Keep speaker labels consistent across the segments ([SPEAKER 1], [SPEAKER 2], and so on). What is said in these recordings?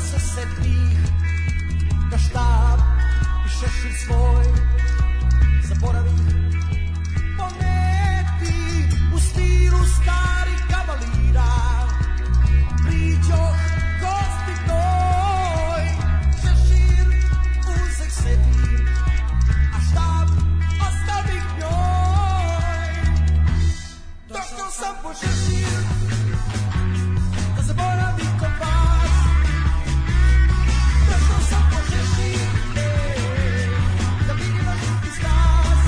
[SPEAKER 1] desetih Da štab i šešir svoj Zaboravih poneti U stilu starih kavalira Priđoh gosti toj Šešir uzeh sebi A štab ostavih njoj Došao sam po šešir da zaboravi kompas. Došao sam po šešir, ej, da vidim vaš drugi stas.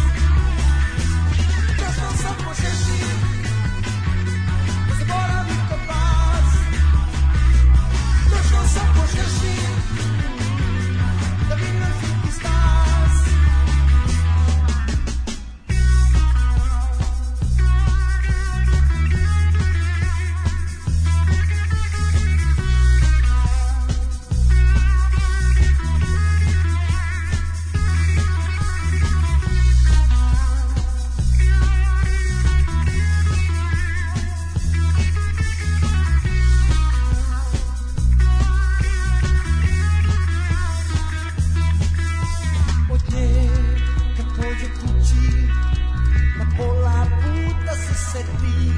[SPEAKER 1] Došao sam po šešir, da zaboravi kompas. Došao sam po šešir, da vidim vaš drugi stas. od nje kad pođe kući na pola puta se seti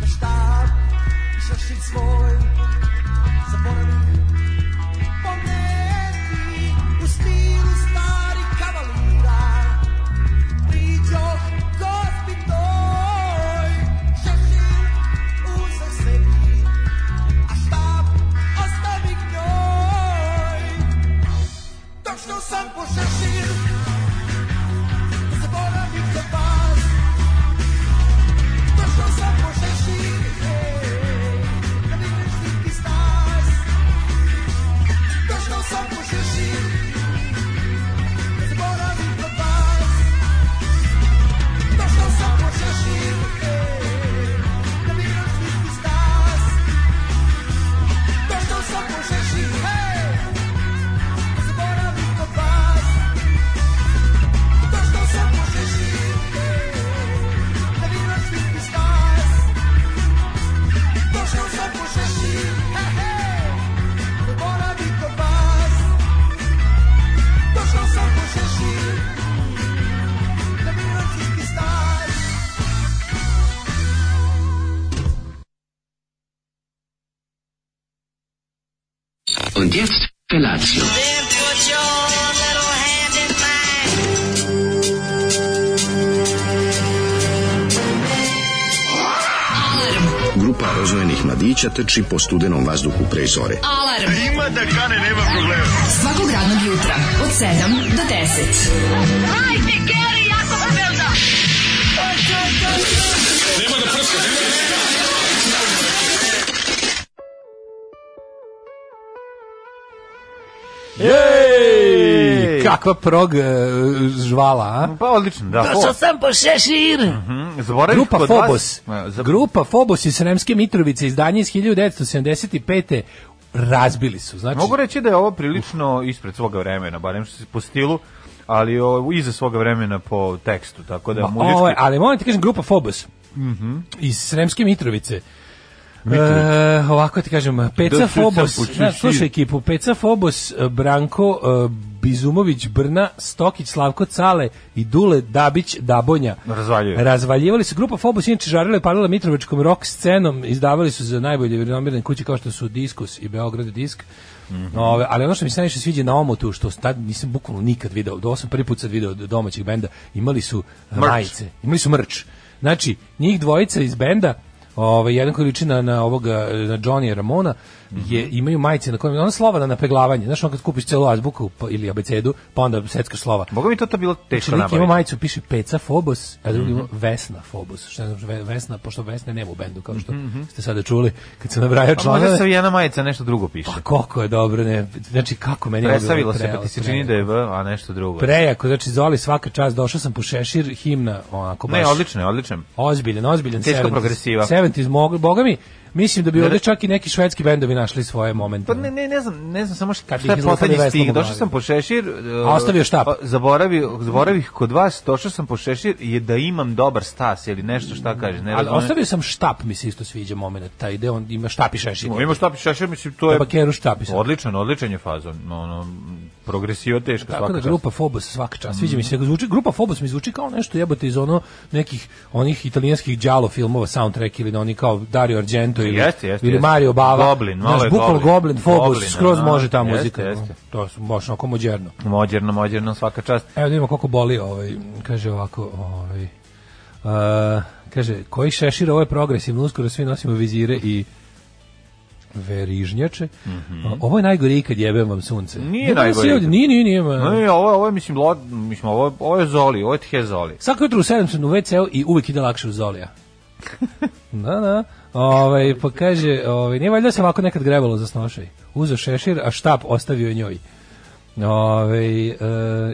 [SPEAKER 1] da štab i šešir svoj zaboravi poneti u stilu stari kavalira priđo gosti toj šešir uzeh sebi a štab ostavi njoj Došao sam po šešir Da zaboravim za vas Došao sam po šešir ej, Da mi grešnik iz nas Došao sam po šešir Da zaboravim za vas Došao sam po šešir ej, Da mi grešnik iz nas Došao sam po šešir Hej! zaboravim kod vas To što sam požešio Da vi rošli iz vas To što sam požešio Zaboravim kod vas To što sam požešio Da vi rošli iz vas
[SPEAKER 2] Und jetzt Felatio.
[SPEAKER 3] Then put your little hand in mine.
[SPEAKER 4] Grupa rozvojenih mladića trči po studenom vazduhu pre zore.
[SPEAKER 5] Alarm. Ima da kane, nema problema. Svakog radnog jutra, od 7 do 10.
[SPEAKER 3] Hajde, Geri, jako se velda.
[SPEAKER 6] Ej, kakva prog e, žvala, a?
[SPEAKER 7] Pa odlično, da. Mhm, Došao sam po šešir. zaboravim
[SPEAKER 6] Grupa
[SPEAKER 7] kod
[SPEAKER 6] Fobos.
[SPEAKER 7] vas. E, za-
[SPEAKER 6] Grupa Fobos iz Sremske Mitrovice izdanje iz 1975. razbili su. Znači,
[SPEAKER 7] Mogu reći da je ovo prilično ispred svoga vremena, barem što se po stilu, ali o, iza svoga vremena po tekstu, tako da
[SPEAKER 6] Ma,
[SPEAKER 7] muzički...
[SPEAKER 6] ovo je- ovaj, ali moram ti kažem, grupa Fobos
[SPEAKER 7] Mhm.
[SPEAKER 6] iz Sremske Mitrovice. E, ovako ti kažem, Peca
[SPEAKER 7] Da,
[SPEAKER 6] Fobos,
[SPEAKER 7] sam počuo
[SPEAKER 6] znaš, slušaj
[SPEAKER 7] šir.
[SPEAKER 6] ekipu, Peca Fobos, e, Branko e, Bizumović, Brna, Stokić, Slavko Cale i Dule Dabić, Dabonja.
[SPEAKER 7] Razvaljuju.
[SPEAKER 6] Razvaljivali su. Grupa Fobos inače žarila i palila Mitrovičkom rock scenom, izdavali su za najbolje renomiranih kuće kao što su Diskus i Beograd Disk. Ove, ali ono što mi se najviše sviđa na omotu, što tad nisam bukvalno nikad video, do sam prvi put sad video od domaćih benda, imali su majice, imali su mrč. Znači, njih dvojica iz benda, ovaj, jedan koji liči na, na ovoga, na Johnny Ramona, je, imaju majice na kojima, ona slova na napeglavanje, znaš, on kad kupiš celu azbuku pa- ili abecedu, pa onda seckaš slova.
[SPEAKER 7] Boga mi to to bilo teško
[SPEAKER 6] Znači, lik ima
[SPEAKER 7] nabaviti. Mhm.
[SPEAKER 6] majicu, piše Peca Fobos, a drugi ima Vesna Fobos. Što znači Ve- Vesna, pošto Vesne nema u bendu, kao što ste sada čuli, kad sam nabrajao
[SPEAKER 7] A Mhm. Pa možda se
[SPEAKER 6] članove.
[SPEAKER 7] jedna majica nešto drugo piše.
[SPEAKER 6] Pa koliko je dobro, ne, znači kako meni je ovo bilo
[SPEAKER 7] Presavilo se, pa
[SPEAKER 6] prejako,
[SPEAKER 7] ti se čini da je V, a nešto drugo.
[SPEAKER 6] Prejako, znači Zoli svaka čast, došao sam po šešir, himna, onako baš.
[SPEAKER 7] Ne, odlično je, odlično je.
[SPEAKER 6] Ozbiljan, ozbiljan.
[SPEAKER 7] Teško
[SPEAKER 6] 70s.
[SPEAKER 7] progresiva.
[SPEAKER 6] 70s, mogu, boga mi, Mislim da bi
[SPEAKER 7] Ne,
[SPEAKER 6] ovde
[SPEAKER 7] ne.
[SPEAKER 6] čak i neki švedski bendovi našli svoje momente.
[SPEAKER 7] Pa ne, ne, ne znam, ne znam samo šta,
[SPEAKER 6] Kad
[SPEAKER 7] šta
[SPEAKER 6] ih
[SPEAKER 7] je
[SPEAKER 6] zaustavi
[SPEAKER 7] poslednji
[SPEAKER 6] Vesna
[SPEAKER 7] stih.
[SPEAKER 6] Bogdanović.
[SPEAKER 7] Došao sam po šešir. e,
[SPEAKER 6] A ostavio štap.
[SPEAKER 7] pa, Zaboravio, zaboravih kod vas, došao sam po šešir je da imam dobar stas ili nešto šta kaže. Ne
[SPEAKER 6] Ali
[SPEAKER 7] razumem.
[SPEAKER 6] ostavio sam štap, mi se isto sviđa moment, taj gde on ima štap i šešir.
[SPEAKER 7] Ima šta piše šešir, mislim, to
[SPEAKER 6] Na
[SPEAKER 7] je...
[SPEAKER 6] bakeru štap i sve.
[SPEAKER 7] Odličan, odličan je fazon. Ono, progresio teško
[SPEAKER 6] Tako
[SPEAKER 7] svaka
[SPEAKER 6] da
[SPEAKER 7] čast.
[SPEAKER 6] grupa Phobos svaka čast. Sviđa mi se kako zvuči. Grupa Phobos mi zvuči kao nešto jebote iz ono nekih onih italijanskih đalo filmova soundtrack ili da oni kao Dario Argento ili
[SPEAKER 7] Jeste, jeste,
[SPEAKER 6] ili
[SPEAKER 7] jeste.
[SPEAKER 6] Mario Bava.
[SPEAKER 7] Goblin, malo
[SPEAKER 6] Znaš,
[SPEAKER 7] je
[SPEAKER 6] bukvalno
[SPEAKER 7] Goblin.
[SPEAKER 6] Goblin, Phobos
[SPEAKER 7] Goblin,
[SPEAKER 6] skroz
[SPEAKER 7] a,
[SPEAKER 6] može ta
[SPEAKER 7] jeste,
[SPEAKER 6] muzika. ono.
[SPEAKER 7] jeste.
[SPEAKER 6] To su baš onako moderno.
[SPEAKER 7] Mođerno, mođerno, svaka čast.
[SPEAKER 6] Evo da vidimo koliko boli ovaj, kaže ovako, ovaj, uh, kaže, koji šešir, ovo je progresivno, uskoro svi nosimo vizire i verižnjače. A, Ovo je najgore ikad jebem vam sunce.
[SPEAKER 7] Mhm. Nije
[SPEAKER 6] Jebem vas
[SPEAKER 7] najgore
[SPEAKER 6] i ovdje,
[SPEAKER 7] ikad.
[SPEAKER 6] Nije, nije, nije. ma.
[SPEAKER 7] No, i ovo, ovo je, mislim, lo, mislim ovo, ovo je Zoli, ovo je Tje Zoli.
[SPEAKER 6] Svako jutro u 7 sam u WC-u i uvijek ide lakše u Zolija. da, da. Ovaj, pa kaže, ovaj, nije valjda se ovako nekad grebalo za snošaj. Uzo šešir, a štap ostavio je njoj. Ove, e,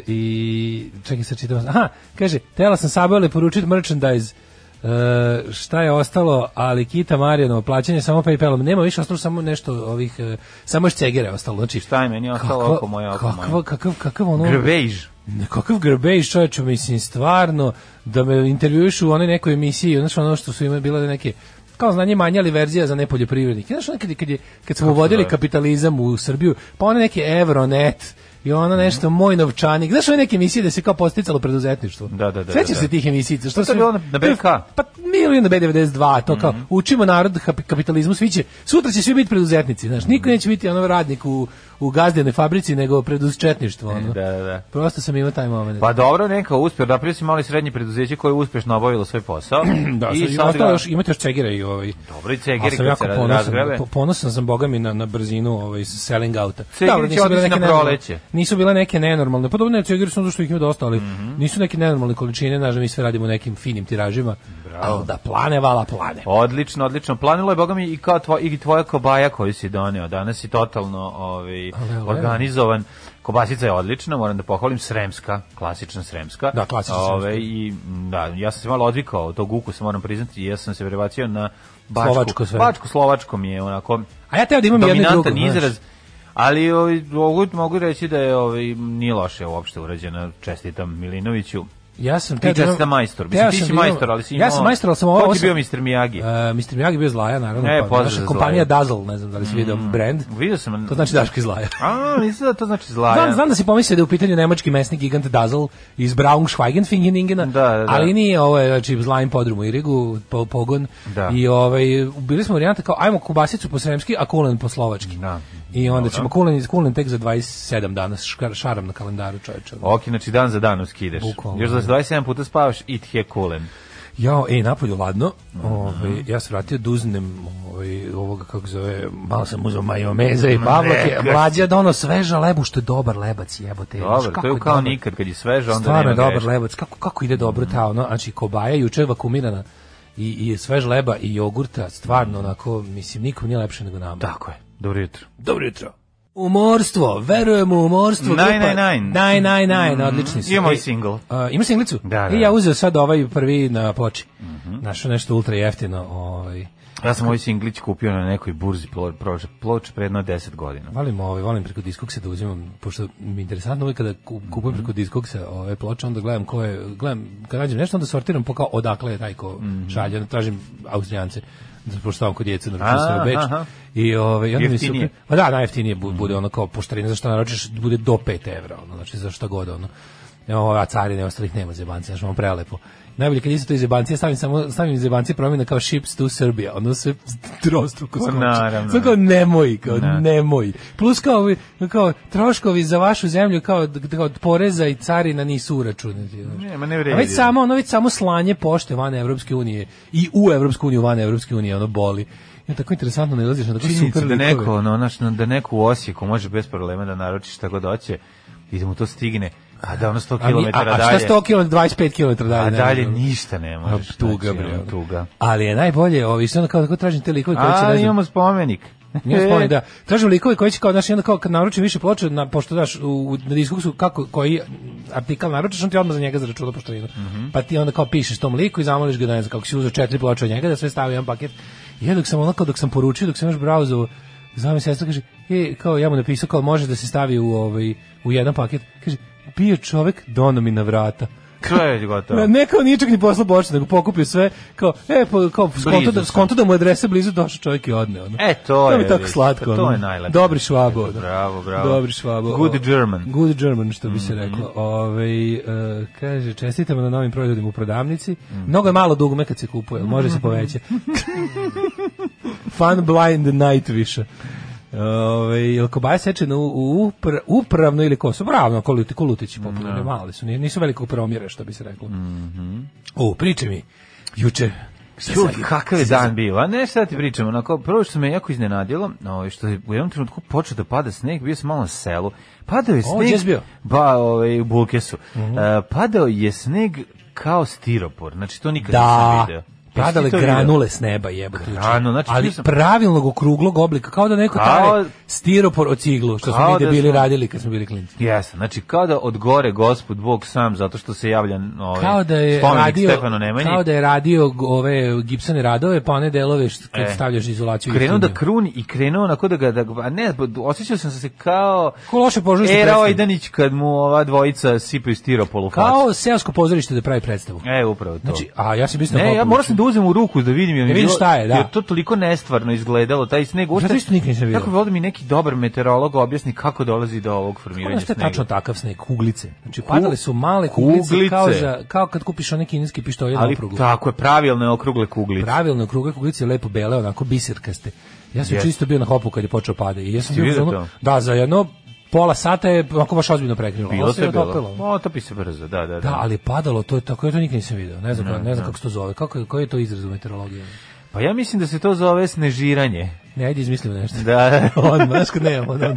[SPEAKER 6] i čekaj sad čitam aha, kaže, tela sam sabio ali poručiti merchandise e, šta je ostalo, ali Kita Marijanovo plaćanje samo Paypalom, nema više ostalo samo nešto ovih, e, samo još cegere ostalo znači,
[SPEAKER 7] Šta je meni ostalo
[SPEAKER 6] kakva-
[SPEAKER 7] oko moje, oko moje.
[SPEAKER 6] kakva- kakav, kakav ono
[SPEAKER 7] Grvejž.
[SPEAKER 6] Ne, Kakav grbejš čovječe, mislim, stvarno, da me intervjuješ u onoj nekoj emisiji, znaš ono što su ima bile neke kao znanje manje, ali verzija za nepoljoprivrednike. Znaš, ono kad, je- kad, je, kad smo uvodili
[SPEAKER 7] zove?
[SPEAKER 6] kapitalizam u Srbiju, pa one neke Euronet, i
[SPEAKER 7] Mhm.
[SPEAKER 6] ono nešto, moj novčanik. Znaš ove neke emisije da se kao posticalo preduzetništvo?
[SPEAKER 7] Da, da, da,
[SPEAKER 6] Sećaš
[SPEAKER 7] da, da.
[SPEAKER 6] se tih emisija? Što
[SPEAKER 7] je bilo na- Mhm. na BK?
[SPEAKER 6] Pa bilo je na B92, to kao, učimo narod kapi- kapitalizmu, svi će, sutra će svi biti preduzetnici, znaš, niko neće biti ono radnik u, u gazdenoj fabrici, nego preduzetništvo. Ono.
[SPEAKER 7] Da, da, da.
[SPEAKER 6] Prosto sam imao taj moment.
[SPEAKER 7] Pa dobro, neka uspio, napravio si malo i srednje preduzeće koje je uspešno obavilo svoj posao.
[SPEAKER 6] da,
[SPEAKER 7] I
[SPEAKER 6] I
[SPEAKER 7] sad
[SPEAKER 6] ostalo
[SPEAKER 7] ga-
[SPEAKER 6] još, imate još Cegira i ovaj.
[SPEAKER 7] Dobro, i
[SPEAKER 6] Ali
[SPEAKER 7] Cegeri kad
[SPEAKER 6] sam jako
[SPEAKER 7] se raz-
[SPEAKER 6] ponosan,
[SPEAKER 7] razgrabe.
[SPEAKER 6] po- ponosan sam boga mi na, na brzinu ovaj, selling outa.
[SPEAKER 7] Cegiri
[SPEAKER 6] ali
[SPEAKER 7] će
[SPEAKER 6] nisu bile
[SPEAKER 7] otići
[SPEAKER 6] neke
[SPEAKER 7] na
[SPEAKER 6] nenormalne-
[SPEAKER 7] proleće.
[SPEAKER 6] Nisu bile neke nenormalne, pa dobro ne, Cegiri su ono što ih ima dosta, ali
[SPEAKER 7] Mhm.
[SPEAKER 6] nisu neke nenormalne količine, znaš da mi sve radimo u nekim finim tiražima, ali da plane, vala plane.
[SPEAKER 7] Odlično, odlično. Planilo je, boga mi, i, kao tvo, i tvoja kobaja koju si doneo. Danas si totalno ovaj,
[SPEAKER 6] Ale, ale.
[SPEAKER 7] organizovan. Kobasica je odlična, moram da pohvalim, sremska, klasična sremska. Ovaj,
[SPEAKER 6] Da, klasična sremska.
[SPEAKER 7] I, da, ja sam se malo odvikao od tog ukusa, moram priznati, ja sam se prebacio na bačku.
[SPEAKER 6] Slovačko sve.
[SPEAKER 7] Bačku, slovačko mi je onako
[SPEAKER 6] A ja teo da imam jedno i drugo.
[SPEAKER 7] dominantan
[SPEAKER 6] znaš.
[SPEAKER 7] izraz. Ali ovaj, mogu, mogu reći da je ovaj, nije loše uopšte urađena. Čestitam Milinoviću.
[SPEAKER 6] Ja sam
[SPEAKER 7] Ti
[SPEAKER 6] teo da imam-
[SPEAKER 7] čestitam majstor.
[SPEAKER 6] teo
[SPEAKER 7] Mislim, ti
[SPEAKER 6] sam
[SPEAKER 7] si
[SPEAKER 6] da imam-
[SPEAKER 7] majstor, ali si
[SPEAKER 6] Ja sam majstor, ali sam ovo...
[SPEAKER 7] Ko ti
[SPEAKER 6] osam-
[SPEAKER 7] bio Mr. Miyagi?
[SPEAKER 6] E, Mr. Miyagi bio zlaja, naravno.
[SPEAKER 7] E,
[SPEAKER 6] pa,
[SPEAKER 7] pozdrav
[SPEAKER 6] naša
[SPEAKER 7] za
[SPEAKER 6] kompanija
[SPEAKER 7] Zlaja. Mhm.
[SPEAKER 6] Dazzle, ne znam da li si video brand.
[SPEAKER 7] Vidio sam...
[SPEAKER 6] To znači Daško iz zlaja.
[SPEAKER 7] A, mislim da to znači zlaja.
[SPEAKER 6] Znam, znam da si pomislio da je u pitanju nemački mesni gigant Dazzle iz Braunschweigenfingeningena,
[SPEAKER 7] Da, da, da.
[SPEAKER 6] ali nije ovo, je, znači, zlajim podrum u Irigu, po, pogon.
[SPEAKER 7] Da.
[SPEAKER 6] I ovaj, bili smo varijanta kao, ajmo kubasicu po sremski, a kulen po slovački.
[SPEAKER 7] Da.
[SPEAKER 6] I onda
[SPEAKER 7] Dobro.
[SPEAKER 6] ćemo kulen, kulen tek za 27 danas, škar- šaram na kalendaru čoveče.
[SPEAKER 7] Ok, znači dan za danom skideš.
[SPEAKER 6] Bukvalno,
[SPEAKER 7] Još da se 27 puta spavaš, it he kulen.
[SPEAKER 6] Jao, ej, napolju ladno.
[SPEAKER 7] Mhm.
[SPEAKER 6] Ovaj ja se vratio duznem ovaj ovoga kako zove, malo sam uzeo majoneza i pavlake.
[SPEAKER 7] Neka.
[SPEAKER 6] Mlađa dono sveža lebu što je dobar lebac, jebote. znaš,
[SPEAKER 7] Dobro,
[SPEAKER 6] kako
[SPEAKER 7] to je kao
[SPEAKER 6] dobar.
[SPEAKER 7] nikad, kad je sveže, onda
[SPEAKER 6] Stvarno
[SPEAKER 7] nema
[SPEAKER 6] je dobar
[SPEAKER 7] greške.
[SPEAKER 6] lebac. Kako kako ide dobro ta ono, znači kobaja juče vakumirana i i svež leba i jogurta, stvarno onako mislim nikom nije lepše nego nama.
[SPEAKER 7] Tako je. Dobro jutro.
[SPEAKER 6] Dobro jutro. Umorstvo, verujem u umorstvo.
[SPEAKER 7] Nine,
[SPEAKER 6] grupa-
[SPEAKER 7] nine, nine.
[SPEAKER 6] Nine, nine, nine, odlični su.
[SPEAKER 7] Mm, I moj
[SPEAKER 6] Ej,
[SPEAKER 7] single.
[SPEAKER 6] a, ima singlicu?
[SPEAKER 7] Da, Mhm. da,
[SPEAKER 6] I ja
[SPEAKER 7] da.
[SPEAKER 6] uzeo sad ovaj prvi na ploči. Našao nešto ultra jeftino. Ovaj.
[SPEAKER 7] Ja sam ovaj singlić kupio na nekoj burzi plo- prođe- ploče pre jedno 10 godina.
[SPEAKER 6] Volim, ovaj, volim preko diskoksa da uzimam, pošto mi je interesantno uvijek kada ku- kupujem
[SPEAKER 7] Mhm.
[SPEAKER 6] preko diskoksa ove ploče, onda gledam ko je, gledam, kad nađem nešto, onda sortiram po kao odakle je taj ko
[SPEAKER 7] Mhm.
[SPEAKER 6] šalje, onda tražim Austrijance, da poštavam kod djece, naručio sam
[SPEAKER 7] A,
[SPEAKER 6] u Beč.
[SPEAKER 7] aha.
[SPEAKER 6] I, ovaj, i onda mi se
[SPEAKER 7] Jeftinije. Mhm.
[SPEAKER 6] upre- Pa da, najjeftinije bu- bude ono kao poštarina, za što naročiš, bude do 5 evra, ono, znači za šta god, ono. Evo, a carine ostalih nema zebanci, znači ono prelepo. Najbolje kad isto to iz zebanci, ja stavim, samo, stavim zebanci promjena kao ships to Serbia, ono se trostruko skoči.
[SPEAKER 7] naravno.
[SPEAKER 6] Samo kao nemoj, kao
[SPEAKER 7] Da.
[SPEAKER 6] nemoj. Plus kao, ovi- kao troškovi za vašu zemlju kao, kao od poreza i carina nisu uračunati. znaš.
[SPEAKER 7] Ne, ma ne
[SPEAKER 6] A
[SPEAKER 7] vredi.
[SPEAKER 6] već samo, ono već samo slanje pošte van Evropske unije i u Evropsku uniju van Evropske unije, ono boli. Ja tako interesantno nalaziš na tako
[SPEAKER 7] Činjenica
[SPEAKER 6] super
[SPEAKER 7] da
[SPEAKER 6] likove.
[SPEAKER 7] neko, ono, znaš, da neko u Osijeku može bez problema da naruči šta god hoće i da mu to stigne, a da ono 100
[SPEAKER 6] A, mi-
[SPEAKER 7] km
[SPEAKER 6] a, a šta
[SPEAKER 7] dalje,
[SPEAKER 6] 100 km, 25 km dalje?
[SPEAKER 7] a
[SPEAKER 6] ne
[SPEAKER 7] dalje
[SPEAKER 6] znam.
[SPEAKER 7] ništa ne
[SPEAKER 6] A,
[SPEAKER 7] možeš.
[SPEAKER 6] tuga,
[SPEAKER 7] znači,
[SPEAKER 6] bre.
[SPEAKER 7] ono,
[SPEAKER 6] ono.
[SPEAKER 7] Tuga.
[SPEAKER 6] Ali je najbolje, ovi se onda kao tako tražim te likove koji će,
[SPEAKER 7] A,
[SPEAKER 6] ne znam,
[SPEAKER 7] imamo spomenik.
[SPEAKER 6] Nije
[SPEAKER 7] E.
[SPEAKER 6] spomenik, da. Tražim likove koji će kao naš jedan kao kad naručim više ploče na pošto daš u, u na diskoksu kako koji artikal naručiš on ti odmah za njega zaračuna poštarinu. Pa ti onda kao pišeš tom liku i zamoliš ga da ne znam kako si uzeo četiri ploče od njega da sve stavi u jedan paket I ja dok sam onako, dok sam poručio, dok sam još brauzao, zove me sestra, kaže, e, kao ja mu napisao, kao može da se stavi u, ovaj, u jedan paket. Kaže, bio čovek, dono mi na vrata.
[SPEAKER 7] Sve je gotovo.
[SPEAKER 6] Ne, ne kao ničak ni posla bočna, nego pokupio sve, kao, e, pa, kao, skonto da,
[SPEAKER 7] sam.
[SPEAKER 6] skonto da mu je adresa blizu, došao čovjek i odneo. Ono.
[SPEAKER 7] E, to
[SPEAKER 6] mi
[SPEAKER 7] je,
[SPEAKER 6] tako
[SPEAKER 7] vidiš,
[SPEAKER 6] slatko.
[SPEAKER 7] to
[SPEAKER 6] ono.
[SPEAKER 7] je najlepše.
[SPEAKER 6] Dobri švabo. ono.
[SPEAKER 7] Bravo, bravo.
[SPEAKER 6] Dobri švabo.
[SPEAKER 7] Good
[SPEAKER 6] O,
[SPEAKER 7] German. Mhm.
[SPEAKER 6] Good German, što bi se reklo. Ove, kaže, čestitamo na novim proizvodima u prodavnici.
[SPEAKER 7] Mhm.
[SPEAKER 6] Mnogo je malo dugme kad se kupuje, ali može se poveća. Fun blind night više. Ove, jel kobaja sečena u, u upra- upravno ili kosu? Pravno, koliti, kolutići popularni, mali su, ni- nisu velikog promjera, što bi se reklo.
[SPEAKER 7] Mhm.
[SPEAKER 6] O, priče mi, juče, šta
[SPEAKER 7] Čuj,
[SPEAKER 6] sad?
[SPEAKER 7] kakav je dan bio, a ne šta ti pričam, onako, prvo što me jako iznenadilo, ovaj, što je u jednom trenutku počeo da pada sneg, bio sam malo na selu, padao je
[SPEAKER 6] O, Mhm. gdje si
[SPEAKER 7] sneg,
[SPEAKER 6] bio?
[SPEAKER 7] ba, ovaj, u Bulkesu, E, padao je sneg kao stiropor, znači to nikad nisam
[SPEAKER 6] Da,
[SPEAKER 7] video. Jesi
[SPEAKER 6] padale
[SPEAKER 7] ti to video?
[SPEAKER 6] granule s neba jebote. juče.
[SPEAKER 7] Granu, znači,
[SPEAKER 6] ali
[SPEAKER 7] bio sam-
[SPEAKER 6] pravilnog okrugnog oblika, kao da neko
[SPEAKER 7] Kao-
[SPEAKER 6] tare stiropor od ciglu, što smo
[SPEAKER 7] Kao
[SPEAKER 6] mi
[SPEAKER 7] da
[SPEAKER 6] debili
[SPEAKER 7] smo-
[SPEAKER 6] radili kad smo bili klinci.
[SPEAKER 7] Jesam, znači kao da od gore gospod Bog sam, zato što se javlja ovaj,
[SPEAKER 6] Kao da je
[SPEAKER 7] spomenik
[SPEAKER 6] radio,
[SPEAKER 7] Stefano Nemanji,
[SPEAKER 6] kao da je radio g- ove gipsane radove, pa one delove što kad
[SPEAKER 7] E.
[SPEAKER 6] stavljaš izolaciju. i
[SPEAKER 7] krenuo da
[SPEAKER 6] kimiju.
[SPEAKER 7] kruni i krenuo onako da ga, da, ga- a ne, osjećao sam se kao...
[SPEAKER 6] Ko loše požurstvo
[SPEAKER 7] Era
[SPEAKER 6] predstavu.
[SPEAKER 7] Ojdanić E, kad mu ova dvojica sipaju stiropolu
[SPEAKER 6] kao seosko pozorište da pravi predstavu.
[SPEAKER 7] E, upravo to.
[SPEAKER 6] Znači, a ja sam mislim
[SPEAKER 7] Ne, ja moram sam da uzem u ruku da vidim jer mi
[SPEAKER 6] Da vidiš
[SPEAKER 7] bilo-
[SPEAKER 6] šta je, da.
[SPEAKER 7] Jer to toliko nestvarno izgledalo taj sneg. Uopšte-
[SPEAKER 6] Zato isto nikad nisam vidio.
[SPEAKER 7] Tako bi volio da mi neki dobar meteorolog objasni kako dolazi do ovog formiranja
[SPEAKER 6] Ono što je
[SPEAKER 7] snega.
[SPEAKER 6] tačno takav sneg, kuglice. Znači, padale su male kuglice,
[SPEAKER 7] kuglice.
[SPEAKER 6] Kao, za, kao kad kupiš one kineski pištolje na
[SPEAKER 7] Ali
[SPEAKER 6] okruglu.
[SPEAKER 7] tako je pravilne okrugle kuglice.
[SPEAKER 6] pravilne okrugle kuglice, lepo bele, onako biserkaste. Ja sam
[SPEAKER 7] Jeste.
[SPEAKER 6] čisto bio na hopu kad je počeo pada i ja sam
[SPEAKER 7] Jesi
[SPEAKER 6] bio u
[SPEAKER 7] vidio
[SPEAKER 6] fazonu- da za jedno pola sata je onako baš ozbiljno prekrilo.
[SPEAKER 7] Bilo
[SPEAKER 6] Ovo se
[SPEAKER 7] se
[SPEAKER 6] je
[SPEAKER 7] bilo.
[SPEAKER 6] otopilo.
[SPEAKER 7] O, topi se brzo, da, da, da.
[SPEAKER 6] Da, ali je padalo, to je tako, ja to nikad nisam video. Ne znam, kako- ne znam kako se to zove. Kako, je- koji je to izraz u meteorologiji?
[SPEAKER 7] Pa ja mislim da se to zove snežiranje.
[SPEAKER 6] Ne, ajde izmislimo nešto.
[SPEAKER 7] Da.
[SPEAKER 6] Odmah, znaš kad nemamo, odmah.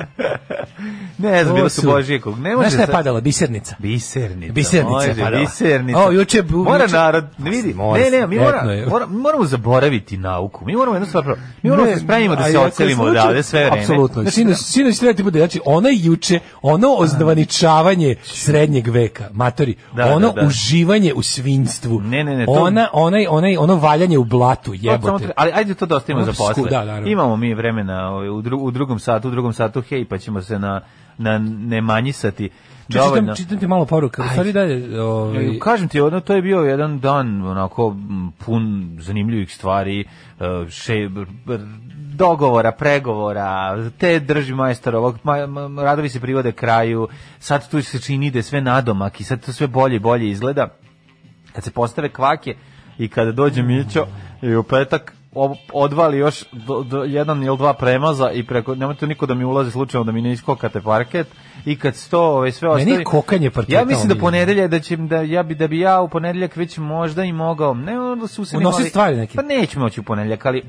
[SPEAKER 7] ne
[SPEAKER 6] To
[SPEAKER 7] znam, bilo su
[SPEAKER 6] su-
[SPEAKER 7] božije kog. Ne može
[SPEAKER 6] Znaš šta je
[SPEAKER 7] sad-
[SPEAKER 6] padala? Bisernica.
[SPEAKER 7] Bisernica.
[SPEAKER 6] Bisernica
[SPEAKER 7] može,
[SPEAKER 6] je padala.
[SPEAKER 7] Bisernica.
[SPEAKER 6] O, juče je bu-
[SPEAKER 7] mora
[SPEAKER 6] juče-
[SPEAKER 7] narod, ne vidi.
[SPEAKER 6] Mora
[SPEAKER 7] ne,
[SPEAKER 6] se,
[SPEAKER 7] ne, mi mora,
[SPEAKER 6] etno je.
[SPEAKER 7] mora, mi moramo zaboraviti nauku. Mi moramo jednu stvar pravo. Mi moramo se spremimo da
[SPEAKER 6] a
[SPEAKER 7] se
[SPEAKER 6] jako je
[SPEAKER 7] ocelimo
[SPEAKER 6] slučaj-
[SPEAKER 7] odavde sve vreme. Znači,
[SPEAKER 6] Apsolutno. Sinoć, sinoć treba ti bude, znači, ono juče, ono ozdvaničavanje srednjeg veka, matori,
[SPEAKER 7] Da,
[SPEAKER 6] ono
[SPEAKER 7] da, da.
[SPEAKER 6] uživanje u svinjstvu,
[SPEAKER 7] Ne, ne, ne, to-
[SPEAKER 6] ona, onaj, onaj, ono valjanje u blatu,
[SPEAKER 7] To samo
[SPEAKER 6] jebote.
[SPEAKER 7] treba- Ali ajde to da ostavimo za
[SPEAKER 6] Ono sku-
[SPEAKER 7] posle.
[SPEAKER 6] da, naravno.
[SPEAKER 7] Imamo mi vremena ovaj, u, dru, u drugom satu, u drugom satu, hej, pa ćemo se na, na ne manjisati. Dovoljno.
[SPEAKER 6] Čitam, čitam ti malo poruka, u stvari dalje, ovaj,
[SPEAKER 7] E, Kažem ti, ono, to je bio jedan dan onako m, pun zanimljivih stvari, e, še, br- br- dogovora, pregovora, te drži majstor ovog, ma, ma- radovi se privode kraju, sad tu se čini da je sve nadomak i sad to sve bolje i bolje izgleda. Kad se postave kvake i kada dođe Mićo i u petak ob- odvali još do, do- jedan ili dva premaza i preko nemojte niko da mi ulazi slučajno da mi ne iskokate parket i kad sto ovaj sve
[SPEAKER 6] Meni je
[SPEAKER 7] ostavi
[SPEAKER 6] kokanje parketa
[SPEAKER 7] ja mislim da
[SPEAKER 6] omiljeno.
[SPEAKER 7] ponedeljak da će da ja bi da bi ja u ponedeljak već možda i mogao ne onda su se
[SPEAKER 6] Unosit stvari neke.
[SPEAKER 7] pa neću moći u ponedeljak ali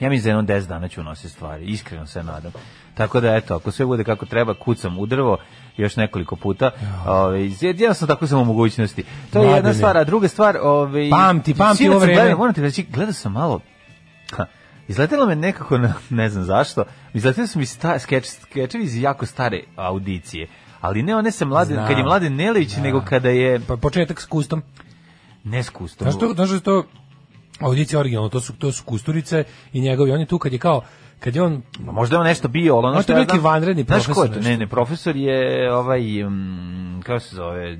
[SPEAKER 7] ja mislim za jedno 10 dana ću unositi stvari, iskreno se nadam. Tako da eto, ako sve bude kako treba, kucam u drvo još nekoliko puta. Ovaj jedan sam tako sam u mogućnosti. To je jedna
[SPEAKER 6] Mladene.
[SPEAKER 7] stvar, a druga stvar, ovaj
[SPEAKER 6] Pamti, pamti
[SPEAKER 7] sinoć
[SPEAKER 6] ovo
[SPEAKER 7] sam
[SPEAKER 6] vreme.
[SPEAKER 7] gledao, Moram ti reći, gledao sam malo. Ha, Izletelo me nekako, na, ne znam zašto, izletelo su mi sta, skeč, skečevi iz jako stare audicije. Ali ne one sa mladen,
[SPEAKER 6] Znam.
[SPEAKER 7] kad je mladen Nelić, nego kada je
[SPEAKER 6] pa početak s kustom.
[SPEAKER 7] neskustvo.
[SPEAKER 6] Znaš to, znaš da je to audicija originalno, to su, to su kusturice i njegovi, on je tu kad je kao, kad je on
[SPEAKER 7] Možda je on nešto bio, ali ono
[SPEAKER 6] Možda
[SPEAKER 7] što
[SPEAKER 6] je
[SPEAKER 7] ja
[SPEAKER 6] neki
[SPEAKER 7] znam-
[SPEAKER 6] vanredni
[SPEAKER 7] Znaš ko je
[SPEAKER 6] profesor
[SPEAKER 7] to?
[SPEAKER 6] nešto.
[SPEAKER 7] Ne, ne, profesor je ovaj, um, kako se zove,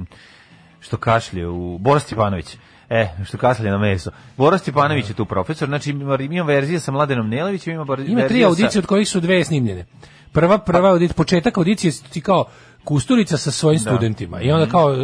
[SPEAKER 7] što kašlje u... Boris Stipanović. E, što kašlje na meso. Boris Stipanović je tu profesor, znači ima- ima verzije sa Mladenom Nelevićem, ima, bar-
[SPEAKER 6] Ima tri
[SPEAKER 7] verzija
[SPEAKER 6] audicije
[SPEAKER 7] sa...
[SPEAKER 6] od kojih su dve snimljene. Prva, prva
[SPEAKER 7] Pa-
[SPEAKER 6] audit, početak audicije su ti kao Kusturica sa svojim studentima i onda kao e,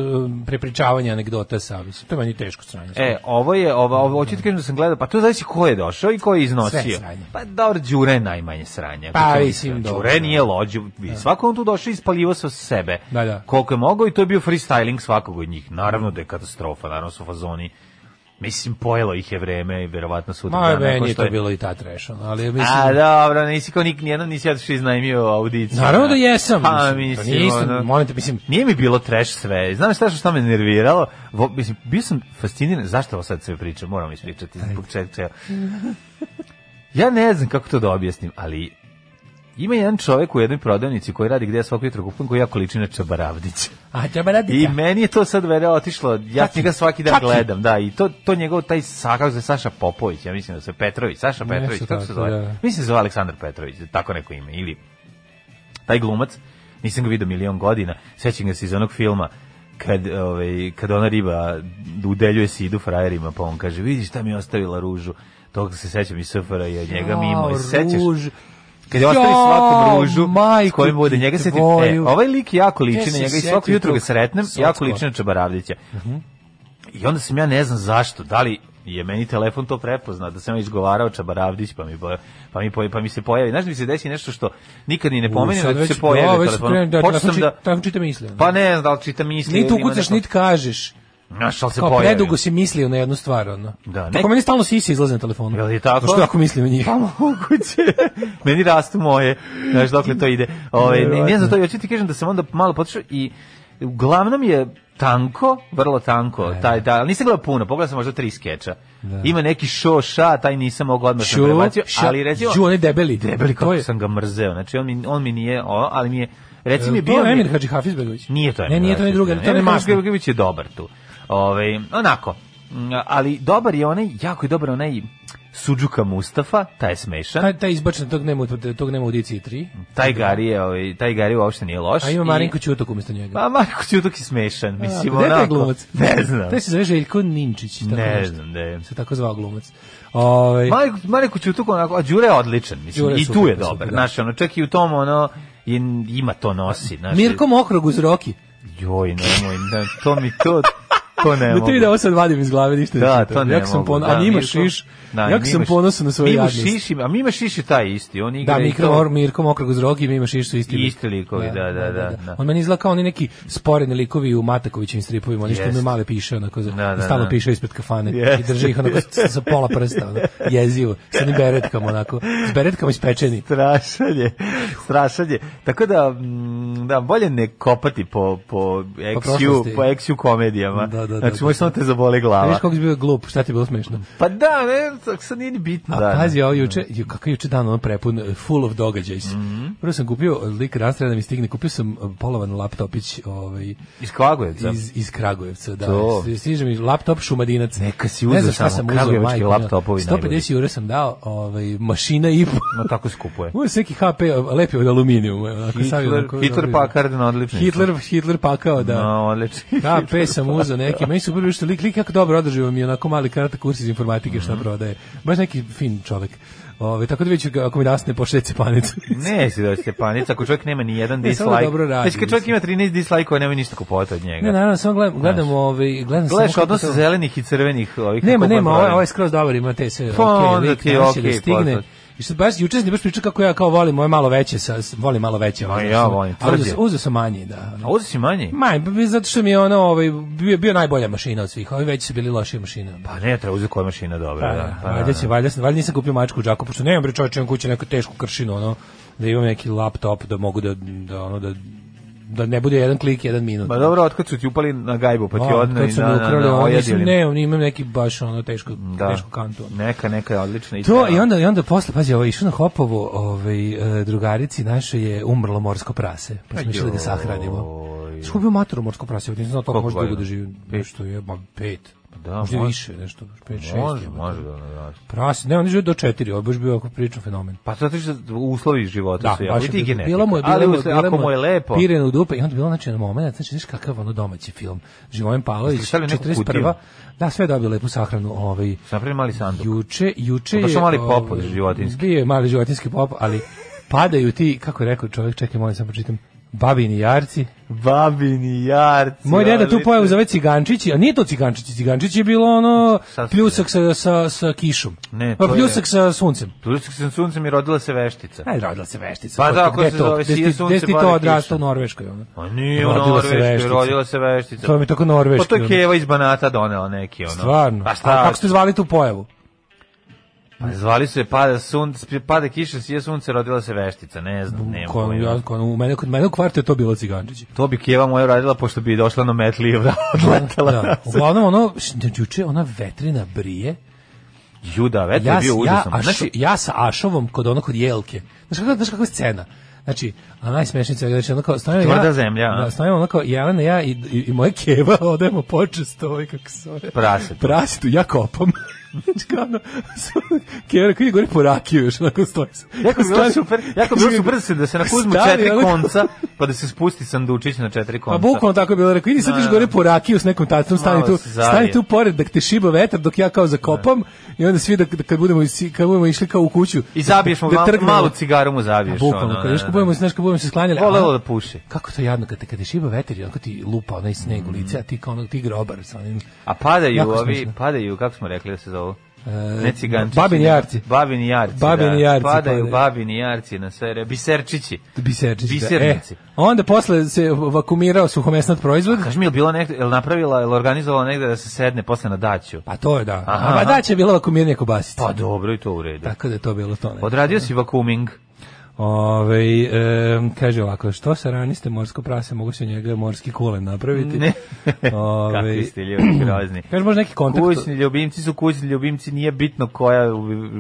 [SPEAKER 6] prepričavanje anegdota sa, mislim, to je meni teško sranje.
[SPEAKER 7] E, ovo je, ovo, ovo hoću ti kažem da sam gledao, pa to znači ko je došao i ko je iznosio.
[SPEAKER 6] Sve je sranje.
[SPEAKER 7] Pa dobro, Đure je najmanje sranja.
[SPEAKER 6] Pa, mislim, dobro.
[SPEAKER 7] Đure nije lođu, da. svako on tu došao i ispaljivo se od sebe.
[SPEAKER 6] Da, da.
[SPEAKER 7] Koliko je mogao i to je bio freestyling svakog od njih. Naravno da je katastrofa, naravno su fazoni. Mislim, pojelo ih je vreme i verovatno su...
[SPEAKER 6] Ma,
[SPEAKER 7] dana,
[SPEAKER 6] meni
[SPEAKER 7] ko
[SPEAKER 6] je
[SPEAKER 7] što
[SPEAKER 6] to bilo i ta trešan, ali mislim...
[SPEAKER 7] A, dobro, nisi kao nik, nijedno nisi ja što iznajmio audiciju.
[SPEAKER 6] Naravno da jesam.
[SPEAKER 7] Pa,
[SPEAKER 6] mislim, to
[SPEAKER 7] mislim,
[SPEAKER 6] nisam,
[SPEAKER 7] ono-
[SPEAKER 6] molim te, mislim,
[SPEAKER 7] Nije mi bilo trash sve. Znam šta što šta me nerviralo. Vo, mislim, bio sam fasciniran. Zašto ovo sad sve pričam? Moram ispričati. Zbog čega, čega. Ja ne znam kako to da objasnim, ali ima jedan čovek u jednoj prodavnici koji radi gde ja svako jutro kupim koji jako liči na Čabaravdića.
[SPEAKER 6] A treba raditi.
[SPEAKER 7] I meni je to sad vere otišlo, ja
[SPEAKER 6] Čaki.
[SPEAKER 7] njega svaki dan
[SPEAKER 6] Čaki.
[SPEAKER 7] gledam, da, i to, to njegov, taj, sa- kako se zove, Saša Popović, ja mislim da se Petrović, Saša
[SPEAKER 6] Nešto
[SPEAKER 7] Petrović, kako se
[SPEAKER 6] tako,
[SPEAKER 7] zove,
[SPEAKER 6] da.
[SPEAKER 7] mislim da se zove Aleksandar Petrović, tako neko ime, ili taj glumac, nisam ga vidio milion godina, sećam ga se iz onog filma, kad, ovaj, kad ona riba udeljuje sidu frajerima, pa on kaže, vidiš šta mi je ostavila ružu, toga se sećam iz SFRA i od njega mimo, sećaš? Kad je ostavi svakom ružu s kojim bude njega se e, ovaj lik jako liči
[SPEAKER 6] Te
[SPEAKER 7] na
[SPEAKER 6] se
[SPEAKER 7] njega i svako
[SPEAKER 6] sjetio
[SPEAKER 7] jutro ga
[SPEAKER 6] tog Mhm.
[SPEAKER 7] sretnem,
[SPEAKER 6] Socko.
[SPEAKER 7] jako liči na Čabaravdića. I onda sam ja ne znam zašto, da li je meni telefon to prepoznao, da sam ja izgovarao Čabaravdić, pa mi, bo- pa mi, po- pa mi se pojavi. Znaš da mi se desi nešto što nikad ni ne pomeni, da ti se pojavi
[SPEAKER 6] već
[SPEAKER 7] telefon.
[SPEAKER 6] krenem, da,
[SPEAKER 7] Počeo
[SPEAKER 6] telefon
[SPEAKER 7] sam
[SPEAKER 6] čit-
[SPEAKER 7] da...
[SPEAKER 6] telefon čita misli, ono.
[SPEAKER 7] Pa ne znam da li čitam misli.
[SPEAKER 6] Ni tu
[SPEAKER 7] ili ima
[SPEAKER 6] kucaš,
[SPEAKER 7] neko-
[SPEAKER 6] niti kažeš.
[SPEAKER 7] Znaš, ali se
[SPEAKER 6] Kao
[SPEAKER 7] pojavi.
[SPEAKER 6] predugo si mislio na jednu stvar, ono.
[SPEAKER 7] Da,
[SPEAKER 6] Tako
[SPEAKER 7] nek-
[SPEAKER 6] meni stalno sisi izlaze na telefonu.
[SPEAKER 7] Jel je tako?
[SPEAKER 6] Što ako mislim o njih?
[SPEAKER 7] Pa moguće. Meni rastu moje. Znaš dokle to ide. Ove, ne, ne znam to, hoću ti kažem da sam onda malo potišao i uglavnom je tanko, vrlo tanko,
[SPEAKER 6] E.
[SPEAKER 7] taj, taj, ali nisam gledao puno, pogledao sam možda tri skeča. Ima neki šo, ša, taj nisam mogao odmah sam
[SPEAKER 6] Šo,
[SPEAKER 7] prebacio,
[SPEAKER 6] ša,
[SPEAKER 7] ali recimo...
[SPEAKER 6] žu, onaj debeli.
[SPEAKER 7] Debeli,
[SPEAKER 6] To
[SPEAKER 7] kako
[SPEAKER 6] je-
[SPEAKER 7] sam ga mrzeo, znači on mi, on mi nije, o, ali mi je,
[SPEAKER 6] Jel
[SPEAKER 7] recimo je
[SPEAKER 6] to
[SPEAKER 7] bio... mi je-
[SPEAKER 6] Emir Hadži Hafizbegović.
[SPEAKER 7] nije to
[SPEAKER 6] Ne, nije to ni druga, to ne masno.
[SPEAKER 7] Grbić je dobar tu. Ovaj onako. Mm, Ali dobar je onaj, jako je dobar onaj Suđuka Mustafa, taj je smešan.
[SPEAKER 6] Taj, taj izbačen, tog nema, u- tog nema u Diciji 3.
[SPEAKER 7] Taj Gari je, ovaj, taj Gari uopšte nije loš.
[SPEAKER 6] A ima
[SPEAKER 7] I-
[SPEAKER 6] Marinko Ćutok umjesto njega.
[SPEAKER 7] Pa Marko Ćutuk je smešan, mislim,
[SPEAKER 6] A, gde je taj
[SPEAKER 7] onako.
[SPEAKER 6] glumac?
[SPEAKER 7] Ne znam.
[SPEAKER 6] Taj se zove Željko Ninčić. Tako
[SPEAKER 7] Ne
[SPEAKER 6] nešto.
[SPEAKER 7] znam, ne.
[SPEAKER 6] Se tako zvao glumac. Ovaj
[SPEAKER 7] Marko, Marko Ćutuk onako, a Đure je odličan, mislim,
[SPEAKER 6] Đure je
[SPEAKER 7] i tu
[SPEAKER 6] super,
[SPEAKER 7] je
[SPEAKER 6] super,
[SPEAKER 7] dobar.
[SPEAKER 6] da.
[SPEAKER 7] Znaš, ono, čak i u tom, ono, je, ima to nosi. Znaš,
[SPEAKER 6] Mirko Mokrog uz Roki.
[SPEAKER 7] Joj, nemoj, ne, to mi to, to ne
[SPEAKER 6] Da
[SPEAKER 7] mogu.
[SPEAKER 6] ti da ovo sad vadim iz glave ništa. ne
[SPEAKER 7] Da,
[SPEAKER 6] čitam.
[SPEAKER 7] to ne
[SPEAKER 6] Jak sam
[SPEAKER 7] mogu.
[SPEAKER 6] pon-
[SPEAKER 7] da,
[SPEAKER 6] a Mima
[SPEAKER 7] Mirko-
[SPEAKER 6] Šiš,
[SPEAKER 7] Da,
[SPEAKER 6] jak sam
[SPEAKER 7] Mima Šiš-
[SPEAKER 6] ponosan na svoju
[SPEAKER 7] Mimo
[SPEAKER 6] jadnost.
[SPEAKER 7] Šiš, ima- a Mima Šiš je taj isti, on igra
[SPEAKER 6] Da,
[SPEAKER 7] i
[SPEAKER 6] Mirko,
[SPEAKER 7] to-
[SPEAKER 6] Or, Mirko Mokrog uz Roki i Mima Šiš su isti.
[SPEAKER 7] Isti likovi, da, da, da, da.
[SPEAKER 6] On meni izgleda kao oni neki sporeni likovi u Matakovićim stripovima, oni što
[SPEAKER 7] Jest.
[SPEAKER 6] imaju male piše, onako, za-
[SPEAKER 7] Da, da,
[SPEAKER 6] stalno
[SPEAKER 7] da.
[SPEAKER 6] piše ispred kafane i
[SPEAKER 7] Jest.
[SPEAKER 6] drži ih onako s- sa pola prsta, ono, jezivo, sa onim beretkama, onako, s beretkama ispečeni.
[SPEAKER 7] strašan je, strašan je. Tako da, mm, da, bolje ne kopati po, po XU,
[SPEAKER 6] prošlosti.
[SPEAKER 7] po XU komedijama.
[SPEAKER 6] Da, da, da,
[SPEAKER 7] znači,
[SPEAKER 6] da,
[SPEAKER 7] možda
[SPEAKER 6] da.
[SPEAKER 7] samo te zaboli
[SPEAKER 6] A
[SPEAKER 7] glava.
[SPEAKER 6] Viš kako si bio glup, šta ti je bilo smešno?
[SPEAKER 7] Pa da, ne, tak sad nije ni bitno.
[SPEAKER 6] A
[SPEAKER 7] da,
[SPEAKER 6] pazi,
[SPEAKER 7] ne.
[SPEAKER 6] ovo juče, ju, kako je juče dan ono prepun, eh, full of događaja. Mm
[SPEAKER 7] Mhm.
[SPEAKER 6] Prvo sam kupio, lik rastra da mi stigne, kupio sam eh, polovan laptopić ovaj,
[SPEAKER 7] Iz Kragujevca.
[SPEAKER 6] iz, iz Kragujevca, da.
[SPEAKER 7] To.
[SPEAKER 6] S- Stiže mi laptop Šumadinac.
[SPEAKER 7] Neka si
[SPEAKER 6] Ne
[SPEAKER 7] uzeo
[SPEAKER 6] znam šta
[SPEAKER 7] samo,
[SPEAKER 6] sam uzeo,
[SPEAKER 7] kragujevački
[SPEAKER 6] majko.
[SPEAKER 7] laptopovi
[SPEAKER 6] 150
[SPEAKER 7] najbolji.
[SPEAKER 6] eura sam dao, ovaj, mašina i po.
[SPEAKER 7] No, tako skupuje.
[SPEAKER 6] Ovo je neki HP, lepi od aluminijuma. onako, savi
[SPEAKER 7] Hitler,
[SPEAKER 6] onako,
[SPEAKER 7] Hitler
[SPEAKER 6] dobro.
[SPEAKER 7] Packard na odličnicu.
[SPEAKER 6] Hitler, Hitler pakao, da.
[SPEAKER 7] No, odličnicu.
[SPEAKER 6] HP sam uzeo neki, meni su prvi što lik, lik jako dobro održivo mi je onako mali karata kurs iz informatike
[SPEAKER 7] Mhm.
[SPEAKER 6] šta prodaje. Baš neki fin čovek. Ove, tako da vidjet ću ga, ako mi nasne po šest cepanicu.
[SPEAKER 7] Ne, si da panica, ako čovjek nema ni jedan
[SPEAKER 6] Ne, samo
[SPEAKER 7] dislike.
[SPEAKER 6] dobro radi,
[SPEAKER 7] znači, kad čovjek ima 13 dislike, nema ništa kupovati od njega.
[SPEAKER 6] ne, naravno, samo gledam, gledam, ovaj, gledam
[SPEAKER 7] Gledaš
[SPEAKER 6] samo kako
[SPEAKER 7] odnos
[SPEAKER 6] to-
[SPEAKER 7] zelenih i crvenih ovih.
[SPEAKER 6] Nema,
[SPEAKER 7] kako
[SPEAKER 6] nema,
[SPEAKER 7] je
[SPEAKER 6] ovaj,
[SPEAKER 7] problem.
[SPEAKER 6] ovaj je skroz dobar, ima te sve,
[SPEAKER 7] Pa,
[SPEAKER 6] okej,
[SPEAKER 7] onda
[SPEAKER 6] lik
[SPEAKER 7] ti je
[SPEAKER 6] nameće da
[SPEAKER 7] okej,
[SPEAKER 6] stigne.
[SPEAKER 7] poznat.
[SPEAKER 6] I što baš juče sam ti baš pričao kako ja kao volim moje malo veće, sa, s- volim malo veće.
[SPEAKER 7] Ma,
[SPEAKER 6] ono,
[SPEAKER 7] ja
[SPEAKER 6] sam-
[SPEAKER 7] volim,
[SPEAKER 6] a uzeo
[SPEAKER 7] tvrd je.
[SPEAKER 6] sam- Uzeo sam manje, da. ono.
[SPEAKER 7] A uzeti si manji?
[SPEAKER 6] Manje, b- zato što mi je ono, ovaj, bio, bio najbolja mašina od svih, ovi veći su bili lošije mašine.
[SPEAKER 7] Pa ne, treba uzeti koja mašina dobra.
[SPEAKER 6] Pa,
[SPEAKER 7] da,
[SPEAKER 6] da,
[SPEAKER 7] pa
[SPEAKER 6] valjda,
[SPEAKER 7] da,
[SPEAKER 6] će,
[SPEAKER 7] da.
[SPEAKER 6] valjda, sam- valjda nisam kupio mačku u džaku, pošto nemam bre čovječe, imam kuće neku tešku kršinu, ono, da imam neki laptop, da mogu da, da, ono, da, da ne bude jedan klik, jedan minut.
[SPEAKER 7] Ma dobro, otkud su ti upali na gajbu, pa ti
[SPEAKER 6] A,
[SPEAKER 7] odneli
[SPEAKER 6] kad su
[SPEAKER 7] na,
[SPEAKER 6] mi
[SPEAKER 7] na, na,
[SPEAKER 6] ukrali, ono,
[SPEAKER 7] ojadili.
[SPEAKER 6] mislim, nemam, imam neki baš ono teško,
[SPEAKER 7] da.
[SPEAKER 6] tešku kantu. ono.
[SPEAKER 7] Neka, neka je odlična. ideja.
[SPEAKER 6] To i onda i onda posle pazi, ovo išao na Hopovo, ovaj e, drugarici našoj je umrlo morsko prase, pa smo išli da ga sahranimo.
[SPEAKER 7] Joj.
[SPEAKER 6] Skupio maturu morsko prase, ovdje nisam znao toliko
[SPEAKER 7] Koliko
[SPEAKER 6] može dugo da
[SPEAKER 7] godina?
[SPEAKER 6] živi, nešto je, ma pet.
[SPEAKER 7] Da,
[SPEAKER 6] možda i
[SPEAKER 7] može.
[SPEAKER 6] više, nešto, pet, šest.
[SPEAKER 7] Može,
[SPEAKER 6] jebote.
[SPEAKER 7] može da da.
[SPEAKER 6] Prase, ne, on je živio do četiri, ovo je baš bio ako pričam fenomen.
[SPEAKER 7] Pa zato što uslovi života
[SPEAKER 6] Da,
[SPEAKER 7] su jako.
[SPEAKER 6] baš
[SPEAKER 7] I
[SPEAKER 6] je
[SPEAKER 7] ti
[SPEAKER 6] bilo.
[SPEAKER 7] genetika.
[SPEAKER 6] Bilo mu je, bilo
[SPEAKER 7] Ali
[SPEAKER 6] mu, je,
[SPEAKER 7] usle-
[SPEAKER 6] bilo
[SPEAKER 7] ako mu je lepo.
[SPEAKER 6] Piren u dupe i onda je bilo znači na momenat, znači znaš kakav ono domaći film. Živojin Pavlović,
[SPEAKER 7] Jeste li neku
[SPEAKER 6] 41.
[SPEAKER 7] kutiju?
[SPEAKER 6] Da, sve je dobio lepu sahranu, ovaj.
[SPEAKER 7] Sam napravio mali sanduk.
[SPEAKER 6] Juče, juče je...
[SPEAKER 7] Pa baš mali
[SPEAKER 6] ovaj,
[SPEAKER 7] pop od životinjski.
[SPEAKER 6] Bio je mali životinski pop, ali padaju ti, kako je rekao čovjek, čekaj, molim sam pročitam, babini jarci.
[SPEAKER 7] Babini jarci.
[SPEAKER 6] Moj deda tu
[SPEAKER 7] odlično.
[SPEAKER 6] pojavu zove cigančići, a nije to cigančići, cigančići je bilo ono
[SPEAKER 7] Sad su
[SPEAKER 6] pljusak sa, sa, sa kišom.
[SPEAKER 7] Ne,
[SPEAKER 6] Pa
[SPEAKER 7] to je-
[SPEAKER 6] pljusak sa suncem.
[SPEAKER 7] Turistik sam suncem i rodila se veštica.
[SPEAKER 6] Aj, rodila se veštica.
[SPEAKER 7] Pa
[SPEAKER 6] Ko-
[SPEAKER 7] da, ko
[SPEAKER 6] gde
[SPEAKER 7] se
[SPEAKER 6] to?
[SPEAKER 7] zove,
[SPEAKER 6] Gde
[SPEAKER 7] sije
[SPEAKER 6] ti-
[SPEAKER 7] sunce,
[SPEAKER 6] Gde ti to
[SPEAKER 7] bade
[SPEAKER 6] odrastao
[SPEAKER 7] kiša.
[SPEAKER 6] u Norveškoj? Ono?
[SPEAKER 7] Pa nije u
[SPEAKER 6] Rodila se
[SPEAKER 7] Norveškoj,
[SPEAKER 6] veštica.
[SPEAKER 7] rodila se veštica.
[SPEAKER 6] To mi je tako norveški.
[SPEAKER 7] Pa to je
[SPEAKER 6] ono.
[SPEAKER 7] Keva iz Banata donela neki, ono.
[SPEAKER 6] Stvarno.
[SPEAKER 7] Pa
[SPEAKER 6] A
[SPEAKER 7] šta?
[SPEAKER 6] kako ste zvali tu pojavu?
[SPEAKER 7] Pa zvali su je pada sunce, pada kiša, sije sunce, rodila se veštica, ne znam, nema
[SPEAKER 6] Ko,
[SPEAKER 7] pojma.
[SPEAKER 6] ja, ko, u mene, kod mene u kvartu je to bilo cigančići.
[SPEAKER 7] To bi Keva moja radila pošto bi došla na metli i odletela.
[SPEAKER 6] Da, uglavnom ono, š- juče ona vetrina brije,
[SPEAKER 7] Juda, vetar je bio
[SPEAKER 6] ja,
[SPEAKER 7] užasan.
[SPEAKER 6] Ašo-
[SPEAKER 7] znači,
[SPEAKER 6] ja sa Ašovom kod ono kod Jelke. Znaš kakva, znaš kakva je scena? Znači, a najsmešnije svega, znači, ono kao, stojimo
[SPEAKER 7] Tvrda
[SPEAKER 6] ja,
[SPEAKER 7] zemlja, a?
[SPEAKER 6] da, stojimo ono kao, Jelena, ja i, i, i moje keva odajemo počesto, ovaj, kako se zove.
[SPEAKER 7] Prasetu.
[SPEAKER 6] Prasetu, ja kopam. Znači, kao ono, keva rekao, ide gore po rakiju još, onako stoji se. Znači,
[SPEAKER 7] Jako bi bilo
[SPEAKER 6] Stavi-
[SPEAKER 7] super, jako bi bilo super da se, da se nakuzmu
[SPEAKER 6] Stavi
[SPEAKER 7] četiri
[SPEAKER 6] onako-
[SPEAKER 7] konca, pa da se spusti sandučić na četiri konca.
[SPEAKER 6] Pa bukvalno tako je bilo, rekao, idi sad
[SPEAKER 7] Da,
[SPEAKER 6] iš
[SPEAKER 7] da.
[SPEAKER 6] gore po rakiju s nekom tacom, stani
[SPEAKER 7] Malo
[SPEAKER 6] tu,
[SPEAKER 7] se zavije.
[SPEAKER 6] stani tu pored da te šiba vetar dok ja kao zakopam i onda svi da, da kad, budemo, isi- kad budemo išli kao u kuću.
[SPEAKER 7] I zabiješ mu
[SPEAKER 6] da
[SPEAKER 7] mal-
[SPEAKER 6] trgnemo. Pa
[SPEAKER 7] malu cigaru mu zabiješ.
[SPEAKER 6] Bukvalno,
[SPEAKER 7] ono,
[SPEAKER 6] kad
[SPEAKER 7] ne,
[SPEAKER 6] još
[SPEAKER 7] ne,
[SPEAKER 6] kad budemo, znaš, kad budemo se sklanjali.
[SPEAKER 7] Volelo
[SPEAKER 6] a-
[SPEAKER 7] da puši.
[SPEAKER 6] Kako to jadno, kad te, kad te šiba vetar i onako ti lupa onaj sneg
[SPEAKER 7] Mm.
[SPEAKER 6] u lice, a ti kao ono onog tigra obar sa onim...
[SPEAKER 7] A padaju
[SPEAKER 6] Jako
[SPEAKER 7] ovi,
[SPEAKER 6] smešno.
[SPEAKER 7] padaju, kako smo rekli da se zovu? ne cigančići.
[SPEAKER 6] babini
[SPEAKER 7] ne-
[SPEAKER 6] jarci.
[SPEAKER 7] Babini jarci,
[SPEAKER 6] Babini
[SPEAKER 7] da.
[SPEAKER 6] jarci
[SPEAKER 7] Padaju
[SPEAKER 6] padaju.
[SPEAKER 7] babini jarci na sve, re- biserčići.
[SPEAKER 6] Biserčići.
[SPEAKER 7] Bisernici.
[SPEAKER 6] Da. E, onda posle se vakumirao suhomesnat proizvod.
[SPEAKER 7] Kaži mi, je li bilo negde, je li napravila, je li organizovala negde da se sedne posle na daću?
[SPEAKER 6] Pa to je da.
[SPEAKER 7] Aha.
[SPEAKER 6] A pa da će bila vakumirnija kobasica.
[SPEAKER 7] Pa dobro, i to u redu.
[SPEAKER 6] Tako da je to bilo to. Ne.
[SPEAKER 7] Odradio si vakuming.
[SPEAKER 6] Ove, e, kaže ovako, što sa raniste morsko prase, mogu se od njega morski kulen napraviti.
[SPEAKER 7] Ne.
[SPEAKER 6] Ove,
[SPEAKER 7] Kakvi ste ljudi grozni.
[SPEAKER 6] kaže možda neki kontakt.
[SPEAKER 7] Kućni ljubimci su kućni ljubimci, nije bitno koja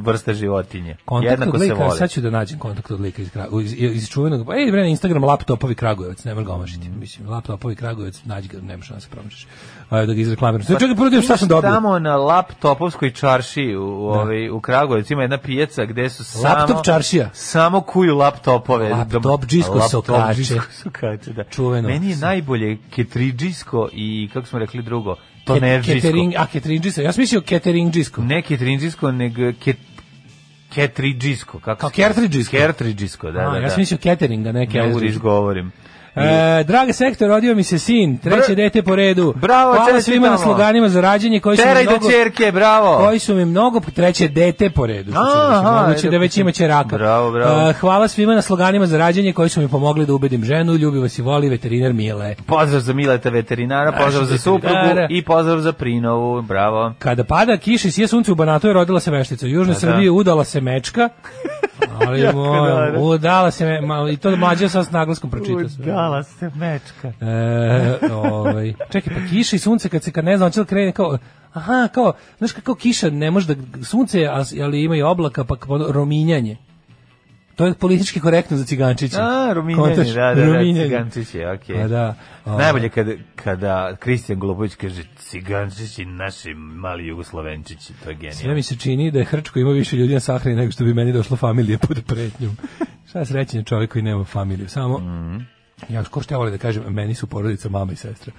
[SPEAKER 7] vrsta životinje.
[SPEAKER 6] kontakt
[SPEAKER 7] Jednako
[SPEAKER 6] od
[SPEAKER 7] se
[SPEAKER 6] lika,
[SPEAKER 7] vole.
[SPEAKER 6] sad ću da nađem kontakt od lika iz, Kragu- iz, iz čuvenog, pa ej bre na Instagram laptopovi Kragujevac, ne moraš ga omašiti,
[SPEAKER 7] Mm.
[SPEAKER 6] mislim, laptopovi Kragujevac, nađi ga, nemaš da se promašiš, a, da ga izreklamiram. Sve čekaj, prvo da vidim šta sam dobio.
[SPEAKER 7] Pa Tamo na laptopovskoj čarši u, u, ovaj, u Kragujevcu ima jedna pijaca gde su samo...
[SPEAKER 6] Laptop čaršija.
[SPEAKER 7] Samo kuju laptopove.
[SPEAKER 6] Laptopdžijsko sokače.
[SPEAKER 7] Laptopdžijsko sokače, da.
[SPEAKER 6] Čuveno.
[SPEAKER 7] Meni je najbolje ketridžijsko i, kako smo rekli drugo,
[SPEAKER 6] Ke-
[SPEAKER 7] tonerđijsko.
[SPEAKER 6] Catering, a Keteringdžisko, ja sam mislio Keteringdžisko.
[SPEAKER 7] Ne ketridžijsko, nego ket, ketridžijsko. Kako
[SPEAKER 6] Kao
[SPEAKER 7] se kaže?
[SPEAKER 6] kertridžijsko?
[SPEAKER 7] Kertridžijsko, da,
[SPEAKER 6] A,
[SPEAKER 7] da, da.
[SPEAKER 6] ja sam mislio Keteringa, ne
[SPEAKER 7] Ne mogu da
[SPEAKER 6] Keteringdžisko.
[SPEAKER 7] izgovorim.
[SPEAKER 6] E, drage sektor, rodio mi se sin, treće
[SPEAKER 7] Br-
[SPEAKER 6] dete po redu.
[SPEAKER 7] Bravo,
[SPEAKER 6] Hvala
[SPEAKER 7] čestitamo.
[SPEAKER 6] svima na sloganima za rađenje koji su mi
[SPEAKER 7] Teraj do
[SPEAKER 6] mnogo...
[SPEAKER 7] čerke, bravo!
[SPEAKER 6] Koji su mi mnogo treće dete po redu. što se
[SPEAKER 7] Pa. Aha,
[SPEAKER 6] reče. Moguće
[SPEAKER 7] ajde,
[SPEAKER 6] da već ima čeraka.
[SPEAKER 7] Bravo, bravo.
[SPEAKER 6] E, hvala svima na sloganima za rađenje koji su mi pomogli da ubedim ženu, ljubi vas i voli veterinar Mile.
[SPEAKER 7] Pozdrav za Mileta veterinara, pozdrav za suprugu
[SPEAKER 6] veterinara.
[SPEAKER 7] i pozdrav za Prinovu, bravo.
[SPEAKER 6] Kada pada kiša i sije sunce u Banatu je rodila se veštica. U Južnoj
[SPEAKER 7] Pa da.
[SPEAKER 6] Srbiji udala se mečka. Ali moram,
[SPEAKER 7] dobro.
[SPEAKER 6] udala se me, ma, i to mlađe sam s naglaskom pročitao. sve.
[SPEAKER 7] se mečka.
[SPEAKER 6] E, ovaj. Čekaj, pa kiša i sunce kad se kad ne znam hoće li krene kao aha, kao, znaš kako kiša ne može da sunce je, a s- ali ima i oblaka pa kao rominjanje. To je politički korektno za cigančiće.
[SPEAKER 7] A, Ruminjani,
[SPEAKER 6] Kontaš?
[SPEAKER 7] da, da, da,
[SPEAKER 6] Ruminjanje.
[SPEAKER 7] cigančići, okej.
[SPEAKER 6] Pa da. O,
[SPEAKER 7] Najbolje kada, kada Kristijan Golubović kaže cigančići, naši mali jugoslovenčići, to je
[SPEAKER 6] Sve
[SPEAKER 7] genijalno.
[SPEAKER 6] mi se čini da je Hrčko ima više ljudi na sahrani nego što bi meni došlo familije pod pretnjom. Šta srećen je čovjek koji nema familiju, samo... Ja, ko što ja volim da kažem, meni su porodica mama i sestra.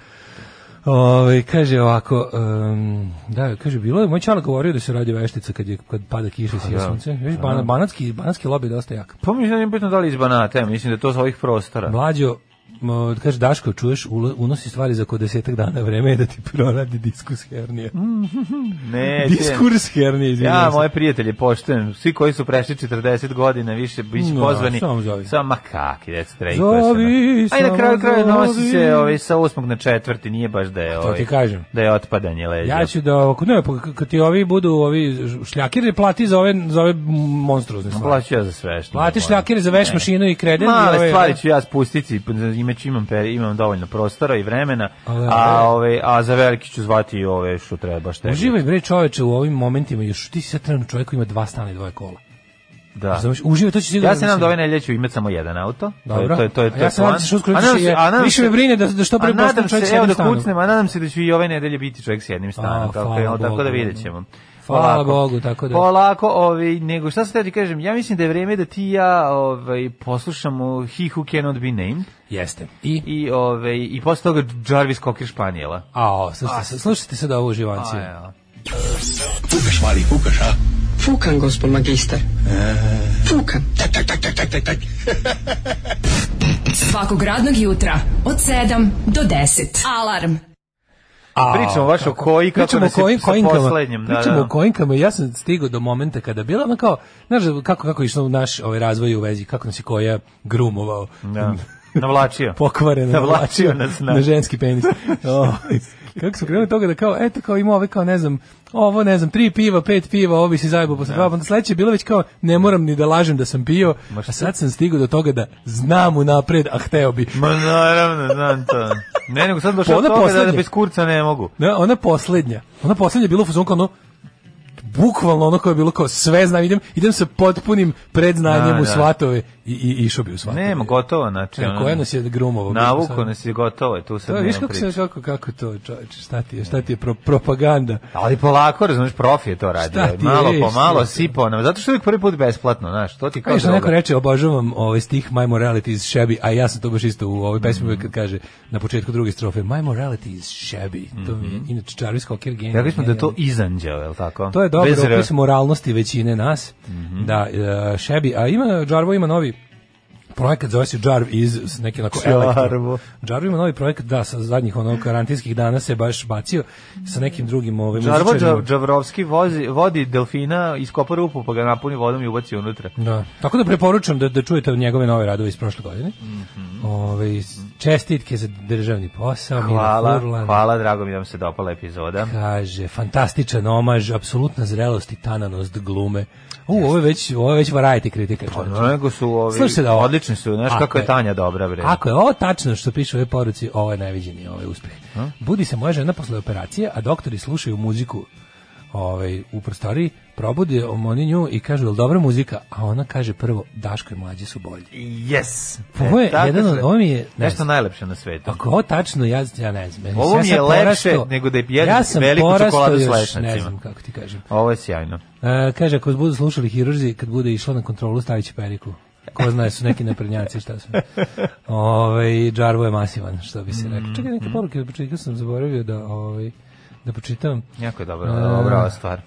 [SPEAKER 6] Ove, kaže ovako, em, da, kaže, bilo je, moj čala govorio da se radi veštica kad, je, kad pada kiša i sije sunce. Viš, bana, banatski, banatski lobby je dosta jak.
[SPEAKER 7] Pa mislim da nije bitno da li iz Banata, ja mislim da je to sa ovih prostora.
[SPEAKER 6] Mlađo, m, kaže, Daško, čuješ, ulo- unosi stvari za oko desetak dana vreme je da ti proradi diskus hernije.
[SPEAKER 7] Ne, te-
[SPEAKER 6] Diskurs hernije, izvinjam
[SPEAKER 7] E, Ja,
[SPEAKER 6] se.
[SPEAKER 7] moje prijatelje, poštujem, svi koji su prešli 40 godina, više biće
[SPEAKER 6] No,
[SPEAKER 7] pozvani.
[SPEAKER 6] samo zovi.
[SPEAKER 7] Samo makaki, dec, trej,
[SPEAKER 6] Zovi,
[SPEAKER 7] A i ono. na
[SPEAKER 6] samo
[SPEAKER 7] kraju kraja nosi
[SPEAKER 6] zovi.
[SPEAKER 7] se ovaj, sa osmog na četvrti, nije baš da je,
[SPEAKER 6] To
[SPEAKER 7] ovaj,
[SPEAKER 6] Pa ti kažem.
[SPEAKER 7] da je otpadanje leđa.
[SPEAKER 6] Ja ću da ovako, ne, pa k- kad ti ovi budu ovi šljakiri plati za ove za ove monstruozne stvari.
[SPEAKER 7] Plaću ja za sve što. mi
[SPEAKER 6] Plati
[SPEAKER 7] je
[SPEAKER 6] šljakire za veš
[SPEAKER 7] Ne.
[SPEAKER 6] mašinu i kreden. i
[SPEAKER 7] Male
[SPEAKER 6] ove-
[SPEAKER 7] stvari ću ja spustiti, imaću imam peri, imam dovoljno prostora i vremena,
[SPEAKER 6] Ali,
[SPEAKER 7] a
[SPEAKER 6] ali.
[SPEAKER 7] ove a za veliki ću zvati i ove što treba šta.
[SPEAKER 6] Uživaj bre čoveče u ovim momentima, još ti si sad trenutno čovjek koji ima dva stana i dvoje kola.
[SPEAKER 7] Da.
[SPEAKER 6] Razumeš? Uživaj, to će sigurno.
[SPEAKER 7] Ja se nam
[SPEAKER 6] mislim.
[SPEAKER 7] do ove nedelje ću imati samo jedan auto. To je-
[SPEAKER 6] Dobro.
[SPEAKER 7] To je to je
[SPEAKER 6] A
[SPEAKER 7] to.
[SPEAKER 6] ja se nadam da ćeš uskoro
[SPEAKER 7] A nadam
[SPEAKER 6] više-
[SPEAKER 7] se- a nadam
[SPEAKER 6] više
[SPEAKER 7] se-
[SPEAKER 6] me brine da- da što pre
[SPEAKER 7] a nadam
[SPEAKER 6] postanem čovjek
[SPEAKER 7] se,
[SPEAKER 6] s jednim
[SPEAKER 7] evo da
[SPEAKER 6] stanom.
[SPEAKER 7] kucnem, a nadam se da ću i ove nedelje biti čovjek s jednim stanom,
[SPEAKER 6] A,
[SPEAKER 7] kako
[SPEAKER 6] hvala
[SPEAKER 7] je, ali tako
[SPEAKER 6] Bogu.
[SPEAKER 7] da vidjet ćemo.
[SPEAKER 6] Hvala
[SPEAKER 7] Polako.
[SPEAKER 6] Bogu, tako da-
[SPEAKER 7] Polako, ovaj, nego šta se tebi kažem, ja mislim da je vrijeme da ti i ja ovaj, poslušamo He Who Cannot Be Named
[SPEAKER 6] Jeste. I
[SPEAKER 7] i, ovaj, i posle toga Jarvis Cocker Španijela.
[SPEAKER 6] a slušajte, slušajte sad ovo uživanci.
[SPEAKER 7] A,
[SPEAKER 2] Fukaš, mali, fukaš, a?
[SPEAKER 8] Fukan, gospod magister. Fukan.
[SPEAKER 2] Tak, tak, tak, tak, tak, tak, tak.
[SPEAKER 5] Svakog radnog jutra od 7 do 10. Alarm.
[SPEAKER 6] A,
[SPEAKER 7] Pa Pričamo baš o koji, kako
[SPEAKER 6] pričamo
[SPEAKER 7] nas
[SPEAKER 6] o
[SPEAKER 7] je
[SPEAKER 6] kojim
[SPEAKER 7] sa
[SPEAKER 6] kojinkama.
[SPEAKER 7] poslednjim, da,
[SPEAKER 6] pričamo
[SPEAKER 7] da.
[SPEAKER 6] o kojinkama. i Ja sam stigao do momenta kada bila ono kao, znaš kako kako je išlo naš ovaj razvoj u vezi, kako nas je koja grumovao.
[SPEAKER 7] Da. Navlačio.
[SPEAKER 6] pokvareno
[SPEAKER 7] Navlačio
[SPEAKER 6] navlačio
[SPEAKER 7] nas na-
[SPEAKER 6] na ženski penis. O, kako su krenuli od toga da kao, eto kao ima ove kao ne znam, ovo ne znam, tri piva, pet piva, ovo bi si zajebao posle dva, pa onda sledeće je bilo već kao ne moram ni da lažem da sam pio,
[SPEAKER 7] Ma šta?
[SPEAKER 6] a sad sam stigao do toga da znam unapred, a hteo bi.
[SPEAKER 7] Ma naravno, znam to. Ne, nego sad došao
[SPEAKER 6] Pa
[SPEAKER 7] do
[SPEAKER 6] onda
[SPEAKER 7] toga da, da
[SPEAKER 6] poslednje.
[SPEAKER 7] bez kurca ne mogu.
[SPEAKER 6] Ne, ona poslednja. Ona poslednja je bilo u fazonu kao ono, bukvalno ono koje je bilo kao sve znam, idem, idem sa potpunim predznanjem
[SPEAKER 7] Da,
[SPEAKER 6] u
[SPEAKER 7] da.
[SPEAKER 6] svatove i, i išao bi u svatove.
[SPEAKER 7] Nema, gotovo, znači.
[SPEAKER 6] E,
[SPEAKER 7] ono,
[SPEAKER 6] koja nas je grumovo.
[SPEAKER 7] Navuko nas je gotovo, je, tu
[SPEAKER 6] To
[SPEAKER 7] sad
[SPEAKER 6] je, viš
[SPEAKER 7] nema
[SPEAKER 6] kako,
[SPEAKER 7] priče.
[SPEAKER 6] se, kako, kako to, čovječe, šta ti je, šta ti je pro, propaganda?
[SPEAKER 7] Ali polako, razumiješ, profi je to radio.
[SPEAKER 6] Šta ti je,
[SPEAKER 7] Malo po
[SPEAKER 6] šta ti
[SPEAKER 7] malo
[SPEAKER 6] je?
[SPEAKER 7] sipao nam. Zato što je uvijek prvi put besplatno, znaš, to ti kao
[SPEAKER 6] Kao što
[SPEAKER 7] droga.
[SPEAKER 6] neko reče, obožavam ovaj stih My morality is shabby, a ja sam to baš isto u ovoj
[SPEAKER 7] Mhm.
[SPEAKER 6] pesmi uvek kad kaže na početku druge strofe My morality is shabby. To mi je, inače, Jarvis Cocker genij.
[SPEAKER 7] Rekli smo Mhm. da je to
[SPEAKER 6] genijalni.
[SPEAKER 7] izanđeo, je li tako?
[SPEAKER 6] To je dobro
[SPEAKER 7] Bez Mhm. re-
[SPEAKER 6] opis moralnosti većine nas. Da, e, šebi. A ima, Jarvo ima novi projekat, zove se Jarv iz s neki onako elektro.
[SPEAKER 7] Jarvo.
[SPEAKER 6] Jarvo ima novi projekat, da, sa zadnjih onog karantinskih dana se baš bacio sa nekim drugim ovaj,
[SPEAKER 7] Žarvo
[SPEAKER 6] muzičarima.
[SPEAKER 7] Džav- Džavrovski vozi, vodi delfina, iskopa rupu, pa ga napuni vodom i ubaci unutra.
[SPEAKER 6] Da. Tako da preporučam da, da čujete njegove nove radove iz prošle godine.
[SPEAKER 7] Mhm.
[SPEAKER 6] Ove, čestitke za državni posao. Mira
[SPEAKER 7] Hvala,
[SPEAKER 6] Furlan.
[SPEAKER 7] hvala, drago mi je da vam se dopala epizoda.
[SPEAKER 6] Kaže, fantastičan omaž, apsolutna zrelost i tananost glume. U, ovo je već, ovo je već variety kritika. čoveče.
[SPEAKER 7] Ono, Nego su ovi,
[SPEAKER 6] Slušaj da e. ovo-
[SPEAKER 7] odlični su, znaš
[SPEAKER 6] Ako
[SPEAKER 7] kako je
[SPEAKER 6] je-
[SPEAKER 7] Tanja dobra, bre.
[SPEAKER 6] Ako je ovo tačno što piše u ovoj poruci, ovo je najviđeni ovaj uspeh. Budi se moja žena posle operacije, a doktori slušaju muziku ovaj, u prostoriji, probude oni nju i kažu, jel dobra muzika? A ona kaže prvo, Daško i mlađe su bolji.
[SPEAKER 7] Yes.
[SPEAKER 6] Ovo je
[SPEAKER 7] E, tako
[SPEAKER 6] jedan
[SPEAKER 7] su-
[SPEAKER 6] od- ovo mi je- ne
[SPEAKER 7] nešto
[SPEAKER 6] znam.
[SPEAKER 7] najlepše na svetu.
[SPEAKER 6] Ako je ovo tačno, ja, ja ne znam.
[SPEAKER 7] Ovo mi je
[SPEAKER 6] sam
[SPEAKER 7] lepše nego da jedem
[SPEAKER 6] sam
[SPEAKER 7] veliku
[SPEAKER 6] porastao
[SPEAKER 7] čokoladu s
[SPEAKER 6] još, Ne
[SPEAKER 7] lešnjacima.
[SPEAKER 6] znam kako ti kažem.
[SPEAKER 7] Ovo je sjajno.
[SPEAKER 6] E, kaže, ako vas budu slušali hirurzi, kad bude išla na kontrolu, stavit će periku. Ko zna, su neki naprednjaci, šta su. Ove, Džarvo je masivan, što bi se
[SPEAKER 7] Mm,
[SPEAKER 6] rekao. Čekaj, neke poruke, od početka sam zaboravio da, ovaj, da počitam.
[SPEAKER 7] Jako je dobro,
[SPEAKER 6] E,
[SPEAKER 7] dobra ova stvar.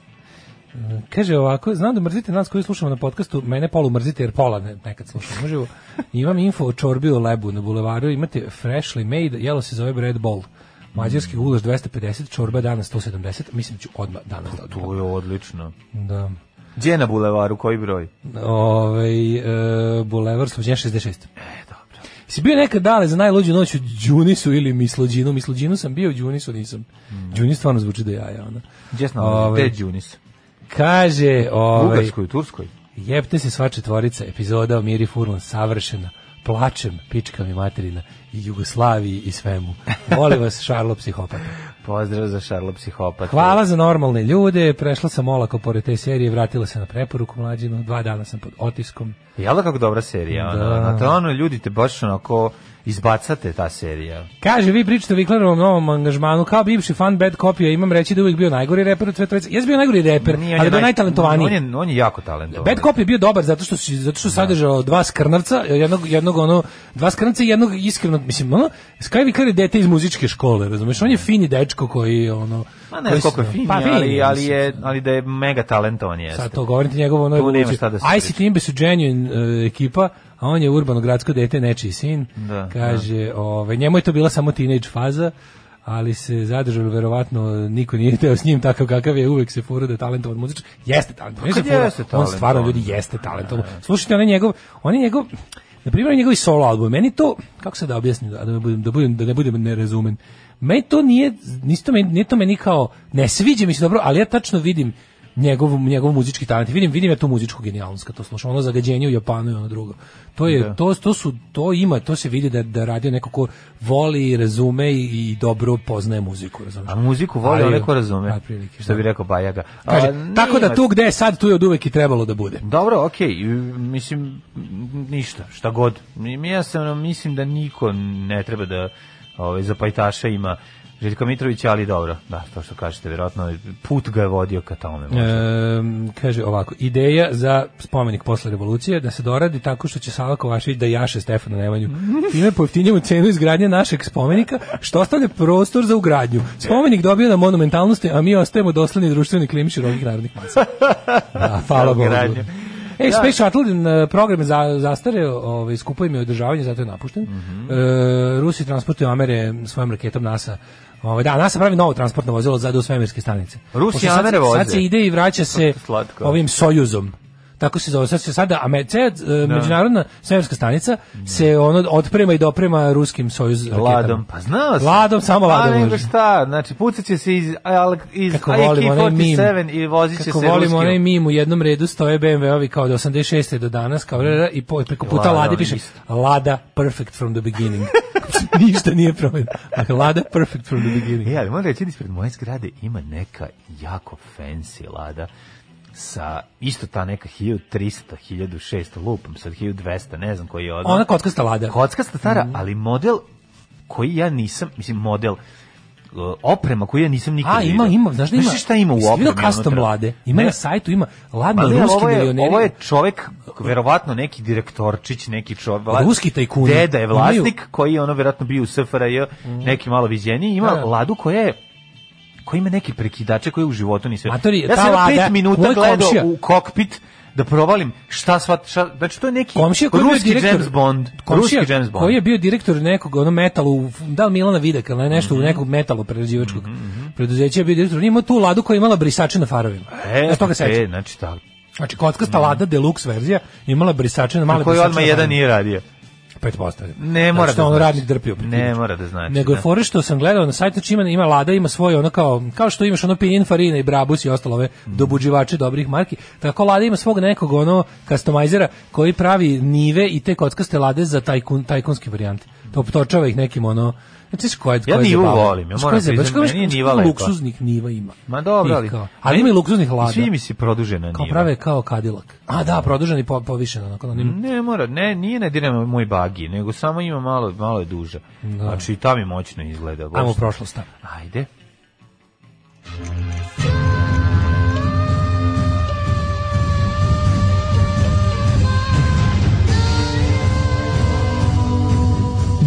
[SPEAKER 6] Kaže ovako, znam da mrzite nas koji slušamo na podcastu, mene polu mrzite jer pola ne, nekad slušam uživo. Imam info o čorbi o lebu na bulevaru, imate freshly made, jelo se zove bread ball. Mađarski gulaš 250, čorba danas 170, mislim da ću odmah danas da odmah.
[SPEAKER 7] To je odlično.
[SPEAKER 6] Da.
[SPEAKER 7] Gdje je na bulevaru, koji broj?
[SPEAKER 6] Ovaj e, Bulevar Slođenja 66. E, dobro. Si bio nekad dale za najluđu noć u Đunisu ili Mislođinu? Mislođinu sam bio, u Đunisu nisam. Đunis stvarno zvuči da jaja, ona.
[SPEAKER 7] Gdje smo?
[SPEAKER 6] Ovaj,
[SPEAKER 7] Gdje je Đunis?
[SPEAKER 6] Kaže,
[SPEAKER 7] U
[SPEAKER 6] ovaj,
[SPEAKER 7] Bugarskoj, u Turskoj?
[SPEAKER 6] jebte se sva četvorica, epizoda o Miri Furlan, savršena. Plačem, pička mi materina, i Jugoslaviji i svemu. Volim vas, Šarlo psihopata.
[SPEAKER 7] Pozdrav za Šarlo psihopata.
[SPEAKER 6] Hvala za normalne ljude, prešla sam olako pored te serije, vratila se na preporuku mlađinu, dva dana sam pod otiskom.
[SPEAKER 7] Jel da kako dobra serija? Ono,
[SPEAKER 6] Da.
[SPEAKER 7] Znate, ono, ljudi te baš onako izbacate ta serija.
[SPEAKER 6] Kaže, vi pričate o Viklerovom novom angažmanu, kao bivši fan Bad Copy, imam reći da je uvijek bio najgori reper od Cvetovica. Jesi bio najgori reper,
[SPEAKER 7] Nije, on
[SPEAKER 6] ali
[SPEAKER 7] je
[SPEAKER 6] bio
[SPEAKER 7] naj-
[SPEAKER 6] najtalentovaniji.
[SPEAKER 7] On je, on je jako talentovan.
[SPEAKER 6] Bad Cop je bio dobar zato što si, zato što sadržao dva skrnavca, jednog jednog ono dva skrnavca i jednog iskreno mislim ono Sky Vicar je dete iz muzičke škole, razumeš? On je fini dečko koji ono
[SPEAKER 7] Ma ne,
[SPEAKER 6] koji
[SPEAKER 7] koliko je
[SPEAKER 6] se-
[SPEAKER 7] fin,
[SPEAKER 6] pa,
[SPEAKER 7] ali, ali,
[SPEAKER 6] mislim,
[SPEAKER 7] je, ali da je mega talentovan jeste.
[SPEAKER 6] sad to govorim ti njegovo ono
[SPEAKER 7] Tu nema
[SPEAKER 6] evoluciju.
[SPEAKER 7] šta da se
[SPEAKER 6] ICT
[SPEAKER 7] priča.
[SPEAKER 6] Imbe su genuine e, ekipa, a on je urbano gradsko dete, nečiji sin.
[SPEAKER 7] Da,
[SPEAKER 6] Kaže, ovaj njemu je to bila samo teenage faza, ali se zadržalo verovatno niko nije teo s njim takav kakav je, uvek se fura da je talentovan muzičar. Jeste talentovan,
[SPEAKER 7] kad
[SPEAKER 6] ne se fura,
[SPEAKER 7] Pa jeste
[SPEAKER 6] on stvarno
[SPEAKER 7] talentovan.
[SPEAKER 6] ljudi jeste talentovan. Slušajte, on je njegov, on je njegov Na primjer, njegovi solo album, meni to, kako se da objasnim, da, da, budem, da, budem, da ne budem nerezumen, meni to nije, nisto meni, nije to meni kao, ne sviđa mi se dobro, ali ja tačno vidim njegov, njegov muzički talent. Vidim, vidim ja tu muzičku genijalnost kad to slušam, ono zagađenje u Japanu i ono drugo. To, je, to, to, su, to ima, to se vidi da, da radio neko ko voli, razume i, i dobro poznaje muziku. Razumiješ?
[SPEAKER 7] A muziku voli
[SPEAKER 6] Ali-
[SPEAKER 7] onaj ko razume.
[SPEAKER 6] Otprilike,
[SPEAKER 7] što
[SPEAKER 6] da.
[SPEAKER 7] bi rekao Bajaga. A,
[SPEAKER 6] Kaže, tako da
[SPEAKER 7] nema-
[SPEAKER 6] tu gde je sad, tu je od uvek i trebalo da bude.
[SPEAKER 7] Dobro, okej, i, mislim, m, ništa, šta god. Mi- Ja sam, mislim da niko ne treba da ovaj, za pajtaša ima Željka Mitrovića, ali dobro, da, to što kažete, vjerojatno put ga je vodio ka tome. možda.
[SPEAKER 6] Ehm, kaže ovako, ideja za spomenik posle revolucije da se doradi tako što će Sava Kovašević da jaše Stefana Nemanju. Time pojeftinjamo cenu izgradnje našeg spomenika, što ostavlja prostor za ugradnju. Spomenik dobija na monumentalnosti, a mi ostajemo dosledni društveni klimi širokih narodnih masa. Da, hvala Bogu.
[SPEAKER 7] Ugradnju.
[SPEAKER 6] E, Space Shuttle n- program je za, zastareo, ovaj, skupo im je održavanje, zato je napušten.
[SPEAKER 7] Mhm.
[SPEAKER 6] E, Rusi transportuju Amere svojom raketom NASA. Ovaj, da, NASA pravi novo transportno vozilo za do svemirske stanice.
[SPEAKER 7] Rusi
[SPEAKER 6] Pošto sad-
[SPEAKER 7] Amere voze.
[SPEAKER 6] Sad se ide i vraća se
[SPEAKER 7] Slatko.
[SPEAKER 6] ovim Sojuzom. Tako se zove. Sad se sada Ame- ce- e, međunarodna svemirska stanica se ono otprema i doprema ruskim Sojuz raketama.
[SPEAKER 7] Ladom, pa znao sam.
[SPEAKER 6] Ladom, samo ladom
[SPEAKER 7] A nego
[SPEAKER 6] može.
[SPEAKER 7] šta, znači pucat će se iz, al- iz
[SPEAKER 6] Kako volimo onaj mim.
[SPEAKER 7] IK-47 i vozit će
[SPEAKER 6] Kako
[SPEAKER 7] se
[SPEAKER 6] volimo
[SPEAKER 7] ruskim.
[SPEAKER 6] onaj mim u jednom redu stoje BMW-ovi kao od 86. do danas, kao i po, preko puta
[SPEAKER 7] Lada,
[SPEAKER 6] Lade
[SPEAKER 7] ono
[SPEAKER 6] piše
[SPEAKER 7] isto.
[SPEAKER 6] Lada perfect from the beginning. Ništa nije promenjeno. Dakle, Lada perfect from the beginning.
[SPEAKER 7] E, ali moram reći da ispred moje zgrade ima neka jako fancy lada sa isto ta neka 1300, 1600, lupam sad 1200, ne znam koji je odmah.
[SPEAKER 6] Ona Mm. kockasta Lada.
[SPEAKER 7] kockasta stara, ali model koji ja nisam, mislim model uh, oprema koju ja nisam nikad
[SPEAKER 6] A,
[SPEAKER 7] vidio.
[SPEAKER 6] ima, ima, znaš da ima...
[SPEAKER 7] Znaš šta ima u
[SPEAKER 6] Jesi
[SPEAKER 7] opremi?
[SPEAKER 6] vidio custom
[SPEAKER 7] unutra?
[SPEAKER 6] Lade. Ima
[SPEAKER 7] Ne. Pa
[SPEAKER 6] na sajtu, ima Lada
[SPEAKER 7] Ali
[SPEAKER 6] Pa ruski
[SPEAKER 7] ovo je,
[SPEAKER 6] milioneri.
[SPEAKER 7] ovo je čovek, verovatno neki direktorčić, neki čovek. vla-
[SPEAKER 6] Pa Ruski tajkuni.
[SPEAKER 7] Deda je vlasnik
[SPEAKER 6] Imaju- Mhm.
[SPEAKER 7] koji je ono verovatno bio u SFRJ, neki malo viđeniji. Ima
[SPEAKER 6] Da, da.
[SPEAKER 7] ladu koja je koja ima neki prekidače koje u životu nisam.
[SPEAKER 6] Matori,
[SPEAKER 7] ja
[SPEAKER 6] ta
[SPEAKER 7] sam jedno
[SPEAKER 6] Lada,
[SPEAKER 7] pet minuta
[SPEAKER 6] moj
[SPEAKER 7] gledao
[SPEAKER 6] komšija-
[SPEAKER 7] u kokpit da provalim šta sva... Šta, znači to je neki
[SPEAKER 6] Komšija koji je bio
[SPEAKER 7] ruski
[SPEAKER 6] direktor-
[SPEAKER 7] James Bond.
[SPEAKER 6] Komšija
[SPEAKER 7] ruski James Bond.
[SPEAKER 6] koji je bio direktor nekog ono metalu, da li Milana Videk ili nešto
[SPEAKER 7] Mhm.
[SPEAKER 6] u nekog metalo prerađivačkog preduzeća, je bio direktor, ima tu ladu koja je imala brisače na farovima.
[SPEAKER 7] E,
[SPEAKER 6] ja se toga
[SPEAKER 7] e,
[SPEAKER 6] sećam.
[SPEAKER 7] znači tako.
[SPEAKER 6] Znači, kockasta lada deluxe verzija imala brisače na male
[SPEAKER 7] Na koji
[SPEAKER 6] brisače.
[SPEAKER 7] odmah
[SPEAKER 6] na
[SPEAKER 7] jedan
[SPEAKER 6] farovima.
[SPEAKER 7] nije radio.
[SPEAKER 6] Pretpostavljam.
[SPEAKER 7] Ne mora
[SPEAKER 6] znači, da
[SPEAKER 7] da
[SPEAKER 6] ono
[SPEAKER 7] znači.
[SPEAKER 6] radnik drpio.
[SPEAKER 7] Ne mora da znači.
[SPEAKER 6] Nego je
[SPEAKER 7] da.
[SPEAKER 6] fore što sam gledao na sajtu, znači ima, ima Lada, ima svoje ono kao, kao što imaš ono Pinin Farina i Brabus i ostalo ove
[SPEAKER 7] Mhm.
[SPEAKER 6] dobuđivače dobrih marki, tako Lada ima svog nekog ono customizera koji pravi nive i te kockaste Lade za tajkun, tajkunski varijante. To potočava ih nekim ono, znači s koje,
[SPEAKER 7] Ja
[SPEAKER 6] koje
[SPEAKER 7] Nivu
[SPEAKER 6] zabave.
[SPEAKER 7] volim, ja
[SPEAKER 6] Znaš
[SPEAKER 7] moram
[SPEAKER 6] koje zabave?
[SPEAKER 7] priznati,
[SPEAKER 6] Znaš
[SPEAKER 7] meni je
[SPEAKER 6] koliko
[SPEAKER 7] Niva lepa.
[SPEAKER 6] Luksuznih niva ima.
[SPEAKER 7] Ma dobro,
[SPEAKER 6] Tih
[SPEAKER 7] ali...
[SPEAKER 6] kao. ali ima i luksuznih Lada.
[SPEAKER 7] Sviđa mi se produžena
[SPEAKER 6] Kao
[SPEAKER 7] nije.
[SPEAKER 6] prave kao kadilak. A da, produžen i po, povišen, onako, onim
[SPEAKER 7] Ne mora, ne, nije ne diramo moj bagi, nego samo ima malo, malo je duže. Znači i ta mi moćno izgleda. baš.
[SPEAKER 6] Ajmo u prošlost. ajmo.
[SPEAKER 7] Ajde.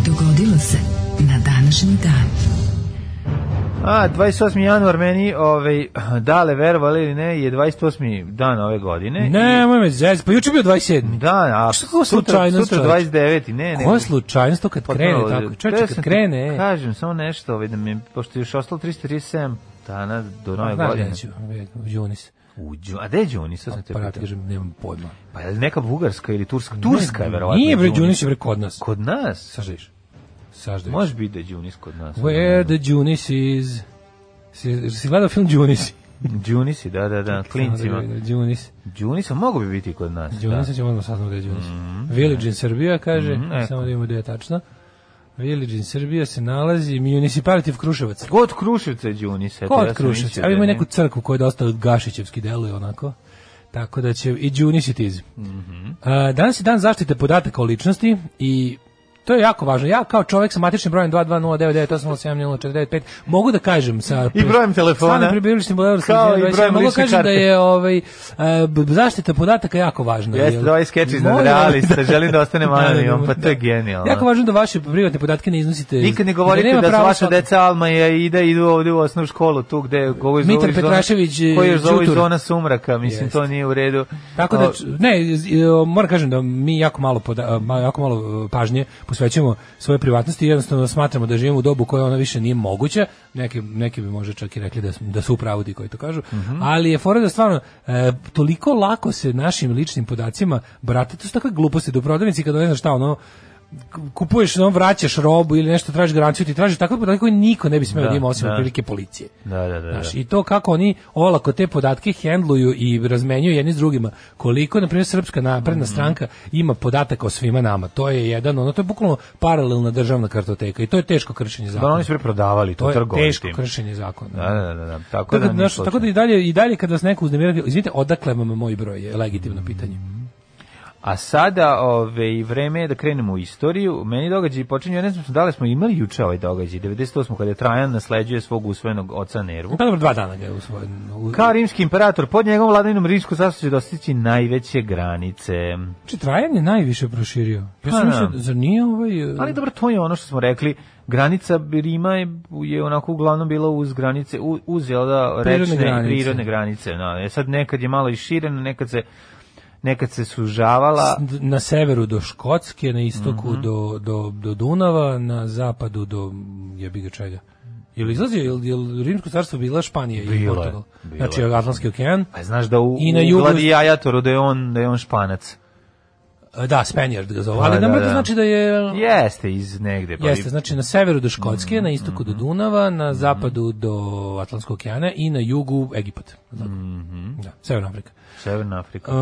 [SPEAKER 5] Dogodilo se na današnji dan.
[SPEAKER 7] A, 28. januar meni, ovaj, dale, verovali ili ne, je 28. dan ove godine.
[SPEAKER 6] Ne, moj me zez, pa juče je bio 27.
[SPEAKER 7] I- Da, a
[SPEAKER 6] Šta kako
[SPEAKER 7] sutra,
[SPEAKER 6] slučajnost,
[SPEAKER 7] sutra
[SPEAKER 6] čoveče?
[SPEAKER 7] 29. Ne, ne.
[SPEAKER 6] Koja je slučajnost to kad
[SPEAKER 7] Pa
[SPEAKER 6] krene
[SPEAKER 7] da,
[SPEAKER 6] tako? Čovječe,
[SPEAKER 7] teo
[SPEAKER 6] kad
[SPEAKER 7] sam ti
[SPEAKER 6] krene, e.
[SPEAKER 7] Kažem, samo nešto, ovaj, da mi, pošto je još ostalo 337 dana do nove
[SPEAKER 6] Znaš
[SPEAKER 7] godine.
[SPEAKER 6] gde ću, e, u Đunis.
[SPEAKER 7] Uđu, a gde je Đuni, sad sam te
[SPEAKER 6] Pa ja
[SPEAKER 7] pitao.
[SPEAKER 6] ti kažem, nemam pojma.
[SPEAKER 7] Pa je li neka bugarska ili turska? Turska je verovatno.
[SPEAKER 6] Nije bre
[SPEAKER 7] Đunis.
[SPEAKER 6] Đunis, je bre kod nas.
[SPEAKER 7] Kod nas?
[SPEAKER 6] Saždeš. Saždeš.
[SPEAKER 7] Može biti da je Đunis kod nas. ono,
[SPEAKER 6] Where the Đunis is... Si, si gledao film Đunis?
[SPEAKER 7] Đunisi, da, da, da, klincima.
[SPEAKER 6] Đunis.
[SPEAKER 7] Đunisa mogu bi biti kod nas. Da. Mhm.
[SPEAKER 6] Đunis, ćemo znači odmah saznamo gde je Đunis. Village in Serbia, kaže,
[SPEAKER 7] eto.
[SPEAKER 6] samo da vidimo gde je tačno. Village in Serbia se nalazi Municipality of Kruševac.
[SPEAKER 7] Kod Kruševca je Đunis. eto,
[SPEAKER 6] Kod
[SPEAKER 7] ja sam
[SPEAKER 6] Kruševca.
[SPEAKER 7] mislio
[SPEAKER 6] Evo
[SPEAKER 7] da
[SPEAKER 6] ima
[SPEAKER 7] ne.
[SPEAKER 6] neku crkvu koja je dosta gašićevski deluje onako. Tako da će i Đunis i Tiz.
[SPEAKER 7] Mhm.
[SPEAKER 6] A, danas je dan zaštite podataka o ličnosti i to je jako važno. Ja kao čovjek sa matičnim brojem 22099887045 mogu da kažem sa
[SPEAKER 7] I brojem telefona.
[SPEAKER 6] Stalnim prebivalištem u Evropskoj
[SPEAKER 7] Kao i
[SPEAKER 6] zemlji,
[SPEAKER 7] brojem
[SPEAKER 6] mogu da
[SPEAKER 7] lične
[SPEAKER 6] kažem
[SPEAKER 7] karte.
[SPEAKER 6] da je ovaj e, b- zaštita podataka jako važna.
[SPEAKER 7] Jeste,
[SPEAKER 6] jel?
[SPEAKER 7] da ovaj skeč iznad
[SPEAKER 6] Molim-
[SPEAKER 7] realista, želim da ostane anonimom, pa to je
[SPEAKER 6] da.
[SPEAKER 7] genijalno.
[SPEAKER 6] Jako važno da vaše privatne podatke ne iznosite.
[SPEAKER 7] Nikad ne
[SPEAKER 6] da
[SPEAKER 7] govorite
[SPEAKER 6] nema
[SPEAKER 7] da, su
[SPEAKER 6] pravo
[SPEAKER 7] vaša
[SPEAKER 6] svako-
[SPEAKER 7] deca Alma i Aida idu ovdje u osnovu školu, tu gde ovo je
[SPEAKER 6] Mitar
[SPEAKER 7] zove zona-
[SPEAKER 6] Petrašević, e,
[SPEAKER 7] koji je zove
[SPEAKER 6] Đutur.
[SPEAKER 7] zona sumraka, mislim,
[SPEAKER 6] Jeste.
[SPEAKER 7] to nije u redu.
[SPEAKER 6] Tako da
[SPEAKER 7] O,
[SPEAKER 6] č- ne, iz- i, o, moram kažem da mi jako malo poda, ma- jako malo e, pažnje posvećujemo svoje privatnosti i jednostavno smatramo da živimo u dobu koja ona više nije moguća. Neki neki bi možda čak i rekli da s- da su u pravu ti koji to kažu,
[SPEAKER 7] Mhm.
[SPEAKER 6] ali je fora da stvarno e, toliko lako se našim ličnim podacima brate, to su takve gluposti do prodavnici kada ne znaš šta ono k- kupuješ, ono, vraćaš robu ili nešto, tražiš garanciju, ti tražiš takve podatke koje niko ne bi smeo da,
[SPEAKER 7] Da,
[SPEAKER 6] ima osim
[SPEAKER 7] da.
[SPEAKER 6] otprilike policije.
[SPEAKER 7] Da, da, da,
[SPEAKER 6] Znaš,
[SPEAKER 7] da.
[SPEAKER 6] I to kako oni olako te podatke hendluju i razmenjuju jedni s drugima. Koliko, na primjer, srpska napredna
[SPEAKER 7] Mhm.
[SPEAKER 6] stranka ima podataka o svima nama. To je jedan, ono, to je bukvalno paralelna državna kartoteka i to je teško kršenje
[SPEAKER 7] Da,
[SPEAKER 6] zakona.
[SPEAKER 7] Pa oni su preprodavali,
[SPEAKER 6] to
[SPEAKER 7] to
[SPEAKER 6] je
[SPEAKER 7] trgovim
[SPEAKER 6] teško
[SPEAKER 7] tim.
[SPEAKER 6] kršenje zakona.
[SPEAKER 7] Da, da, da, da. Tako
[SPEAKER 6] Tako,
[SPEAKER 7] da,
[SPEAKER 6] da,
[SPEAKER 7] nije
[SPEAKER 6] znaš, tako da i dalje, i dalje kad vas neko uznemira, izvinite, odakle vam moj broj je legitimno pitanje.
[SPEAKER 7] Mhm. A sada ove, vreme je da krenemo u istoriju. Meni događaj počinju, ja ne znam da li smo imali juče ovaj događaj, 98. kada je Trajan nasleđuje svog usvojenog oca Nervu.
[SPEAKER 6] Pa dobro, dva dana ga je usvojen. U-
[SPEAKER 7] Kao rimski imperator, pod njegovom vladavinom rimsko carstvo će dostići najveće granice.
[SPEAKER 6] Znači, Trajan je najviše proširio. Ja
[SPEAKER 7] Pa,
[SPEAKER 6] sam mislio,
[SPEAKER 7] da.
[SPEAKER 6] zar nije ovaj... e,
[SPEAKER 7] Ali dobro, to je ono što smo rekli. Granica Rima je, je onako uglavnom bila uz granice, u- uz jel da,
[SPEAKER 6] Prirodne
[SPEAKER 7] rečne
[SPEAKER 6] granice.
[SPEAKER 7] prirodne granice. Da, E sad nekad je malo i širena, nekad se, nekad se sužavala.
[SPEAKER 6] S- na severu do Škotske, na istoku
[SPEAKER 7] Mhm.
[SPEAKER 6] do, do, do Dunava, na zapadu do jebi ga čega. Jel izlazio, jel, jel Rimsko carstvo bila Španija i
[SPEAKER 7] Bilo je,
[SPEAKER 6] Portugal?
[SPEAKER 7] bilo
[SPEAKER 6] Znači
[SPEAKER 7] je.
[SPEAKER 6] Atlantski okean.
[SPEAKER 7] Pa znaš da u,
[SPEAKER 6] I na
[SPEAKER 7] u
[SPEAKER 6] jugu-
[SPEAKER 7] Gladijajatoru da je on, da je on španac.
[SPEAKER 6] E, Da, Spaniard ga zove.
[SPEAKER 7] Pa,
[SPEAKER 6] Ali
[SPEAKER 7] da,
[SPEAKER 6] da, da,
[SPEAKER 7] da.
[SPEAKER 6] znači da je...
[SPEAKER 7] Jeste iz negde. Pa
[SPEAKER 6] Jeste, znači na severu do Škotske,
[SPEAKER 7] Mhm,
[SPEAKER 6] na istoku do Dunava, na zapadu do Atlantskog okeana i na jugu Egipat.
[SPEAKER 7] Mhm.
[SPEAKER 6] Da, Severna Afrika.
[SPEAKER 7] Severna Afrika.
[SPEAKER 6] Uh,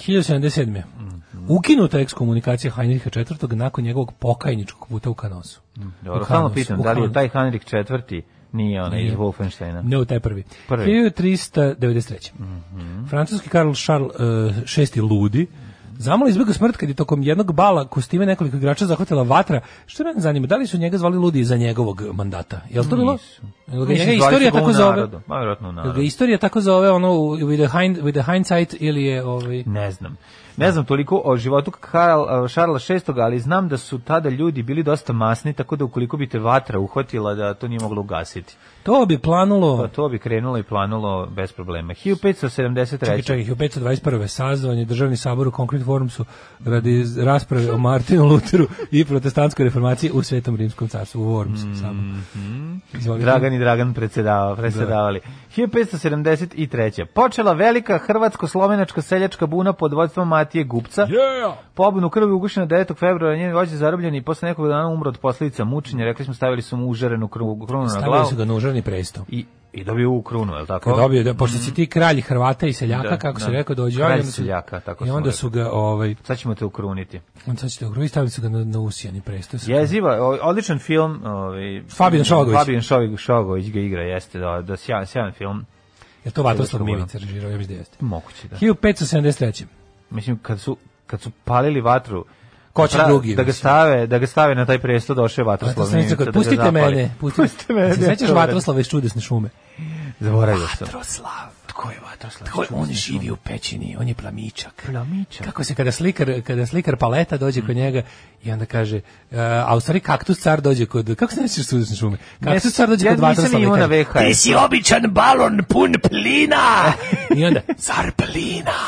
[SPEAKER 6] 1077.
[SPEAKER 7] Mhm.
[SPEAKER 6] Ukinuta je ekskomunikacija Heinricha IV. nakon njegovog pokajničkog puta u Kanosu.
[SPEAKER 7] Mhm. Dobro,
[SPEAKER 6] U
[SPEAKER 7] samo
[SPEAKER 6] Kanosu,
[SPEAKER 7] pitam,
[SPEAKER 6] u
[SPEAKER 7] da li je
[SPEAKER 6] Kanosu.
[SPEAKER 7] taj Henrik IV. nije onaj iz
[SPEAKER 6] Nije.
[SPEAKER 7] Wolfensteina?
[SPEAKER 6] Ne, taj prvi.
[SPEAKER 7] Prvi. Mhm.
[SPEAKER 6] 1393. Francuski Karl Charles uh, VI Ludi Zamalo izbjegao smrt kad je tokom jednog bala kostime nekoliko igrača zahvatila vatra. Što me zanima, da li su njega zvali ludi za njegovog mandata? Je li to bilo? Jel ga
[SPEAKER 7] Mislim,
[SPEAKER 6] njega
[SPEAKER 7] zvali
[SPEAKER 6] istorija
[SPEAKER 7] su ga u
[SPEAKER 6] tako zove?
[SPEAKER 7] narodu. Ma, vjerojatno u
[SPEAKER 6] Jel
[SPEAKER 7] narodu.
[SPEAKER 6] ga istorija tako zove ono u- with the, hind, with the hindsight ili je ovaj...
[SPEAKER 7] Ne znam. Ne znam toliko o životu Karl, Šarla VI, ali znam da su tada ljudi bili dosta masni, tako da ukoliko bi te vatra uhvatila, da to nije moglo ugasiti.
[SPEAKER 6] To bi planulo...
[SPEAKER 7] Pa to bi krenulo i planulo bez problema. 1573.
[SPEAKER 6] Čekaj, čekaj, u 521. sazvan je državni sabor u Concrete Forumsu radi rasprave o Martinu Luteru i protestantskoj reformaciji u Svetom rimskom carstvu u Worms samo. Izvolite.
[SPEAKER 7] Mhm. Dragan i Dragan predsedava, predsedavali. 1573. Počela velika hrvatsko-slovenačka seljačka buna pod vodstvom Matije Gupca. Pobunu krvi ugušena 9. februara, njen vođe zarobljen i posle nekog dana umro od posledica mučenja. Rekli smo stavili su mu užarenu kru- krunu na
[SPEAKER 6] Stavili
[SPEAKER 7] Ono, glavu.
[SPEAKER 6] su ga na užarni presto.
[SPEAKER 7] I, i dobio u krunu, je li tako?
[SPEAKER 6] Kad dobio, da, pošto si ti kralj Hrvata i seljaka,
[SPEAKER 7] Mhm. Da,
[SPEAKER 6] kako
[SPEAKER 7] da.
[SPEAKER 6] se rekao, dođe
[SPEAKER 7] Kralj
[SPEAKER 6] on, i onda su-
[SPEAKER 7] seljaka, tako
[SPEAKER 6] I
[SPEAKER 7] smo
[SPEAKER 6] onda
[SPEAKER 7] rekli.
[SPEAKER 6] su ga, ovaj,
[SPEAKER 7] Sad ćemo te ukruniti.
[SPEAKER 6] on sad ćete ugrovi, stavili su ga na, na usijani presto. Sa-
[SPEAKER 7] Jeziva, o- odličan film. Ovaj,
[SPEAKER 6] Fabijan Šogović.
[SPEAKER 7] Fabijan Šogović, Šogović ga igra, jeste, da, da sjajan, sjajan film.
[SPEAKER 6] Je to Vatoslav Mimica režirao, ja mislim da jeste.
[SPEAKER 7] Moguće, da.
[SPEAKER 6] 1573.
[SPEAKER 7] Mislim, kad su, kad su palili vatru,
[SPEAKER 6] Ko će
[SPEAKER 7] pra-
[SPEAKER 6] drugi,
[SPEAKER 7] Da ga
[SPEAKER 6] mislim. Pa
[SPEAKER 7] stave, da ga stave na taj presto, došao je vatroslav.
[SPEAKER 6] Vatroslav Mimica,
[SPEAKER 7] Mimica da ga
[SPEAKER 6] pustite
[SPEAKER 7] zapali.
[SPEAKER 6] mene, pustite, mene. Se sećaš
[SPEAKER 7] Dobro.
[SPEAKER 6] Vatroslava iz čudesne šume?
[SPEAKER 7] Zaboravio sam.
[SPEAKER 6] Vatroslav. Tko je Vatroslav? Tko je, on živi u pećini, on je plamičak.
[SPEAKER 7] Plamičak.
[SPEAKER 6] Kako se kada slikar, kada slikar paleta dođe
[SPEAKER 7] Mm.
[SPEAKER 6] kod njega i onda kaže, uh, a u stvari kaktus car dođe kod, kako se nećeš sudesne šume? Kaktus car dođe kod
[SPEAKER 7] Ja nisam
[SPEAKER 6] Vatroslava i
[SPEAKER 7] imao na
[SPEAKER 6] kaže,
[SPEAKER 7] VHS.
[SPEAKER 6] si običan balon pun plina! I onda, car plina!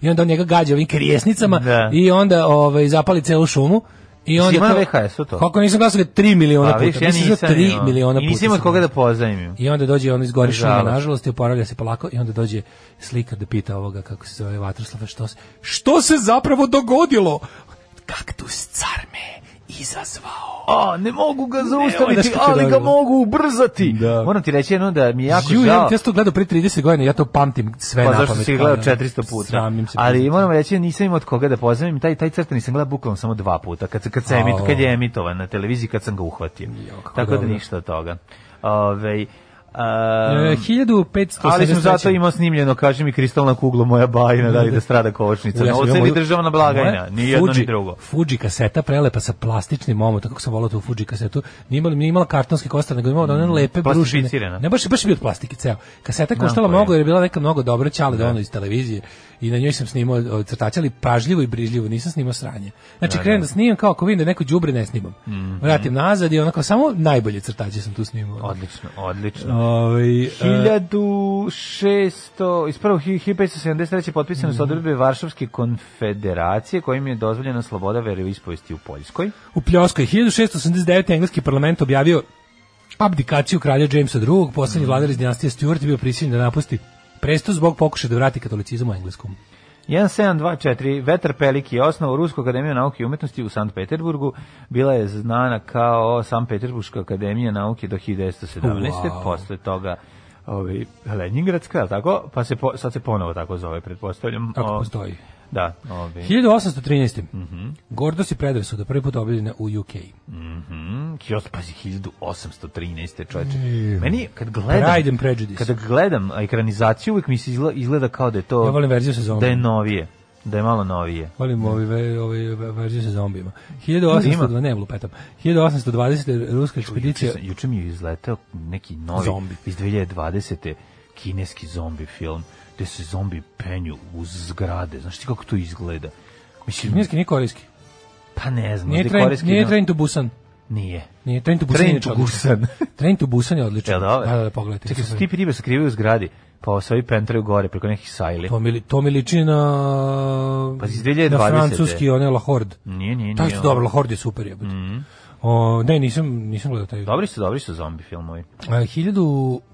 [SPEAKER 6] I onda on njega gađa ovim krijesnicama
[SPEAKER 7] Da.
[SPEAKER 6] i onda ovaj, zapali celu šumu. I onda
[SPEAKER 7] imao na VHS-u to?
[SPEAKER 6] Kako nisam glasao 3 miliona
[SPEAKER 7] Pa,
[SPEAKER 6] puta.
[SPEAKER 7] viš, ja
[SPEAKER 6] Mislim da
[SPEAKER 7] nisam
[SPEAKER 6] 3
[SPEAKER 7] imao.
[SPEAKER 6] miliona
[SPEAKER 7] I
[SPEAKER 6] puta.
[SPEAKER 7] nisam od
[SPEAKER 6] sam
[SPEAKER 7] koga da pozajmim.
[SPEAKER 6] i onda dođe on iz gore šume,
[SPEAKER 7] Nažalost.
[SPEAKER 6] nažalost, i oporavlja se polako i onda dođe slikar da pita ovoga kako se zove Vatroslava, što se, što se zapravo dogodilo? Kaktus car me izazvao.
[SPEAKER 7] A, ne mogu ga
[SPEAKER 6] Ne,
[SPEAKER 7] zaustaviti,
[SPEAKER 6] znaš kako je
[SPEAKER 7] ali ga
[SPEAKER 6] dobro.
[SPEAKER 7] mogu ubrzati.
[SPEAKER 6] Da.
[SPEAKER 7] Moram ti reći jedno da mi je jako
[SPEAKER 6] Ju, ja
[SPEAKER 7] žao.
[SPEAKER 6] sam to gledao pre 30 godina, ja to pamtim sve
[SPEAKER 7] Pa
[SPEAKER 6] na
[SPEAKER 7] zašto
[SPEAKER 6] pamet,
[SPEAKER 7] si ih gledao
[SPEAKER 6] kao da-
[SPEAKER 7] 400 puta?
[SPEAKER 6] E, Sramim se.
[SPEAKER 7] Ali
[SPEAKER 6] priznati.
[SPEAKER 7] moram reći, nisam imao od koga da pozovem, taj, taj crtani sam gledao bukvalno samo dva puta, kad, se- kad, se emit,
[SPEAKER 6] Ao.
[SPEAKER 7] kad je emitovan na televiziji, kad sam ga uhvatio.
[SPEAKER 6] kako
[SPEAKER 7] Tako da
[SPEAKER 6] dobro.
[SPEAKER 7] ništa od toga. Ove,
[SPEAKER 6] E,
[SPEAKER 7] a,
[SPEAKER 6] 1573.
[SPEAKER 7] um, ali sam zato imao snimljeno, kaže mi, kristalna kugla moja bajna, da li da strada kovačnica.
[SPEAKER 6] Mm. Ja sam
[SPEAKER 7] Novce
[SPEAKER 6] imao
[SPEAKER 7] ili
[SPEAKER 6] moju-
[SPEAKER 7] državna blagajna,
[SPEAKER 6] moje
[SPEAKER 7] ni jedno
[SPEAKER 6] Fuji-
[SPEAKER 7] ni drugo.
[SPEAKER 6] Fuji kaseta prelepa sa plastičnim omom, tako sam volao tu Fuji kasetu. Nije imala, nije imala kartonski kostar, nego je imala one lepe
[SPEAKER 7] Mm, Plastificirana.
[SPEAKER 6] brušine. Ne, baš, je- baš je bio od plastike ceo. Kaseta je koštala
[SPEAKER 7] koji je.
[SPEAKER 6] mnogo jer je bila neka mnogo dobra ćale da ono iz televizije i na njoj sam snimao o, crtače, ali pažljivo i brižljivo, nisam snimao sranje. Znači, krenem da snimam kao ako vidim da je neko đubre ne snimam.
[SPEAKER 7] Mhm.
[SPEAKER 6] Vratim nazad i onako samo najbolje crtače sam tu snimao.
[SPEAKER 7] Odlično, odlično.
[SPEAKER 6] Ovaj, e,
[SPEAKER 7] 1600, iz prvog 1573. potpisane
[SPEAKER 6] Mhm.
[SPEAKER 7] su odredbe Varšavske konfederacije kojim je dozvoljena sloboda veroispovesti u Poljskoj.
[SPEAKER 6] U Pljoskoj 1689. engleski parlament objavio abdikaciju kralja Jamesa II. Poslednji
[SPEAKER 7] Mhm.
[SPEAKER 6] vladar iz dinastije Stuart je bio prisiljen da napusti presto zbog pokušaja da vrati katolicizam u engleskom.
[SPEAKER 7] 1724, Vetar Pelik je osnovu Rusku akademiju nauke i umetnosti u Sankt Peterburgu. Bila je znana kao Sankt Peterburška akademija nauke do 1917.
[SPEAKER 6] Wow.
[SPEAKER 7] Posle toga ovaj, Leningradska, jel tako? Pa se po, sad se ponovo tako zove, pretpostavljam.
[SPEAKER 6] Tako
[SPEAKER 7] O, Mhm.
[SPEAKER 6] postoji.
[SPEAKER 7] Da, ovaj.
[SPEAKER 6] 1813. Gordost i predrasuda prvi put objavljena u UK.
[SPEAKER 7] Mhm, Kios, pazi, 1813. čoveče. Meni, kad gledam...
[SPEAKER 6] Pride and Prejudice.
[SPEAKER 7] Kada gledam ekranizaciju, uvijek mi se izgleda, izgleda kao da je to...
[SPEAKER 6] Ja volim verziju sa zombijima.
[SPEAKER 7] Da je novije. Da je malo novije.
[SPEAKER 6] Volim ovi, ve- ovi ve- verziju sa zombijima. 1802, ne, lupetam. 1820. ruska
[SPEAKER 7] Juče,
[SPEAKER 6] ekspedicija
[SPEAKER 7] sam- juče mi je izletao neki novi
[SPEAKER 6] Zombi.
[SPEAKER 7] iz 2020. kineski zombi film gde se zombi penju uz zgrade. Znaš ti kako to izgleda? Mislim,
[SPEAKER 6] Kineski, nije korejski.
[SPEAKER 7] pa ne znam,
[SPEAKER 6] Nije
[SPEAKER 7] možda je
[SPEAKER 6] train,
[SPEAKER 7] korejski,
[SPEAKER 6] nije
[SPEAKER 7] no-
[SPEAKER 6] train to Busan.
[SPEAKER 7] nije.
[SPEAKER 6] Nije train to Busan.
[SPEAKER 7] Train
[SPEAKER 6] je
[SPEAKER 7] to
[SPEAKER 6] odličan.
[SPEAKER 7] Busan.
[SPEAKER 6] train to Busan je odličan.
[SPEAKER 7] Jel dobro?
[SPEAKER 6] Da, da, da, pogledajte.
[SPEAKER 7] Čekaj, su ti ribe sakrivaju u zgradi, pa svoji pentraju gore preko nekih sajli.
[SPEAKER 6] To mi, li- to mi liči na...
[SPEAKER 7] Pa iz
[SPEAKER 6] na
[SPEAKER 7] 2020.
[SPEAKER 6] francuski, one La Horde.
[SPEAKER 7] Nije, ono. Mhm. nije, nije.
[SPEAKER 6] Taj su dobro, La Horde je super jebote. O, ne, nisam, nisam gledao taj. E,
[SPEAKER 7] Dobri su, dobri su zombi filmovi.
[SPEAKER 6] A,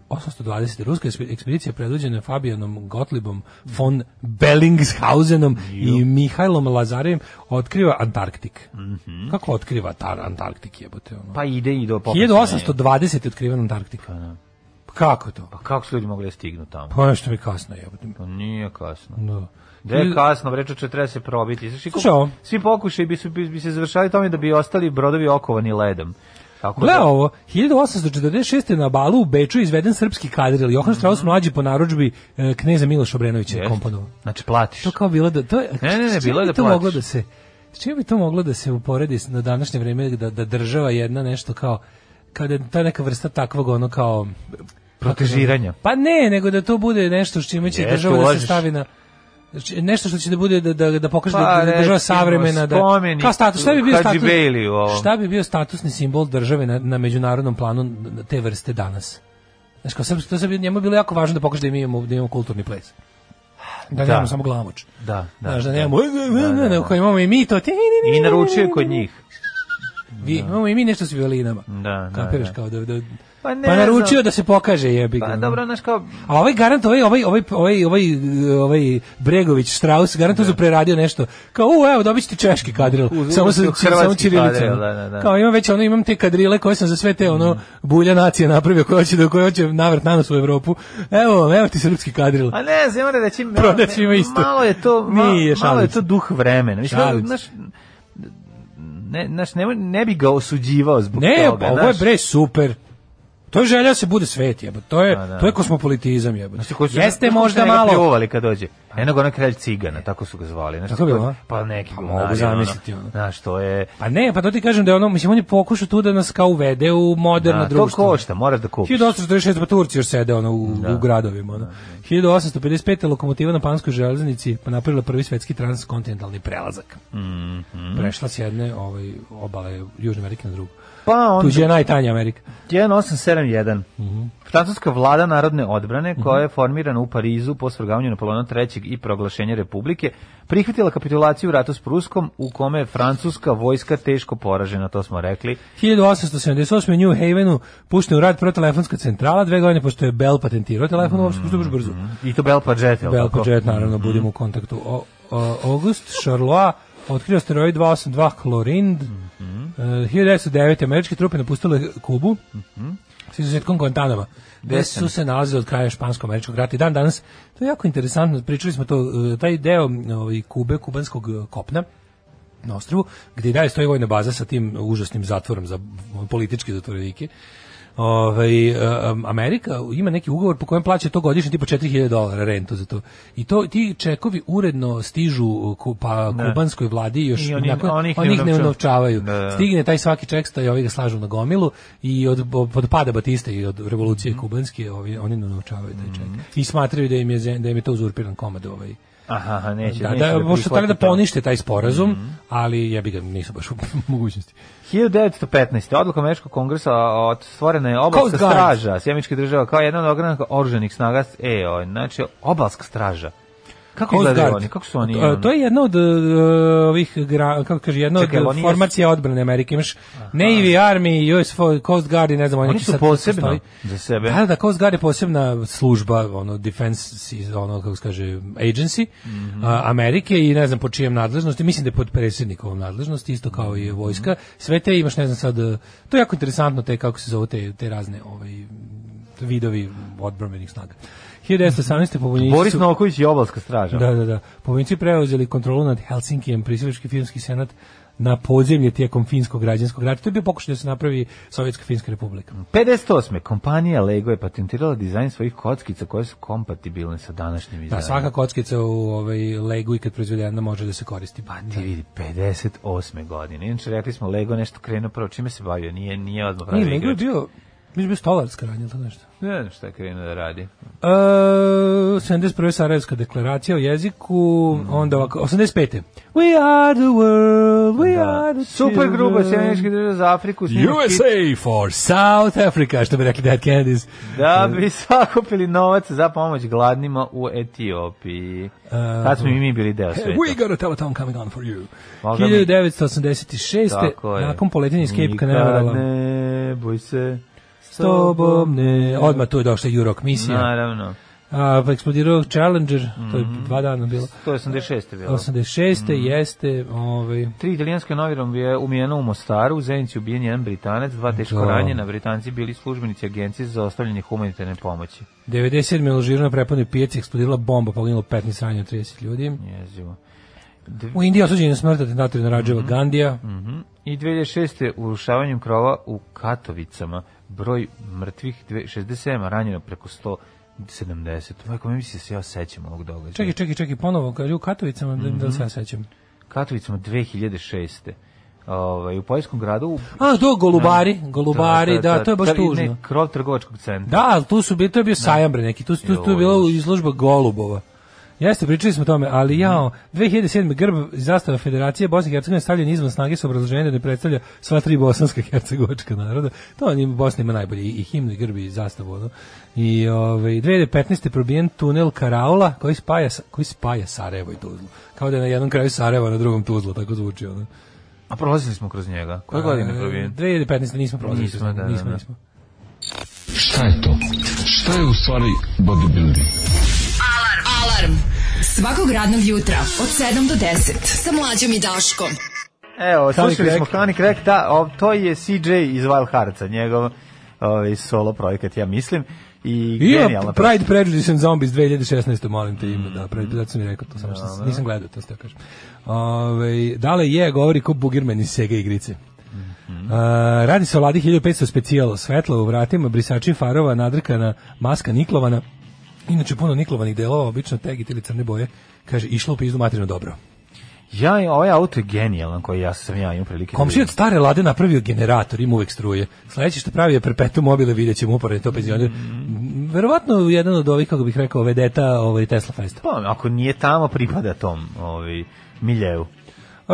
[SPEAKER 6] 1820. Ruska ekspe- ekspedicija predvođena Fabijanom Gotlibom von Bellingshausenom i Mihajlom Lazarevim otkriva Antarktik. Kako otkriva tar Antarktik jebote? Ono?
[SPEAKER 7] Mhm. Pa ide i do popisa.
[SPEAKER 6] 1820. je otkriven Antarktik. Pa kako to?
[SPEAKER 7] Pa kako su ljudi mogli da stignu tamo?
[SPEAKER 6] Pa nešto mi kasno jebote.
[SPEAKER 7] Pa nije kasno.
[SPEAKER 6] Da.
[SPEAKER 7] Da je kasno, vreću će treba se probiti. Znaš, i
[SPEAKER 6] Slušaj
[SPEAKER 7] kako-
[SPEAKER 6] ovo.
[SPEAKER 7] svi pokušaj bi, su, bi, bi se završali tome da bi ostali brodovi okovani ledom. Tako
[SPEAKER 6] Gle
[SPEAKER 7] da,
[SPEAKER 6] ovo, 1846. na Balu u Beču izveden srpski kadril. Johan Strauss mlađi po narudžbi e, kneza Miloša Obrenovića je
[SPEAKER 7] Jest.
[SPEAKER 6] komponovao.
[SPEAKER 7] Znači, platiš.
[SPEAKER 6] To kao bilo da to je-
[SPEAKER 7] Ne, ne, ne,
[SPEAKER 6] s čime
[SPEAKER 7] bilo je
[SPEAKER 6] bi
[SPEAKER 7] da
[SPEAKER 6] to
[SPEAKER 7] platiš.
[SPEAKER 6] moglo da se s čime bi to moglo da se uporedi s- na današnje vreme da da država jedna nešto kao kada ta je neka vrsta takvog ono kao
[SPEAKER 7] Protežiranja.
[SPEAKER 6] Pa ne, nego da to bude nešto s čime će
[SPEAKER 7] Jeste,
[SPEAKER 6] država da se
[SPEAKER 7] ulažeš.
[SPEAKER 6] stavi na znači, nešto što će da bude da da, da pokaže da-
[SPEAKER 7] Pa,
[SPEAKER 6] da, da je država
[SPEAKER 7] recimo,
[SPEAKER 6] savremena da
[SPEAKER 7] spomenik
[SPEAKER 6] kao status šta bi bio
[SPEAKER 7] Hadži
[SPEAKER 6] status
[SPEAKER 7] Bejliju ovom.
[SPEAKER 6] šta bi bio statusni simbol države na, na međunarodnom planu na te vrste danas Znaš, kao srpski, to se bi njemu bilo jako važno da pokaže da mi imamo, da imamo kulturni ples. Da,
[SPEAKER 7] Da.
[SPEAKER 6] nemamo samo glamoč.
[SPEAKER 7] Da, da.
[SPEAKER 6] Znaš, da
[SPEAKER 7] da.
[SPEAKER 6] nemamo,
[SPEAKER 7] Da, da, da.
[SPEAKER 6] nego imamo i mi to. ti, ni, ni,
[SPEAKER 7] I
[SPEAKER 6] ni,
[SPEAKER 7] naručuje
[SPEAKER 6] ni,
[SPEAKER 7] kod
[SPEAKER 6] ni.
[SPEAKER 7] njih.
[SPEAKER 6] Vi, imamo i mi nešto s violinama.
[SPEAKER 7] Da, da,
[SPEAKER 6] Kapiraš
[SPEAKER 7] da.
[SPEAKER 6] kao da, da
[SPEAKER 7] Pa
[SPEAKER 6] pa,
[SPEAKER 7] ne
[SPEAKER 6] naručio
[SPEAKER 7] znam.
[SPEAKER 6] da se pokaže jebi ga.
[SPEAKER 7] Pa dobro, znaš kao,
[SPEAKER 6] A ovaj garant, ovaj, ovaj, ovaj, ovaj, ovaj, ovaj Bregović, Strauss, garant uzeo preradio nešto. Kao, u, evo, dobit ćete češki kadril.
[SPEAKER 7] Uz-
[SPEAKER 6] samo
[SPEAKER 7] uz-
[SPEAKER 6] sa,
[SPEAKER 7] hrvatski
[SPEAKER 6] samo čirilicom.
[SPEAKER 7] kadril, da, Mm. da, da.
[SPEAKER 6] Kao, imam već, ono, imam te kadrile koje sam za sve te, ono, bulja nacije napravio, koje hoće, da, koje hoće navrt na nos u Evropu. Evo, evo ti srpski kadril.
[SPEAKER 7] A ne, znam, moram reći, malo-
[SPEAKER 6] Prodat ćemo isto.
[SPEAKER 7] Malo je to, ma,
[SPEAKER 6] Nije,
[SPEAKER 7] malo je
[SPEAKER 6] šalim se.
[SPEAKER 7] to duh vremena. Mislim,
[SPEAKER 6] Šalim se.
[SPEAKER 7] znaš, ne, znaš, ne, ne bi ga osuđivao zbog
[SPEAKER 6] Ne,
[SPEAKER 7] toga.
[SPEAKER 6] pa ovo je
[SPEAKER 7] znaš.
[SPEAKER 6] bre super. To je želja da se bude svet, jebote. To je
[SPEAKER 7] Pa da.
[SPEAKER 6] to je kosmopolitizam, jebote.
[SPEAKER 7] Znači, koji su-
[SPEAKER 6] Jeste
[SPEAKER 7] kako
[SPEAKER 6] možda
[SPEAKER 7] su njega
[SPEAKER 6] malo.
[SPEAKER 7] pljuvali kad dođe. Jednog onog kralj cigana, tako su ga zvali. Znači,
[SPEAKER 6] Tako je bilo, a?
[SPEAKER 7] Pa neki
[SPEAKER 6] Pa
[SPEAKER 7] govnari,
[SPEAKER 6] mogu zamisliti,
[SPEAKER 7] ono.
[SPEAKER 6] ono.
[SPEAKER 7] Znaš, to je...
[SPEAKER 6] Pa ne, pa to ti kažem da je ono, mislim on je pokušao tu da nas kao uvede u moderno
[SPEAKER 7] Da, to
[SPEAKER 6] društvo.
[SPEAKER 7] košta, moraš da kupiš.
[SPEAKER 6] 1846 pa Turci još sede ono u, u gradovima ono. 1855 lokomotiva na panskoj železnici pa napravila prvi svetski transkontinentalni prelazak.
[SPEAKER 7] Mhm.
[SPEAKER 6] Prešla s jedne ovaj obale Južne Amerike na drugu.
[SPEAKER 7] Pa onda
[SPEAKER 6] Tuđe Mhm. je najtanja Amerika.
[SPEAKER 7] 1871. Francuska vlada narodne
[SPEAKER 6] Mhm.
[SPEAKER 7] odbrane, koja je formirana u Parizu po svrgavanju Napoleona III i proglašenja Republike, prihvatila kapitulaciju u ratu s Pruskom, u kome je francuska vojska teško poražena, to smo rekli.
[SPEAKER 6] 1878. u New Havenu pušten u rad protelefonska centrala, dve godine pošto je Bell patentirao telefon, uopšte pošto je baš brzo.
[SPEAKER 7] I to Bel Padžet, je li
[SPEAKER 6] Bell
[SPEAKER 7] tako?
[SPEAKER 6] budžet, naravno, budemo u kontaktu. O, o, August Charlois otkrio steroid 282 klorind. E, 1909. američke trupe napustile Kubu s izuzetkom Guantanama, Mhm. gde su se nalazili od kraja špansko-američkog rata. I dan danas, to je jako interesantno, pričali smo to, e, taj deo ovaj, Kube, kubanskog e, kopna, na ostrvu, gde i dalje stoji vojna baza sa tim užasnim zatvorom za političke zatvorenike. Ovaj em, Amerika ima neki ugovor po kojem plaća to godišnje tipa 4000 dolara rentu za to. I to ti čekovi uredno stižu ku, pa kubanskoj vladi još
[SPEAKER 7] I oni-
[SPEAKER 6] nakon-
[SPEAKER 7] oni ih ne
[SPEAKER 6] oni ih ne
[SPEAKER 7] unovčavaju.
[SPEAKER 6] unovčavaju.
[SPEAKER 7] Da, da.
[SPEAKER 6] Stigne taj svaki ček i ovi ga slažu na gomilu i od pod pada Batista i od
[SPEAKER 7] Mhm.
[SPEAKER 6] revolucije kubanske ovi oni ne unovčavaju taj ček. I smatraju da im je zem- da im je to uzurpiran komad ovaj
[SPEAKER 7] Aha, aha, neće,
[SPEAKER 6] da,
[SPEAKER 7] neće
[SPEAKER 6] da, možda
[SPEAKER 7] prihvati
[SPEAKER 6] hteli da
[SPEAKER 7] to. Mhm.
[SPEAKER 6] ponište taj sporazum, ali ja bi ga nisu baš u mogućnosti.
[SPEAKER 7] 1915. Odluka Američkog kongresa od stvorena je
[SPEAKER 6] Coast
[SPEAKER 7] obalska
[SPEAKER 6] Guard.
[SPEAKER 7] straža Sjemičke država kao jedna od ogranaka oruženih snaga. E, o, znači, obalska straža. Kako
[SPEAKER 6] Coast
[SPEAKER 7] izgledaju
[SPEAKER 6] Guard.
[SPEAKER 7] oni? Kako su oni? ono?
[SPEAKER 6] To- To je jedna od e, ovih gra- kako kaže, jedna od
[SPEAKER 7] Čekaj, jel oni
[SPEAKER 6] formacija odbrane Amerike. Imaš Navy, Army, US Fo- Coast Guard i ne znam,
[SPEAKER 7] Oni
[SPEAKER 6] neki
[SPEAKER 7] su
[SPEAKER 6] sad
[SPEAKER 7] posebno
[SPEAKER 6] postoji.
[SPEAKER 7] za sebe.
[SPEAKER 6] Da, da, Coast Guard je posebna služba, ono defense si- ono kako se kaže agency
[SPEAKER 7] Mhm.
[SPEAKER 6] a, Amerike i ne znam po čijem nadležnosti, mislim da je pod predsjednikovom nadležnosti isto kao
[SPEAKER 7] Mhm.
[SPEAKER 6] i vojska. Sve te imaš ne znam sad e, to je jako interesantno te kako se zove te, te razne ovaj vidovi odbrambenih snaga. 1918. pobunjenici
[SPEAKER 7] Boris
[SPEAKER 6] su-
[SPEAKER 7] Novaković i obalska straža.
[SPEAKER 6] da, da, da. Povinci preuzeli kontrolu nad Helsinkijem, prisilički filmski senat na podzemlje tijekom finskog građanskog rata. To je bio pokušaj da se napravi Sovjetska Finska republika.
[SPEAKER 7] 58. Kompanija Lego je patentirala dizajn svojih kockica koje su kompatibilne sa današnjim
[SPEAKER 6] Da,
[SPEAKER 7] izdajama.
[SPEAKER 6] svaka kockica u ovaj, legu i kad proizvedena može da se koristi. Pa
[SPEAKER 7] Ti vidi, 58. godine. Inače, rekli smo, Lego nešto krenuo prvo. Čime se bavio? Nije, nije odmah
[SPEAKER 6] Nije,
[SPEAKER 7] pravio
[SPEAKER 6] Lego je
[SPEAKER 7] igrač.
[SPEAKER 6] bio Mi je bio stolarska radnja, ili tako nešto.
[SPEAKER 7] Ne znam šta je krenuo da radi.
[SPEAKER 6] E, 71. Sarajevska deklaracija o jeziku, onda ovako, 85. We are the world, we are the
[SPEAKER 7] Super grupa Sjemenički država za Afriku. snima hit
[SPEAKER 6] USA for South Africa, što bi rekli Dead Kennedys.
[SPEAKER 7] Da bi sakupili novac za pomoć gladnima u Etiopiji. Tad smo i mi bili deo sveta.
[SPEAKER 6] We got a telephone coming on for you.
[SPEAKER 7] Možda mi-
[SPEAKER 6] 1986. Nakon poletenja iz Cape Canaveral.
[SPEAKER 7] Nikad ne boj se. S
[SPEAKER 6] tobom ne. Odmah tu je došla Euroc misija.
[SPEAKER 7] Naravno.
[SPEAKER 6] A, pa eksplodirao Challenger, to je
[SPEAKER 7] Mhm.
[SPEAKER 6] dva dana bilo.
[SPEAKER 7] To je 86. bilo.
[SPEAKER 6] 86.
[SPEAKER 7] Mhm.
[SPEAKER 6] jeste, ovaj,
[SPEAKER 7] Tri italijanske novirom je umijeno u Mostaru, u Zenici ubijen jedan Britanac, dva teško
[SPEAKER 6] Da.
[SPEAKER 7] ranjena, Britanci bili službenici agencije za ostavljanje humanitarne pomoći.
[SPEAKER 6] 97. je ložirana prepadne pijaci, eksplodirala bomba, poginulo 15 ranjeno 30 ljudi.
[SPEAKER 7] Jezivo.
[SPEAKER 6] U Indiji osuđen je na smrt atentator na Rađeva Gandija.
[SPEAKER 7] Mhm. I 2006. urušavanjem krova u Katovicama, broj mrtvih dve- 67, a ranjeno preko 170. Majko, mi se se ja sećam ovog događaja.
[SPEAKER 6] Čekaj, čekaj, čekaj, ponovo, kaže u Katovicama, da, da li
[SPEAKER 7] Mhm.
[SPEAKER 6] se ja sećam.
[SPEAKER 7] Katovicama 2006. Ovaj, u Poljskom gradu... u-
[SPEAKER 6] A, do, Golubari, Golubari, da, to je baš
[SPEAKER 7] ne,
[SPEAKER 6] tužno.
[SPEAKER 7] krov trgovačkog centra.
[SPEAKER 6] Da, ali tu su bili, to je bio sajam bre neki, tu, su- tu, tu je bila izložba golubova. Jeste, pričali smo o tome,
[SPEAKER 7] Mhm.
[SPEAKER 6] ali jao, 2007. grb i zastava Federacije Bosne i Hercegovine stavljen izvan snage sa obrazloženjem da ne predstavlja sva tri bosanska i hercegovačka naroda. To njima Bosna ima najbolje i, i himnu i grb i zastavu. Ono. I ovaj 2015. probijen tunel Karaula koji spaja, sa- koji spaja Sarajevo i Tuzlu. Kao da je na jednom kraju Sarajevo, a na drugom Tuzlu, tako zvuči. Ono.
[SPEAKER 7] A prolazili smo kroz njega. E, Koje godine je probijen?
[SPEAKER 6] 2015. nismo prolazili.
[SPEAKER 7] Nismo, da, da,
[SPEAKER 6] nismo,
[SPEAKER 7] da.
[SPEAKER 6] nismo.
[SPEAKER 2] Šta je to? Šta je u stvari bodybuilding?
[SPEAKER 5] Alarm. Alarm. Svakog radnog jutra od 7 do 10 sa mlađom i Daškom.
[SPEAKER 7] Evo,
[SPEAKER 6] Hanik
[SPEAKER 7] slušali smo
[SPEAKER 6] Rek.
[SPEAKER 7] Hanik Rek, da, o, to je CJ iz Wild Heartsa, njegov ovaj, solo projekat, ja mislim. I
[SPEAKER 6] Ima
[SPEAKER 7] genijalna
[SPEAKER 6] Pride, Prejudice and Zombies 2016. molim te ime, da, Pride, zato sam mi rekao to, samo što sam- nisam gledao to, što kažem. Ove, dale je, govori ko bugirmen iz Sega igrice. A, radi se o Ladi 1500 specijalo, svetlo u vratima, brisači farova, nadrkana, maska Niklovana, inače puno Niklovanih delova, obično tegit ili crne boje, kaže, išlo u pizdu materino dobro.
[SPEAKER 7] Ja, ovaj auto je genijalan koji ja sam ja imam prilike. da
[SPEAKER 6] Komšija od
[SPEAKER 7] vidim.
[SPEAKER 6] stare lade napravio generator, ima uvek struje. Sledeće što pravi je perpetu mobile, vidjet ćemo uporne to penzioner. Verovatno jedan od ovih, kako bih rekao, vedeta ovaj Tesla Festa.
[SPEAKER 7] Pa, ako nije tamo, pripada tom ovaj, miljevu.
[SPEAKER 6] E,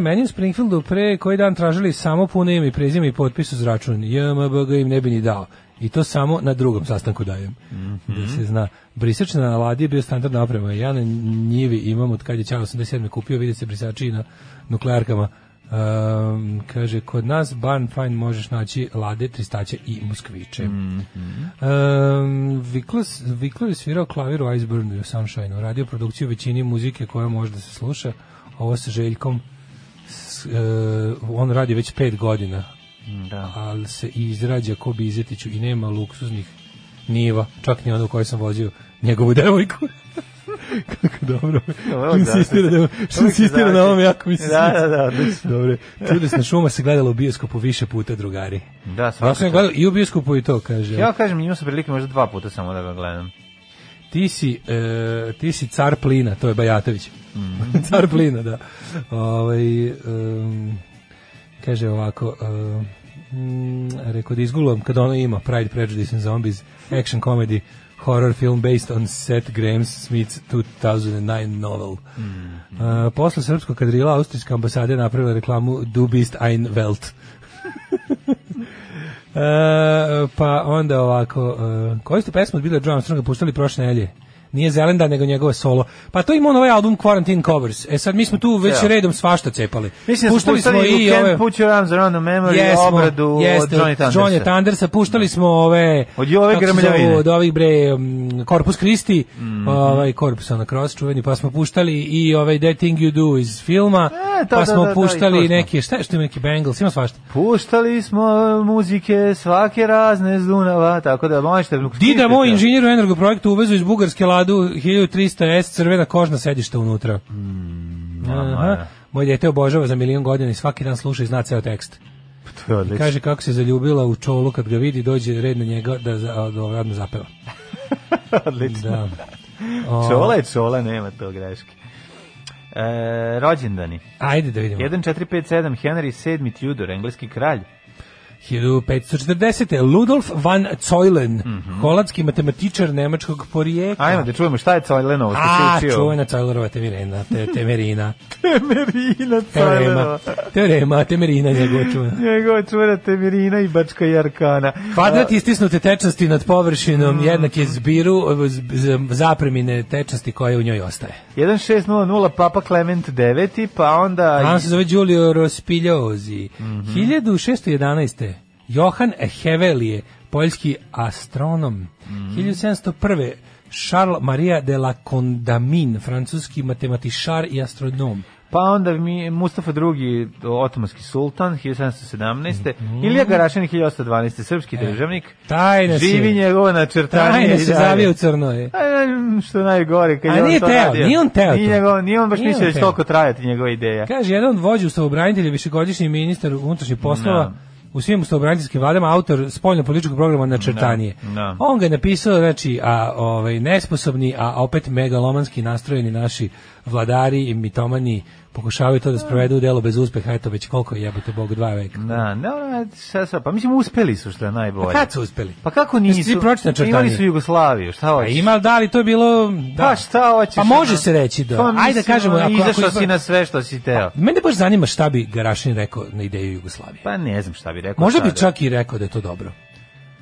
[SPEAKER 6] meni u Springfieldu pre koji dan tražili samo puno ime i prezime i potpis uz račun. JMBG im ne bi ni dao. I to samo na drugom sastanku dajem. Da se zna. Brisač na ladi je bio standardna oprema. Ja na njivi imam od kad je Ćao 87. kupio, vidi se brisači i na nuklearkama. Ehm, kaže, kod nas barn fajn možeš naći lade, tristaće i moskviće. Um, Viklas, Viklo je svirao klavir u Iceburnu i u Sunshineu, radio produkciju većini muzike koja može da se sluša. Ovo sa Željkom, s- e, on radi već pet godina,
[SPEAKER 7] Da.
[SPEAKER 6] ali se izrađa ko Bizetiću i nema luksuznih niva, čak ni ono u kojoj sam vozio njegovu devojku. Kako dobro.
[SPEAKER 7] Ovo je
[SPEAKER 6] insistira, da, što insistira na ovom, jako mi se
[SPEAKER 7] Da,
[SPEAKER 6] sviđa.
[SPEAKER 7] da, da, odlično.
[SPEAKER 6] Dobre. Čudesna šuma se gledala u bioskopu više puta, drugari.
[SPEAKER 7] Da,
[SPEAKER 6] Ja sam
[SPEAKER 7] svakako.
[SPEAKER 6] je gledao i u bioskopu i to, kaže.
[SPEAKER 7] Ja kažem, imao sam prilike možda dva puta samo da ga gledam.
[SPEAKER 6] ti si, e, ti si car plina, to je Bajatović. car plina, da. Ovaj, em, kaže ovako, e, mm, rekao da izgulam, kad ono ima Pride, Prejudice and Zombies, action comedy, horror film based on Seth Graham Smith's 2009 novel.
[SPEAKER 7] Mhm.
[SPEAKER 6] E, posle srpskog kadrila austrijska ambasada je napravila reklamu Du bist ein Welt. E, pa onda ovako, e, koju ste pesmu od Billy Joe Armstronga puštali prošle nelje? Nije Zelenda, nego njegova solo. Pa to ima on ovaj album Quarantine Covers. E sad, mi smo tu već
[SPEAKER 7] Ja.
[SPEAKER 6] redom svašta cepali.
[SPEAKER 7] Mislim da smo puštali i Can't Put Your Arms Around the Memory, obradu od
[SPEAKER 6] jeste,
[SPEAKER 7] Johnny Thundersa.
[SPEAKER 6] Johnny Thundersa, puštali smo ove...
[SPEAKER 7] Od Jove
[SPEAKER 6] kako se
[SPEAKER 7] Grmljavine. Mhm.
[SPEAKER 6] zovu, Od ovih bre, mm, Corpus Christi, ovaj Corpus on the Cross, čuveni, pa smo puštali i ovaj That Thing You Do iz filma,
[SPEAKER 7] E, da,
[SPEAKER 6] pa
[SPEAKER 7] da,
[SPEAKER 6] smo
[SPEAKER 7] da, da, i to
[SPEAKER 6] puštali
[SPEAKER 7] smo.
[SPEAKER 6] neke, šta je što ima neki Bengals, ima svašta.
[SPEAKER 7] Puštali smo muzike svake razne z Dunava, tako da možete...
[SPEAKER 6] Dida, moj
[SPEAKER 7] Slušajte.
[SPEAKER 6] inženjer u energoprojektu, uvezu iz Bugarske ladu 1300S, crvena kožna sedišta unutra.
[SPEAKER 7] Mm,
[SPEAKER 6] Aha.
[SPEAKER 7] Aha.
[SPEAKER 6] Moj dete obožava za milion godina i svaki dan sluša i zna ceo tekst.
[SPEAKER 7] To je odlično.
[SPEAKER 6] Kaže kako se zaljubila u čolu kad ga vidi, dođe red na njega da, za- da odmah zapeva.
[SPEAKER 7] odlično.
[SPEAKER 6] Da.
[SPEAKER 7] Čola je čola, nema to greške. E, rođendani.
[SPEAKER 6] Ajde da vidimo.
[SPEAKER 7] 1457 Henry VII Tudor, engleski kralj.
[SPEAKER 6] 1540. Ludolf van Zeulen,
[SPEAKER 7] Mhm.
[SPEAKER 6] holandski matematičar nemačkog porijeka.
[SPEAKER 7] Ajmo da čujemo šta je Cajlenovo što
[SPEAKER 6] A,
[SPEAKER 7] pa si učio.
[SPEAKER 6] čuvena Cajlerova temerina, te, temerina,
[SPEAKER 7] Temerina
[SPEAKER 6] teorema,
[SPEAKER 7] Cajlenova.
[SPEAKER 6] teorema, temerina njegova čuvena.
[SPEAKER 7] Njegova čura Temerina i Bačka Jarkana.
[SPEAKER 6] Kvadrat istisnute tečnosti nad
[SPEAKER 7] Mhm.
[SPEAKER 6] površinom jednak je zbiru z- z- zapremine tečnosti koja u njoj ostaje.
[SPEAKER 7] 1600 Papa Clement IX, pa onda...
[SPEAKER 6] A on se zove Giulio Rospigliosi. 1611. Johan Hevelije, poljski astronom. 1701. Charles Maria de la Condamine, francuski matematičar i astronom.
[SPEAKER 7] Pa onda mi Mustafa II, otomanski sultan, 1717.
[SPEAKER 6] Mhm.
[SPEAKER 7] Ilija Garašanin, 1812. Srpski
[SPEAKER 6] E,
[SPEAKER 7] državnik.
[SPEAKER 6] Tajna se-
[SPEAKER 7] Živi njegova načrtanje.
[SPEAKER 6] Tajna
[SPEAKER 7] i
[SPEAKER 6] se
[SPEAKER 7] dalje.
[SPEAKER 6] zavija u crnoje.
[SPEAKER 7] A, ja, što najgore, kad
[SPEAKER 6] A
[SPEAKER 7] je on
[SPEAKER 6] nije
[SPEAKER 7] to
[SPEAKER 6] teo,
[SPEAKER 7] radio.
[SPEAKER 6] nije on teo
[SPEAKER 7] Nije,
[SPEAKER 6] to.
[SPEAKER 7] njegov, nije on baš
[SPEAKER 6] Nije on
[SPEAKER 7] mislio da će
[SPEAKER 6] teo.
[SPEAKER 7] toliko trajati njegova ideja.
[SPEAKER 6] Kaže, jedan od vođu ustavobranitelja, višegodišnji ministar unutrašnjih poslova,
[SPEAKER 7] Da.
[SPEAKER 6] u svim ustavobraniteljskim vladama, autor spoljno-političkog programa Načrtanije.
[SPEAKER 7] Da, da.
[SPEAKER 6] On ga je napisao, znači, a, ovaj, nesposobni, a opet megalomanski nastrojeni naši vladari i mitomani pokušavaju to da sprovedu u delo bez uspeha, eto već koliko je jebote Bog dva veka.
[SPEAKER 7] Da, ne, ne, šta sad, pa mislim uspeli su što je najbolje.
[SPEAKER 6] A kad su uspeli?
[SPEAKER 7] Pa kako
[SPEAKER 6] Jeste
[SPEAKER 7] nisu?
[SPEAKER 6] ti pročitali Načrtanije?
[SPEAKER 7] Imali su Jugoslaviju, šta
[SPEAKER 6] Pa
[SPEAKER 7] hoćeš?
[SPEAKER 6] ima, da li to je bilo... Da.
[SPEAKER 7] Pa šta hoćeš?
[SPEAKER 6] Pa može
[SPEAKER 7] ono?
[SPEAKER 6] se reći da.
[SPEAKER 7] Pa
[SPEAKER 6] Ajde da
[SPEAKER 7] mislim,
[SPEAKER 6] kažemo...
[SPEAKER 7] ono,
[SPEAKER 6] ako- Pa ako
[SPEAKER 7] Izašao
[SPEAKER 6] izba-
[SPEAKER 7] si na sve što si teo.
[SPEAKER 6] Mene baš zanima šta bi Garašin rekao na ideju Jugoslavije.
[SPEAKER 7] Pa ne znam šta bi rekao.
[SPEAKER 6] Možda bi
[SPEAKER 7] sada.
[SPEAKER 6] čak i rekao da je to dobro.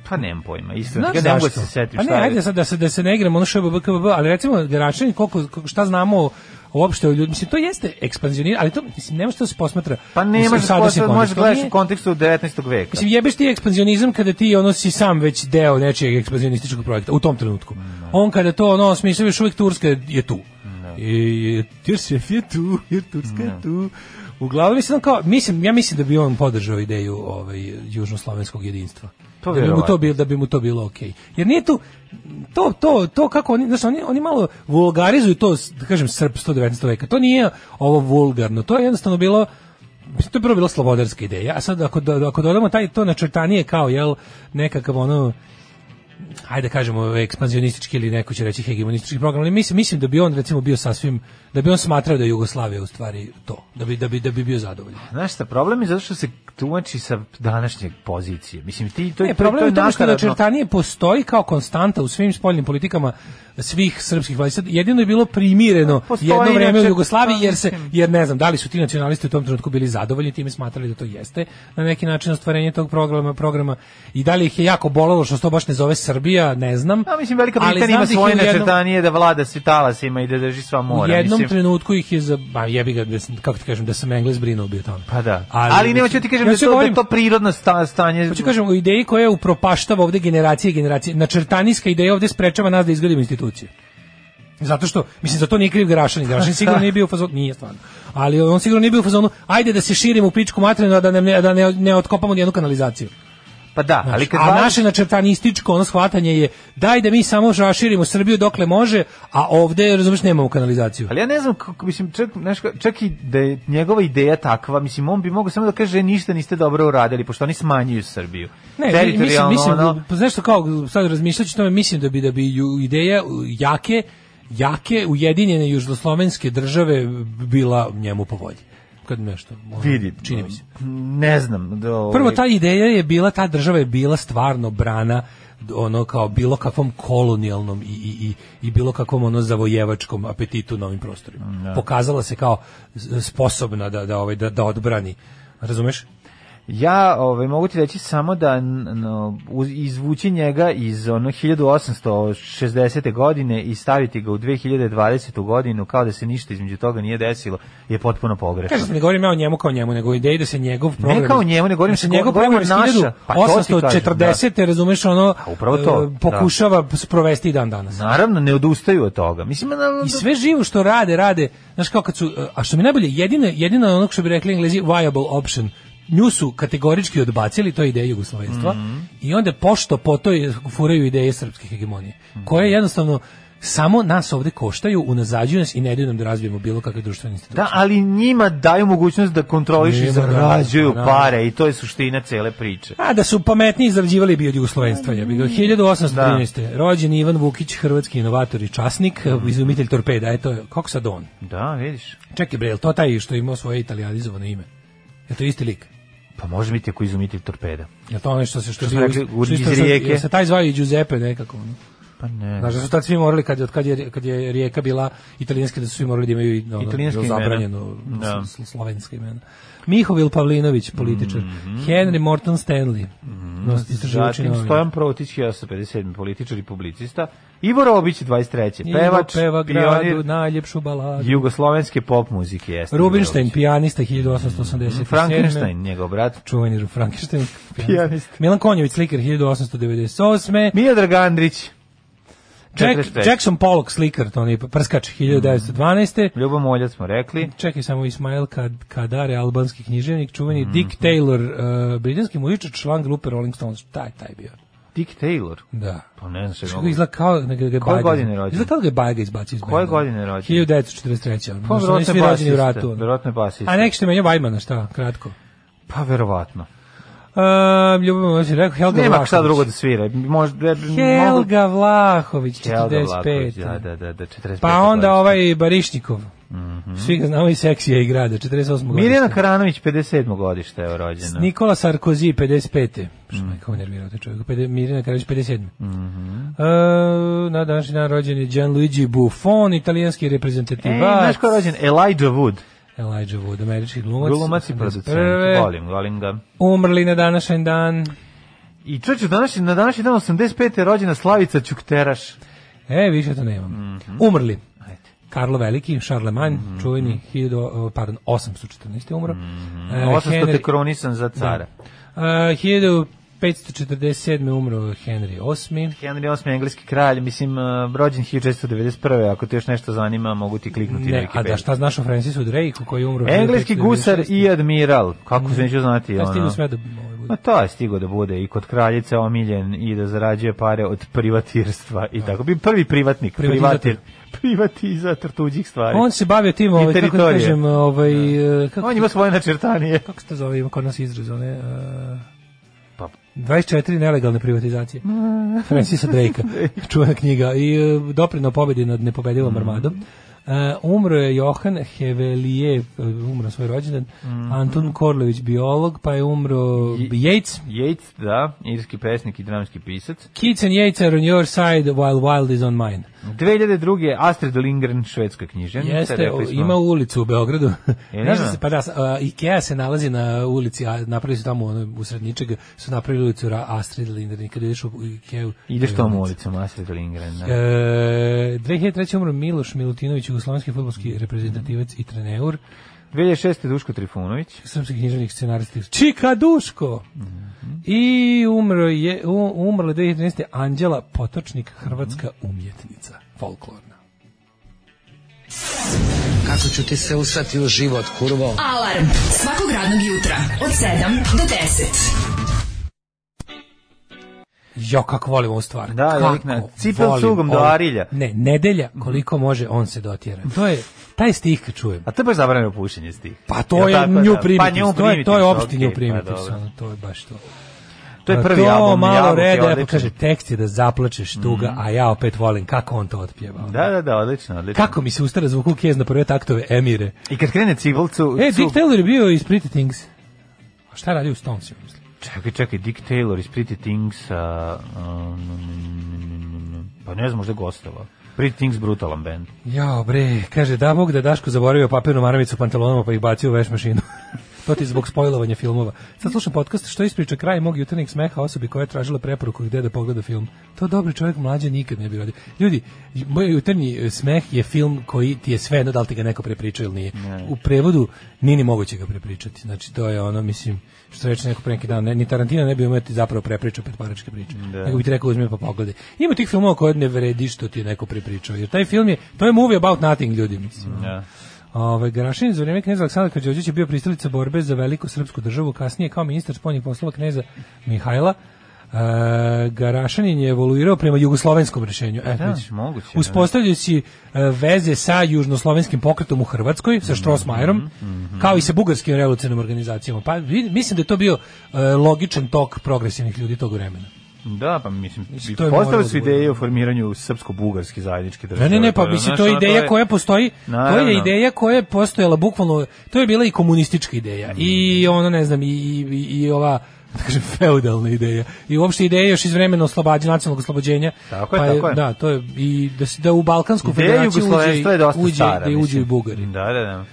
[SPEAKER 7] Pa nemam pojma, iskreno.
[SPEAKER 6] Znaš
[SPEAKER 7] Ja ne mogu da
[SPEAKER 6] zašto?
[SPEAKER 7] se setim
[SPEAKER 6] Pa ne,
[SPEAKER 7] šta je.
[SPEAKER 6] ajde sad da se, da se ne igramo ono što je BKBB, ali recimo Geračanin, koliko, koliko- šta znamo o- uopšte o ljudima, mislim, to jeste ekspanzionir, ali to, mislim, nema što se posmatra.
[SPEAKER 7] Pa
[SPEAKER 6] u- u
[SPEAKER 7] nemaš
[SPEAKER 6] sadašnjem
[SPEAKER 7] posao, možeš
[SPEAKER 6] kontekstu.
[SPEAKER 7] gledaš
[SPEAKER 6] Nije-
[SPEAKER 7] u kontekstu 19. veka.
[SPEAKER 6] Mislim, jebeš ti ekspanzionizam kada ti ono si sam već deo nečijeg ekspanzionističkog projekta u tom trenutku. On kada to ono osmislio, još uvijek Turska je tu. I, jer šef je tu, jer Turska je tu. Uglavnom mislim kao mislim ja mislim da bi on podržao ideju ovaj južnoslovenskog jedinstva.
[SPEAKER 7] To
[SPEAKER 6] da bi mu to
[SPEAKER 7] vjerovatno.
[SPEAKER 6] bilo da bi mu to bilo okej. Jer nije tu to to to kako oni znači oni oni malo vulgarizuju to da kažem srpstvo 19. veka. To nije ovo vulgarno. To je jednostavno bilo Mislim, to je prvo bila slobodarska ideja, a sad ako, do- ako dodamo taj, to načrtanije kao, jel, nekakav ono, ajde da kažemo, ekspanzionistički ili neko će reći hegemonistički program, ali mislim, mislim da bi on recimo bio sasvim, da bi on smatrao da je Jugoslavija u stvari to, da bi, da bi, da bi bio zadovoljan.
[SPEAKER 7] Znaš šta, problem je zato što se tumači sa današnje pozicije. Mislim, ti, to,
[SPEAKER 6] Ne, problem je u
[SPEAKER 7] to
[SPEAKER 6] tome što
[SPEAKER 7] nakaradno.
[SPEAKER 6] načrtanije postoji kao konstanta u svim spoljnim politikama svih srpskih vlada. Sad, Jedino je bilo primireno
[SPEAKER 7] Postoji
[SPEAKER 6] jedno vreme u
[SPEAKER 7] načrt-
[SPEAKER 6] Jugoslaviji jer se
[SPEAKER 7] mislim.
[SPEAKER 6] jer ne znam da li su ti nacionalisti u tom trenutku bili zadovoljni time smatrali da to jeste na neki način ostvarenje tog programa programa i da li ih je jako bolelo što se to baš ne zove Srbija, ne znam.
[SPEAKER 7] A mislim, Velika
[SPEAKER 6] Ali
[SPEAKER 7] Britanija
[SPEAKER 6] znam
[SPEAKER 7] ima
[SPEAKER 6] da
[SPEAKER 7] svoje
[SPEAKER 6] ih je u jednom-
[SPEAKER 7] načrtanije da vlada svi talasima i da drži sva
[SPEAKER 6] U
[SPEAKER 7] mora.
[SPEAKER 6] jednom
[SPEAKER 7] mislim.
[SPEAKER 6] trenutku ih je za ba jebi ga da sam, kako ti kažem da sam Englez brinuo bi o tome.
[SPEAKER 7] Pa da. Ali, nema ću ti kažem
[SPEAKER 6] ja
[SPEAKER 7] da,
[SPEAKER 6] ću
[SPEAKER 7] to, da
[SPEAKER 6] govorim-
[SPEAKER 7] je to prirodno sta, stanje.
[SPEAKER 6] Hoću Pa kažem o ideji koja upropaštava ovde generacije i generacije. Načrtanijska ideja ovde sprečava nas da izgradimo institucije. Zato što, mislim, za to nije kriv Garašanin. Garašanin sigurno nije bio u fazonu, nije stvarno. Ali on sigurno nije bio u fazonu, ajde da se širimo u pičku materinu, a da ne, da ne, ne otkopamo nijednu kanalizaciju.
[SPEAKER 7] pa da, ali kad
[SPEAKER 6] a
[SPEAKER 7] vladaš-
[SPEAKER 6] naše načrtanističko ono shvatanje je, daj da mi samo raširimo Srbiju dokle može, a ovde, razumeš, nemamo kanalizaciju.
[SPEAKER 7] Ali ja ne znam kako mislim čak znaš ka- čak i da je njegova ideja takva, mislim on bi mogao samo da kaže ništa niste dobro uradili pošto oni smanjuju Srbiju.
[SPEAKER 6] Ne, mislim,
[SPEAKER 7] Teritorijalno,
[SPEAKER 6] mislim,
[SPEAKER 7] ono,
[SPEAKER 6] pa znaš što kao sad razmišljajući o tome, mislim da bi da bi ju- ideja u, jake jake ujedinjene južnoslovenske države bila njemu po volji. Kad nešto, ono,
[SPEAKER 7] vidi,
[SPEAKER 6] čini mi se.
[SPEAKER 7] Ne znam, da ovaj-
[SPEAKER 6] Prvo ta ideja je bila ta država je bila stvarno brana ono kao bilo kakvom kolonijalnom i, i, i, i bilo kakvom ono zavojevačkom apetitu na ovim prostorima. Pokazala se kao s- sposobna da da ovaj da, da odbrani. Razumeš?
[SPEAKER 7] Ja ovaj, mogu ti reći samo da n- no, uz- izvući njega iz ono 1860. godine i staviti ga u 2020. godinu kao da se ništa između toga nije desilo je potpuno pogrešno.
[SPEAKER 6] Kažete, ne govorim ja o njemu kao njemu, nego o ideji da se njegov program...
[SPEAKER 7] kao njemu, ne govorim
[SPEAKER 6] da se
[SPEAKER 7] se-
[SPEAKER 6] njegov
[SPEAKER 7] govorim
[SPEAKER 6] program iz
[SPEAKER 7] naša. Pa to ti kažem,
[SPEAKER 6] 1840. razumeš, ono,
[SPEAKER 7] A upravo to,
[SPEAKER 6] e, pokušava sprovesti i dan danas.
[SPEAKER 7] Naravno, ne odustaju od toga. Mislim, na,
[SPEAKER 6] I sve živo što rade, rade, znaš kao kad su, e, a što mi je najbolje, jedina, jedina onog što bi rekli englezi, viable option, nju su kategorički odbacili, to je ideja jugoslovenstva,
[SPEAKER 7] Mhm.
[SPEAKER 6] i onda pošto po toj furaju ideje srpske hegemonije, koje jednostavno samo nas ovde koštaju, unazađuju nas i ne daju nam da razvijemo bilo kakve društvene institucije.
[SPEAKER 7] Da, ali njima daju mogućnost da kontrolišu i
[SPEAKER 6] Njima da,
[SPEAKER 7] zarađuju
[SPEAKER 6] da, da.
[SPEAKER 7] pare i to je suština cele priče.
[SPEAKER 6] A Pa, da su pametniji izrađivali bi od Jugoslovenstva. Ja bih 1813. Rođen Ivan Vukić, hrvatski inovator i časnik, izumitelj torpeda. Eto, kako sad on?
[SPEAKER 7] Da, vidiš.
[SPEAKER 6] Čekaj bre, je li to taj što je imao svoje italijanizovano ime? Je to isti lik?
[SPEAKER 7] Pa može biti ako izumitelj torpeda.
[SPEAKER 6] Je to ono što se što,
[SPEAKER 7] smo
[SPEAKER 6] se-
[SPEAKER 7] rekli,
[SPEAKER 6] što-
[SPEAKER 7] iz
[SPEAKER 6] što se-
[SPEAKER 7] Rijeke?
[SPEAKER 6] jel se taj zvao i Giuseppe nekako. ono?
[SPEAKER 7] Pa ne.
[SPEAKER 6] Znaš da su tad svi morali, kad, je- od kad, je, kad je rijeka bila italijanska, da su svi morali da imaju i, ono,
[SPEAKER 7] Italijanska imena.
[SPEAKER 6] zabranjeno
[SPEAKER 7] Da.
[SPEAKER 6] da. slovenska imena. Mhm. Mihovil Pavlinović, političar. Henry Morton Stanley. Mm. istraživači
[SPEAKER 7] Zatim
[SPEAKER 6] novina.
[SPEAKER 7] Stojan Protić, 1957. političar i publicista. Ivor Obić, 23.
[SPEAKER 6] Ivo
[SPEAKER 7] Pevač,
[SPEAKER 6] peva gradu
[SPEAKER 7] pionir
[SPEAKER 6] najljepšu baladu.
[SPEAKER 7] jugoslovenske pop muzike. Jeste
[SPEAKER 6] Rubinstein,
[SPEAKER 7] Ivor
[SPEAKER 6] pijanista 1887.
[SPEAKER 7] Obić. Frankenstein, njegov brat.
[SPEAKER 6] Čuveni Ru- Frankenstein.
[SPEAKER 7] Pijanista.
[SPEAKER 6] Milan Konjević, slikar 1898.
[SPEAKER 7] Miodrag Andrić,
[SPEAKER 6] Jack,
[SPEAKER 7] 43.
[SPEAKER 6] Jackson Pollock, slikar, to on je
[SPEAKER 7] Mm.
[SPEAKER 6] prskač 1912.
[SPEAKER 7] Ljubo Moljac smo rekli.
[SPEAKER 6] Čekaj samo Ismail Kad Kadare, albanski književnik,
[SPEAKER 7] Mm-hmm.
[SPEAKER 6] čuveni Dick Taylor, uh, britanski muzičar, član grupe Rolling Stones. Taj, taj bio.
[SPEAKER 7] Dick Taylor.
[SPEAKER 6] Da.
[SPEAKER 7] Pa ne znam se
[SPEAKER 6] Što
[SPEAKER 7] mogu.
[SPEAKER 6] ga izgleda kao da ga je
[SPEAKER 7] Koje
[SPEAKER 6] Bajga-
[SPEAKER 7] godine je rođen?
[SPEAKER 6] Izgleda kao da ga je Bajga izbacio iz
[SPEAKER 7] Koje
[SPEAKER 6] benda.
[SPEAKER 7] godine je rođen?
[SPEAKER 6] 1943. ono,
[SPEAKER 7] Pa
[SPEAKER 6] znaš, oni
[SPEAKER 7] verovatno
[SPEAKER 6] svi
[SPEAKER 7] je
[SPEAKER 6] rođeni u
[SPEAKER 7] basista,
[SPEAKER 6] ratu. ono.
[SPEAKER 7] verovatno je basista.
[SPEAKER 6] A nek što menja Vajmana, šta, kratko.
[SPEAKER 7] Pa verovatno.
[SPEAKER 6] Um, Ljubomir Milošević je rekao Helga
[SPEAKER 7] Nema
[SPEAKER 6] Vlahović.
[SPEAKER 7] šta drugo da svira. Možda, mogu-
[SPEAKER 6] Helga Vlahović, 45.
[SPEAKER 7] Helga Vlahović, Da, da, da, da, 45.
[SPEAKER 6] Pa onda
[SPEAKER 7] godište.
[SPEAKER 6] ovaj Barišnikov. Svi ga znamo i seksija i grada, 48.
[SPEAKER 7] Mirjana
[SPEAKER 6] godište.
[SPEAKER 7] Karanović, 57. godište je rođena.
[SPEAKER 6] Nikola Sarkozy, 55. Što me kao nervirao taj čovjek. Pede- Mirjana Karanović, 57. E, na današnji dan rođen je Gianluigi Buffon, italijanski
[SPEAKER 7] E,
[SPEAKER 6] reprezentativac.
[SPEAKER 7] znaš ko je rođen? Elijah Wood.
[SPEAKER 6] Elijah Wood, američki glumac.
[SPEAKER 7] Glumac i
[SPEAKER 6] 81..
[SPEAKER 7] producent. Volim, volim ga.
[SPEAKER 6] Umrli na današnji dan.
[SPEAKER 7] I čoče, današnji, na današnji dan 85. je rođena Slavica Ćukteraš.
[SPEAKER 6] E, više to nemam. Umrli.
[SPEAKER 7] Mhm. Ajde. Mhm.
[SPEAKER 6] Karlo Veliki, Charlemagne, čuveni, 1000, pardon, 814. je umro. E,
[SPEAKER 7] 800. Mhm. te
[SPEAKER 6] Henry-
[SPEAKER 7] kronisan za cara.
[SPEAKER 6] Uh, 1547. umro Henry VIII.
[SPEAKER 7] Henry VIII. engleski kralj, mislim, uh, rođen 1691. Ako te još nešto zanima, mogu ti kliknuti
[SPEAKER 6] Ne,
[SPEAKER 7] na
[SPEAKER 6] a da
[SPEAKER 7] Wikipediju.
[SPEAKER 6] šta znaš o Francisu Drakeu koji je umro?
[SPEAKER 7] Engleski
[SPEAKER 6] 1596.
[SPEAKER 7] gusar i admiral. Kako se neću znati?
[SPEAKER 6] Ja stigu
[SPEAKER 7] ono?
[SPEAKER 6] sve da ovaj bude.
[SPEAKER 7] Ma to je stigo da bude i kod kraljice omiljen i da zarađuje pare od privatirstva i tako. Bi prvi privatnik,
[SPEAKER 6] Privatizator.
[SPEAKER 7] privatir, privatizator tuđih stvari.
[SPEAKER 6] On se bavio tim, ovaj, kako da
[SPEAKER 7] teritorije.
[SPEAKER 6] kažem, ovaj, eh, kako,
[SPEAKER 7] On ima svoje načrtanije.
[SPEAKER 6] kako se to zove, ima kod nas izraz, one, eh,
[SPEAKER 7] Pa-
[SPEAKER 6] 24 nelegalne privatizacije. Francisa Drakea, čuvena knjiga. I eh, doprinao pobedi nad nepobedivom armadom. Eh, umro je Johan Hevelier, eh, umro na svoj rođendan, Anton Korlević, biolog, pa je umro Yates,
[SPEAKER 7] Yates, da, irski pesnik i dramski pisac.
[SPEAKER 6] Kids and Yates are on your side while wild is on mine.
[SPEAKER 7] 2002. Astrid Lindgren, švedska književnica.
[SPEAKER 6] Jeste,
[SPEAKER 7] rekli smo.
[SPEAKER 6] ima ulicu u Beogradu.
[SPEAKER 7] Jel
[SPEAKER 6] Znaš da
[SPEAKER 7] ima?
[SPEAKER 6] se, pa da, s- a, Ikea se nalazi na ulici, a napravili su tamo ono, usred ničega, su napravili ulicu Ra- Astrid Lindgren. Kada ideš u Ikeu...
[SPEAKER 7] Ideš tom ulicom, Astrid Lindgren. Da.
[SPEAKER 6] E, 2003. umro Miloš Milutinović, jugoslovenski futbolski reprezentativac i treneur,
[SPEAKER 7] 2006. Duško Trifunović.
[SPEAKER 6] srpski književnik scenarista. Čika Duško!
[SPEAKER 7] Mhm.
[SPEAKER 6] I umro je, u- umrla je 2013. Anđela Potočnik, hrvatska
[SPEAKER 7] Mhm.
[SPEAKER 6] umjetnica, folklorna.
[SPEAKER 9] Kako ću ti se usrati u život, kurvo?
[SPEAKER 5] Alarm svakog radnog jutra od 7 do 10.
[SPEAKER 6] Jo, kako volim ovu stvar.
[SPEAKER 7] Da,
[SPEAKER 6] kako
[SPEAKER 7] ja uvijek na cipel
[SPEAKER 6] volim
[SPEAKER 7] cugom do
[SPEAKER 6] ovo.
[SPEAKER 7] Arilja. Mhm.
[SPEAKER 6] Ne, nedelja, koliko može, on se dotjera. To je, taj stih kad čujem.
[SPEAKER 7] A to je baš zabranjeno pušenje stih.
[SPEAKER 6] Pa to je
[SPEAKER 7] tako,
[SPEAKER 6] new
[SPEAKER 7] da? Pa
[SPEAKER 6] primitives,
[SPEAKER 7] new
[SPEAKER 6] to je, to je
[SPEAKER 7] primitives,
[SPEAKER 6] opšti
[SPEAKER 7] ok,
[SPEAKER 6] new
[SPEAKER 7] pa
[SPEAKER 6] primitives,
[SPEAKER 7] dobro.
[SPEAKER 6] ono, to je baš to. Pa
[SPEAKER 7] To je prvi
[SPEAKER 6] to
[SPEAKER 7] album.
[SPEAKER 6] malo
[SPEAKER 7] Jabuke,
[SPEAKER 6] reda, ja pa
[SPEAKER 7] odličan. Mhm.
[SPEAKER 6] kaže, tekst je da zaplačeš tuga, a ja opet volim kako on to otpjeva. ono.
[SPEAKER 7] Da, da, da, odlično, odlično.
[SPEAKER 6] Kako mi se ustara zvuk u kez na prve taktove Emire.
[SPEAKER 7] I kad krene civilcu...
[SPEAKER 6] E, Dick Taylor je bio iz Pretty Things. A šta radi u Stones, ja mislim?
[SPEAKER 7] Čekaj, čekaj, Dick Taylor iz Pretty Things, a, um, pa ne znam, možda je gostovao. Pretty Things brutalan band.
[SPEAKER 6] Jao bre, kaže da Bog da je Daško zaboravio papirnu maramicu u pantalonama pa ih bacio u veš mašinu. to ti zbog spojlovanja filmova. Sad slušam podcast što ispriča kraj mog jutarnjeg smeha osobi koja je tražila preporuku gde da pogleda film. To dobri čovjek mlađe nikad ne bi radio. Ljudi, moj jutarnji eh, smeh je film koji ti je sve jedno da li ti ga neko prepriča ili nije. U prevodu nije ni moguće ga prepričati. Znači to je ono, mislim, što reče neko pre neki dan, ne, ni Tarantino ne bi umeo ti zapravo prepričao petparačke priče. Nego bi ti rekao uzmi pa pogledaj. Ima tih filmova koje ne vredi što ti je neko prepričao. Jer taj film je, to je movie about nothing ljudi, mislim.
[SPEAKER 7] Da.
[SPEAKER 6] Ovaj Grašin za vrijeme kneza Aleksandra Kađorđevića je bio pristalica borbe za veliku srpsku državu, kasnije kao ministar spoljnih poslova kneza Mihajla. E, Garašanin je evoluirao prema jugoslovenskom rješenju. E,
[SPEAKER 7] da,
[SPEAKER 6] vidiš.
[SPEAKER 7] moguće, da.
[SPEAKER 6] Uspostavljajući e, veze sa južnoslovenskim pokretom u Hrvatskoj,
[SPEAKER 7] Mhm,
[SPEAKER 6] sa Štrosmajerom, kao i sa bugarskim revolucionarnim organizacijama. Pa vidi- mislim da je to bio e, logičan tok progresivnih ljudi tog vremena.
[SPEAKER 7] Da, pa mislim,
[SPEAKER 6] Mislim, to je
[SPEAKER 7] postavili
[SPEAKER 6] moralo
[SPEAKER 7] su
[SPEAKER 6] da bude.
[SPEAKER 7] ideje o formiranju srpsko-bugarske zajedničke
[SPEAKER 6] Ne,
[SPEAKER 7] države.
[SPEAKER 6] ne, ne, pa
[SPEAKER 7] je,
[SPEAKER 6] mislim,
[SPEAKER 7] znaš,
[SPEAKER 6] to je
[SPEAKER 7] ono,
[SPEAKER 6] ideja koja postoji, to
[SPEAKER 7] Naravno.
[SPEAKER 6] je ideja koja je postojala bukvalno, to je bila i komunistička ideja,
[SPEAKER 7] Mm.
[SPEAKER 6] i ono, ne znam, i, i, i- i ova, da kažem, feudalna ideja, i uopšte ideja još iz vremena oslobađanja, nacionalnog oslobođenja,
[SPEAKER 7] Tako je,
[SPEAKER 6] pa
[SPEAKER 7] tako je.
[SPEAKER 6] Da, to je, i da, se, da u Balkansku
[SPEAKER 7] Ideja
[SPEAKER 6] federaciju
[SPEAKER 7] Jugoslovenstva je
[SPEAKER 6] uđe,
[SPEAKER 7] dosta
[SPEAKER 6] uđe,
[SPEAKER 7] stara.
[SPEAKER 6] da i uđe
[SPEAKER 7] mislim. Mm.
[SPEAKER 6] i Bugari.
[SPEAKER 7] Da, da, da.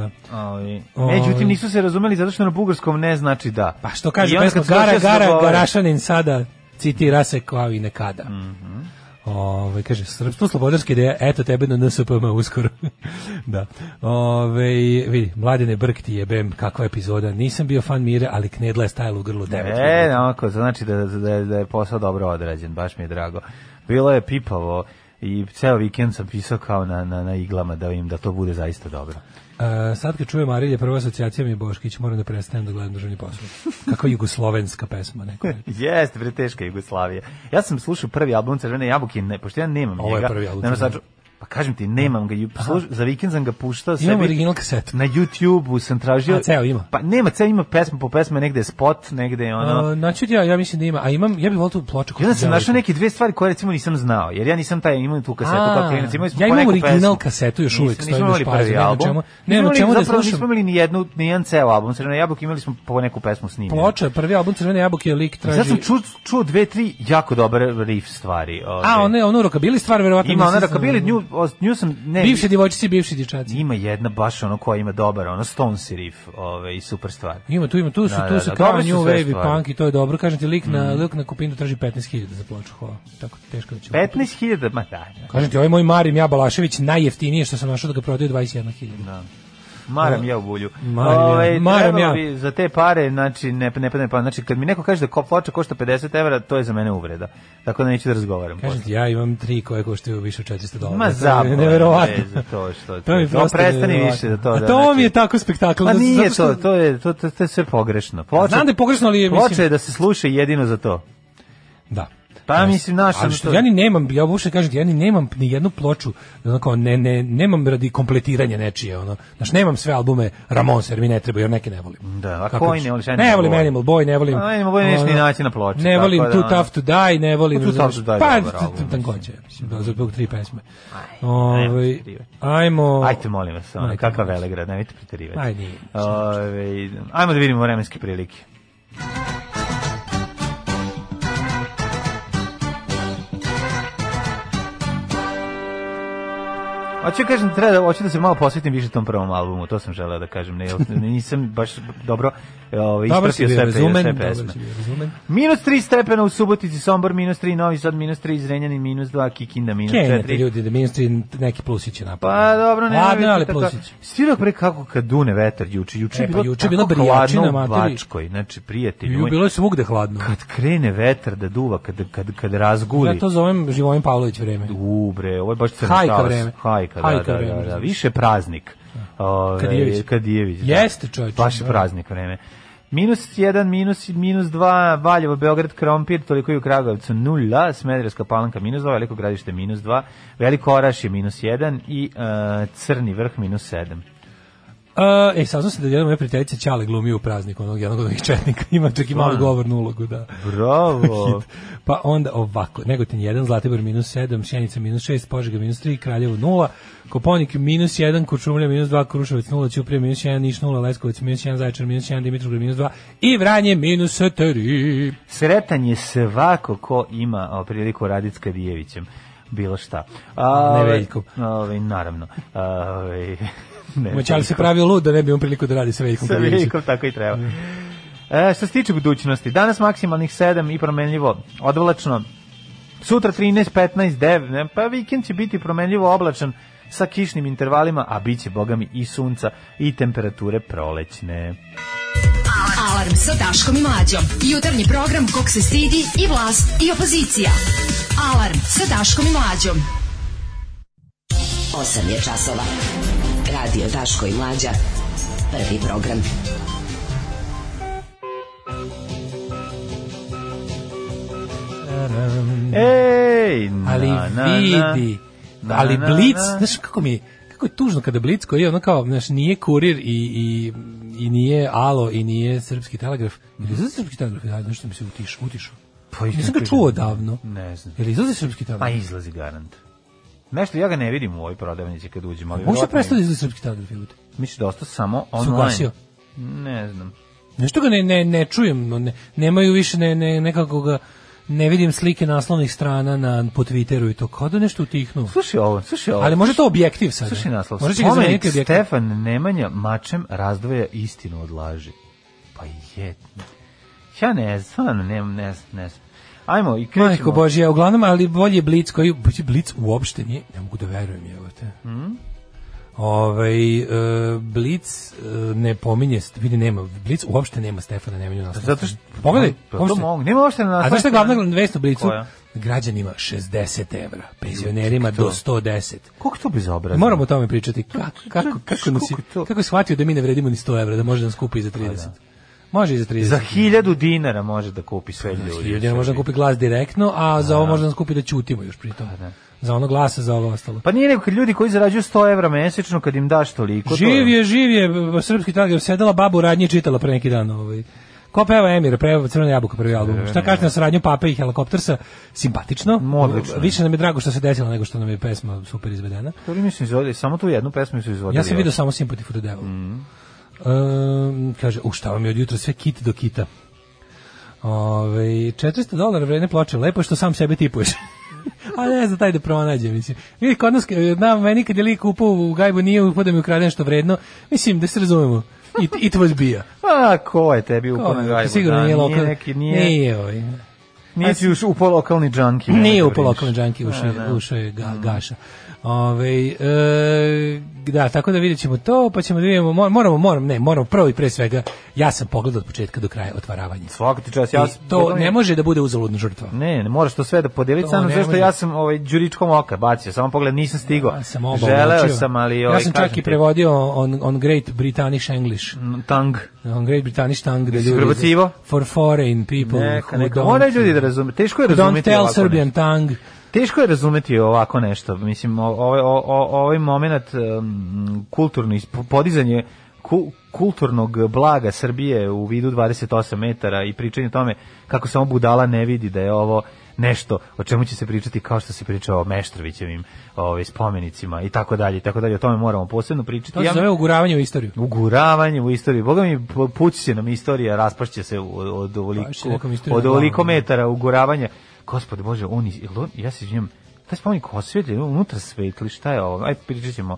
[SPEAKER 6] Da.
[SPEAKER 7] Ali,
[SPEAKER 6] Ovaj.
[SPEAKER 7] međutim, nisu se razumeli zato što na bugarskom ne znači da.
[SPEAKER 6] Pa što
[SPEAKER 7] I
[SPEAKER 6] kaže
[SPEAKER 7] onda
[SPEAKER 6] pesma,
[SPEAKER 7] kad su
[SPEAKER 6] gara,
[SPEAKER 7] došli da se
[SPEAKER 6] gara,
[SPEAKER 7] dogovore-
[SPEAKER 6] garašanin sada, citira se kao i nekada.
[SPEAKER 7] Mhm.
[SPEAKER 6] Ove, kaže, srpstvo slobodarske ideje, eto tebe na NSPM uskoro. da. Ove, vidi, mladine brk ti jebem, kakva epizoda. Nisam bio fan mire, ali knedla je stajala u grlu 9
[SPEAKER 7] E, onako, znači da, da, je- da je posao dobro odrađen, baš mi je drago. Bilo je pipavo i ceo vikend sam pisao kao na, na, na iglama da im da to bude zaista dobro.
[SPEAKER 6] E, sad kad čujem Arilje, prva asocijacija mi je Boškić, moram da prestanem da gledam državni posao. Kakva jugoslovenska pesma, neko je.
[SPEAKER 7] Jeste, bre, teška Jugoslavija. Ja sam slušao prvi album Crvene jabuke, ne, pošto ja nemam
[SPEAKER 6] Ovo je
[SPEAKER 7] njega.
[SPEAKER 6] prvi album
[SPEAKER 7] nemam
[SPEAKER 6] Crvene
[SPEAKER 7] sad- pa kažem ti, nemam ga. ju- Sluš, za vikend sam ga puštao
[SPEAKER 6] Imam
[SPEAKER 7] sebi.
[SPEAKER 6] original kasetu.
[SPEAKER 7] Na YouTubeu sam tražio...
[SPEAKER 6] A, ceo ima?
[SPEAKER 7] Pa nema, ceo ima pesma po pesme, negde je spot, negde je ono...
[SPEAKER 6] E, naću ti ja, ja mislim da ima, a imam, ja bih volio tu ploču.
[SPEAKER 7] I
[SPEAKER 6] koju
[SPEAKER 7] onda
[SPEAKER 6] sam
[SPEAKER 7] sam
[SPEAKER 6] ja
[SPEAKER 7] našao
[SPEAKER 6] rekao.
[SPEAKER 7] neke dve stvari koje recimo nisam znao, jer ja nisam taj imao tu kasetu
[SPEAKER 6] A,
[SPEAKER 7] kao klinac, imali smo
[SPEAKER 6] ja
[SPEAKER 7] po
[SPEAKER 6] imam
[SPEAKER 7] neku
[SPEAKER 6] original
[SPEAKER 7] pesmu.
[SPEAKER 6] kasetu još uvijek,
[SPEAKER 7] nismo
[SPEAKER 6] stoji u
[SPEAKER 7] imali
[SPEAKER 6] špazi,
[SPEAKER 7] prvi
[SPEAKER 6] nemam
[SPEAKER 7] album.
[SPEAKER 6] čemu-
[SPEAKER 7] Nismo
[SPEAKER 6] nemam
[SPEAKER 7] imali-
[SPEAKER 6] čemu da
[SPEAKER 7] zapravo
[SPEAKER 6] slušam.
[SPEAKER 7] Nismo imali ni jednu, ni jedan ceo album, Crvena jabuka, imali smo po neku pesmu snimljenu.
[SPEAKER 6] Ploča, prvi album Crvene jabuke, lik
[SPEAKER 7] I
[SPEAKER 6] traži...
[SPEAKER 7] Sad sam čuo, čuo dve, tri jako dobre riff stvari.
[SPEAKER 6] A,
[SPEAKER 7] ovaj.
[SPEAKER 6] one, ono rokabili stvar, verovatno...
[SPEAKER 7] Ima ona
[SPEAKER 6] nisam-
[SPEAKER 7] rakabili, nju, os- nju sam... Ne,
[SPEAKER 6] Bivše djevojčice i bivši dječaci.
[SPEAKER 7] Ima jedna baš ono koja ima dobar, ono Stones riff ovaj, i super stvar.
[SPEAKER 6] Ima tu, ima tu su,
[SPEAKER 7] Da, da,
[SPEAKER 6] tu su
[SPEAKER 7] da,
[SPEAKER 6] kao
[SPEAKER 7] dobre su
[SPEAKER 6] New
[SPEAKER 7] sve
[SPEAKER 6] Wave i
[SPEAKER 7] stvari. Mm.
[SPEAKER 6] punk i to je dobro. Kažem ti, lik na, lik na kupinu traži 15.000 za ploču, hvala. Tako teško da će...
[SPEAKER 7] 15.000, ma da, da.
[SPEAKER 6] Kažem ti, ovaj moj Marim Jabalašević najjeftinije što sam našao da ga prodaju 21.000. Da.
[SPEAKER 7] Maram ja u bulju.
[SPEAKER 6] Maram ja.
[SPEAKER 7] Ovaj,
[SPEAKER 6] Maram
[SPEAKER 7] trebalo
[SPEAKER 6] ja.
[SPEAKER 7] Bi za te pare, znači, ne, ne padne pa. Znači, kad mi neko kaže da ko ploča košta 50 evra, to je za mene uvreda. Tako da neću da razgovaram.
[SPEAKER 6] Kažem ti, ja imam tri koje koštaju više od 400 dolara.
[SPEAKER 7] pa- Ma
[SPEAKER 6] To je
[SPEAKER 7] zabavno
[SPEAKER 6] Neverovatno.
[SPEAKER 7] je za to što-
[SPEAKER 6] to mi je
[SPEAKER 7] to
[SPEAKER 6] prosto
[SPEAKER 7] prestani
[SPEAKER 6] neverovatno.
[SPEAKER 7] više za to,
[SPEAKER 6] A
[SPEAKER 7] da,
[SPEAKER 6] to
[SPEAKER 7] znači-
[SPEAKER 6] mi je tako spektakl.
[SPEAKER 7] Ma
[SPEAKER 6] zato
[SPEAKER 7] nije to,
[SPEAKER 6] što-
[SPEAKER 7] to je, to, to, to je sve pogrešno. Ploča,
[SPEAKER 6] Znam da je pogrešno, ali je,
[SPEAKER 7] Ploča
[SPEAKER 6] mislim-
[SPEAKER 7] je da se sluša jedino za to.
[SPEAKER 6] Da.
[SPEAKER 7] Pa, mislim, znaš,
[SPEAKER 6] Ali
[SPEAKER 7] ono
[SPEAKER 6] što
[SPEAKER 7] to-
[SPEAKER 6] ja ni nemam, ja uopšte kažem, ti, ja ni nemam ni jednu ploču, ono kao, ne, ne, nemam radi kompletiranja nečije, ono. Znaš, nemam sve albume Ramonsa, jer mi ne treba, jer neke ne volim.
[SPEAKER 7] Da, a
[SPEAKER 6] Kako
[SPEAKER 7] koji
[SPEAKER 6] ću?
[SPEAKER 7] ne voliš? Ja
[SPEAKER 6] Ne
[SPEAKER 7] ne
[SPEAKER 6] volim
[SPEAKER 7] volim.
[SPEAKER 6] Animal Boy, ne volim.
[SPEAKER 7] A, Animal Boy nećeš ni
[SPEAKER 6] ono,
[SPEAKER 7] naći na ploči,
[SPEAKER 6] Ne
[SPEAKER 7] tako
[SPEAKER 6] volim
[SPEAKER 7] da,
[SPEAKER 6] Too
[SPEAKER 7] ono.
[SPEAKER 6] Tough to Die, ne volim.
[SPEAKER 7] Too Tough to
[SPEAKER 6] razumeš?
[SPEAKER 7] Die je
[SPEAKER 6] Pa,
[SPEAKER 7] dobar album, mislim.
[SPEAKER 6] tankoće, mislim, da, zbog tri pesme.
[SPEAKER 7] nemoj
[SPEAKER 6] Ove,
[SPEAKER 7] pretjerivati.
[SPEAKER 6] ajmo...
[SPEAKER 7] Ajte, molim vas, ono,
[SPEAKER 6] Ajde,
[SPEAKER 7] kakav
[SPEAKER 6] molim vas.
[SPEAKER 7] Velegrad, nemojte preterivati.
[SPEAKER 6] Aj, nije.
[SPEAKER 7] Ovaj, ajmo da vidimo vremenske prilike. Hoću da kažem, treba, da- hoću da se malo posvetim više tom prvom albumu, to sam želeo da kažem, ne, nisam baš dobro ovaj,
[SPEAKER 6] Dobro si
[SPEAKER 7] ispratio
[SPEAKER 6] bio
[SPEAKER 7] sve, pe, sve
[SPEAKER 6] razumen,
[SPEAKER 7] pesme.
[SPEAKER 6] dobro si bio razumen.
[SPEAKER 7] Minus 3 stepena u Subotici, Sombor minus 3, Novi Sad minus 3, Zrenjanin minus 2, Kikinda minus 4.
[SPEAKER 6] Kenjate ljudi da ministri neki plusiće
[SPEAKER 7] Pa
[SPEAKER 6] napravili.
[SPEAKER 7] dobro, ne.
[SPEAKER 6] Ladno,
[SPEAKER 7] vidite
[SPEAKER 6] ali
[SPEAKER 7] tako.
[SPEAKER 6] plusiće.
[SPEAKER 7] Svirao pre kako kad dune vetar juče, juče
[SPEAKER 6] E,
[SPEAKER 7] je
[SPEAKER 6] pa
[SPEAKER 7] bilo
[SPEAKER 6] juče je
[SPEAKER 7] tako
[SPEAKER 6] bila brijačina,
[SPEAKER 7] hladno u
[SPEAKER 6] materi.
[SPEAKER 7] Bačkoj, znači prijatelju.
[SPEAKER 6] Ju,
[SPEAKER 7] moj,
[SPEAKER 6] Bilo je svugde hladno.
[SPEAKER 7] Kad crene vetar da duva, kad kad kad razguli.
[SPEAKER 6] Ja to zovem Živojin Pavlović vreme.
[SPEAKER 7] U bre, ovo je baš crno
[SPEAKER 6] Hajka
[SPEAKER 7] talas.
[SPEAKER 6] vreme.
[SPEAKER 7] Hajka, da,
[SPEAKER 6] Hajka
[SPEAKER 7] da,
[SPEAKER 6] vreme,
[SPEAKER 7] da, da,
[SPEAKER 6] razumiješ.
[SPEAKER 7] Više praznik. Ove,
[SPEAKER 6] Kadijević.
[SPEAKER 7] Kadijević, da.
[SPEAKER 6] Jeste, čoveče,
[SPEAKER 7] Znači, Baš je
[SPEAKER 6] da.
[SPEAKER 7] praznik vreme. Minus 1, minus, minus 2, Valjevo, Beograd, Krompir, toliko i u Kragujevcu 0, Smederevska palanka minus 2, Veliko gradište minus 2, Veliko Oraš je minus 1 i e, Crni vrh minus 7.
[SPEAKER 6] Uh, e, saznam se da jedna moja prijateljica Ćale glumi u prazniku onog jednog od ovih četnika. Ima čak i malu
[SPEAKER 7] Stvarno?
[SPEAKER 6] govornu ulogu, da.
[SPEAKER 7] Bravo.
[SPEAKER 6] Hit. Pa onda ovako, Negotin 1, Zlatibor minus 7, Šenica minus 6, Požega minus 3, Kraljevo 0, Koponik minus 1, Kočumlja minus 2, Kruševac 0, Ćuprije minus 1, Niš 0, Leskovac minus 1, Zaječar minus 1, Dimitrovgrad minus 2 i Vranje minus
[SPEAKER 7] E,
[SPEAKER 6] 3.
[SPEAKER 7] Sretan je svako ko ima o, priliku raditi s Kadijevićem. Bilo šta. A,
[SPEAKER 6] Ne
[SPEAKER 7] ove-
[SPEAKER 6] Veljkom.
[SPEAKER 7] ove, naravno. A, ove, ne
[SPEAKER 6] Moćali se
[SPEAKER 7] Veljkom.
[SPEAKER 6] pravio lud da ne bi imao priliku da radi sa Veljkom
[SPEAKER 7] Sa
[SPEAKER 6] Kadijevićem.
[SPEAKER 7] Veljkom tako i treba. E, što se tiče budućnosti, danas maksimalnih 7 i promenljivo odvlačno. Sutra 13, 15, 9, ne, pa vikend će biti promenljivo oblačan sa kišnim intervalima, a bit će, bogami, i sunca i temperature prolećne.
[SPEAKER 5] Alarm sa Daškom i Mlađom. Jutarnji program kog se stidi i vlast i opozicija. Alarm sa Daškom i Mlađom.
[SPEAKER 10] 8 je časova. Radio Daško i Mlađa. Prvi program.
[SPEAKER 7] Ej, na,
[SPEAKER 6] ali
[SPEAKER 7] na,
[SPEAKER 6] vidi,
[SPEAKER 7] na.
[SPEAKER 6] ali
[SPEAKER 7] Na, na,
[SPEAKER 6] Blic,
[SPEAKER 7] na.
[SPEAKER 6] znaš kako mi je, kako je tužno kada Blic koji je ono kao, znaš, nije kurir i, i,
[SPEAKER 7] Mhm.
[SPEAKER 6] i nije Alo i nije Srpski telegraf, ili je za Srpski telegraf, da, nešto mi se utiš, utišao.
[SPEAKER 7] Pa,
[SPEAKER 6] Nisam ga čuo odavno.
[SPEAKER 7] Ne znam.
[SPEAKER 6] Jel izlazi srpski tango?
[SPEAKER 7] Pa izlazi garant. Nešto ja ga ne vidim u ovoj prodavnici kad uđem, ali...
[SPEAKER 6] Može
[SPEAKER 7] verovatno
[SPEAKER 6] prestao da
[SPEAKER 7] ima.
[SPEAKER 6] izlazi srpski tango? jebote?
[SPEAKER 7] Mislim da ostao samo online.
[SPEAKER 6] ugasio?
[SPEAKER 7] Ne znam.
[SPEAKER 6] Nešto ga ne, ne, ne čujem, no, ne, nemaju više ne, ne, nekako ga, ne vidim slike naslovnih strana na, po Twitteru i to, kao da nešto utihnu.
[SPEAKER 7] Slušaj ovo, slušaj ovo.
[SPEAKER 6] Ali može to objektiv sad.
[SPEAKER 7] Slušaj naslov.
[SPEAKER 6] Može će ga
[SPEAKER 7] Spomenik
[SPEAKER 6] zameniti objektiv.
[SPEAKER 7] Stefan Nemanja mačem razdvaja istinu od laži. Pa je. Ja ne znam, stvarno ne, ne, znam, ne znam. Ajmo i krećemo.
[SPEAKER 6] Majko Božja, uglavnom, ali bolje Blic koji, Bože, Blic uopšte nije, ne mogu da verujem, evo te. Mm.
[SPEAKER 7] Mm-hmm.
[SPEAKER 6] Ovaj, e, Blic e, ne pominje, vidi, nema, Blic uopšte nema Stefana Nemanju na
[SPEAKER 7] Zato što...
[SPEAKER 6] Pogledaj,
[SPEAKER 7] Pa to
[SPEAKER 6] uopšte-
[SPEAKER 7] mogu. Nema ošte na
[SPEAKER 6] A znaš šta je glavna vest u Blicu?
[SPEAKER 7] Koja?
[SPEAKER 6] Građanima 60 evra, penzionerima do 110.
[SPEAKER 7] Koliko je to bezobrazno?
[SPEAKER 6] Moramo o tome pričati. Kako, kako, kako, nas je-
[SPEAKER 7] kako to?
[SPEAKER 6] kako je shvatio da mi ne vredimo ni 100 evra, da može da nas kupi i za 30. Može i za 30.
[SPEAKER 7] Za hiljadu dinara može da kupi sve ljudi.
[SPEAKER 6] Ljudi, možda kupi glas direktno, a za ovo možda nas kupi da ćutimo još pri tom. Za ono glasa, za ovo ostalo.
[SPEAKER 7] Pa nije nego kad ljudi koji zarađuju 100 evra mesečno, kad im daš toliko... to je-
[SPEAKER 6] Živ je, živ je, b- srpski tango, sedela baba u radnji i čitala pre neki dan. Ovaj. Ko peva Emira, peva Crvena jabuka prvi album.
[SPEAKER 7] E,
[SPEAKER 6] Šta kažete na saradnju Pape i Helikoptersa? Simpatično.
[SPEAKER 7] Odlično.
[SPEAKER 6] Više nam je drago što se desilo nego što nam je pesma super izvedena.
[SPEAKER 7] To li mislim izvodili, samo tu jednu pesmu su izvodili.
[SPEAKER 6] Ja sam vidio samo Sympathy for the Devil.
[SPEAKER 7] Mm.
[SPEAKER 6] Um, kaže, u šta vam je od jutra sve kit do kita. Ove, 400 dolara vredne ploče, lepo je što sam sebe tipuješ. A ne znam, taj da pronađe, mislim. Vidi, kod nas, e, na, meni kad je lik upao u gajbu, nije upao da mi ukrade nešto vredno. Mislim, da se razumemo. It, it was bija.
[SPEAKER 7] Pa, ko je tebi upao na gajbu?
[SPEAKER 6] Sigurno
[SPEAKER 7] Da,
[SPEAKER 6] nije lokal.
[SPEAKER 7] neki, nije,
[SPEAKER 6] Nije, ovaj.
[SPEAKER 7] nije ti još upao lokalni džanki.
[SPEAKER 6] Nije
[SPEAKER 7] nemoj
[SPEAKER 6] upao
[SPEAKER 7] da
[SPEAKER 6] lokalni
[SPEAKER 7] brineš.
[SPEAKER 6] džanki, ušao
[SPEAKER 7] Da,
[SPEAKER 6] je-
[SPEAKER 7] da.
[SPEAKER 6] ušao je ga, gaša. Ove, e, da, tako da vidjet ćemo to, pa ćemo da vidimo, mo- moramo, moramo, ne, moramo prvo i pre svega, ja sam pogledao od početka do kraja otvaravanje.
[SPEAKER 7] Svaka ti čast,
[SPEAKER 6] I
[SPEAKER 7] ja sam...
[SPEAKER 6] to ne može da bude uzaludna žrtva.
[SPEAKER 7] Ne, ne moraš to sve da podeliš,
[SPEAKER 6] To
[SPEAKER 7] samo
[SPEAKER 6] ne
[SPEAKER 7] zašto
[SPEAKER 6] može.
[SPEAKER 7] ja sam ovaj đuričkom oka bacio, samo pogled nisam stigao.
[SPEAKER 6] Ja sam oba
[SPEAKER 7] Želeo
[SPEAKER 6] uočio.
[SPEAKER 7] sam, ali ovaj
[SPEAKER 6] Ja sam čak
[SPEAKER 7] kažem
[SPEAKER 6] i
[SPEAKER 7] ti,
[SPEAKER 6] prevodio on, on Great British English.
[SPEAKER 7] m, Tang.
[SPEAKER 6] On Great British Tang da
[SPEAKER 7] Jesi
[SPEAKER 6] ljudi...
[SPEAKER 7] prebacivao?
[SPEAKER 6] For foreign people
[SPEAKER 7] Neka,
[SPEAKER 6] who
[SPEAKER 7] neka.
[SPEAKER 6] don't-
[SPEAKER 7] Moraju ljudi da razume. Teško je
[SPEAKER 6] who Don't
[SPEAKER 7] razumeti
[SPEAKER 6] tell
[SPEAKER 7] ovako nešto.
[SPEAKER 6] Serbian Tang.
[SPEAKER 7] Teško je razumeti ovako nešto. Mislim, o- ovaj, o- o- ovaj moment um, kulturno, isp- podizanje ku- kulturnog blaga Srbije u vidu 28 metara i pričanje o tome kako samo budala ne vidi da je ovo nešto o čemu će se pričati kao što se priča o Meštrovićevim ovaj, spomenicima i tako dalje i tako dalje. O tome moramo posebno pričati.
[SPEAKER 6] To se
[SPEAKER 7] Ja-
[SPEAKER 6] zove uguravanje u istoriju.
[SPEAKER 7] uguravanje u istoriju. Boga mi pu- pući se nam istorija, raspašće se od, od
[SPEAKER 6] Baš Pa, je nekom
[SPEAKER 7] ovoliko,
[SPEAKER 6] istorija
[SPEAKER 7] od
[SPEAKER 6] na glavu,
[SPEAKER 7] ovoliko
[SPEAKER 6] da.
[SPEAKER 7] metara uguravanja. Gospode Bože, on, iz- jel on- ja se izvinjam, taj spomenik osvjetljen, unutra svetli, šta je ovo? Aj, pričat ćemo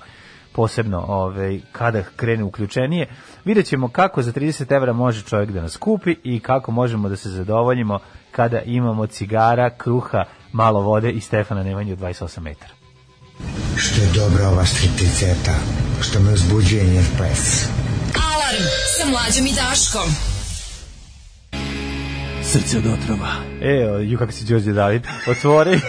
[SPEAKER 7] posebno ove, kada krene uključenije. Vidjet ćemo kako za 30 evra može čovjek da nas kupi i kako možemo da se zadovoljimo kada imamo cigara, kruha, malo vode i Stefana Nemanju od 28 metara.
[SPEAKER 9] Što je dobra ova stripticeta, što me uzbuđuje njen pes.
[SPEAKER 5] Alarm sa mlađom i Daškom.
[SPEAKER 6] Srce od otrova.
[SPEAKER 7] E, ju kako si Đorđe David, otvori...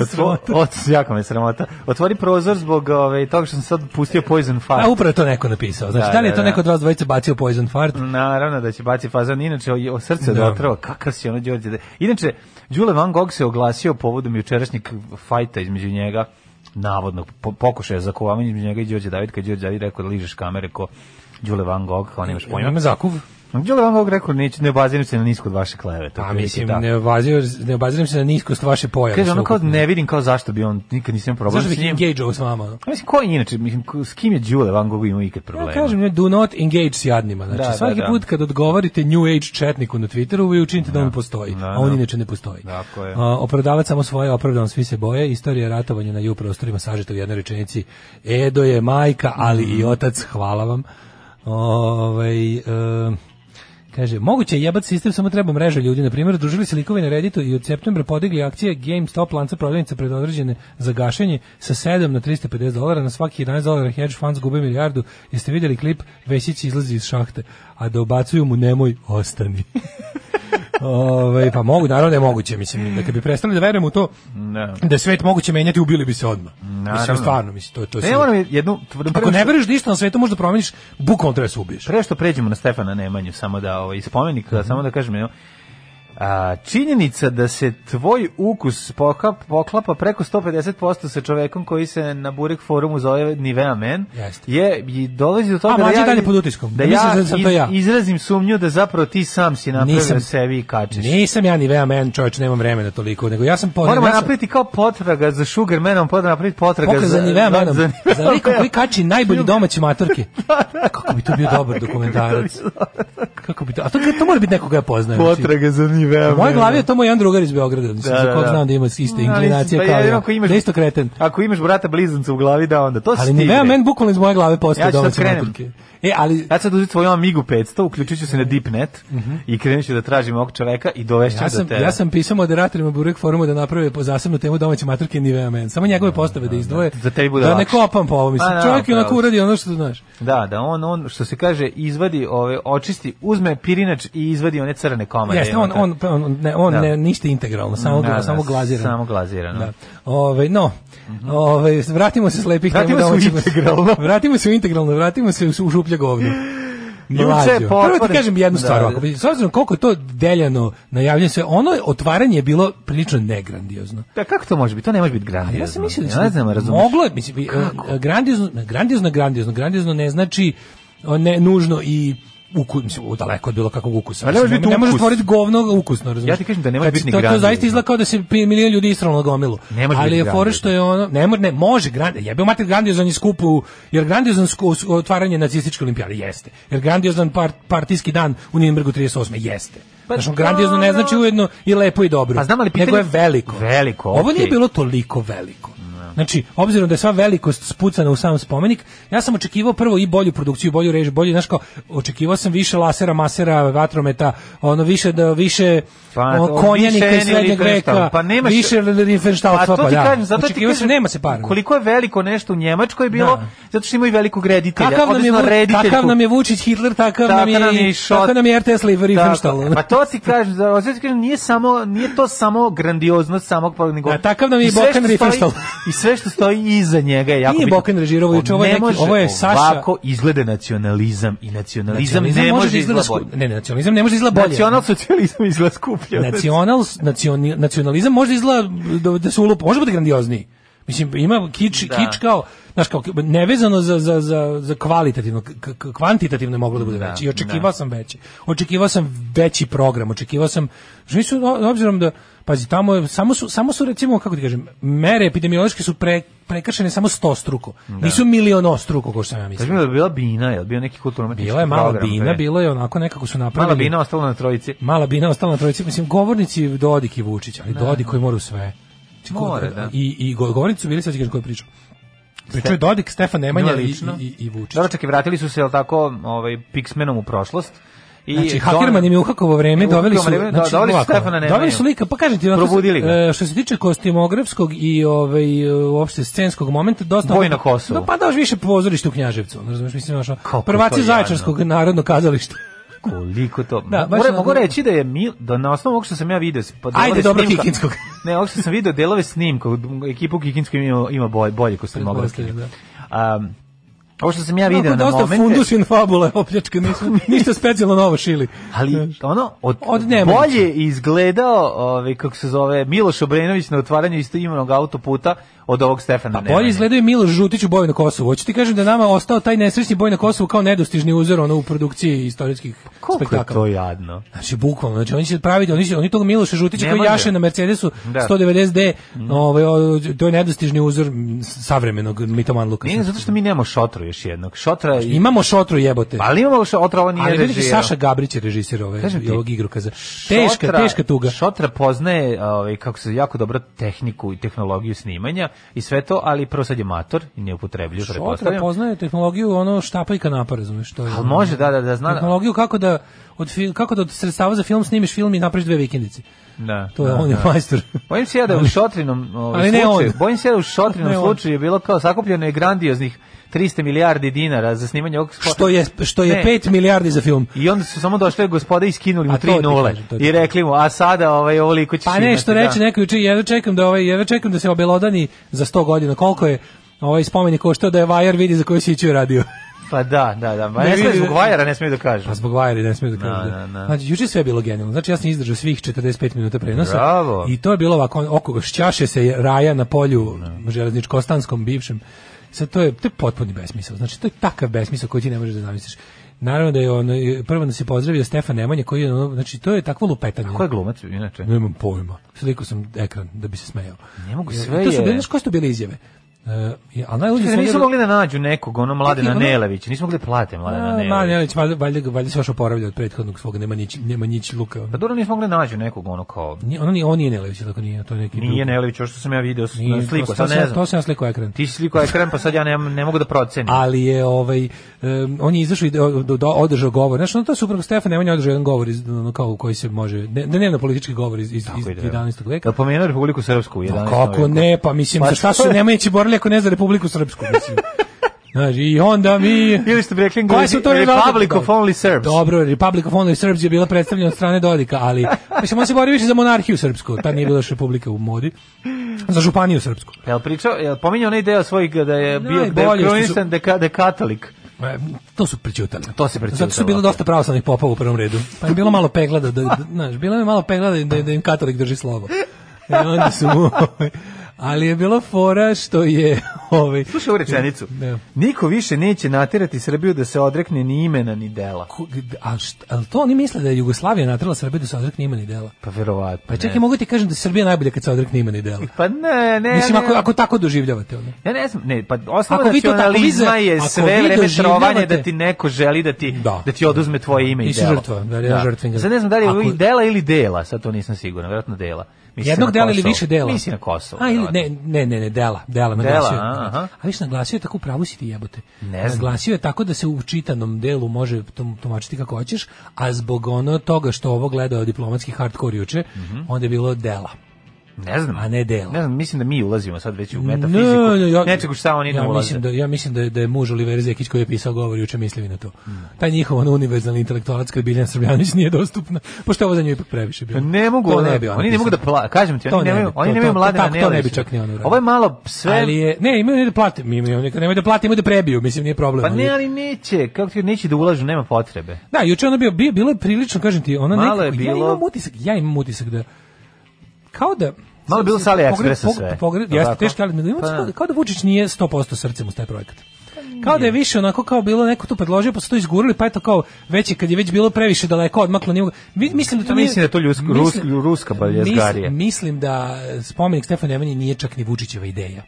[SPEAKER 7] Otvori, ot, jako me sramota. Otvori prozor zbog ove, toga što sam sad pustio Poison Fart.
[SPEAKER 6] A upravo je to neko napisao. Znači, da,
[SPEAKER 7] Da,
[SPEAKER 6] li je
[SPEAKER 7] da, Mm,
[SPEAKER 6] to
[SPEAKER 7] da.
[SPEAKER 6] neko od vas dvojica bacio Poison Fart?
[SPEAKER 7] Naravno da će baci fazan. Inače, o, o srce
[SPEAKER 6] Da.
[SPEAKER 7] da. otrova, kakav si ono Đorđe David. Inače, Đule Van Gogh se oglasio povodom jučerašnjeg fajta između njega, navodnog po- pokušaja zakovavanja između njega i Đorđe David, kad je Đorđe David rekao da ližeš kamere ko Đule Van Gogh, kao nemaš pojma.
[SPEAKER 6] Ima zakuv.
[SPEAKER 7] Đule Van Gogh rekao, neću, ne obaziram se na nisko od vaše kleve.
[SPEAKER 6] Pa mislim, ne, obazir, ne obaziram se na niskost vaše pojave.
[SPEAKER 7] Kaže, ono kao
[SPEAKER 6] sveukupno.
[SPEAKER 7] ne vidim kao zašto bi on, nikad nisam imao problem
[SPEAKER 6] Zašto
[SPEAKER 7] s
[SPEAKER 6] bih
[SPEAKER 7] njim.
[SPEAKER 6] engage-ovo s vama? ono?
[SPEAKER 7] A Mislim, ko je inače, mislim, ko- s kim je Đule Van Gogh imao ikad problema?
[SPEAKER 6] Ja kažem, ne, do not engage s jadnima. Znači,
[SPEAKER 7] Da, da,
[SPEAKER 6] svaki
[SPEAKER 7] da.
[SPEAKER 6] put kad odgovorite New Age četniku na Twitteru, vi učinite da on postoji,
[SPEAKER 7] da,
[SPEAKER 6] a on
[SPEAKER 7] da.
[SPEAKER 6] inače ne postoji.
[SPEAKER 7] Tako je.
[SPEAKER 6] A, opravdavac samo svoje, opravdan svi se boje, istorija ratovanja na ju prostorima sažeta u jednoj rečenici. Edo je majka, ali i
[SPEAKER 7] Mhm.
[SPEAKER 6] otac, hvala vam. Ovaj, e, Kaže, moguće je jebat sistem, samo treba mreža ljudi. Na primjer, družili se likovi na Redditu i od septembra podigli akcije GameStop lanca prodavnica predodređene za gašenje sa 7 na 350 dolara, na svaki 11 dolara hedge funds gube milijardu. Jeste vidjeli klip, Vesić izlazi iz šahte, a da obacuju mu nemoj, ostani. Ove, pa mogu, naravno da je moguće,
[SPEAKER 7] Mm.
[SPEAKER 6] mislim, da kad bi prestali da verujemo u to,
[SPEAKER 7] Da.
[SPEAKER 6] da je svet moguće menjati, ubili bi se odmah. Mislim,
[SPEAKER 7] Naravno. Pa
[SPEAKER 6] stvarno, mislim, to je to. je
[SPEAKER 7] Ne,
[SPEAKER 6] sve.
[SPEAKER 7] moram jednu... tvrdu-
[SPEAKER 6] Ako ne veruješ ništa na svetu, možda promeniš, bukvalno treba se ubiješ. Mhm.
[SPEAKER 7] Pre što pređemo na Stefana Nemanju, samo da ovaj, spomenik, da samo da kažem, jedno, A, činjenica da se tvoj ukus poklapa, poklapa preko 150% sa čovekom koji se na Burek forumu zove Nivea Men,
[SPEAKER 6] Jeste.
[SPEAKER 7] je, i dolazi do toga
[SPEAKER 6] A,
[SPEAKER 7] da
[SPEAKER 6] mlađi
[SPEAKER 7] ja,
[SPEAKER 6] dalje pod utiskom.
[SPEAKER 7] da
[SPEAKER 6] Da
[SPEAKER 7] ja,
[SPEAKER 6] misliš da sam to
[SPEAKER 7] iz-
[SPEAKER 6] ja.
[SPEAKER 7] izrazim sumnju da zapravo ti sam si napravio
[SPEAKER 6] Nisam.
[SPEAKER 7] sebi i kačiš.
[SPEAKER 6] Nisam ja ni vea men, čovječ, nemam vremena toliko, nego ja sam po...
[SPEAKER 7] Moramo
[SPEAKER 6] ja sam-
[SPEAKER 7] napraviti kao potraga za Sugar Manom, pa da napraviti potraga
[SPEAKER 6] Pokaz za Nivea menom,
[SPEAKER 7] za Nivea
[SPEAKER 6] za likom
[SPEAKER 7] Menom.
[SPEAKER 6] koji kači najbolji domaće matorke. Kako bi to bio dobar dokumentarac. Kako bi to, a to, to mora biti nekoga ja poznajem. znači.
[SPEAKER 7] Potraga za Nivea
[SPEAKER 6] U mojoj
[SPEAKER 7] Menom.
[SPEAKER 6] glavi je to moj jedan drugar iz Beograda, mislim,
[SPEAKER 7] Da,
[SPEAKER 6] za
[SPEAKER 7] da,
[SPEAKER 6] kog
[SPEAKER 7] da.
[SPEAKER 6] znam da ima iste
[SPEAKER 7] Ali,
[SPEAKER 6] inklinacije
[SPEAKER 7] pa
[SPEAKER 6] kao
[SPEAKER 7] jedino
[SPEAKER 6] ja.
[SPEAKER 7] ako imaš-
[SPEAKER 6] Da je isto kreten.
[SPEAKER 7] Ako imaš brata blizanca u glavi, da onda to
[SPEAKER 6] Ali
[SPEAKER 7] stigne.
[SPEAKER 6] Nivea men bukvalno iz moje glave postoje
[SPEAKER 7] Ja ću sad
[SPEAKER 6] domaće
[SPEAKER 7] krenem.
[SPEAKER 6] matorke. E, ali...
[SPEAKER 7] Ja ću sad uzeti svoju Amigu 500, uključit ću se na Deepnet i krenut ću da tražim ovog čoveka i dovešću
[SPEAKER 6] Ja
[SPEAKER 7] do
[SPEAKER 6] sam,
[SPEAKER 7] tebe.
[SPEAKER 6] ja sam pisao moderatorima Burek foruma da naprave po zasebnu temu domaće matorke Nivea men. Samo njegove postave da izdvoje.
[SPEAKER 7] Za tebi bude
[SPEAKER 6] Da ne
[SPEAKER 7] lakše. Pa,
[SPEAKER 6] kopam po ovo, mislim.
[SPEAKER 7] A, da,
[SPEAKER 6] Čovjek je
[SPEAKER 7] upravo
[SPEAKER 6] onako
[SPEAKER 7] si.
[SPEAKER 6] uradi ono što znaš.
[SPEAKER 7] Da, da on, on što se kaže, izvadi, ove, očisti, uzme pirinač i izvadi one crne komade.
[SPEAKER 6] Jeste, on, on, on, ne, on
[SPEAKER 7] Da.
[SPEAKER 6] ne, ništa integralno, samo,
[SPEAKER 7] Da, da,
[SPEAKER 6] samo glazirano.
[SPEAKER 7] Samo glazirano.
[SPEAKER 6] Da. Ove, no, ove, vratimo se s lepih tema
[SPEAKER 7] Vratimo se u
[SPEAKER 6] domaćih vas-
[SPEAKER 7] integralno.
[SPEAKER 6] Vratimo se u integralno, vratimo se u, u šuplje govno.
[SPEAKER 7] Juče
[SPEAKER 6] Mlađo,
[SPEAKER 7] je
[SPEAKER 6] Prvo ti
[SPEAKER 7] potvoren-
[SPEAKER 6] kažem jednu
[SPEAKER 7] Da,
[SPEAKER 6] stvar,
[SPEAKER 7] da.
[SPEAKER 6] ovako, s obzirom koliko je to deljano najavljeno sve, ono je- otvaranje je bilo prilično negrandiozno.
[SPEAKER 7] Da, Pa kako to može biti? To ne može biti
[SPEAKER 6] Ali
[SPEAKER 7] grandiozno.
[SPEAKER 6] ja sam mislio da
[SPEAKER 7] ne
[SPEAKER 6] će-
[SPEAKER 7] znam, razumeš.
[SPEAKER 6] moglo je, mislim, bi- e, grandiozno, grandiozno, grandiozno, grandiozno ne znači o, ne, nužno i ukus, mislim, u, daleko od bilo kakvog ukusa.
[SPEAKER 7] Ali Pa ne može
[SPEAKER 6] Mislim,
[SPEAKER 7] biti
[SPEAKER 6] ne može
[SPEAKER 7] ukus.
[SPEAKER 6] stvoriti govno ukusno, razumiješ?
[SPEAKER 7] Ja ti kažem da ne može biti ni
[SPEAKER 6] to, to
[SPEAKER 7] grandiozno.
[SPEAKER 6] zaista izgleda kao da se pi- milion ljudi isralo na gomilu.
[SPEAKER 7] Ne može
[SPEAKER 6] Ali
[SPEAKER 7] biti
[SPEAKER 6] je fora
[SPEAKER 7] grandiozno.
[SPEAKER 6] što je ono, ne, može, ne može grandiozno, jebe mater grandiozan je skup u, jer grandiozan sku- s- otvaranje nacističke olimpijade jeste. Jer grandiozan part, partijski dan u Nürnbergu 38. jeste.
[SPEAKER 7] Pa
[SPEAKER 6] Pa, grandiozno ne
[SPEAKER 7] dobro.
[SPEAKER 6] znači ujedno i lepo i dobro.
[SPEAKER 7] Pa znam, ali
[SPEAKER 6] Nego
[SPEAKER 7] pitanje-
[SPEAKER 6] je veliko.
[SPEAKER 7] Veliko,
[SPEAKER 6] Ovo nije
[SPEAKER 7] okej.
[SPEAKER 6] bilo toliko veliko. Znači, obzirom da je sva velikost spucana u sam spomenik, ja sam očekivao prvo i bolju produkciju, bolju režiju, bolje, znaš kao, očekivao sam više lasera, masera, vatrometa, ono više da više
[SPEAKER 7] Pa,
[SPEAKER 6] ono,
[SPEAKER 7] to,
[SPEAKER 6] konjanika
[SPEAKER 7] više
[SPEAKER 6] iz srednjeg
[SPEAKER 7] Riefenstahl.
[SPEAKER 6] veka,
[SPEAKER 7] Pa nemaš-
[SPEAKER 6] više Riefenstahl,
[SPEAKER 7] A to ti
[SPEAKER 6] da.
[SPEAKER 7] kažem, zato ti
[SPEAKER 6] Očekivao sam,
[SPEAKER 7] kažem,
[SPEAKER 6] nema se para.
[SPEAKER 7] Koliko je veliko nešto u Njemačkoj je bilo,
[SPEAKER 6] Da.
[SPEAKER 7] zato što imaju velikog reditelja,
[SPEAKER 6] Kakav nam, je,
[SPEAKER 7] odnosno
[SPEAKER 6] Vu-
[SPEAKER 7] rediteljku.
[SPEAKER 6] kakav nam je Vučić Hitler, takav,
[SPEAKER 7] Tako
[SPEAKER 6] nam je, i-
[SPEAKER 7] i Šot.
[SPEAKER 6] takav nam je RTS Live Riefenstahl.
[SPEAKER 7] Tako. Pa to ti kažem, da hoću ti kažem, nije samo nije to samo grandioznost samog programa, nego.
[SPEAKER 6] A takav nam je
[SPEAKER 7] i sve
[SPEAKER 6] Bokan
[SPEAKER 7] što stoji-
[SPEAKER 6] Riefenstahl.
[SPEAKER 7] I sve što stoji iza njega je jako
[SPEAKER 6] Nije
[SPEAKER 7] bitno.
[SPEAKER 6] Bokan režirao, juče, ovo je
[SPEAKER 7] Ne
[SPEAKER 6] neki-
[SPEAKER 7] može
[SPEAKER 6] ovo je Saša-
[SPEAKER 7] Ovako izgleda nacionalizam i nacionalizam, ne može, da izgleda
[SPEAKER 6] sku-
[SPEAKER 7] bolje.
[SPEAKER 6] Ne, nacionalizam ne može da izgleda bolje.
[SPEAKER 7] Nacional socijalizam izgleda skuplje.
[SPEAKER 6] Nacional, nacioni, nacionalizam može da izgleda da, da se ulupa, može biti grandiozniji. Mislim, ima kič,
[SPEAKER 7] Da.
[SPEAKER 6] kič kao, znaš, kao, nevezano za, za, za, za kvalitativno, k- k- kvantitativno je moglo da bude
[SPEAKER 7] Da,
[SPEAKER 6] veći. I
[SPEAKER 7] da.
[SPEAKER 6] očekivao sam veći. Očekivao sam veći program, očekivao sam, što nisu, o- obzirom da, pazi, tamo, je- samo su, samo su recimo, kako ti kažem, mere epidemiološke su pre, prekršene samo sto struko. Nisu miliono struko, kao što sam ja
[SPEAKER 7] Kaži
[SPEAKER 6] mislio.
[SPEAKER 7] mi da je bila Bina, je li bio neki kulturno program?
[SPEAKER 6] Bila Znači- je malo bina,
[SPEAKER 7] pre?
[SPEAKER 6] bilo je onako nekako su napravili.
[SPEAKER 7] Mala Bina ostala na trojici.
[SPEAKER 6] Mala Bina ostala na trojici, mislim, govornici Dodik i Vučić, ali Dodik koji mora u sve. Mislim, ko-
[SPEAKER 7] Mora, da.
[SPEAKER 6] I, i go- govornici su bili, sad ću kažem koju priču. Pričao je Dodik, Stefan Nemanja
[SPEAKER 7] Bila
[SPEAKER 6] i,
[SPEAKER 7] lično.
[SPEAKER 6] i, i Vučić.
[SPEAKER 7] Dobro, čak i vratili su se, jel tako, ovaj, Pixmenom u prošlost. I
[SPEAKER 6] Znači,
[SPEAKER 7] Don-
[SPEAKER 6] Hakerman im je uhakovo vreme,
[SPEAKER 7] Uhakovo
[SPEAKER 6] doveli su,
[SPEAKER 7] vreme, do-
[SPEAKER 6] znači,
[SPEAKER 7] doveli su
[SPEAKER 6] ovako,
[SPEAKER 7] Stefana Nemanju.
[SPEAKER 6] doveli su lika, pa kažem ti, onako,
[SPEAKER 7] Probudili ga.
[SPEAKER 6] e, što se tiče kostimografskog i ovaj, e, uopšte scenskog momenta, dosta...
[SPEAKER 7] Boj na Kosovu.
[SPEAKER 6] Da, pa daoš više pozorište u Knjaževcu, ono, razumeš, mislim, našo,
[SPEAKER 7] Kako to
[SPEAKER 6] prvaci
[SPEAKER 7] jadno.
[SPEAKER 6] Zaječarskog narodnog kazališta.
[SPEAKER 7] Koliko to?
[SPEAKER 6] Da, baš
[SPEAKER 7] Moram-
[SPEAKER 6] na-
[SPEAKER 7] mogu reći da je mil, da na osnovu ovog što sam ja video, pa delove
[SPEAKER 6] Ajde, dobro,
[SPEAKER 7] snimka-
[SPEAKER 6] Kikinskog.
[SPEAKER 7] ne, ovog što sam video delove snimka, ekipu Kikinskog ima, ima bolje, bolje ko se mogla.
[SPEAKER 6] Pretpostavljam,
[SPEAKER 7] Um, ovo što sam ja video
[SPEAKER 6] Onako
[SPEAKER 7] na
[SPEAKER 6] dosta
[SPEAKER 7] momente,
[SPEAKER 6] fundus in fabula opljačka, nisu, ništa specijalno novo šili.
[SPEAKER 7] ali ono, od,
[SPEAKER 6] Od Nemanjića.
[SPEAKER 7] bolje je izgledao, ovaj, kako se zove, Miloš Obrenović na otvaranju isto imenog autoputa od ovog Stefana
[SPEAKER 6] Pa bolje izgledaju Miloš Žutić u boju na Kosovu. Hoću ti kažem da je nama ostao taj nesrećni boj na Kosovu kao nedostižni uzor ono u produkciji istorijskih
[SPEAKER 7] Koliko je
[SPEAKER 6] spektakala.
[SPEAKER 7] to jadno?
[SPEAKER 6] Znači bukvalno, znači oni će praviti, oni će oni tog Miloša Žutića
[SPEAKER 7] Ne
[SPEAKER 6] koji
[SPEAKER 7] može.
[SPEAKER 6] jaše na Mercedesu
[SPEAKER 7] Da. Mhm.
[SPEAKER 6] 190D, ovaj o, to je nedostižni uzor m, savremenog mitoman Lukasa.
[SPEAKER 7] Nije zato što mi nemamo šotru još jednog. Šotra je...
[SPEAKER 6] Imamo šotru jebote.
[SPEAKER 7] Ali imamo šotra, ovo Pa, nije
[SPEAKER 6] Ali vidi
[SPEAKER 7] režirao.
[SPEAKER 6] Saša Gabrić je režisir ove,
[SPEAKER 7] Kažem ti,
[SPEAKER 6] ovog igrokaza. Teška, teška tuga.
[SPEAKER 7] Šotra poznaje ovaj, kako se jako dobro tehniku i tehnologiju snimanja i sve to, ali prvo sad je mator i ne upotrebljiv,
[SPEAKER 6] Šotra
[SPEAKER 7] pretpostavljam.
[SPEAKER 6] poznaje tehnologiju ono štapa i kanapa, razumeš, to je. ono.
[SPEAKER 7] Ali može, da, da, da, zna.
[SPEAKER 6] tehnologiju kako da od fil- kako da od sredstava za film snimiš film i napraviš dve vikendice.
[SPEAKER 7] Da,
[SPEAKER 6] To je
[SPEAKER 7] da,
[SPEAKER 6] on je
[SPEAKER 7] da.
[SPEAKER 6] majstor.
[SPEAKER 7] Bojim se ja da je u Šotrinom ovaj,
[SPEAKER 6] ali ne
[SPEAKER 7] slučaju,
[SPEAKER 6] on.
[SPEAKER 7] bojim se ja da u Šotrinom
[SPEAKER 6] Ne on.
[SPEAKER 7] slučaju je bilo kao sakupljeno je grandioznih 300 milijardi dinara za snimanje ovog spota.
[SPEAKER 6] Što je što je
[SPEAKER 7] Ne.
[SPEAKER 6] 5 milijardi za film.
[SPEAKER 7] I onda su samo došli gospoda i skinuli mu
[SPEAKER 6] A to ti
[SPEAKER 7] 3
[SPEAKER 6] kažem, to ti
[SPEAKER 7] i rekli mu, a sada ovaj, ovoliko ćeš
[SPEAKER 6] Pa
[SPEAKER 7] imati,
[SPEAKER 6] nešto
[SPEAKER 7] da.
[SPEAKER 6] reče neko juče, jedva čekam da ovaj jedva čekam da se obelodani za 100 godina koliko je ovaj spomenik koštao da je Vajar vidi za koju si radio.
[SPEAKER 7] Pa da, da, da. Ma
[SPEAKER 6] Ne
[SPEAKER 7] ne smije
[SPEAKER 6] vidi-
[SPEAKER 7] zbog vajara, ne smije da kažem.
[SPEAKER 6] A zbog vajeri ne smiju da kažu.
[SPEAKER 7] Da, da, da.
[SPEAKER 6] Znači, juče je sve bilo genijalno. Znači, ja sam izdržao svih 45 minuta prenosa.
[SPEAKER 7] Bravo.
[SPEAKER 6] I to je bilo ovako, on- oko ga šćaše se raja na polju železničko-ostanskom, bivšem. Sad, to je, to je potpuni besmisao. Znači, to je takav besmisao koji ti ne možeš da zamisliš. Naravno da je on, prvo da se pozdravio Stefan Nemanja, koji je, ono, znači, to je takvo lupetanje.
[SPEAKER 7] Ko je glumac, inače?
[SPEAKER 6] Nemam pojma. Slikao sam ekran da bi se smejao.
[SPEAKER 7] Ne mogu,
[SPEAKER 6] I
[SPEAKER 7] sve
[SPEAKER 6] to su
[SPEAKER 7] je-
[SPEAKER 6] bile, znaš, koje su to bile izjave? Uh, a najluđe
[SPEAKER 7] Čekaj,
[SPEAKER 6] sve
[SPEAKER 7] nisu
[SPEAKER 6] je-
[SPEAKER 7] mogli da nađu nekog, ono Mladena
[SPEAKER 6] Neki, ono-
[SPEAKER 7] Nelevića. Nisu mogli da plate Mladena
[SPEAKER 6] A, Mladen
[SPEAKER 7] Nelevića.
[SPEAKER 6] Jelić, valjda, valjda, ga- valjda se još oporavlja od prethodnog svog Nemanjić, Nemanjić Luka. ono.
[SPEAKER 7] Pa dobro, nisu mogli da nađu nekog, ono kao...
[SPEAKER 6] Nije, ono nije, on nije Nelević, tako nije, to je neki drugi.
[SPEAKER 7] Nije Nelević, ovo što sam ja video s- na
[SPEAKER 6] Nije,
[SPEAKER 7] sliku,
[SPEAKER 6] to-
[SPEAKER 7] sad
[SPEAKER 6] to
[SPEAKER 7] ne
[SPEAKER 6] sam- To
[SPEAKER 7] znam.
[SPEAKER 6] sam ja slikao ekran.
[SPEAKER 7] Ti si sliko ekran, pa sad ja ne, ne mogu da procenim.
[SPEAKER 6] Ali je ovaj em, on je izašao i do, do, do- održao govor. Znaš, ono to je super Stefan Nemanja održao jedan govor iz ono, kao koji se može ne, dnevno politički govor iz iz, iz
[SPEAKER 7] Tako ide,
[SPEAKER 6] 11. veka.
[SPEAKER 7] Da pomenuo Republiku Srpsku u 11.
[SPEAKER 6] Kako
[SPEAKER 7] veku.
[SPEAKER 6] ne, pa mislim, za šta su se Nemanjići borili ako ne za Republiku Srpsku, mislim. Znaš, i onda mi...
[SPEAKER 7] Ili ste bi rekli
[SPEAKER 6] Koje
[SPEAKER 7] Englesi,
[SPEAKER 6] su to rezultate?
[SPEAKER 7] Republic of only Serbs.
[SPEAKER 6] Dobro, Republic of Only Serbs je bila predstavljena od strane Dodika, ali mislim on se bori više za monarhiju srpsku, tad nije bila još republika u modi. Za županiju srpsku.
[SPEAKER 7] Jel pričao, jel pominjao onaj deo svojih da je bio da
[SPEAKER 6] Najbolje
[SPEAKER 7] je
[SPEAKER 6] što su-
[SPEAKER 7] kronisan da je ka- da je katolik.
[SPEAKER 6] E, To su prećutali.
[SPEAKER 7] To se prećutalo.
[SPEAKER 6] Zato su bilo dosta pravoslavnih popova u prvom redu. Pa je bilo malo peglada, da, da, znaš, bilo je malo peglada da, da im katolik drži slovo. I onda su mu... Ali je bilo fora što je... Ovaj,
[SPEAKER 7] Slušaj ovu rečenicu.
[SPEAKER 6] Da.
[SPEAKER 7] Niko više neće natirati Srbiju da se odrekne ni imena ni dela.
[SPEAKER 6] Ko- gd- A šta, ali to oni misle da je Jugoslavija natrala Srbiju da se odrekne imena i dela.
[SPEAKER 7] Pa verovatno.
[SPEAKER 6] Pa čekaj,
[SPEAKER 7] ne.
[SPEAKER 6] mogu ti kažem da je Srbija najbolja kad se odrekne imena i dela.
[SPEAKER 7] Pa ne, ne,
[SPEAKER 6] Mislim,
[SPEAKER 7] ne.
[SPEAKER 6] ako, ako tako doživljavate ono.
[SPEAKER 7] Ja ne znam, ne, pa osnova
[SPEAKER 6] Ako vi to tako
[SPEAKER 7] nacionalizma
[SPEAKER 6] vize-
[SPEAKER 7] je
[SPEAKER 6] ako
[SPEAKER 7] sve
[SPEAKER 6] vi
[SPEAKER 7] vreme
[SPEAKER 6] doživljavate-
[SPEAKER 7] trovanje da ti neko želi da ti, da.
[SPEAKER 6] Da.
[SPEAKER 7] ti oduzme tvoje ime i
[SPEAKER 6] Ti si
[SPEAKER 7] delo.
[SPEAKER 6] žrtva, da li je žrtvinga.
[SPEAKER 7] Sad ne znam da li je
[SPEAKER 6] Ako-
[SPEAKER 7] i dela ili dela, sad to nisam siguran, vjerojatno dela. Mislim
[SPEAKER 6] Jednog
[SPEAKER 7] na
[SPEAKER 6] dela ili
[SPEAKER 7] Kosovo.
[SPEAKER 6] više dela?
[SPEAKER 7] Mislim na Kosovo.
[SPEAKER 6] A, ili,
[SPEAKER 7] verovatno.
[SPEAKER 6] ne, ne, ne, ne, dela, dela, naglasio. je.
[SPEAKER 7] a, aha.
[SPEAKER 6] A viš naglasio je tako, u pravu si ti jebote.
[SPEAKER 7] Ne znam.
[SPEAKER 6] Naglasio je tako da se u čitanom delu može tom- tumačiti kako hoćeš, a zbog ono toga što ovo gledao diplomatski hardkor juče,
[SPEAKER 7] Mhm.
[SPEAKER 6] onda je bilo dela.
[SPEAKER 7] Ne znam.
[SPEAKER 6] A ne dela.
[SPEAKER 7] Ne znam, mislim da mi ulazimo sad već u metafiziku.
[SPEAKER 6] Ne, ne, ja-
[SPEAKER 7] Nečeg u šta oni ne
[SPEAKER 6] ja
[SPEAKER 7] ulaze.
[SPEAKER 6] mislim da ja mislim da je, da je muž Oliver Zekić koji je pisao govor juče mislio i na to.
[SPEAKER 7] Mhm.
[SPEAKER 6] Taj njihov ono univerzalni intelektualac kad Biljan Srbljanović nije dostupna. Pošto je ovo za nju ipak previše bilo.
[SPEAKER 7] Pa Ne mogu,
[SPEAKER 6] To
[SPEAKER 7] ono,
[SPEAKER 6] ne bi ona
[SPEAKER 7] oni ne mogu da
[SPEAKER 6] pisala.
[SPEAKER 7] pla, kažem ti,
[SPEAKER 6] To
[SPEAKER 7] oni
[SPEAKER 6] ne
[SPEAKER 7] nemaju,
[SPEAKER 6] bi,
[SPEAKER 7] oni
[SPEAKER 6] to-
[SPEAKER 7] nemaju
[SPEAKER 6] to-
[SPEAKER 7] mlade
[SPEAKER 6] tako to ne bi čak ni ona uradila.
[SPEAKER 7] Ovo je malo sve,
[SPEAKER 6] Ali je, ne, imaju ne da plate, mi imaju oni nemaju da plate, imaju da prebiju, mislim nije problem.
[SPEAKER 7] pa ne,
[SPEAKER 6] ali,
[SPEAKER 7] ali neće, kako ti neće da ulažu, nema potrebe.
[SPEAKER 6] da, juče ono bio, bio bilo je prilično, kažem ti, ona
[SPEAKER 7] Malo je
[SPEAKER 6] nekako, ja
[SPEAKER 7] bilo-
[SPEAKER 6] imam utisak, ja imam utisak da kao da
[SPEAKER 7] Malo je bilo sa AliExpressa
[SPEAKER 6] Pogre- pog-
[SPEAKER 7] sve.
[SPEAKER 6] pogre-
[SPEAKER 7] Jel
[SPEAKER 6] jeste
[SPEAKER 7] tako?
[SPEAKER 6] teško, ali imam
[SPEAKER 7] Pa
[SPEAKER 6] utisak kao
[SPEAKER 7] da.
[SPEAKER 6] da- kao da Vučić nije 100% srcem uz taj projekat. Kao da je više onako kao bilo neko tu predložio, pa su to izgurali, pa eto kao već je kad je već bilo previše daleko odmaklo nije. mogu- Vi- Mislim da to
[SPEAKER 7] Ja
[SPEAKER 6] nije-
[SPEAKER 7] mislim da je to ljusk-
[SPEAKER 6] mislim-
[SPEAKER 7] rusk- ruska baljezgarija.
[SPEAKER 6] mislim- Mislim da spomenik Stefana Nemanje nije čak ni Vučićeva ideja.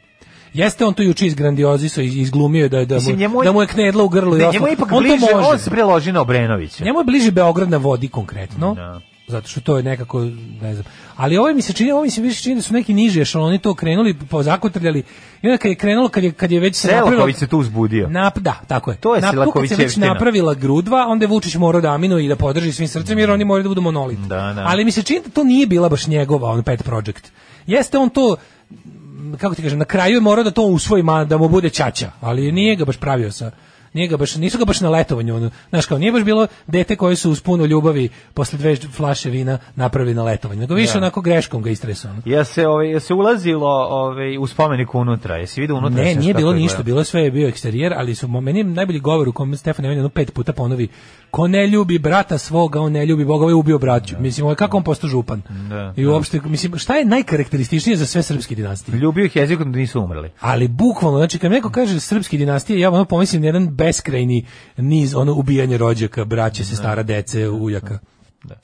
[SPEAKER 6] Jeste on to juče izgrandiozisao, iz- izglumio je da, da,
[SPEAKER 7] Mislim, njemu
[SPEAKER 6] mu,
[SPEAKER 7] je-
[SPEAKER 6] da mu je knedla u grlu i
[SPEAKER 7] Ne,
[SPEAKER 6] ostalo.
[SPEAKER 7] njemu je ipak
[SPEAKER 6] on to
[SPEAKER 7] bliže,
[SPEAKER 6] može.
[SPEAKER 7] on se preloži na Obrenovića.
[SPEAKER 6] Njemu je bliže Beograd na vodi konkretno.
[SPEAKER 7] Da.
[SPEAKER 6] Zato što to je nekako, ne znam. Ali ovo mi se čini, ovo mi se više čini da su neki niži ešaloni to krenuli, pozakotrljali. I onda kad je krenulo, kad je, kad je već se
[SPEAKER 7] Selaković se tu uzbudio.
[SPEAKER 6] Nap, da, tako je.
[SPEAKER 7] To je
[SPEAKER 6] Nap- tu kad se već
[SPEAKER 7] Selakovićevština.
[SPEAKER 6] napravila grudva, onda je Vučić morao da aminuje i da podrži svim srcem, jer oni moraju da budu monolit.
[SPEAKER 7] Da, da.
[SPEAKER 6] Ali mi se čini da to nije bila baš njegova, on pet project. Jeste on to, m, kako ti kažem, na kraju je morao da to usvoji, ma, da mu bude ćaća, ali nije ga baš pravio sa nije ga baš, nisu ga baš na letovanju ono, znaš kao, nije baš bilo dete koje su uz puno ljubavi posle dve flaše vina napravili na letovanju, nego više onako greškom ga istresao ono.
[SPEAKER 7] Ja se, ovaj, je se ulazilo ovaj, u spomenik unutra, jesi vidio unutra?
[SPEAKER 6] Pa Ne,
[SPEAKER 7] Znaš
[SPEAKER 6] nije
[SPEAKER 7] kako
[SPEAKER 6] bilo
[SPEAKER 7] je
[SPEAKER 6] ništa,
[SPEAKER 7] gledao?
[SPEAKER 6] bilo je sve je bio eksterijer, ali su meni je najbolji govor u kom Stefan Nemanja jedno pet puta ponovi ko ne ljubi brata svoga, on ne ljubi Boga, ovaj je ubio braću. Mislim, ovo je kako on postao župan.
[SPEAKER 7] Da,
[SPEAKER 6] I uopšte, mislim, šta je najkarakterističnije za sve srpske dinastije?
[SPEAKER 7] Ljubio ih jezikom da nisu umrli.
[SPEAKER 6] Ali bukvalno, znači kad mi neko kaže srpske dinastije, ja ono pomislim na jedan beskrajni niz ono ubijanje rođaka, braće, sestara, dece, ujaka,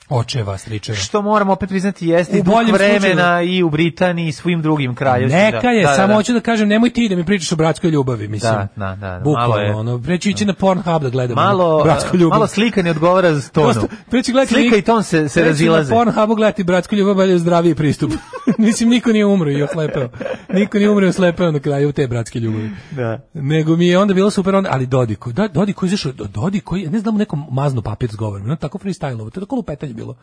[SPEAKER 6] očeva, stričeva.
[SPEAKER 7] Što moramo opet priznati jeste
[SPEAKER 6] U
[SPEAKER 7] i dug
[SPEAKER 6] boljem
[SPEAKER 7] vremena
[SPEAKER 6] slučaju-
[SPEAKER 7] i u Britaniji i svim drugim kraljevstvima.
[SPEAKER 6] Neka je,
[SPEAKER 7] Da, da,
[SPEAKER 6] samo
[SPEAKER 7] da.
[SPEAKER 6] hoću da kažem, nemoj ti da mi pričaš o bratskoj ljubavi, mislim.
[SPEAKER 7] Da, da, da, da,
[SPEAKER 6] Bukvalno,
[SPEAKER 7] malo je.
[SPEAKER 6] ono, preći ići na Pornhub da gledamo
[SPEAKER 7] malo,
[SPEAKER 6] bratsku
[SPEAKER 7] eh,
[SPEAKER 6] ljubav.
[SPEAKER 7] malo slika ne odgovara za tonu.
[SPEAKER 6] Prosto, preći gledati
[SPEAKER 7] Slika
[SPEAKER 6] lik-
[SPEAKER 7] i ton se, se
[SPEAKER 6] preći
[SPEAKER 7] razilaze.
[SPEAKER 6] Na Pornhubu gledati bratsku ljubav bolje je zdraviji pristup. Mislim, niko nije umro i oslepeo. Niko nije umro i oslepeo na kraju te bratske ljubavi.
[SPEAKER 7] Da.
[SPEAKER 6] Nego mi je onda bilo super, onda, ali Dodiku, da, Dodiku je izašao, Dodiku je, ne znam, mu nekom maznu papir s govorom, no, tako freestyleovo, to je tako lupetanje bilo.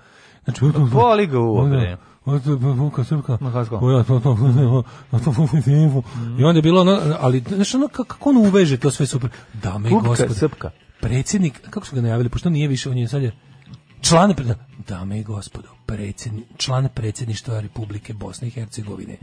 [SPEAKER 6] Znači,
[SPEAKER 7] Boli ga uvo, bre. Ma kako?
[SPEAKER 6] pa- I onda je bilo ono, ali znaš ono ka- kako on uveže to sve super. Dame i
[SPEAKER 7] Pupka,
[SPEAKER 6] gospode.
[SPEAKER 7] srpka.
[SPEAKER 6] Predsjednik, kako su ga najavili, pošto nije više, on je sad je član pre- dame i gospodo predsjedni, član predsjedništva Republike Bosne i Hercegovine.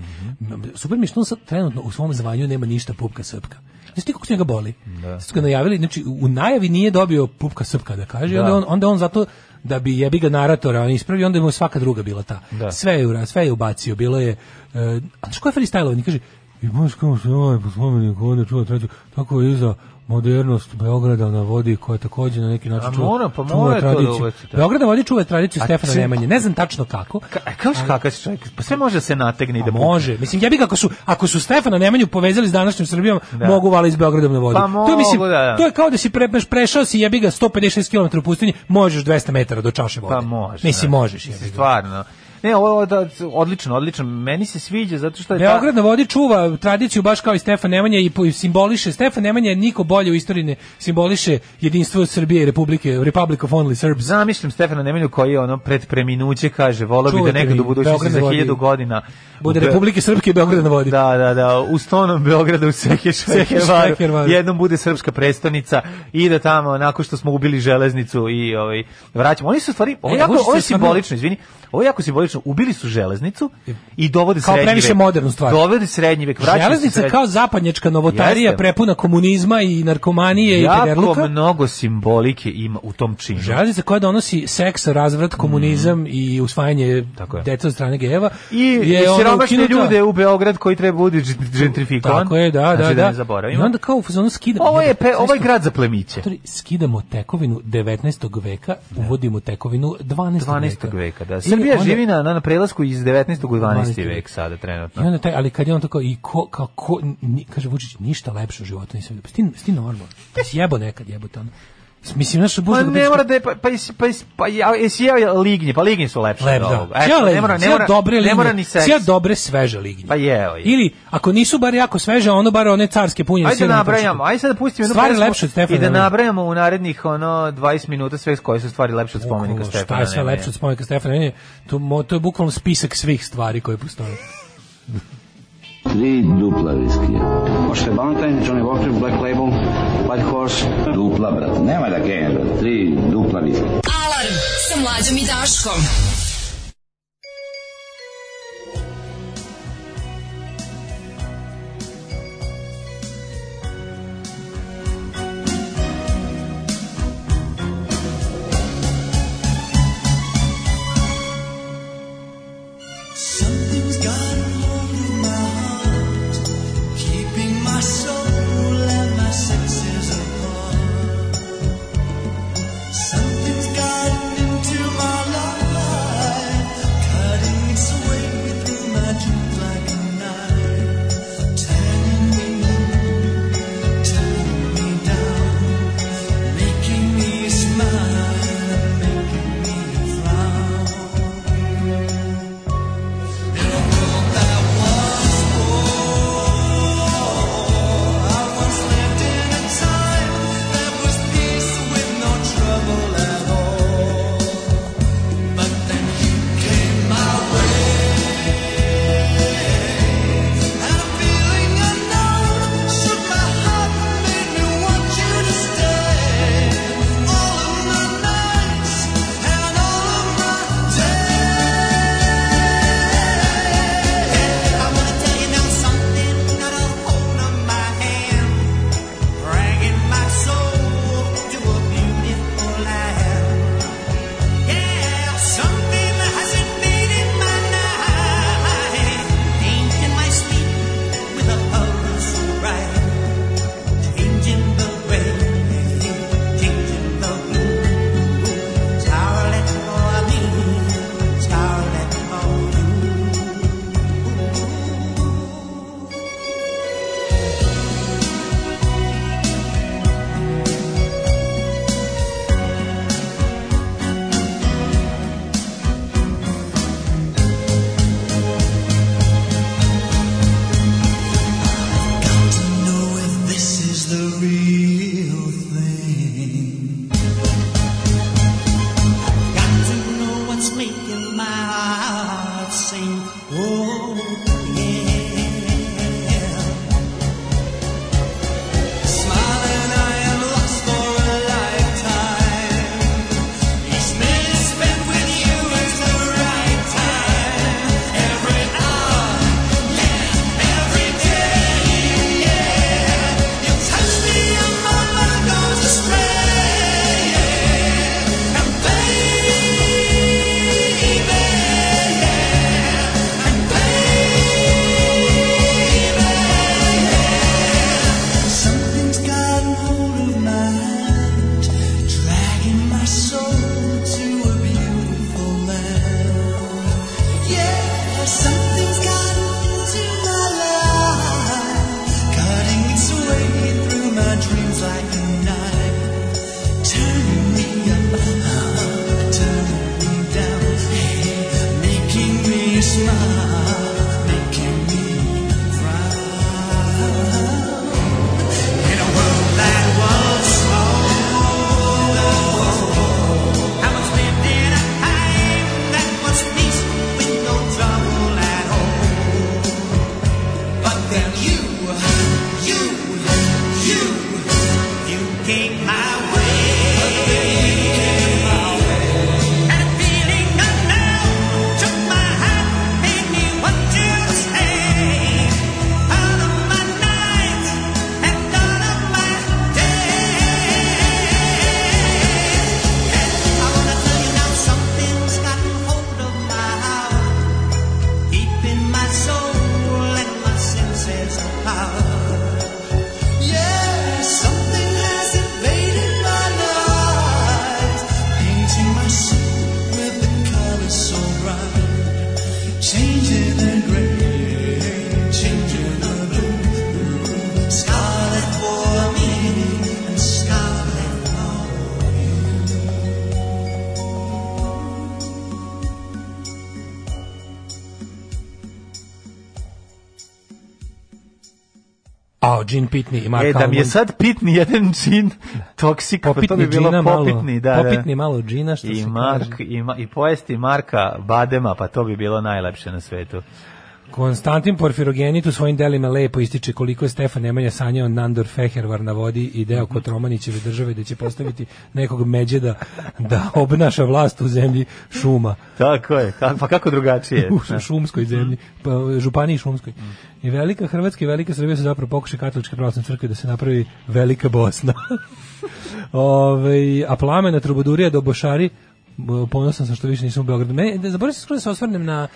[SPEAKER 6] Super mi je što on sad trenutno u svom zvanju nema ništa pupka srpka. Znaš ti kako se njega boli? Da. Su ga najavili, znači u najavi nije dobio pupka srpka da kaže, onda, on, onda on zato da bi jebi ga naratora on ispravi, onda mu svaka druga bila ta.
[SPEAKER 7] Da.
[SPEAKER 6] Sve je, ura- sve je ubacio, bilo je... Uh, a što je freestyle? On kaže, i baš kao se ovaj po spomeniku ovde čuva treću, tako je i za modernost Beograda na vodi koja takođe na neki način
[SPEAKER 7] A
[SPEAKER 6] čuva-
[SPEAKER 7] mora, pa
[SPEAKER 6] čuva
[SPEAKER 7] mora to da
[SPEAKER 6] tradiciju.
[SPEAKER 7] ubaci, da.
[SPEAKER 6] Beograd na vodi čuva tradiciju
[SPEAKER 7] A
[SPEAKER 6] Stefana
[SPEAKER 7] čim-
[SPEAKER 6] Nemanje. Ne znam tačno kako.
[SPEAKER 7] Ka, a kao kakav si čovjek, pa sve može da se nategne i da
[SPEAKER 6] Da
[SPEAKER 7] pukne.
[SPEAKER 6] može. Mislim, ja bih ako su, ako su Stefana Nemanju povezali s današnjom Srbijom,
[SPEAKER 7] Da.
[SPEAKER 6] mogu vali s Beogradom na vodi.
[SPEAKER 7] Pa
[SPEAKER 6] to, je, mislim,
[SPEAKER 7] mogu, da, da.
[SPEAKER 6] to je kao da si pre, prešao si jebi ga 156 km u pustinji, možeš 200 metara do čaše vode.
[SPEAKER 7] Pa može.
[SPEAKER 6] Mislim,
[SPEAKER 7] da.
[SPEAKER 6] možeš. jebi
[SPEAKER 7] Mislim,
[SPEAKER 6] ga.
[SPEAKER 7] Stvarno. Ne, ovo je od- odlično, odlično. Meni se sviđa zato što je ta-
[SPEAKER 6] Beograd na vodi čuva tradiciju baš kao i Stefan Nemanja i po- i simboliše Stefan Nemanja je niko bolje u istoriji ne simboliše jedinstvo Srbije i Republike Republic of Only Serbs.
[SPEAKER 7] Zamislim Stefana Nemanju koji je ono pred preminuće kaže, volao bi da
[SPEAKER 6] Čuvajte
[SPEAKER 7] nekad
[SPEAKER 6] vi,
[SPEAKER 7] u budućnosti
[SPEAKER 6] Beograd
[SPEAKER 7] za
[SPEAKER 6] na vodi.
[SPEAKER 7] hiljadu godina
[SPEAKER 6] Bude
[SPEAKER 7] u Be-
[SPEAKER 6] Republike Srpske i Beograd na vodi.
[SPEAKER 7] Da, da, da, u stonom Beograda u Seke Švekevaru.
[SPEAKER 6] Švekervaru.
[SPEAKER 7] Jednom bude srpska prestonica i da tamo, nakon što smo ubili železnicu i ovaj, vraćamo. Oni su u stvari, ovo,
[SPEAKER 6] E,
[SPEAKER 7] je jako,
[SPEAKER 6] Vučić
[SPEAKER 7] ovo je
[SPEAKER 6] je stvarno-
[SPEAKER 7] simbolično, izvini, ovo je jako simbolično. Ubili su železnicu i dovode
[SPEAKER 6] Kao
[SPEAKER 7] srednji
[SPEAKER 6] previše
[SPEAKER 7] vek.
[SPEAKER 6] modernu stvar.
[SPEAKER 7] Dovode srednji vek. vraćaju se
[SPEAKER 6] Železnica
[SPEAKER 7] srednji-
[SPEAKER 6] kao zapadnjačka novotarija
[SPEAKER 7] Jeste.
[SPEAKER 6] prepuna komunizma i narkomanije i
[SPEAKER 7] Jako
[SPEAKER 6] pederluka.
[SPEAKER 7] mnogo simbolike ima u tom činu.
[SPEAKER 6] Železnica koja donosi seks, razvrat, komunizam i usvajanje
[SPEAKER 7] Mm. Tako je.
[SPEAKER 6] deca od strane gejeva.
[SPEAKER 7] I,
[SPEAKER 6] je
[SPEAKER 7] i
[SPEAKER 6] ono
[SPEAKER 7] siromašne
[SPEAKER 6] ukinuta-
[SPEAKER 7] ljude u Beograd koji treba budi gentrifikovan.
[SPEAKER 6] Tako je, da, da,
[SPEAKER 7] znači,
[SPEAKER 6] da.
[SPEAKER 7] da. ne
[SPEAKER 6] I
[SPEAKER 7] zaboravimo.
[SPEAKER 6] onda kao u fazonu skidamo.
[SPEAKER 7] Ovo je, pe,
[SPEAKER 6] Znaš
[SPEAKER 7] ovo je
[SPEAKER 6] šta?
[SPEAKER 7] grad za plemiće.
[SPEAKER 6] Autori, skidamo tekovinu 19. veka, uvodimo tekovinu 12.
[SPEAKER 7] 12. veka, da.
[SPEAKER 6] I
[SPEAKER 7] Srbija
[SPEAKER 6] onda-
[SPEAKER 7] živi na, na prelasku iz 19. u 12. vek
[SPEAKER 6] vek.
[SPEAKER 7] sada
[SPEAKER 6] I
[SPEAKER 7] trenutno.
[SPEAKER 6] onda taj, ali kad je on tako, i ko, kao, ko, ni, kaže Vučić, ništa lepše u životu nisam vidio. Pa sti, sti normalno. Pa si jebo nekad jebote ono. Mislim, znaš,
[SPEAKER 7] Pa
[SPEAKER 6] bužno
[SPEAKER 7] ne mora da je, pa, pa, jesi- pa, jesi- pa, ja- jesi jeo lignje, pa lignje su lepše
[SPEAKER 6] Lep,
[SPEAKER 7] od
[SPEAKER 6] da.
[SPEAKER 7] ovoga.
[SPEAKER 6] Sija
[SPEAKER 7] Eto, ne mora, ne mora,
[SPEAKER 6] dobre lignje,
[SPEAKER 7] ne mora ni seks.
[SPEAKER 6] sija dobre sveže lignje.
[SPEAKER 7] Pa jeo je.
[SPEAKER 6] Ili, ako nisu bar jako sveže, ono bar one carske punjene.
[SPEAKER 7] Ajde da
[SPEAKER 6] sirene
[SPEAKER 7] nabrajamo,
[SPEAKER 6] pršute.
[SPEAKER 7] ajde sad da pustimo jednu
[SPEAKER 6] Stvari
[SPEAKER 7] pesmu
[SPEAKER 6] lepše od Stefana
[SPEAKER 7] i da
[SPEAKER 6] Nemanje.
[SPEAKER 7] nabrajamo u narednih ono 20 minuta sve koje su stvari lepše od spomenika
[SPEAKER 6] Bukvalno,
[SPEAKER 7] Stefana.
[SPEAKER 6] Šta je sve
[SPEAKER 7] Nemanje.
[SPEAKER 6] lepše od spomenika Stefana? Nemanje? To, mo- to je bukvalno spisak svih stvari koje postoje.
[SPEAKER 4] Tri dupla viskija. Možete Valentine, Johnny Walker, Black Label, White Horse. Dupla, brate. Nema da gajem, brate. Tri dupla viskija.
[SPEAKER 5] Alarm sa mlađom i Daškom.
[SPEAKER 1] Something's got a hold of my heart, keeping my soul and my senses apart. Something's gotten into my life,
[SPEAKER 6] A, Gene Pitney i Mark
[SPEAKER 7] E, da mi je
[SPEAKER 6] Almond.
[SPEAKER 7] sad pitni jedan džin toksik, pa to bi bilo
[SPEAKER 6] džina
[SPEAKER 7] popitni, da,
[SPEAKER 6] malo,
[SPEAKER 7] da.
[SPEAKER 6] popitni malo džina, što
[SPEAKER 7] I,
[SPEAKER 6] se
[SPEAKER 7] Mark,
[SPEAKER 6] kaže.
[SPEAKER 7] i, ma, I pojesti Marka Badema, pa to bi bilo najlepše na svetu.
[SPEAKER 6] Konstantin Porfirogenit u svojim delima lepo ističe koliko je Stefan Nemanja sanjao Nandor Fehervar na vodi i deo kod Romanićeve države da će postaviti nekog međeda da obnaša vlast u zemlji šuma.
[SPEAKER 7] Tako je, ka- pa kako drugačije?
[SPEAKER 6] U šumskoj zemlji, pa županiji šumskoj. I velika Hrvatska i velika Srbija su zapravo pokušaj katoličke pravoslavne crkve da se napravi velika Bosna. Ove, a plamena trubodurija do Bošari, b- ponosan sam što više nisam u Beogradu. Me, da, zaboravim se skoro da se osvrnem na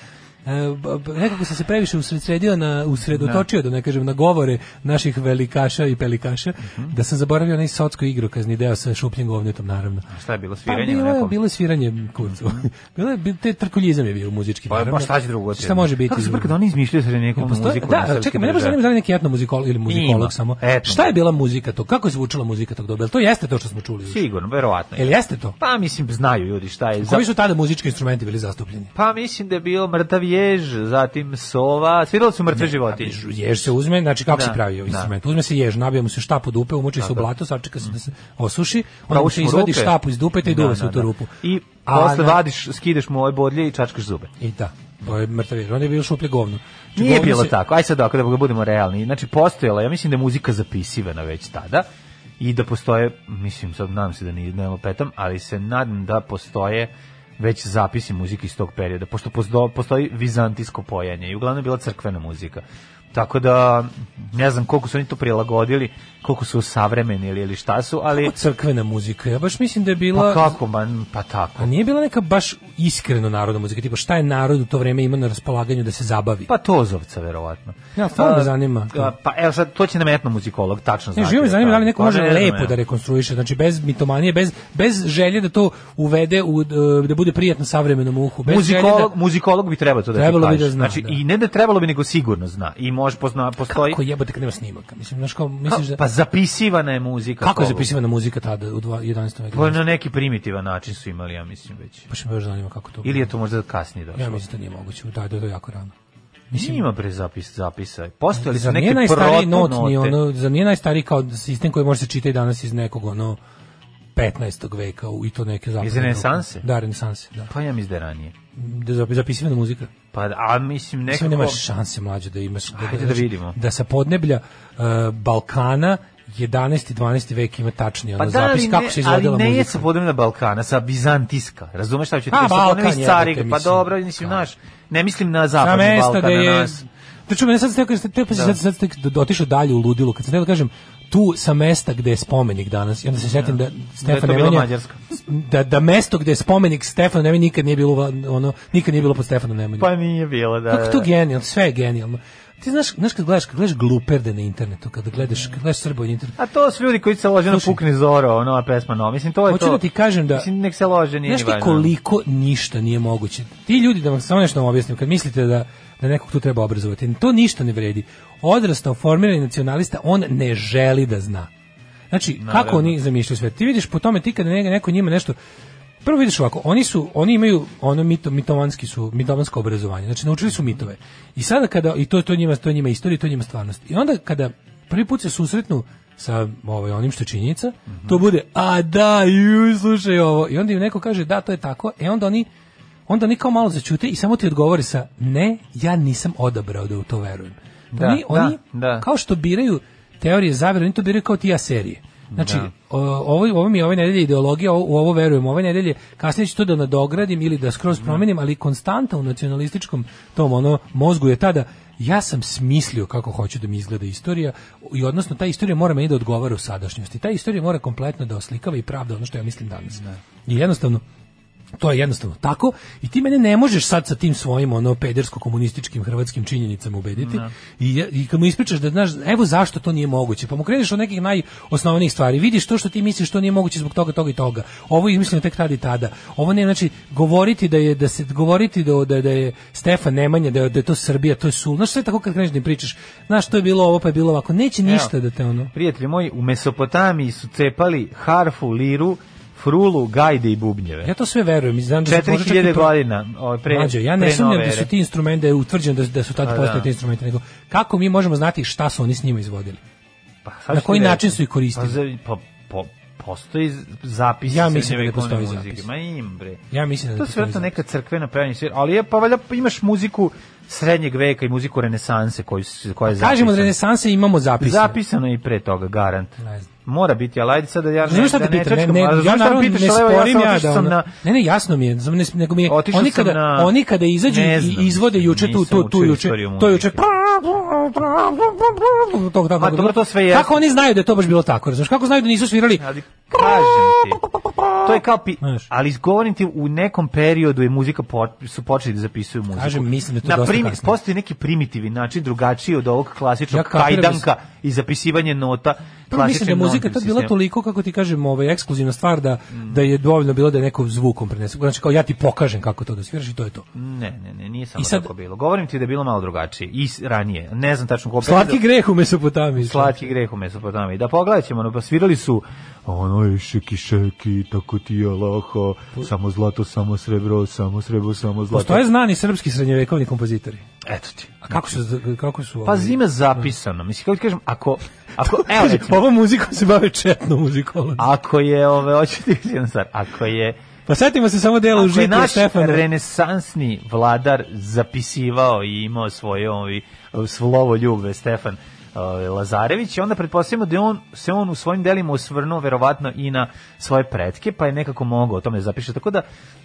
[SPEAKER 6] e, b- b- nekako sam se previše usredsredio na usredotočio da ne kažem na govore naših velikaša i pelikaša da sam zaboravio onaj sotsko igrokazni deo sa šupljim govnetom naravno
[SPEAKER 7] Šta je bilo
[SPEAKER 6] pa
[SPEAKER 7] sviranje? u
[SPEAKER 6] bilo je,
[SPEAKER 7] nekom- Mhm.
[SPEAKER 6] bilo je sviranje kurcu. bilo je, bil- te trkuljizam je bio muzički.
[SPEAKER 7] Pa,
[SPEAKER 6] naravno.
[SPEAKER 7] pa šta će drugo? od
[SPEAKER 6] Šta
[SPEAKER 7] tebe?
[SPEAKER 6] može biti?
[SPEAKER 7] Kako se brka da oni izmišljaju se nekom
[SPEAKER 6] Postoje-
[SPEAKER 7] muziku? na
[SPEAKER 6] da,
[SPEAKER 7] srpske
[SPEAKER 6] čekaj, mene baš
[SPEAKER 7] države?
[SPEAKER 6] zanima da li neki etno muzikolog ili muzikolog
[SPEAKER 7] Ima.
[SPEAKER 6] samo.
[SPEAKER 7] Etno.
[SPEAKER 6] Šta je bila muzika to? Kako je zvučala muzika tog doba? Jel To jeste to što smo čuli. Jel
[SPEAKER 7] Sigurno, verovatno. je.
[SPEAKER 6] jeste to?
[SPEAKER 7] Pa mislim, znaju ljudi šta je. za-
[SPEAKER 6] Koji su tada muzički instrumenti bili zastupljeni?
[SPEAKER 7] Pa mislim da je bio mrtav jež, zatim sova, svirali su mrtve životinje.
[SPEAKER 6] Jež se uzme, znači kako
[SPEAKER 7] Da,
[SPEAKER 6] se pravi
[SPEAKER 7] da.
[SPEAKER 6] instrument? Uzme se jež, nabija mu se štap u dupe, umoči se u blato, sačeka se da se osuši, onda mu
[SPEAKER 7] Provući
[SPEAKER 6] se
[SPEAKER 7] Pa mu
[SPEAKER 6] izvadi
[SPEAKER 7] ruke.
[SPEAKER 6] štapu iz dupe i
[SPEAKER 7] Da,
[SPEAKER 6] duva se
[SPEAKER 7] da,
[SPEAKER 6] u tu
[SPEAKER 7] da.
[SPEAKER 6] rupu.
[SPEAKER 7] I
[SPEAKER 6] A
[SPEAKER 7] posle
[SPEAKER 6] na-
[SPEAKER 7] vadiš, skidaš mu ove bodlje i čačkaš zube.
[SPEAKER 6] I da, to je mrtav jež. Onda je bio šuplje govno. Znači,
[SPEAKER 7] Nije
[SPEAKER 6] govno
[SPEAKER 7] bilo
[SPEAKER 6] se-
[SPEAKER 7] tako. Aj sad ako da budemo realni. Znači postojala, ja mislim da je muzika zapisivana već tada i da postoje, mislim sad nadam se da ni ne lupetam, ali se nadam da postoje već zapisi muzike iz tog perioda, pošto pozdo- postoji vizantijsko pojanje i uglavnom je bila crkvena muzika. Tako da ne znam koliko su oni to prilagodili, koliko su savremenili ili šta su, ali
[SPEAKER 6] crkvena muzika. Ja baš mislim da je bila
[SPEAKER 7] pa kako, man, pa tako.
[SPEAKER 6] A nije bila neka baš iskreno narodna muzika, tipa šta je narod u to vreme imao na raspolaganju da se zabavi?
[SPEAKER 7] Pa Tozovca, verovatno.
[SPEAKER 6] Ja, stvarno me
[SPEAKER 7] A,
[SPEAKER 6] zanima.
[SPEAKER 7] a, Pa evo sad, to će nam etno muzikolog, tačno
[SPEAKER 6] ne,
[SPEAKER 7] znati.
[SPEAKER 6] živo me zanima da li neko
[SPEAKER 7] Pa
[SPEAKER 6] može
[SPEAKER 7] ne znam,
[SPEAKER 6] lepo
[SPEAKER 7] ja.
[SPEAKER 6] da rekonstruiše, znači bez mitomanije, bez, bez želje da to uvede, u, e, da bude prijatno savremenom uhu. Bez želje
[SPEAKER 7] Muzikolog,
[SPEAKER 6] da,
[SPEAKER 7] muzikolog bi trebao to da ti
[SPEAKER 6] Trebalo bi
[SPEAKER 7] kaže.
[SPEAKER 6] da zna,
[SPEAKER 7] znači,
[SPEAKER 6] da.
[SPEAKER 7] I ne da trebalo bi, nego sigurno zna. I može pozna, postoji...
[SPEAKER 6] kako jebote kad nema snimaka? Mislim, znaš kao, misliš da...
[SPEAKER 7] Pa zapisivana je muzika.
[SPEAKER 6] kako je
[SPEAKER 7] pobogu.
[SPEAKER 6] zapisivana muzika tada u dva- 11. veku?
[SPEAKER 7] Pa na neki primitivan način su imali, ja mislim već.
[SPEAKER 6] Baš me još zanima kako to...
[SPEAKER 7] Ili je to možda kasnije došlo?
[SPEAKER 6] Ja mislim da nije moguće, da, da je to jako rano.
[SPEAKER 7] Mislim, ima pre zapis, zapisa. Postojali su
[SPEAKER 6] Zar nije
[SPEAKER 7] neke
[SPEAKER 6] najstariji not, ni
[SPEAKER 7] protonote.
[SPEAKER 6] ono, zar nije najstariji kao sistem koji može se čitati danas iz nekog ono 15. veka u- i to neke zapravo.
[SPEAKER 7] renesanse?
[SPEAKER 6] Da, renesanse, da.
[SPEAKER 7] Pa ja mislim da je ranije.
[SPEAKER 6] da zapi- zapisivana muzika.
[SPEAKER 7] Pa, a mislim
[SPEAKER 6] Sve
[SPEAKER 7] nekako...
[SPEAKER 6] nemaš šanse mlađe da imaš da,
[SPEAKER 7] Ajde da
[SPEAKER 6] znaš,
[SPEAKER 7] vidimo.
[SPEAKER 6] da sa podneblja e, Balkana 11. i 12. vek ima tačni ono
[SPEAKER 7] Pa da, ali
[SPEAKER 6] zapis kako
[SPEAKER 7] ne-
[SPEAKER 6] se izvodila
[SPEAKER 7] Ali ne je
[SPEAKER 6] muzika.
[SPEAKER 7] sa podemljena Balkana, sa Bizantiska. Razumeš šta ću ti
[SPEAKER 6] A,
[SPEAKER 7] reći? Sa podemljena
[SPEAKER 6] Balkan
[SPEAKER 7] iz
[SPEAKER 6] je,
[SPEAKER 7] Cariga.
[SPEAKER 6] brate,
[SPEAKER 7] Pa
[SPEAKER 6] mislim.
[SPEAKER 7] dobro, mislim,
[SPEAKER 6] Kao.
[SPEAKER 7] naš, ne mislim na
[SPEAKER 6] Na
[SPEAKER 7] zapadni
[SPEAKER 6] mesta
[SPEAKER 7] Balkan,
[SPEAKER 6] da
[SPEAKER 7] na
[SPEAKER 6] je...
[SPEAKER 7] nas.
[SPEAKER 6] Da čujem, ja sad ste, ste, te, pa sad, sad ste otišao dalje u ludilo, kad sam teo da kažem tu sa mesta gde je spomenik danas, i onda se sjetim da Stefan
[SPEAKER 7] to bila
[SPEAKER 6] Nemanja-
[SPEAKER 7] Mađarska.
[SPEAKER 6] da, da mesto gde je spomenik Stefanu Nemanji nikad nije bilo va- ono, nikad nije bilo pod Stefanom Nemanjom.
[SPEAKER 7] Pa nije bilo, da.
[SPEAKER 6] Kako to
[SPEAKER 7] da.
[SPEAKER 6] genijalno, sve je genijalno. Ti znaš, znaš kad gledaš, kad gledaš gluperde na internetu, kada gledaš, kad gledaš Srbo na internetu,
[SPEAKER 7] A to su ljudi koji se lože na
[SPEAKER 6] Slušaj.
[SPEAKER 7] pukne zoro, nova pesma, no. Mislim, to je
[SPEAKER 6] Hoću
[SPEAKER 7] to.
[SPEAKER 6] da ti kažem da-
[SPEAKER 7] Mislim, nek se lože, nije
[SPEAKER 6] Znaš
[SPEAKER 7] ni
[SPEAKER 6] ti
[SPEAKER 7] važno.
[SPEAKER 6] koliko ništa nije moguće. Ti ljudi, da vam samo nešto vam objasnim, kad mislite da, da nekog tu treba obrazovati, to ništa ne vredi. Odrastao formirani nacionalista, on ne želi da zna. Znači, kako oni zamišljaju svet? Ti vidiš po tome, ti kada neka- neko njima nešto... Prvo vidiš ovako, oni su, oni imaju ono mito, mitovanski su, mitovansko obrazovanje, znači naučili su mitove. I sada kada, i to, to njima, to njima istorija, to njima stvarnost. I onda kada prvi put se susretnu sa ovaj, onim što je činjenica, to
[SPEAKER 7] Mhm.
[SPEAKER 6] bude, a da, ju, slušaj ovo. I onda im neko kaže, da, to je tako. E onda oni, onda oni kao malo začute i samo ti odgovori sa, ne, ja nisam odabrao da u to verujem.
[SPEAKER 7] Da,
[SPEAKER 6] oni,
[SPEAKER 7] da,
[SPEAKER 6] oni
[SPEAKER 7] da.
[SPEAKER 6] kao što biraju teorije zavere, oni to biraju kao ti ja serije. Znači, o, ovo, ovo mi je ove nedelje ideologija, ovo- u ovo verujem, ove nedelje kasnije ću to da nadogradim ili da skroz promenim, ali konstanta u nacionalističkom tom ono mozgu je tada ja sam smislio kako hoću da mi izgleda istorija i odnosno ta istorija mora meni da odgovara u sadašnjosti. Ta istorija mora kompletno da oslikava i pravda ono što ja mislim danas. I jednostavno, to je jednostavno tako i ti mene ne možeš sad sa tim svojim ono pedersko komunističkim hrvatskim činjenicama ubediti. I, ja- I kad mu ispričaš da znaš evo zašto to nije moguće, pa mu kreneš od nekih najosnovnijih stvari. Vidiš to što ti misliš to nije moguće zbog toga toga i toga. Ovo je mislim tek tada i tada. Ovo ne znači govoriti da je da se govoriti da da, da je Stefan Nemanja da je, da je to Srbija, to je sul. Znaš sve tako kad kreneš da im pričaš. Znaš to je bilo ovo pa je bilo ovako. Neće ništa da te ono.
[SPEAKER 7] Prijatelji moji, u Mesopotamiji su cepali harfu, liru, frulu, gajde i bubnjeve.
[SPEAKER 6] Ja to sve verujem. i Znam da se možda čak i
[SPEAKER 7] 4000
[SPEAKER 6] pro-
[SPEAKER 7] godina ovaj, pre,
[SPEAKER 6] Mlađo, ja ne
[SPEAKER 7] pre
[SPEAKER 6] sumnjam
[SPEAKER 7] nove
[SPEAKER 6] da su
[SPEAKER 7] ere.
[SPEAKER 6] ti instrumenti, da je utvrđeno da, da su
[SPEAKER 7] A,
[SPEAKER 6] tada
[SPEAKER 7] da.
[SPEAKER 6] postali te instrumente, nego kako mi možemo znati šta su oni s njima izvodili?
[SPEAKER 7] Pa, sad ću
[SPEAKER 6] na
[SPEAKER 7] ti
[SPEAKER 6] koji
[SPEAKER 7] reći.
[SPEAKER 6] način su ih koristili?
[SPEAKER 7] Pa, za- pa, po- postoji z- zapis
[SPEAKER 6] Ja mislim da ne
[SPEAKER 7] srednjevekovne
[SPEAKER 6] postoji
[SPEAKER 7] muzike.
[SPEAKER 6] zapis.
[SPEAKER 7] Ma im bre.
[SPEAKER 6] Ja mislim da
[SPEAKER 7] to
[SPEAKER 6] ne
[SPEAKER 7] su vjerojatno
[SPEAKER 6] postoji
[SPEAKER 7] neka crkvena pevanja svira, ali je pa valjda imaš muziku srednjeg veka i muziku renesanse koju s- koja je
[SPEAKER 6] Kažemo da
[SPEAKER 7] zapisana.
[SPEAKER 6] Pa renesanse imamo zapise.
[SPEAKER 7] Zapisano je i pre toga, garant.
[SPEAKER 6] Ne znam.
[SPEAKER 7] Mora biti, ali ajde sad da ja
[SPEAKER 6] Znaš šta
[SPEAKER 7] da
[SPEAKER 6] te pitam? Ne,
[SPEAKER 7] čačkam,
[SPEAKER 6] ne,
[SPEAKER 7] ali znaš
[SPEAKER 6] ja
[SPEAKER 7] šta
[SPEAKER 6] naravno
[SPEAKER 7] pitaš,
[SPEAKER 6] ne
[SPEAKER 7] ali evo,
[SPEAKER 6] sporim ja,
[SPEAKER 7] ja, sam
[SPEAKER 6] da
[SPEAKER 7] otišao sam
[SPEAKER 6] ono-
[SPEAKER 7] na,
[SPEAKER 6] Ne, ne, jasno mi je, znam, ne, nego mi je,
[SPEAKER 7] Otišao
[SPEAKER 6] oni
[SPEAKER 7] sam
[SPEAKER 6] kada,
[SPEAKER 7] na-
[SPEAKER 6] oni kada izađu
[SPEAKER 7] Ne
[SPEAKER 6] i-
[SPEAKER 7] znam,
[SPEAKER 6] i izvode juče tu,
[SPEAKER 7] nisam
[SPEAKER 6] tu, tu
[SPEAKER 7] učio
[SPEAKER 6] juče,
[SPEAKER 7] istoriju
[SPEAKER 6] to
[SPEAKER 7] muzike.
[SPEAKER 6] juče, to, tako,
[SPEAKER 7] Ma, dobro, to sve jeste.
[SPEAKER 6] Kako oni znaju da je to baš bilo tako, razumiješ? Kako znaju da nisu svirali?
[SPEAKER 7] ali kažem ti. To je kao pi...
[SPEAKER 6] Znaš.
[SPEAKER 7] ali govorim ti u nekom periodu je muzika po... su počeli da zapisuju muziku.
[SPEAKER 6] Kažem, mislim da je to dosta kasno.
[SPEAKER 7] postoji neki primitivni način drugačiji od ovog klasičnog
[SPEAKER 6] Ja kapiram da
[SPEAKER 7] kajdanka i zapisivanje nota.
[SPEAKER 6] Prvo mislim da je
[SPEAKER 7] klasičnim
[SPEAKER 6] muzika tad
[SPEAKER 7] notnim
[SPEAKER 6] bila
[SPEAKER 7] sistemom.
[SPEAKER 6] toliko, kako ti kažem, ovaj, ekskluzivna stvar da, da je dovoljno bilo da je neko zvukom prenese. Znači kao ja ti pokažem kako to da sviraš i to je to.
[SPEAKER 7] Ne, ne, ne, nije samo
[SPEAKER 6] I sad-
[SPEAKER 7] tako bilo. Govorim ti da je bilo malo drugačije i s- ranije. Ne znam tačno koliko.
[SPEAKER 6] Slatki greh u Mesopotamiji.
[SPEAKER 7] Slatki greh u Mesopotamiji. Da pogledat ćemo, ono, pa svirali su ono je šeki šeki, tako ti je laho, samo zlato, samo srebro, samo srebro, samo zlato.
[SPEAKER 6] Postoje znani srpski srednjevekovni kompozitori.
[SPEAKER 7] Eto ti.
[SPEAKER 6] A kako su... Kako su
[SPEAKER 7] Pa
[SPEAKER 6] ovaj-
[SPEAKER 7] zima zapisano. Mislim, kako ti kažem, ako... Ako, evo,
[SPEAKER 6] Kaže,
[SPEAKER 7] recimo,
[SPEAKER 6] ovom muzikom se bave četno muzikolozi.
[SPEAKER 7] ako je, ove, hoću ti reći jednu stvar, ako je,
[SPEAKER 6] Pa setimo se samo dela u
[SPEAKER 7] ako je
[SPEAKER 6] žitu
[SPEAKER 7] naš
[SPEAKER 6] Stefana.
[SPEAKER 7] renesansni vladar zapisivao i imao svoje ovi, slovo ljube Stefan ove, Lazarević, onda pretpostavljamo da je on, se on u svojim delima osvrnuo verovatno i na svoje pretke, pa je nekako mogao o tome da zapiše. Tako da,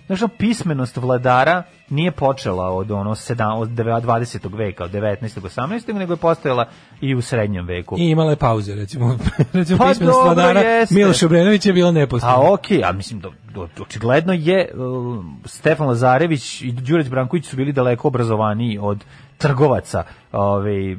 [SPEAKER 7] znaš, ono, pismenost vladara nije počela od ono sedam, od deva- 20. veka, od 19. 18. nego je postojala i u srednjem veku.
[SPEAKER 6] I imala je pauze, recimo. recimo
[SPEAKER 7] Pa
[SPEAKER 6] pa pismenost
[SPEAKER 7] dobro,
[SPEAKER 6] vladara
[SPEAKER 7] jeste.
[SPEAKER 6] Miloš Obrenović je bila neposledna.
[SPEAKER 7] A Pa okej, a mislim da da- očigledno je uh, Stefan Lazarević i Đurđ Branković su bili daleko obrazovaniji od trgovaca, ovaj m,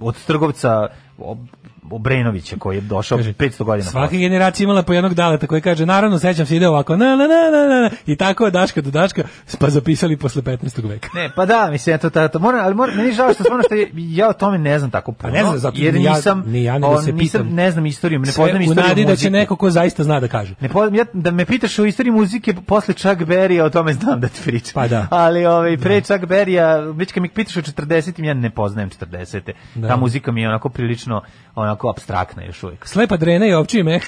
[SPEAKER 7] od trgovca Ob- Obrenovića koji je došao 500 godina.
[SPEAKER 6] Svaka
[SPEAKER 7] posle.
[SPEAKER 6] generacija imala po jednog daleta koji kaže, naravno, sećam se ide ovako, na, na, na, na, na, na, i tako od Daška do Daška, pa zapisali posle 15. veka.
[SPEAKER 7] Ne, pa da, mislim, eto, tato, moram, ali moram, meni je žao što stvarno što je- ja o tome ne znam tako puno.
[SPEAKER 6] Pa ne znam, zato
[SPEAKER 7] jer
[SPEAKER 6] ni ja-
[SPEAKER 7] nisam,
[SPEAKER 6] ni ja, ni da
[SPEAKER 7] o,
[SPEAKER 6] se
[SPEAKER 7] nisam,
[SPEAKER 6] pitam.
[SPEAKER 7] ne znam istoriju, ne
[SPEAKER 6] Sve
[SPEAKER 7] poznam
[SPEAKER 6] u
[SPEAKER 7] istoriju
[SPEAKER 6] nadi da
[SPEAKER 7] muzike.
[SPEAKER 6] će neko ko zaista zna da kaže.
[SPEAKER 7] Ne poznam, ja, da me pitaš o istoriji muzike, posle Chuck Berry, o tome znam da ti pričam.
[SPEAKER 6] Pa da.
[SPEAKER 7] Ali ovaj, pre Chuck Berry, već kad mi pitaš o 40 ja ne poznajem 40
[SPEAKER 6] Da.
[SPEAKER 7] Ta muzika mi je onako prilično onako abstraktna još uvijek.
[SPEAKER 6] Slepa drena i ovčiji meh.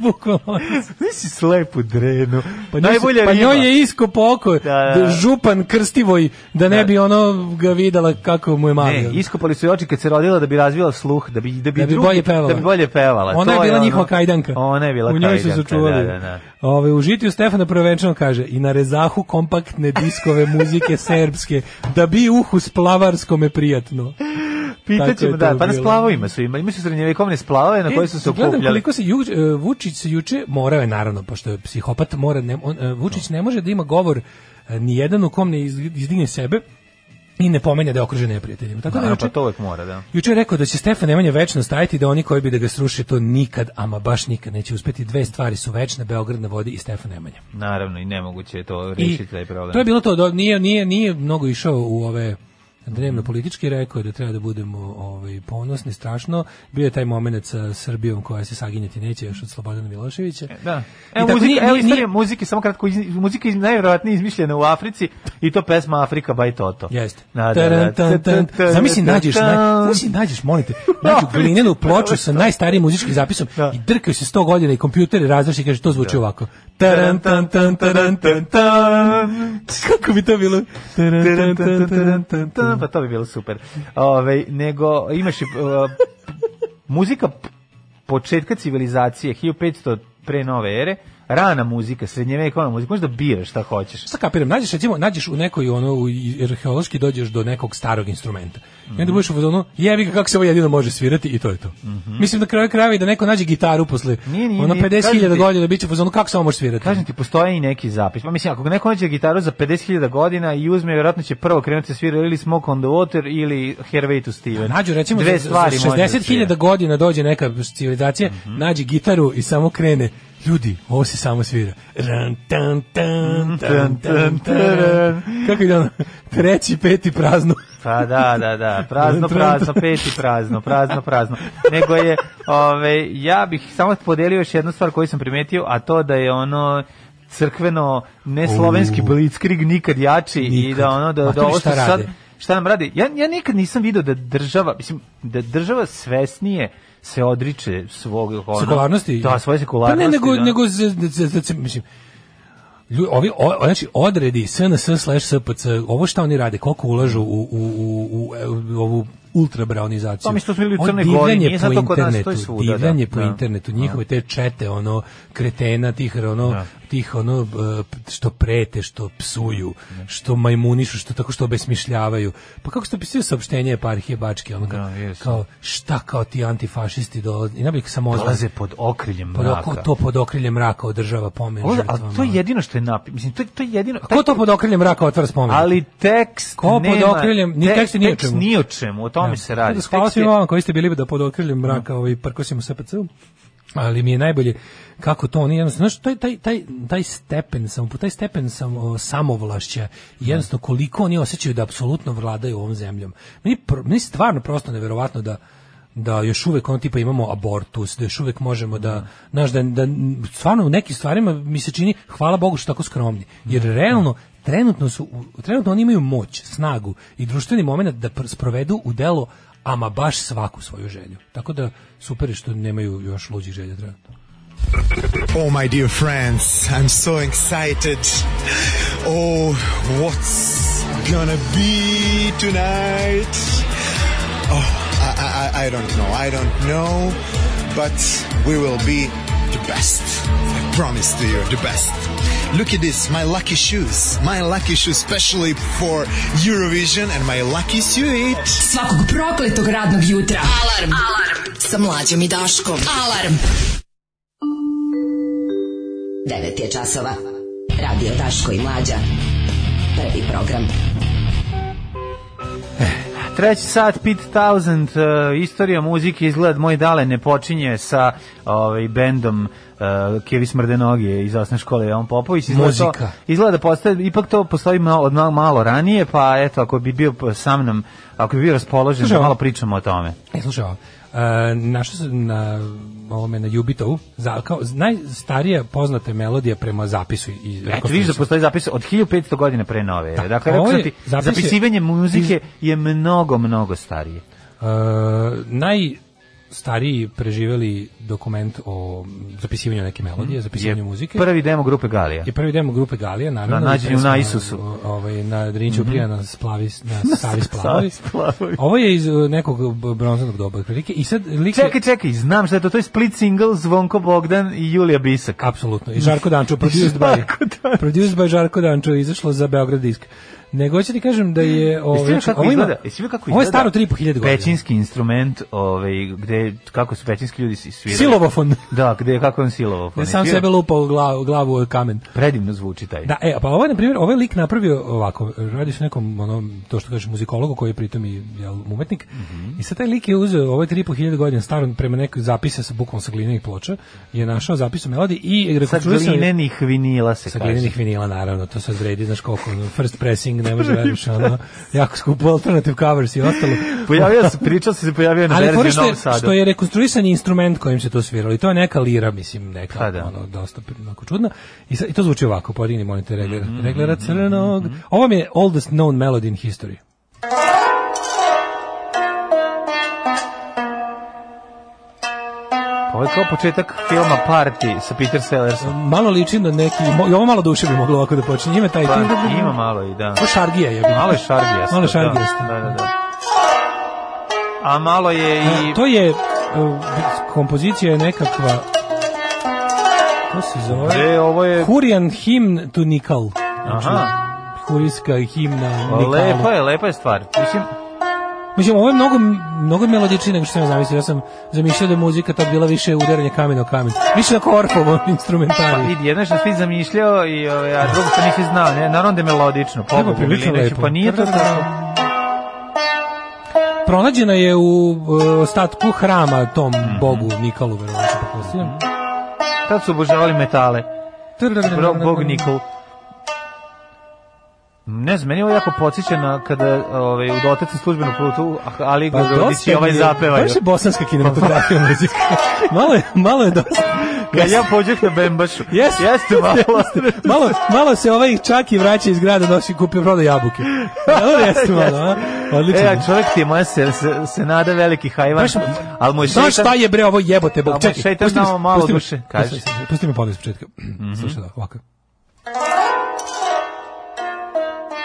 [SPEAKER 6] Bukvalno.
[SPEAKER 7] Nisi slepu drenu.
[SPEAKER 6] Pa, njoj, se- pa njoj
[SPEAKER 7] E,
[SPEAKER 6] je iskopo oko,
[SPEAKER 7] Da, da.
[SPEAKER 6] župan krstivoj, da ne bi ono ga videla kako mu je mali.
[SPEAKER 7] Ne,
[SPEAKER 6] ono.
[SPEAKER 7] iskopali su joj oči kad se rodila da bi razvila sluh, da bi da bi,
[SPEAKER 6] Da bi
[SPEAKER 7] drugi-
[SPEAKER 6] bolje pevala.
[SPEAKER 7] Da bi bolje pevala.
[SPEAKER 6] Ona
[SPEAKER 7] To
[SPEAKER 6] je bila
[SPEAKER 7] ono-
[SPEAKER 6] njihova kajdanka.
[SPEAKER 7] Ona je bila
[SPEAKER 6] U
[SPEAKER 7] kajdanka.
[SPEAKER 6] njoj su se čuvali.
[SPEAKER 7] Da, da, da.
[SPEAKER 6] Ove, u žitiju Stefana Prvenčano kaže i na rezahu kompaktne diskove muzike serbske, da bi uhu splavarskome prijatno. Tako je
[SPEAKER 7] Pitaćemo,
[SPEAKER 6] to
[SPEAKER 7] da, pa na
[SPEAKER 6] bilo. E,
[SPEAKER 7] splavovima su imali. Imali su srednjevekovne splavove na koje su se
[SPEAKER 6] Gledam
[SPEAKER 7] okupljali.
[SPEAKER 6] koliko se Ju, e, Vučić se juče morao je naravno pošto je psihopat mora ne, on, e, Vučić ne može da ima govor e, ni jedan u kom ne iz- izdigne sebe i ne pomene da je okružen neprijateljima. Tako da,
[SPEAKER 7] Da,
[SPEAKER 6] juče,
[SPEAKER 7] pa to uvek mora, da.
[SPEAKER 6] Juče je rekao da će Stefan Nemanja večno stajati da oni koji bi da ga sruše to nikad, ama baš nikad neće uspeti. Dve stvari su večne, Beograd na vodi i Stefan Nemanja.
[SPEAKER 7] Naravno, i nemoguće je to
[SPEAKER 6] I
[SPEAKER 7] rešiti taj problem.
[SPEAKER 6] to je bilo to, do, nije, nije, nije mnogo išao u ove dnevno politički rekao je da treba da budemo ovaj, ponosni, strašno. Bio je taj moment sa Srbijom koja se saginjati neće još od Slobodana Miloševića.
[SPEAKER 7] E, Da.
[SPEAKER 6] I
[SPEAKER 7] Evo
[SPEAKER 6] tako,
[SPEAKER 7] muzika,
[SPEAKER 6] nije-
[SPEAKER 7] evo
[SPEAKER 6] nije-
[SPEAKER 7] istorija muzike, samo kratko, iz, muzika je najverovatnije izmišljena u Africi i to pesma Afrika by Toto.
[SPEAKER 6] Jeste.
[SPEAKER 7] Da, da, da.
[SPEAKER 6] Taran, tan, tan. Zamisli nađeš, naj, zamisli nađeš, molim te, nađu glinenu ploču sa najstarijim muzičkim zapisom
[SPEAKER 7] Da.
[SPEAKER 6] i drkaju se 100 godina i kompjuter razvrši i kaže to zvuči ovako. Taran, tan, tan, taran, tan, tan. Kako bi to bilo? Taran, tan, tan, taran, tan, tan.
[SPEAKER 7] Pa to bi bilo super. Ove, nego imaš i uh, muzika p- početka civilizacije 1500 pre nove ere, rana muzika, srednjevekovna muzika, možeš da biraš šta hoćeš.
[SPEAKER 6] Šta kapiram, nađeš recimo, nađeš u nekoj ono u i- arheološki dođeš do nekog starog instrumenta. I
[SPEAKER 7] Mhm.
[SPEAKER 6] onda budeš u fazonu, jebi ga kako se ovo jedino može svirati i to je to. Mislim da kraju krajeva i da neko nađe gitaru posle
[SPEAKER 7] Mhm. Nije, nije,
[SPEAKER 6] ono
[SPEAKER 7] nije,
[SPEAKER 6] 50.000
[SPEAKER 7] kažem ti-
[SPEAKER 6] godina biće u fazonu kako se ovo može svirati.
[SPEAKER 7] Kažem ti, postoje i neki zapis. Pa mislim, ako neko nađe gitaru za 50.000 godina i uzme, vjerojatno će prvo krenuti da svira ili Smoke on the Water ili Hervey to Steven.
[SPEAKER 6] Pa Nađu recimo
[SPEAKER 7] Dve
[SPEAKER 6] za-
[SPEAKER 7] stvari
[SPEAKER 6] za
[SPEAKER 7] može da svira. Mhm.
[SPEAKER 6] 60.000 godina dođe neka civilizacija, nađe gitaru i samo krene Ljudi, ovo se samo svira. Ran, tan, tan,
[SPEAKER 7] tan,
[SPEAKER 6] tan, tan,
[SPEAKER 7] Mhm. tan,
[SPEAKER 6] taran. Kako ide ono? Treći, peti prazno.
[SPEAKER 7] Pa da, da, da, prazno, prazno, peti prazno, prazno, prazno. Nego je, ove, ja bih samo podelio još jednu stvar koju sam primetio, a to da je ono crkveno, ne slovenski blitzkrig nikad jači i
[SPEAKER 6] Nikad.
[SPEAKER 7] da ono, da,
[SPEAKER 6] A
[SPEAKER 7] da
[SPEAKER 6] to
[SPEAKER 7] ovo
[SPEAKER 6] šta
[SPEAKER 7] što sad,
[SPEAKER 6] rade?
[SPEAKER 7] šta nam radi? Ja, ja nikad nisam video da država, mislim, da država svesnije se odriče svog ono,
[SPEAKER 6] Sekularnosti?
[SPEAKER 7] Da, svoje sekularnosti.
[SPEAKER 6] Pa ne, nego,
[SPEAKER 7] da.
[SPEAKER 6] nego, z, z, z, z, mislim, Lju, ovi, o, o- znači, odredi SNS slash SPC, ovo šta oni rade, koliko ulažu u, u, u, u, u ovu ultra braunizaciju.
[SPEAKER 7] Pa mislim, to smo bili u
[SPEAKER 6] Ovo
[SPEAKER 7] Crnoj Gori,
[SPEAKER 6] divljanje
[SPEAKER 7] nije sad to kod nas, to je svuda, da.
[SPEAKER 6] divljanje po
[SPEAKER 7] Da.
[SPEAKER 6] internetu, njihove te čete, ono, kretena, tih, ono,
[SPEAKER 7] Da.
[SPEAKER 6] tih, ono, b- što prete, što psuju, što majmunišu, što tako što obesmišljavaju. Pa kako ste opisali saopštenje eparhije Bačke, ono, kao,
[SPEAKER 7] Da, jesu.
[SPEAKER 6] kao šta kao ti antifašisti dolaze, i nabijek samo
[SPEAKER 7] dolaze pod okriljem
[SPEAKER 6] pod
[SPEAKER 7] mraka.
[SPEAKER 6] oko, to pod okriljem mraka održava pomen
[SPEAKER 7] Ovo-
[SPEAKER 6] žrtvama.
[SPEAKER 7] a to je jedino što je napi, mislim, to, je- to je jedino...
[SPEAKER 6] Ko to pod okriljem raka otvara spomen?
[SPEAKER 7] Ali tekst
[SPEAKER 6] Ko pod
[SPEAKER 7] nema,
[SPEAKER 6] okriljem, ni
[SPEAKER 7] te-
[SPEAKER 6] tekst ni o čemu.
[SPEAKER 7] ni o čemu, o tome se radi.
[SPEAKER 6] Da, hvala
[SPEAKER 7] Tekst je-
[SPEAKER 6] svima vama koji ste bili da pod okriljem mraka ovaj, prkosimo SPC-u. Ali mi je najbolje kako to oni jednostavno, znaš, taj, taj, taj, taj stepen, sam, taj stepen sam, o, samovlašća i jednostavno koliko oni osjećaju da apsolutno vladaju ovom zemljom. Meni, pr- meni je stvarno prosto neverovatno da da još uvek ono tipa imamo abortus, da još uvek možemo da, znaš, da, da stvarno u nekim stvarima mi se čini, hvala Bogu što tako skromni, jer realno trenutno su, u- trenutno oni imaju moć, snagu i društveni moment da pr- sprovedu u delo ama baš svaku svoju želju. Tako da super je što nemaju još luđih želja trenutno.
[SPEAKER 9] Oh, my dear friends, I'm so excited. Oh, what's gonna be tonight? Oh, I, I, I- I don't know. I don't know. But we will be the best. I promise to you, the best. Look at this, my lucky shoes. My lucky shoes, specially for Eurovision and my lucky suit.
[SPEAKER 5] Svakog prokletog radnog jutra. Alarm. Alarm.
[SPEAKER 10] Sa mlađom i Daškom.
[SPEAKER 5] Alarm.
[SPEAKER 10] 9 je časova. Radio Daško i Mlađa. Prvi program.
[SPEAKER 7] Treći sat, Pit Thousand, uh, istorija muzike, izgled moj dale ne počinje sa ovaj, bendom uh, Kevi Smrdenogije iz osne škole Jovan Popović. to-
[SPEAKER 6] Muzika.
[SPEAKER 7] izgleda da postoje, ipak to postoji malo, od malo, malo ranije, pa eto, ako bi bio sa mnom, ako bi bio raspoložen,
[SPEAKER 6] Slušaj,
[SPEAKER 7] da malo pričamo o tome.
[SPEAKER 6] E, slušaj ovo. E, našao sam na ovome na Jubitovu, za, kao najstarija poznata melodija prema zapisu. I,
[SPEAKER 7] Eto, vidiš da postoji zapis od 1500 godina pre nove. ere. dakle, rekao
[SPEAKER 6] ovo
[SPEAKER 7] sam
[SPEAKER 6] je
[SPEAKER 7] ti,
[SPEAKER 6] zapis je-
[SPEAKER 7] zapisivanje muzike je mnogo, mnogo starije.
[SPEAKER 6] E, najstariji preživeli dokument o zapisivanju neke melodije, zapisivanju muzike.
[SPEAKER 7] Mhm. Prvi demo grupe Galija.
[SPEAKER 6] je prvi demo grupe Galija, naravno.
[SPEAKER 7] Na nađenju
[SPEAKER 6] i pesma,
[SPEAKER 7] na Isusu. Mhm.
[SPEAKER 6] o- Ovaj, na Drinču mm -hmm. na Splavi, na Savi
[SPEAKER 7] Savi
[SPEAKER 6] Splavovi.
[SPEAKER 7] Splavovi.
[SPEAKER 6] Ovo je iz e, nekog b- bronzanog doba, otprilike. I sad lik je-
[SPEAKER 7] Čekaj, čekaj, znam šta je to, to je split single Zvonko Bogdan i Julija Bisak.
[SPEAKER 6] Apsolutno. I Žarko Dančo, produced by,
[SPEAKER 7] Žarko Dančo.
[SPEAKER 6] produced by Žarko Dančo, izašlo za Beograd disk. Nego ću ti kažem da je... Ovo,
[SPEAKER 7] Jesi vidio kako
[SPEAKER 6] ovo ima-
[SPEAKER 7] izgleda? Jesi vidio kako izgleda?
[SPEAKER 6] Ovo je staro 3.500 godina.
[SPEAKER 7] Pećinski instrument, ovaj, gde, kako su pećinski ljudi si- svirali.
[SPEAKER 6] Silovofon.
[SPEAKER 7] Da, gde, kako je on silovofon.
[SPEAKER 6] Da sam
[SPEAKER 7] Svirao.
[SPEAKER 6] sebe lupao u glavu, glavu u kamen.
[SPEAKER 7] Predivno zvuči taj.
[SPEAKER 6] Da, e, pa ovo je, na primjer, ovaj lik napravio ovako, radi se o nekom, ono, to što kaže, muzikologu koji je pritom i jel, umetnik, i sad taj lik je uzeo ovaj 3.500 godina staro, prema nekoj zapise sa bukom sa glinenih ploča, je našao zapis u melodiji i
[SPEAKER 7] Sa
[SPEAKER 6] rekonstruisao je-
[SPEAKER 7] glinenih vinila se
[SPEAKER 6] sa
[SPEAKER 7] kaže.
[SPEAKER 6] glinenih vinila naravno, to sad vredi, znaš koliko, ono, first pressing, ne može veruješ, ono, jako skupo alternative covers i ostalo.
[SPEAKER 7] Pojavio se, pričao se, se pojavio na
[SPEAKER 6] Ali
[SPEAKER 7] verziji
[SPEAKER 6] fora
[SPEAKER 7] u
[SPEAKER 6] što,
[SPEAKER 7] Novom
[SPEAKER 6] je-
[SPEAKER 7] Sadu.
[SPEAKER 6] što je rekonstruisan instrument kojim se to sviralo i to je neka lira, mislim, neka,
[SPEAKER 7] Pa da.
[SPEAKER 6] ono, dosta onako čudna. I, sa, I to zvuči ovako, podigni monitor reglera,
[SPEAKER 7] Mm-hmm,
[SPEAKER 6] reglera crnog. Ovo mi je oldest known melody in history.
[SPEAKER 7] Ovo je kao početak filma Party sa Peter Sellersom.
[SPEAKER 6] Malo liči na neki, mo- i ovo malo duše bi moglo ovako da počinje, ima taj...
[SPEAKER 7] Pa, ima malo i da.
[SPEAKER 6] Ovo šargija je.
[SPEAKER 7] Malo je šargijasto.
[SPEAKER 6] Malo je šargijasto.
[SPEAKER 7] Da, da, da. A malo je i...
[SPEAKER 6] To je, uh, kompozicija je nekakva, to se zove...
[SPEAKER 7] E, ovo je...
[SPEAKER 6] Kurijan himn tu Nikal.
[SPEAKER 7] Aha.
[SPEAKER 6] Kurijska himna Nikalu.
[SPEAKER 7] Pa, Lepa je, lepa je stvar. Mislim,
[SPEAKER 6] Mislim, ovo je mnogo, mnogo melodičnije nego što sam ja zamislio. Ja sam zamišljao da je muzika tad bila više udaranje kamena o kamen. Više na korfovom
[SPEAKER 7] pa
[SPEAKER 6] instrumentari.
[SPEAKER 7] vidi, jedno što svi zamišljao, i, ovaj, a drugo što nisi znao. Ne, naravno da je melodično.
[SPEAKER 6] Evo,
[SPEAKER 7] Pogu,
[SPEAKER 6] prilično lepo.
[SPEAKER 7] Pa nije to tako.
[SPEAKER 6] Pronađena je
[SPEAKER 7] Mhm.
[SPEAKER 6] pa u e, ostatku hrama tom bogu Nikalu, verovatno, pretpostavljam.
[SPEAKER 7] Tad su obožavali metale. Bro, Mhm. Bog Nikol. Ne znam, meni ovo jako podsjeća na kada ovaj, u dotaci službenu plutu, ali pa, i ovaj Pa
[SPEAKER 6] mi je-
[SPEAKER 7] zapevaju.
[SPEAKER 6] Baš je bosanska kinematografija muzika. Malo je, malo je dosta.
[SPEAKER 7] Kad ja pođeh na Bembašu.
[SPEAKER 6] Jeste.
[SPEAKER 7] Jeste malo.
[SPEAKER 6] Malo, malo se ovaj čak i vraća iz grada nosi kupio proda jabuke. Dobro jeste malo, a? Odlično.
[SPEAKER 7] E, a čovjek ti je moja se, se, se nada veliki hajvan,
[SPEAKER 6] Baš-
[SPEAKER 7] ali mu je
[SPEAKER 6] Znaš šta je bre ovo jebote
[SPEAKER 7] A,
[SPEAKER 6] bog?
[SPEAKER 7] moj
[SPEAKER 6] Čekaj,
[SPEAKER 7] šeitan
[SPEAKER 6] pusti me-
[SPEAKER 7] dao malo
[SPEAKER 6] pusti me-
[SPEAKER 7] duše, kaži.
[SPEAKER 6] Pusti me- Pusti me pogled s početka. Slušaj da, ovako.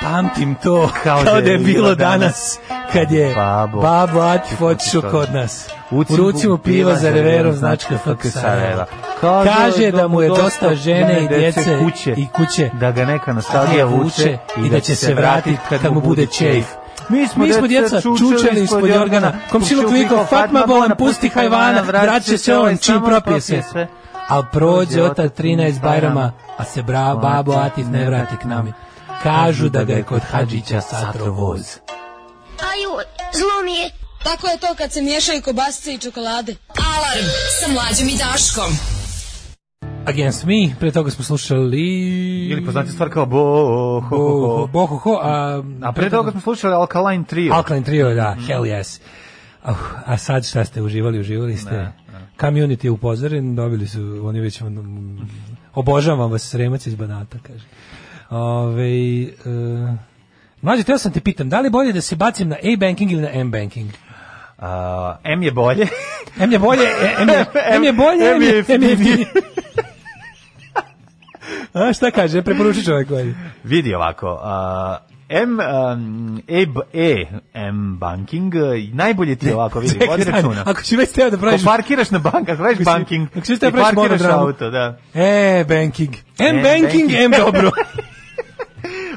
[SPEAKER 6] Pamtim to kao, da je bilo danas Pa, kad je
[SPEAKER 7] Babo,
[SPEAKER 6] babo
[SPEAKER 7] Atifoć
[SPEAKER 6] Atifoću
[SPEAKER 7] kod
[SPEAKER 6] kod
[SPEAKER 7] nas.
[SPEAKER 6] nas. U ruci mu piva za reverom značka FK Sarajeva.
[SPEAKER 7] Kaže,
[SPEAKER 6] Kaže da mu je dosta žene i djece
[SPEAKER 7] kuće,
[SPEAKER 6] i kuće
[SPEAKER 7] da ga neka
[SPEAKER 6] stadija
[SPEAKER 7] nostalgija vuče i da će se vratiti
[SPEAKER 6] vratit
[SPEAKER 7] kad mu bude čejf.
[SPEAKER 6] Mi smo, djeca čučeli ispod jorgana, komšiluk vikao, Fatma bolan, pusti hajvana, vraća se
[SPEAKER 7] ovaj
[SPEAKER 6] on, čim propije se. Al prođe ota 13 bajrama, a se bra, babo Atif ne vrati k nami. Kažu da ga je kod Hadžića satro voz.
[SPEAKER 3] Aju, zlo mi je. Tako je to kad se miješaju kobasice i čokolade.
[SPEAKER 5] Alarm sa mlađom i Daškom.
[SPEAKER 6] Against me, pre toga smo slušali...
[SPEAKER 7] Ili poznate stvar kao bo, ho, ho, ho.
[SPEAKER 6] Bohoho, a...
[SPEAKER 7] A pre toga smo slušali Alkaline Trio.
[SPEAKER 6] Alkaline Trio, da, hell yes. Au, a sad šta ste uživali, uživali ste? Community je upozoren, dobili su, oni već ono, mm, obožavam vas, sremac iz Banata, kaže. Ove, e, mlađe, teo sam te pitam, da li je bolje da se bacim na A-banking ili na M-banking?
[SPEAKER 7] A, M je bolje.
[SPEAKER 6] M je bolje, e, M je, M je bolje, M je, M je jeftinije. A šta kaže, preporuči čovjek koji.
[SPEAKER 7] Vidi ovako, a, M, um, e, b- e, M banking, e, najbolje ti je ovako, vidi,
[SPEAKER 6] Čekaj,
[SPEAKER 7] vodi
[SPEAKER 6] stani,
[SPEAKER 7] računa.
[SPEAKER 6] Ako si već teo da
[SPEAKER 7] Ako
[SPEAKER 6] praviš...
[SPEAKER 7] parkiraš na bank, ako radiš
[SPEAKER 6] Mislim,
[SPEAKER 7] banking,
[SPEAKER 6] ako ćeš te
[SPEAKER 7] i
[SPEAKER 6] praviš
[SPEAKER 7] parkiraš
[SPEAKER 6] monodramu.
[SPEAKER 7] auto, da.
[SPEAKER 6] E-banking.
[SPEAKER 7] M-banking.
[SPEAKER 6] M-banking, M-dobro.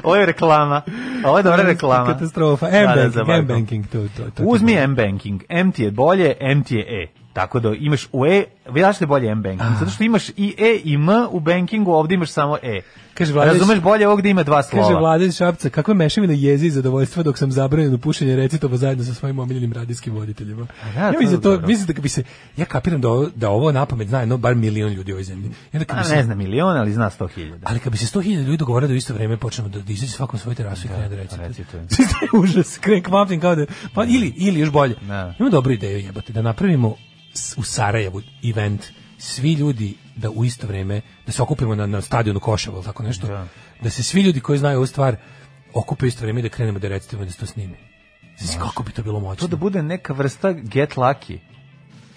[SPEAKER 7] Ovo je reklama, ovo je dobra reklama.
[SPEAKER 6] Katastrofa.
[SPEAKER 7] Da, da, za
[SPEAKER 6] M-banking,
[SPEAKER 7] bankom.
[SPEAKER 6] M-banking. To, to, to,
[SPEAKER 7] Uzmi M banking, M ti je bolje, M ti je E. Tako da imaš u E, vidiš da je bolje M banking,
[SPEAKER 6] Ah.
[SPEAKER 7] zato što imaš i E i M u bankingu, ovdje imaš samo E.
[SPEAKER 6] Kaže Vladić-
[SPEAKER 7] Razumeš bolje ovog gde ima dva slova.
[SPEAKER 6] Kaže Vladan Šapca, kakva je mešavina jezi i zadovoljstva dok sam zabranjen u pušenje recitova zajedno sa svojim omiljenim radijskim voditeljima.
[SPEAKER 7] da,
[SPEAKER 6] ja
[SPEAKER 7] to
[SPEAKER 6] mislim,
[SPEAKER 7] je
[SPEAKER 6] to,
[SPEAKER 7] dobro.
[SPEAKER 6] mislim da bi se, ja kapiram da ovo, da ovo napamet zna jedno bar milion ljudi u ovoj zemlji. I onda kad bi
[SPEAKER 7] A,
[SPEAKER 6] se-
[SPEAKER 7] ne znam milion, ali zna sto hiljada.
[SPEAKER 6] Ali kad bi se 100.000 ljudi dogovorilo da u isto vrijeme počnemo da dižemo svakom svoju terasu i krene da recituje.
[SPEAKER 7] recituje.
[SPEAKER 6] To je užas, krene kvaptim kao da... Pa, ili, ili još bolje.
[SPEAKER 7] Da.
[SPEAKER 6] Imamo dobru ideju jebote, da napravimo s- u Sarajevu event, svi ljudi da u isto vrijeme, da se okupimo na, na stadionu Koševo ili tako nešto, da. se svi ljudi koji znaju ovu stvar okupe u isto vrijeme i da krenemo da recitujemo i da se to snimi. Znači, kako bi to bilo
[SPEAKER 7] To
[SPEAKER 6] moćno?
[SPEAKER 7] da bude neka vrsta get lucky.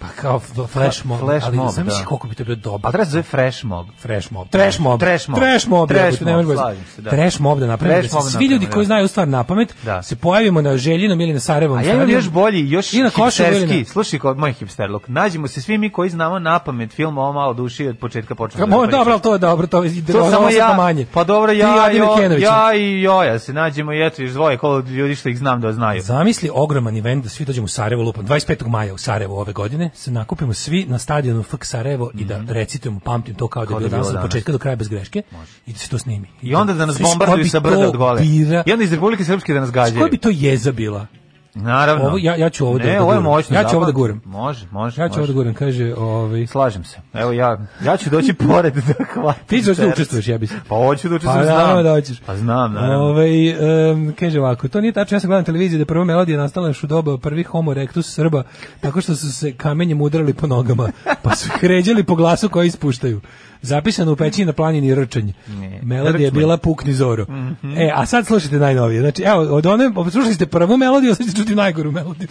[SPEAKER 6] pa kao f- flash mob,
[SPEAKER 7] Flash
[SPEAKER 6] ali
[SPEAKER 7] mob,
[SPEAKER 6] zamisli
[SPEAKER 7] da.
[SPEAKER 6] koliko bi to bilo dobro.
[SPEAKER 7] A Pa treba se zove fresh mob.
[SPEAKER 6] Trash mob. Trash mob.
[SPEAKER 7] Trash mob.
[SPEAKER 6] Trash mob.
[SPEAKER 7] Trash
[SPEAKER 6] jebote, ne
[SPEAKER 7] mob,
[SPEAKER 6] možemo-
[SPEAKER 7] slažem se, da.
[SPEAKER 6] Trash mob da napravimo.
[SPEAKER 7] Trash
[SPEAKER 6] da se
[SPEAKER 7] mob
[SPEAKER 6] svi ljudi
[SPEAKER 7] napravimo,
[SPEAKER 6] koji
[SPEAKER 7] da.
[SPEAKER 6] znaju stvar na pamet,
[SPEAKER 7] Da.
[SPEAKER 6] se pojavimo na Željinom ili na Sarajevom.
[SPEAKER 7] A ja imam
[SPEAKER 6] stadionu.
[SPEAKER 7] još bolji, još
[SPEAKER 6] I na Koševu ili
[SPEAKER 7] hipsterski.
[SPEAKER 6] na-
[SPEAKER 7] Slušaj kod moj hipsterluk. Nađimo se svi mi koji znamo na pamet film ovo malo duši od početka počnemo.
[SPEAKER 6] Mo,
[SPEAKER 7] da pričamo.
[SPEAKER 6] dobro, ali to je dobro, to,
[SPEAKER 7] To
[SPEAKER 6] ovo
[SPEAKER 7] samo
[SPEAKER 6] sad
[SPEAKER 7] ja.
[SPEAKER 6] manje.
[SPEAKER 7] Pa dobro,
[SPEAKER 6] Ti
[SPEAKER 7] ja,
[SPEAKER 6] Adine
[SPEAKER 7] jo,
[SPEAKER 6] Kenovića.
[SPEAKER 7] ja i Joja se nađemo i eto, još dvoje kolo ljudi što ih znam da znaju.
[SPEAKER 6] Zamisli ogroman event da svi dođemo u Sarajevo lupom 25. maja u Sarajevo ove godine, se nakupimo svi na stadionu FK Sarajevo i da recitujemo, pamtim to kao da je
[SPEAKER 7] Mhm. Kao da
[SPEAKER 6] bilo
[SPEAKER 7] je bilo
[SPEAKER 6] danas od
[SPEAKER 7] danas.
[SPEAKER 6] početka do kraja bez greške i da se to snimi.
[SPEAKER 7] I onda da nas
[SPEAKER 6] Znaš, koja
[SPEAKER 7] bombarduju
[SPEAKER 6] bi
[SPEAKER 7] sa brda
[SPEAKER 6] to
[SPEAKER 7] od gole.
[SPEAKER 6] bila-
[SPEAKER 7] I onda iz Republike Srpske da nas
[SPEAKER 6] Znaš,
[SPEAKER 7] gađaju.
[SPEAKER 6] Koja bi to jeza bila?
[SPEAKER 7] Naravno.
[SPEAKER 6] Ovo- ja- ja ću ovo da-
[SPEAKER 7] ne,
[SPEAKER 6] da
[SPEAKER 7] ovo je
[SPEAKER 6] guram.
[SPEAKER 7] moćno.
[SPEAKER 6] Ja ću ovo da
[SPEAKER 7] zapad.
[SPEAKER 6] guram.
[SPEAKER 7] Može, može.
[SPEAKER 6] Ja ću
[SPEAKER 7] može.
[SPEAKER 6] ovdje govorim, kaže, ovaj,
[SPEAKER 7] Slažem se. Evo ja, ja ću doći pored da hvatim.
[SPEAKER 6] Ti ćeš da
[SPEAKER 7] terc.
[SPEAKER 6] učestvuješ, ja bi se.
[SPEAKER 7] Pa hoću da učestvujem,
[SPEAKER 6] Pa
[SPEAKER 7] znam.
[SPEAKER 6] naravno da hoćeš.
[SPEAKER 7] Pa znam, naravno.
[SPEAKER 6] Ovaj, em, kaže ovako, to nije tačno, ja sam gledam televiziju da je prva melodija nastala još u doba prvih homo rectus Srba, tako što su se kamenjem udarali po nogama, pa su ih ređali po glasu koji ispuštaju. Zapisano u pećini na planini Rčanj. Melodija je
[SPEAKER 7] Rčmanj.
[SPEAKER 6] bila Pukni Zoro.
[SPEAKER 7] Mhm.
[SPEAKER 6] E, a sad slušajte najnovije. Znači, evo, od one, slušali ste prvu melodiju, a sad ćete čuti najgoru melodiju.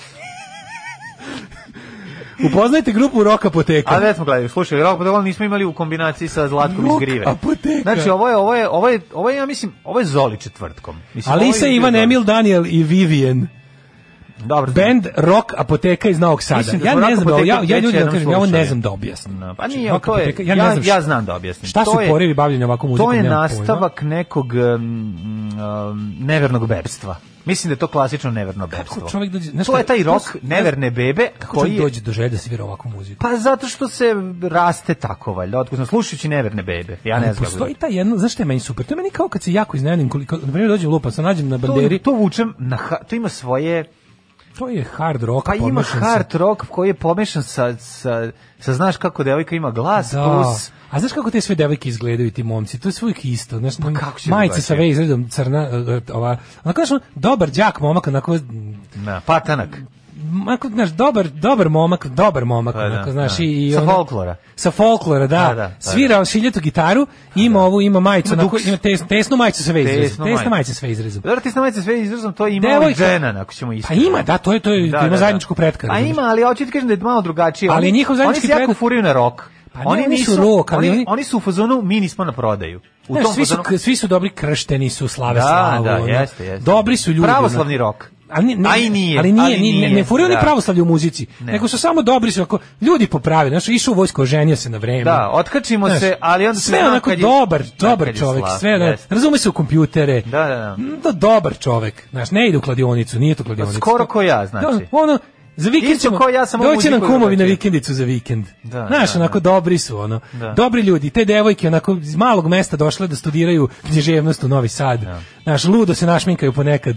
[SPEAKER 6] Upoznajte grupu Rock Apoteka.
[SPEAKER 7] A da smo gledali, slušaj, rock pa ovo nismo imali u kombinaciji sa Zlatkom iz
[SPEAKER 6] Rock
[SPEAKER 7] Grive.
[SPEAKER 6] apoteka.
[SPEAKER 7] Znači ovo je ovo je ovo je ovo je ja mislim, ovo je Zoli četvrtkom. Mislim ovo
[SPEAKER 6] Alisa,
[SPEAKER 7] je-
[SPEAKER 6] Ivan, Emil, Daniel i Vivian.
[SPEAKER 7] Dobro.
[SPEAKER 6] Band Rock Apoteka iz Novog Sada.
[SPEAKER 7] Mislim da
[SPEAKER 6] Ja
[SPEAKER 7] smo
[SPEAKER 6] ne
[SPEAKER 7] Rock
[SPEAKER 6] znam da ovo- ja,
[SPEAKER 7] Apoteku
[SPEAKER 6] ja
[SPEAKER 7] već
[SPEAKER 6] ljudima
[SPEAKER 7] jednom
[SPEAKER 6] kažem, ja ovo ne
[SPEAKER 7] slušali.
[SPEAKER 6] znam da objasnim.
[SPEAKER 7] No, Pa
[SPEAKER 6] Znači,
[SPEAKER 7] nije,
[SPEAKER 6] Rock
[SPEAKER 7] to je,
[SPEAKER 6] Apoteka,
[SPEAKER 7] ja,
[SPEAKER 6] ne
[SPEAKER 7] ja,
[SPEAKER 6] znam
[SPEAKER 7] znam
[SPEAKER 6] šta-
[SPEAKER 7] da objasnim.
[SPEAKER 6] Šta su
[SPEAKER 7] To je-
[SPEAKER 6] porivi bavljenja ovakvom muzikom?
[SPEAKER 7] To je
[SPEAKER 6] nemam pojma.
[SPEAKER 7] nastavak nekog um, um, nevernog bebstva. Mislim da je to klasično neverno bebstvo.
[SPEAKER 6] čovjek dođe- znaš
[SPEAKER 7] to
[SPEAKER 6] šta-
[SPEAKER 7] je taj
[SPEAKER 6] znaš-
[SPEAKER 7] rok neverne bebe
[SPEAKER 6] Kako
[SPEAKER 7] koji
[SPEAKER 6] čovjek
[SPEAKER 7] je...
[SPEAKER 6] dođe do želje da svira ovakvu muziku?
[SPEAKER 7] Pa zato što se raste tako, valjda, otkusno, slušajući neverne bebe. Ja ne
[SPEAKER 6] Ali
[SPEAKER 7] znam.
[SPEAKER 6] Postoji ta jedna, znaš šta je meni super? To je meni kao kad se jako iznenadim, koliko, na primjer dođem lupa, sam nađem na
[SPEAKER 7] to,
[SPEAKER 6] banderi,
[SPEAKER 7] to vučem na ha- to ima svoje
[SPEAKER 6] To je hard rock,
[SPEAKER 7] Pa ima
[SPEAKER 6] pomešan sa-
[SPEAKER 7] hard rock koji je pomešan sa, sa, sa znaš kako devojka ima glas
[SPEAKER 6] Da.
[SPEAKER 7] plus
[SPEAKER 6] A znaš kako te sve devojke izgledaju i ti momci? To je sve uvijek isto. Znaš, pa
[SPEAKER 7] kako će
[SPEAKER 6] majice
[SPEAKER 7] drugačije?
[SPEAKER 6] sa vej izredom crna, e, e, ova, onako znaš, on, dobar đak momak, onako, m,
[SPEAKER 7] na, patanak.
[SPEAKER 6] onako, znaš, dobar, dobar momak, dobar momak,
[SPEAKER 7] Pa da,
[SPEAKER 6] onako, znaš,
[SPEAKER 7] da.
[SPEAKER 6] i, i
[SPEAKER 7] Sa
[SPEAKER 6] ono-
[SPEAKER 7] folklora.
[SPEAKER 6] Sa folklora, da.
[SPEAKER 7] Da, da, da,
[SPEAKER 6] Svira šiljetu gitaru, ima ovu, ima majicu,
[SPEAKER 7] Ima
[SPEAKER 6] onako,
[SPEAKER 7] duks.
[SPEAKER 6] ima tesnu, tesnu majicu sa vej izredom.
[SPEAKER 7] majice.
[SPEAKER 6] Tesna majica sa vej izrezom.
[SPEAKER 7] Dobro, ti s majice sve izrazom, to ima i
[SPEAKER 6] Devojka-
[SPEAKER 7] žena, ako ćemo
[SPEAKER 6] Pa
[SPEAKER 7] isto.
[SPEAKER 6] ima, da, to je, to je, ima zajedničku pretkaru.
[SPEAKER 7] A
[SPEAKER 6] znaš.
[SPEAKER 7] ima, ali hoću ti kažem da je malo drugačije.
[SPEAKER 6] Ali
[SPEAKER 7] Oni-
[SPEAKER 6] njihov zajednički
[SPEAKER 7] Oni se jako
[SPEAKER 6] predak-
[SPEAKER 7] furaju na rok.
[SPEAKER 6] Pa ne, oni su rock, ali
[SPEAKER 7] oni,
[SPEAKER 6] oni-
[SPEAKER 7] oni su u fazonu, mi nismo na prodaju. U
[SPEAKER 6] Znaš,
[SPEAKER 7] tom
[SPEAKER 6] svi, su,
[SPEAKER 7] fazonu...
[SPEAKER 6] svi su dobri kršteni su slave
[SPEAKER 7] Da,
[SPEAKER 6] slavu.
[SPEAKER 7] da,
[SPEAKER 6] ono.
[SPEAKER 7] jeste, jeste.
[SPEAKER 6] Dobri su ljudi.
[SPEAKER 7] Pravoslavni
[SPEAKER 6] ono.
[SPEAKER 7] rock.
[SPEAKER 6] Ali ni- ne,
[SPEAKER 7] A i nije,
[SPEAKER 6] Ali nije,
[SPEAKER 7] ali
[SPEAKER 6] ni- ne,
[SPEAKER 7] nije,
[SPEAKER 6] ne furaju oni
[SPEAKER 7] da.
[SPEAKER 6] pravoslavlje u muzici,
[SPEAKER 7] Ne.
[SPEAKER 6] nego su samo dobri su ako ljudi poprave, znaš, išao u vojsku, oženio se na vreme.
[SPEAKER 7] Da, otkačimo
[SPEAKER 6] Znaš,
[SPEAKER 7] se, ali onda se
[SPEAKER 6] sve
[SPEAKER 7] znam
[SPEAKER 6] onako
[SPEAKER 7] kad je-
[SPEAKER 6] dobar,
[SPEAKER 7] kad je
[SPEAKER 6] dobar čovjek,
[SPEAKER 7] slab,
[SPEAKER 6] sve, da,
[SPEAKER 7] jeste.
[SPEAKER 6] razume se u kompjutere.
[SPEAKER 7] Da, da, da.
[SPEAKER 6] Mm, da, dobar čovjek. Znaš, ne ide u kladionicu, nije to kladionica.
[SPEAKER 7] Pa skoro ko ja, znači.
[SPEAKER 6] Da, ono, za vikend
[SPEAKER 7] Isto
[SPEAKER 6] ćemo,
[SPEAKER 7] ko ja, samo
[SPEAKER 6] doći nam
[SPEAKER 7] muziku
[SPEAKER 6] kumovi na
[SPEAKER 7] drugačije.
[SPEAKER 6] vikendicu za vikend.
[SPEAKER 7] Da,
[SPEAKER 6] Znaš,
[SPEAKER 7] da,
[SPEAKER 6] onako
[SPEAKER 7] da.
[SPEAKER 6] dobri su, ono.
[SPEAKER 7] Da.
[SPEAKER 6] Dobri ljudi, te devojke onako iz malog mesta došle da studiraju književnost u Novi Sad. Znaš, ludo se našminkaju ponekad.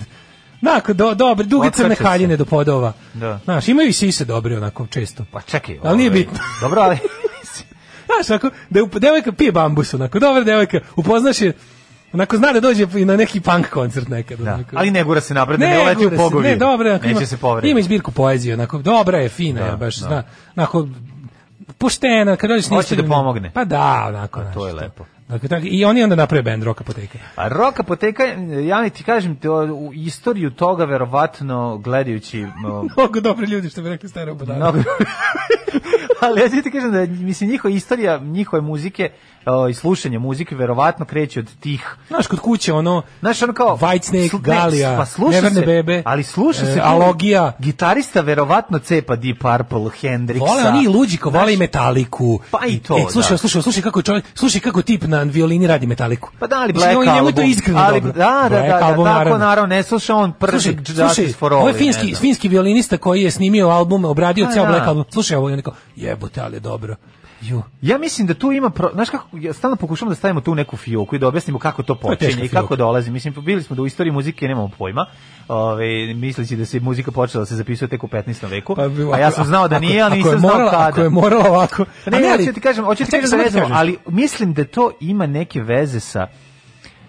[SPEAKER 6] Onako, do, dobri, duge
[SPEAKER 7] Otkače
[SPEAKER 6] crne
[SPEAKER 7] se.
[SPEAKER 6] haljine do podova.
[SPEAKER 7] Da.
[SPEAKER 6] Znaš, imaju i sise dobre onako često.
[SPEAKER 7] Pa čekaj.
[SPEAKER 6] Ali nije
[SPEAKER 7] ovaj,
[SPEAKER 6] bitno.
[SPEAKER 7] Dobro, ali...
[SPEAKER 6] Znaš, onako, da je up- devojka pije bambus, onako, dobra devojka, upoznaš je, onako zna da dođe i na neki punk koncert nekad.
[SPEAKER 7] Da,
[SPEAKER 6] onako.
[SPEAKER 7] ali ne gura se napred, da ne, leti u
[SPEAKER 6] gura se,
[SPEAKER 7] pogovi.
[SPEAKER 6] Ne, dobro, onako,
[SPEAKER 7] Neće
[SPEAKER 6] ima-
[SPEAKER 7] se povrediti.
[SPEAKER 6] Ima i zbirku poezije, onako, dobra je, fina
[SPEAKER 7] Da,
[SPEAKER 6] je, baš,
[SPEAKER 7] da.
[SPEAKER 6] zna, onako, poštena, kad dođeš... na
[SPEAKER 7] Hoće da
[SPEAKER 6] Instagram-
[SPEAKER 7] pomogne.
[SPEAKER 6] Pa da, onako, znaš,
[SPEAKER 7] to je lepo.
[SPEAKER 6] Dakle, tako, I oni onda naprave band rock apoteka.
[SPEAKER 7] A rock apoteka, ja ti kažem, to, u istoriju toga verovatno gledajući... o,
[SPEAKER 6] Mnogo dobri ljudi, što bi rekli stare obadare.
[SPEAKER 7] Mnogo. Ali ja ti kažem da mislim njihova istorija, njihove muzike o, i slušanje muzike verovatno kreće od tih.
[SPEAKER 6] Znaš, kod kuće, ono,
[SPEAKER 7] Znaš, ono kao
[SPEAKER 6] Whitesnake,
[SPEAKER 7] sl- ne, pa
[SPEAKER 6] Galija,
[SPEAKER 7] sluša
[SPEAKER 6] Neverne
[SPEAKER 7] se,
[SPEAKER 6] Bebe,
[SPEAKER 7] ali sluša
[SPEAKER 6] e,
[SPEAKER 7] se tu-
[SPEAKER 6] Alogija.
[SPEAKER 7] Gitarista verovatno cepa Deep Purple, Hendrixa.
[SPEAKER 6] Vole oni i Luđiko, vole i Metaliku.
[SPEAKER 7] Pa i to,
[SPEAKER 6] E, slušaj,
[SPEAKER 7] da.
[SPEAKER 6] slušaj, slušaj kako čovjek, slušaj kako tip na violini radi Metaliku.
[SPEAKER 7] Pa da, ali
[SPEAKER 6] Mislim,
[SPEAKER 7] Black
[SPEAKER 6] on-
[SPEAKER 7] Album.
[SPEAKER 6] njemu je to iskreno
[SPEAKER 7] ali,
[SPEAKER 6] dobro.
[SPEAKER 7] Da, da,
[SPEAKER 6] Black
[SPEAKER 7] da, da,
[SPEAKER 6] Album,
[SPEAKER 7] tako
[SPEAKER 6] naravno.
[SPEAKER 7] naravno, ne sluša on prvi
[SPEAKER 6] Slušaj,
[SPEAKER 7] Justice
[SPEAKER 6] slušaj,
[SPEAKER 7] for All.
[SPEAKER 6] ovo je
[SPEAKER 7] ne
[SPEAKER 6] finski,
[SPEAKER 7] znam.
[SPEAKER 6] finski violinista koji je snimio album, obradio
[SPEAKER 7] Pa
[SPEAKER 6] ceo
[SPEAKER 7] da.
[SPEAKER 6] Black Album. Slušaj, ovo je neko, jebote, ali je dobro. Ju.
[SPEAKER 7] Ja mislim da tu ima, pro, znaš kako, ja stalno pokušamo da stavimo tu neku fioku i da objasnimo kako to
[SPEAKER 6] je teška
[SPEAKER 7] počinje i kako
[SPEAKER 6] fioka.
[SPEAKER 7] dolazi. Mislim, bili smo da u istoriji muzike nemamo pojma, ove, misleći da se muzika počela da se zapisuje tek u 15. veku,
[SPEAKER 6] pa bi-
[SPEAKER 7] a ja sam
[SPEAKER 6] ako-
[SPEAKER 7] znao da
[SPEAKER 6] ako-
[SPEAKER 7] nije, ali
[SPEAKER 6] ako je
[SPEAKER 7] nisam znao
[SPEAKER 6] morala-
[SPEAKER 7] kada.
[SPEAKER 6] Ako je morala ovako.
[SPEAKER 7] Pa
[SPEAKER 6] A
[SPEAKER 7] Ne,
[SPEAKER 6] ali-
[SPEAKER 7] hoću ti kažem, hoću ti
[SPEAKER 6] A čekaj,
[SPEAKER 7] kažem da
[SPEAKER 6] samo
[SPEAKER 7] recimo,
[SPEAKER 6] kažem.
[SPEAKER 7] ali mislim da to ima neke veze sa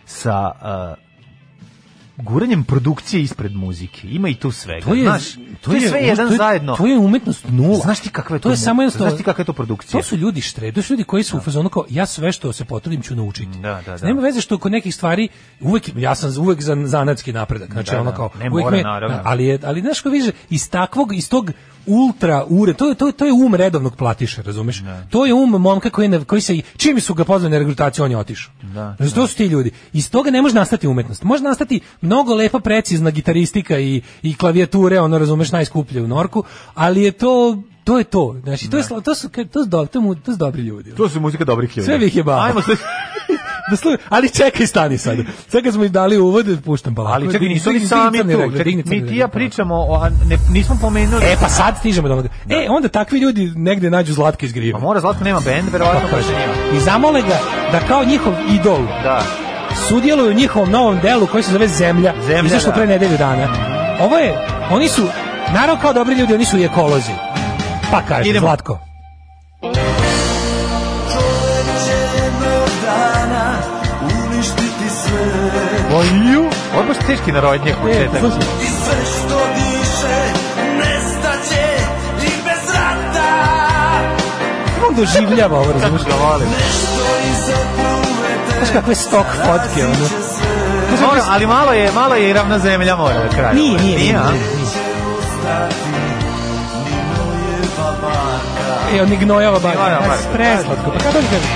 [SPEAKER 7] sa uh, guranjem produkcije ispred muzike. Ima i tu svega.
[SPEAKER 6] To je,
[SPEAKER 7] znaš,
[SPEAKER 6] to,
[SPEAKER 7] to je, sve jedan
[SPEAKER 6] to je,
[SPEAKER 7] zajedno.
[SPEAKER 6] To je umetnost nula.
[SPEAKER 7] Znaš ti kakva je to
[SPEAKER 6] To je
[SPEAKER 7] mu-
[SPEAKER 6] samo jednostavno.
[SPEAKER 7] znaš ti kakva je to produkcija?
[SPEAKER 6] To su ljudi štre, to su ljudi koji su u fazonu kao ja sve što se potrudim ću naučiti.
[SPEAKER 7] Da, da, da.
[SPEAKER 6] Nema veze što kod nekih stvari uvek ja sam za- uvek za zanatski napredak. Znači
[SPEAKER 7] Da,
[SPEAKER 6] ono
[SPEAKER 7] da.
[SPEAKER 6] kao
[SPEAKER 7] Ne
[SPEAKER 6] uvek
[SPEAKER 7] mora,
[SPEAKER 6] me-
[SPEAKER 7] naravno.
[SPEAKER 6] ali je ali znaš ko više iz takvog iz tog ultra ure, to je, to je, to je um redovnog platiša, razumeš? To je um momka koji, ne, koji se, čim su ga pozvali na regrutaciju, on je otišao.
[SPEAKER 7] Da,
[SPEAKER 6] Znači, to su ti ljudi. Iz toga ne može nastati umetnost. Može nastati mnogo lepa, precizna gitaristika i, i klavijature, ono, razumeš, najskuplje u Norku, ali je to, to je to. Znači, to, je, sla- to, su, ka- to, su, do- to, mu- to su dobri ljudi. ono.
[SPEAKER 7] To su muzika dobrih ljudi.
[SPEAKER 6] Sve bih je bavio.
[SPEAKER 7] Ajmo se
[SPEAKER 6] Da slu- ali čekaj, stani sad. Sad kad smo im dali uvod, puštam balako.
[SPEAKER 7] Ali čekaj, nisu oni
[SPEAKER 6] Digni
[SPEAKER 7] sami
[SPEAKER 6] crni
[SPEAKER 7] tu.
[SPEAKER 6] regler,
[SPEAKER 7] Čekaj,
[SPEAKER 6] digni crni
[SPEAKER 7] mi ti
[SPEAKER 6] regler,
[SPEAKER 7] ja
[SPEAKER 6] polako.
[SPEAKER 7] pričamo, o, a ne, nismo pomenuli.
[SPEAKER 6] E, pa sad stižemo do onoga. E, onda takvi ljudi negde nađu Zlatka iz griva.
[SPEAKER 7] Pa mora, Zlatko nema bend, verovatno
[SPEAKER 6] Tako je.
[SPEAKER 7] baš nema.
[SPEAKER 6] I zamole ga da kao njihov idol
[SPEAKER 7] Da.
[SPEAKER 6] sudjeluju u njihovom novom delu koji se zove Zemlja.
[SPEAKER 7] Zemlja,
[SPEAKER 6] Izašlo
[SPEAKER 7] da.
[SPEAKER 6] pre nedelju dana. Ovo je, oni su, naravno kao dobri ljudi, oni su i ekolozi. Pa kaže,
[SPEAKER 7] Idemo.
[SPEAKER 6] Zlatko.
[SPEAKER 7] Oju, ovo je baš teški narodnjak u
[SPEAKER 6] Pa E,
[SPEAKER 7] četak.
[SPEAKER 6] slušaj,
[SPEAKER 1] I sve što diše nestaće i bez rata
[SPEAKER 6] on doživljava ovo, razumiješ?
[SPEAKER 7] Kako ga volim.
[SPEAKER 6] Znaš kakve stok fotke, ono.
[SPEAKER 7] Mora, ali malo je, malo je i ravna zemlja mora na kraju.
[SPEAKER 6] Nije, nije, nije,
[SPEAKER 7] a?
[SPEAKER 6] nije, nije. E, on ignojava bar.
[SPEAKER 7] Ignojava bar.
[SPEAKER 6] Preslatko. Pa kada mi kaže?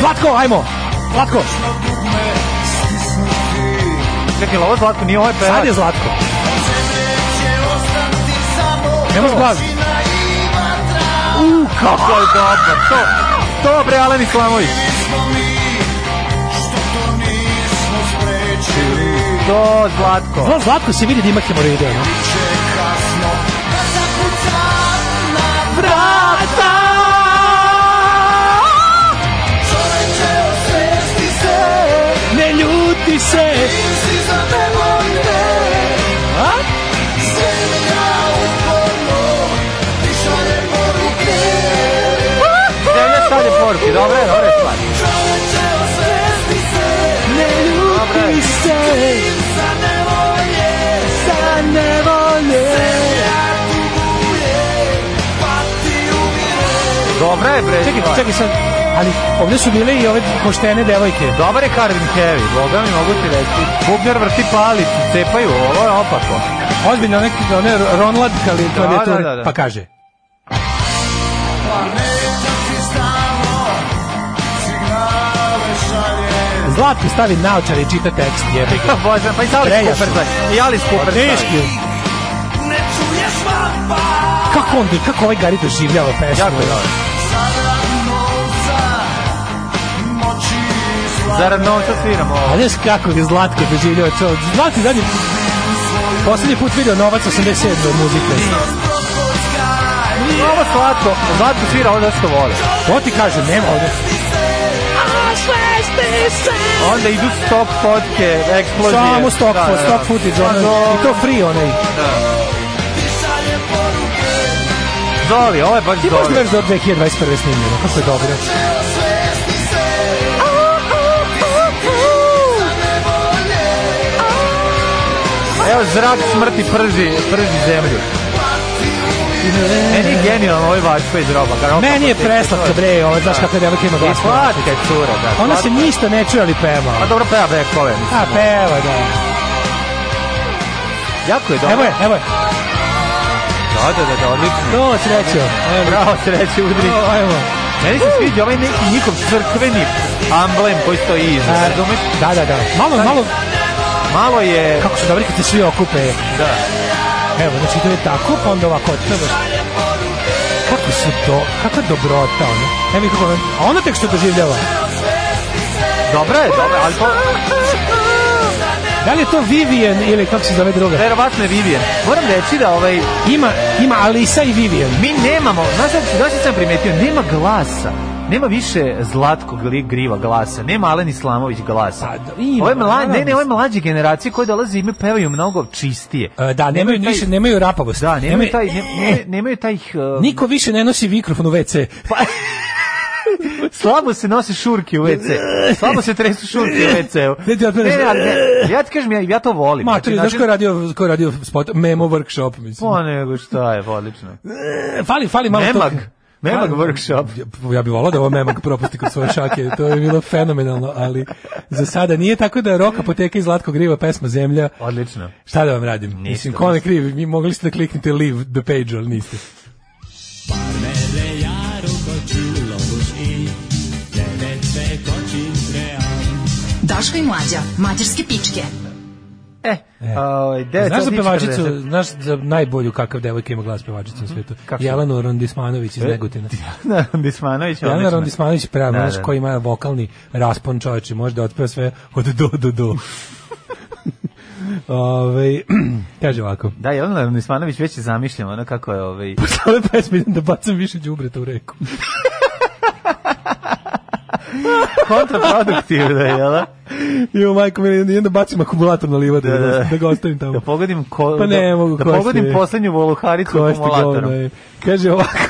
[SPEAKER 6] Zlatko, ajmo! Zlatko,
[SPEAKER 7] Čekaj, ovo Zlatko nije, ovo je
[SPEAKER 6] sad
[SPEAKER 7] pevač.
[SPEAKER 6] je Zlatko. Ne možeš glas.
[SPEAKER 7] U, kako je dobro. To, to bre, Alen Islamović. To, Zlatko.
[SPEAKER 6] Zla- Zlatko se vidi da ima hemoroide. ono. Ne ljuti se! A?
[SPEAKER 7] dobra je, dobra je stvar. Dobra je. Dobra je, bre.
[SPEAKER 6] Čekaj,
[SPEAKER 7] stvar.
[SPEAKER 6] čekaj sad. Ali ovde su bile i ove poštene devojke.
[SPEAKER 7] Dobar je Carvin Heavy, boga mi mogu ti reći. Bubnjar vrti palicu, cepaju, ovo je opako.
[SPEAKER 6] Ozbiljno neki one Ronlad kali klavijature.
[SPEAKER 7] da, da.
[SPEAKER 6] Pa kaže. Zlatko stavi naočare i čita tekst, jebi ga.
[SPEAKER 7] Bože, pa i sa Alice
[SPEAKER 6] Prejasan.
[SPEAKER 7] Cooper stavi. I Alice Cooper
[SPEAKER 6] Teški.
[SPEAKER 7] stavi.
[SPEAKER 6] je. Kako on, kako ovaj Gari doživljava pesmu?
[SPEAKER 7] Jako je dobro. Zarad novca sviramo ovo.
[SPEAKER 6] A znaš kako je Zlatko doživljava čovjek? Zlatko je zadnji... Poslednji put video novac 87. muzike.
[SPEAKER 7] Ovo slatko, slatko svira ovo što vole.
[SPEAKER 6] To ti kažem, nema ovde.
[SPEAKER 7] Onda idu stop fotke, eksplozije.
[SPEAKER 6] Samo stock, da, stock footage, ono,
[SPEAKER 7] Pa
[SPEAKER 6] i to free onaj.
[SPEAKER 7] Zoli, ovo je baš
[SPEAKER 6] Ti možda
[SPEAKER 7] Zoli.
[SPEAKER 6] veruješ da je od 2021. snimljeno, kako je dobro.
[SPEAKER 7] Evo zrak smrti prži, prži zemlju. Meni je genijalno ovaj vačpa iz roba. Kar
[SPEAKER 6] Meni je preslatka, bre, ovo, znaš kakve devojke ima
[SPEAKER 7] I
[SPEAKER 6] glas.
[SPEAKER 7] slatka je cura, E, da.
[SPEAKER 6] Ona se
[SPEAKER 7] slatka.
[SPEAKER 6] ništa ne čuje, ali
[SPEAKER 7] A
[SPEAKER 6] peva. ono.
[SPEAKER 7] dobro pa peva bekove. mislim.
[SPEAKER 6] A, peva, da.
[SPEAKER 7] Jako je dobro.
[SPEAKER 6] Evo je, evo je.
[SPEAKER 7] Da, da, da, da, odlično.
[SPEAKER 6] To srećo. Evo.
[SPEAKER 7] Bravo, treći udri.
[SPEAKER 6] O, Evo.
[SPEAKER 7] Meni se sviđa ovaj neki njihov crkveni amblem koji stoji iza.
[SPEAKER 6] A,
[SPEAKER 7] Razumeš?
[SPEAKER 6] Da, da, da. Malo, malo,
[SPEAKER 7] Malo je...
[SPEAKER 6] kako su dobri kad se svi okupe.
[SPEAKER 7] Da.
[SPEAKER 6] Evo, znači to je tako, pa onda ovako odtebe. Kako su to, kakva dobrota, ono. Evo i kako, ono- a ona tek što doživljava.
[SPEAKER 7] Dobra je, dobra, ali to...
[SPEAKER 6] Da li je to Vivian ili kako se zove druga?
[SPEAKER 7] Verovatno je Vivian. Moram reći da ovaj...
[SPEAKER 6] Ima, ima Alisa i Vivian.
[SPEAKER 7] Mi nemamo, znaš šta- znaš šta sam primetio, nema glasa. Nema više zlatkog li- griva glasa, nema Alen Islamović glasa.
[SPEAKER 6] Pa, da, ima,
[SPEAKER 7] ove, mla, ne, ne,
[SPEAKER 6] naravno.
[SPEAKER 7] ove mlađe generacije koje dolaze ime pevaju mnogo čistije.
[SPEAKER 6] E, Da, nemaju
[SPEAKER 7] taj-
[SPEAKER 6] više, nemaju rapavost.
[SPEAKER 7] Da, nemaju taj, ne, ne, nemaju taj... Uh,
[SPEAKER 6] Niko više ne nosi mikrofon u WC.
[SPEAKER 7] Pa, slabo se nose šurke u WC. Slabo se tresu šurke u WC-u.
[SPEAKER 6] Ne, ti otmeneš.
[SPEAKER 7] ne, ali ne, ja ti kažem, ja, ja to volim. Znači,
[SPEAKER 6] Ma, ti znaš ko je radio, ko je radio spot? Memo workshop, mislim.
[SPEAKER 7] Pa nego šta je, odlično.
[SPEAKER 6] E, Fali, fali malo
[SPEAKER 7] Memag.
[SPEAKER 6] to.
[SPEAKER 7] Memag
[SPEAKER 6] Fali-
[SPEAKER 7] workshop.
[SPEAKER 6] Ja- Ja bih volao da ovo Memag propusti kod svoje šake, to je bilo fenomenalno, ali za sada nije tako da je Roka poteka iz Zlatko Griva pesma Zemlja.
[SPEAKER 7] Odlično.
[SPEAKER 6] Šta da vam radim? Mislim, ko ne krivi, mi mogli ste da kliknete leave the page, ali niste.
[SPEAKER 5] Daško i Mlađa, mađarske pičke.
[SPEAKER 7] E, ovaj, devet
[SPEAKER 6] Znaš za
[SPEAKER 7] sati i
[SPEAKER 6] pevačicu,
[SPEAKER 7] 40.
[SPEAKER 6] znaš za najbolju kakav devojka ima glas pevačica na svijetu?
[SPEAKER 7] Mhm. Kako se- E,
[SPEAKER 6] Jelena Rondismanović iz Negotina.
[SPEAKER 7] Da, Dismanović,
[SPEAKER 6] Jelena
[SPEAKER 7] odlično.
[SPEAKER 6] Rondismanović prava,
[SPEAKER 7] Da,
[SPEAKER 6] znaš
[SPEAKER 7] da.
[SPEAKER 6] koji ima vokalni raspon čoveče, može da otpeva sve od do do do. Ove, kaže ovako.
[SPEAKER 7] Da, Jelena Dismanović već je zamišljam, ono kako je ovaj...
[SPEAKER 6] Posle ove pesme idem da bacam više đubreta u reku.
[SPEAKER 7] kontraproduktivno, jel? da?
[SPEAKER 6] I u majko mi idem da bacim akumulator na livadu da, da, ga ostavim tamo.
[SPEAKER 7] Da pogodim, ko,
[SPEAKER 6] Pa ne
[SPEAKER 7] da,
[SPEAKER 6] mogu,
[SPEAKER 7] da
[SPEAKER 6] ko ste-
[SPEAKER 7] pogodim poslednju voluharicu
[SPEAKER 6] Ko ste govno
[SPEAKER 7] akumulatorom.
[SPEAKER 6] je. Kaže ovako.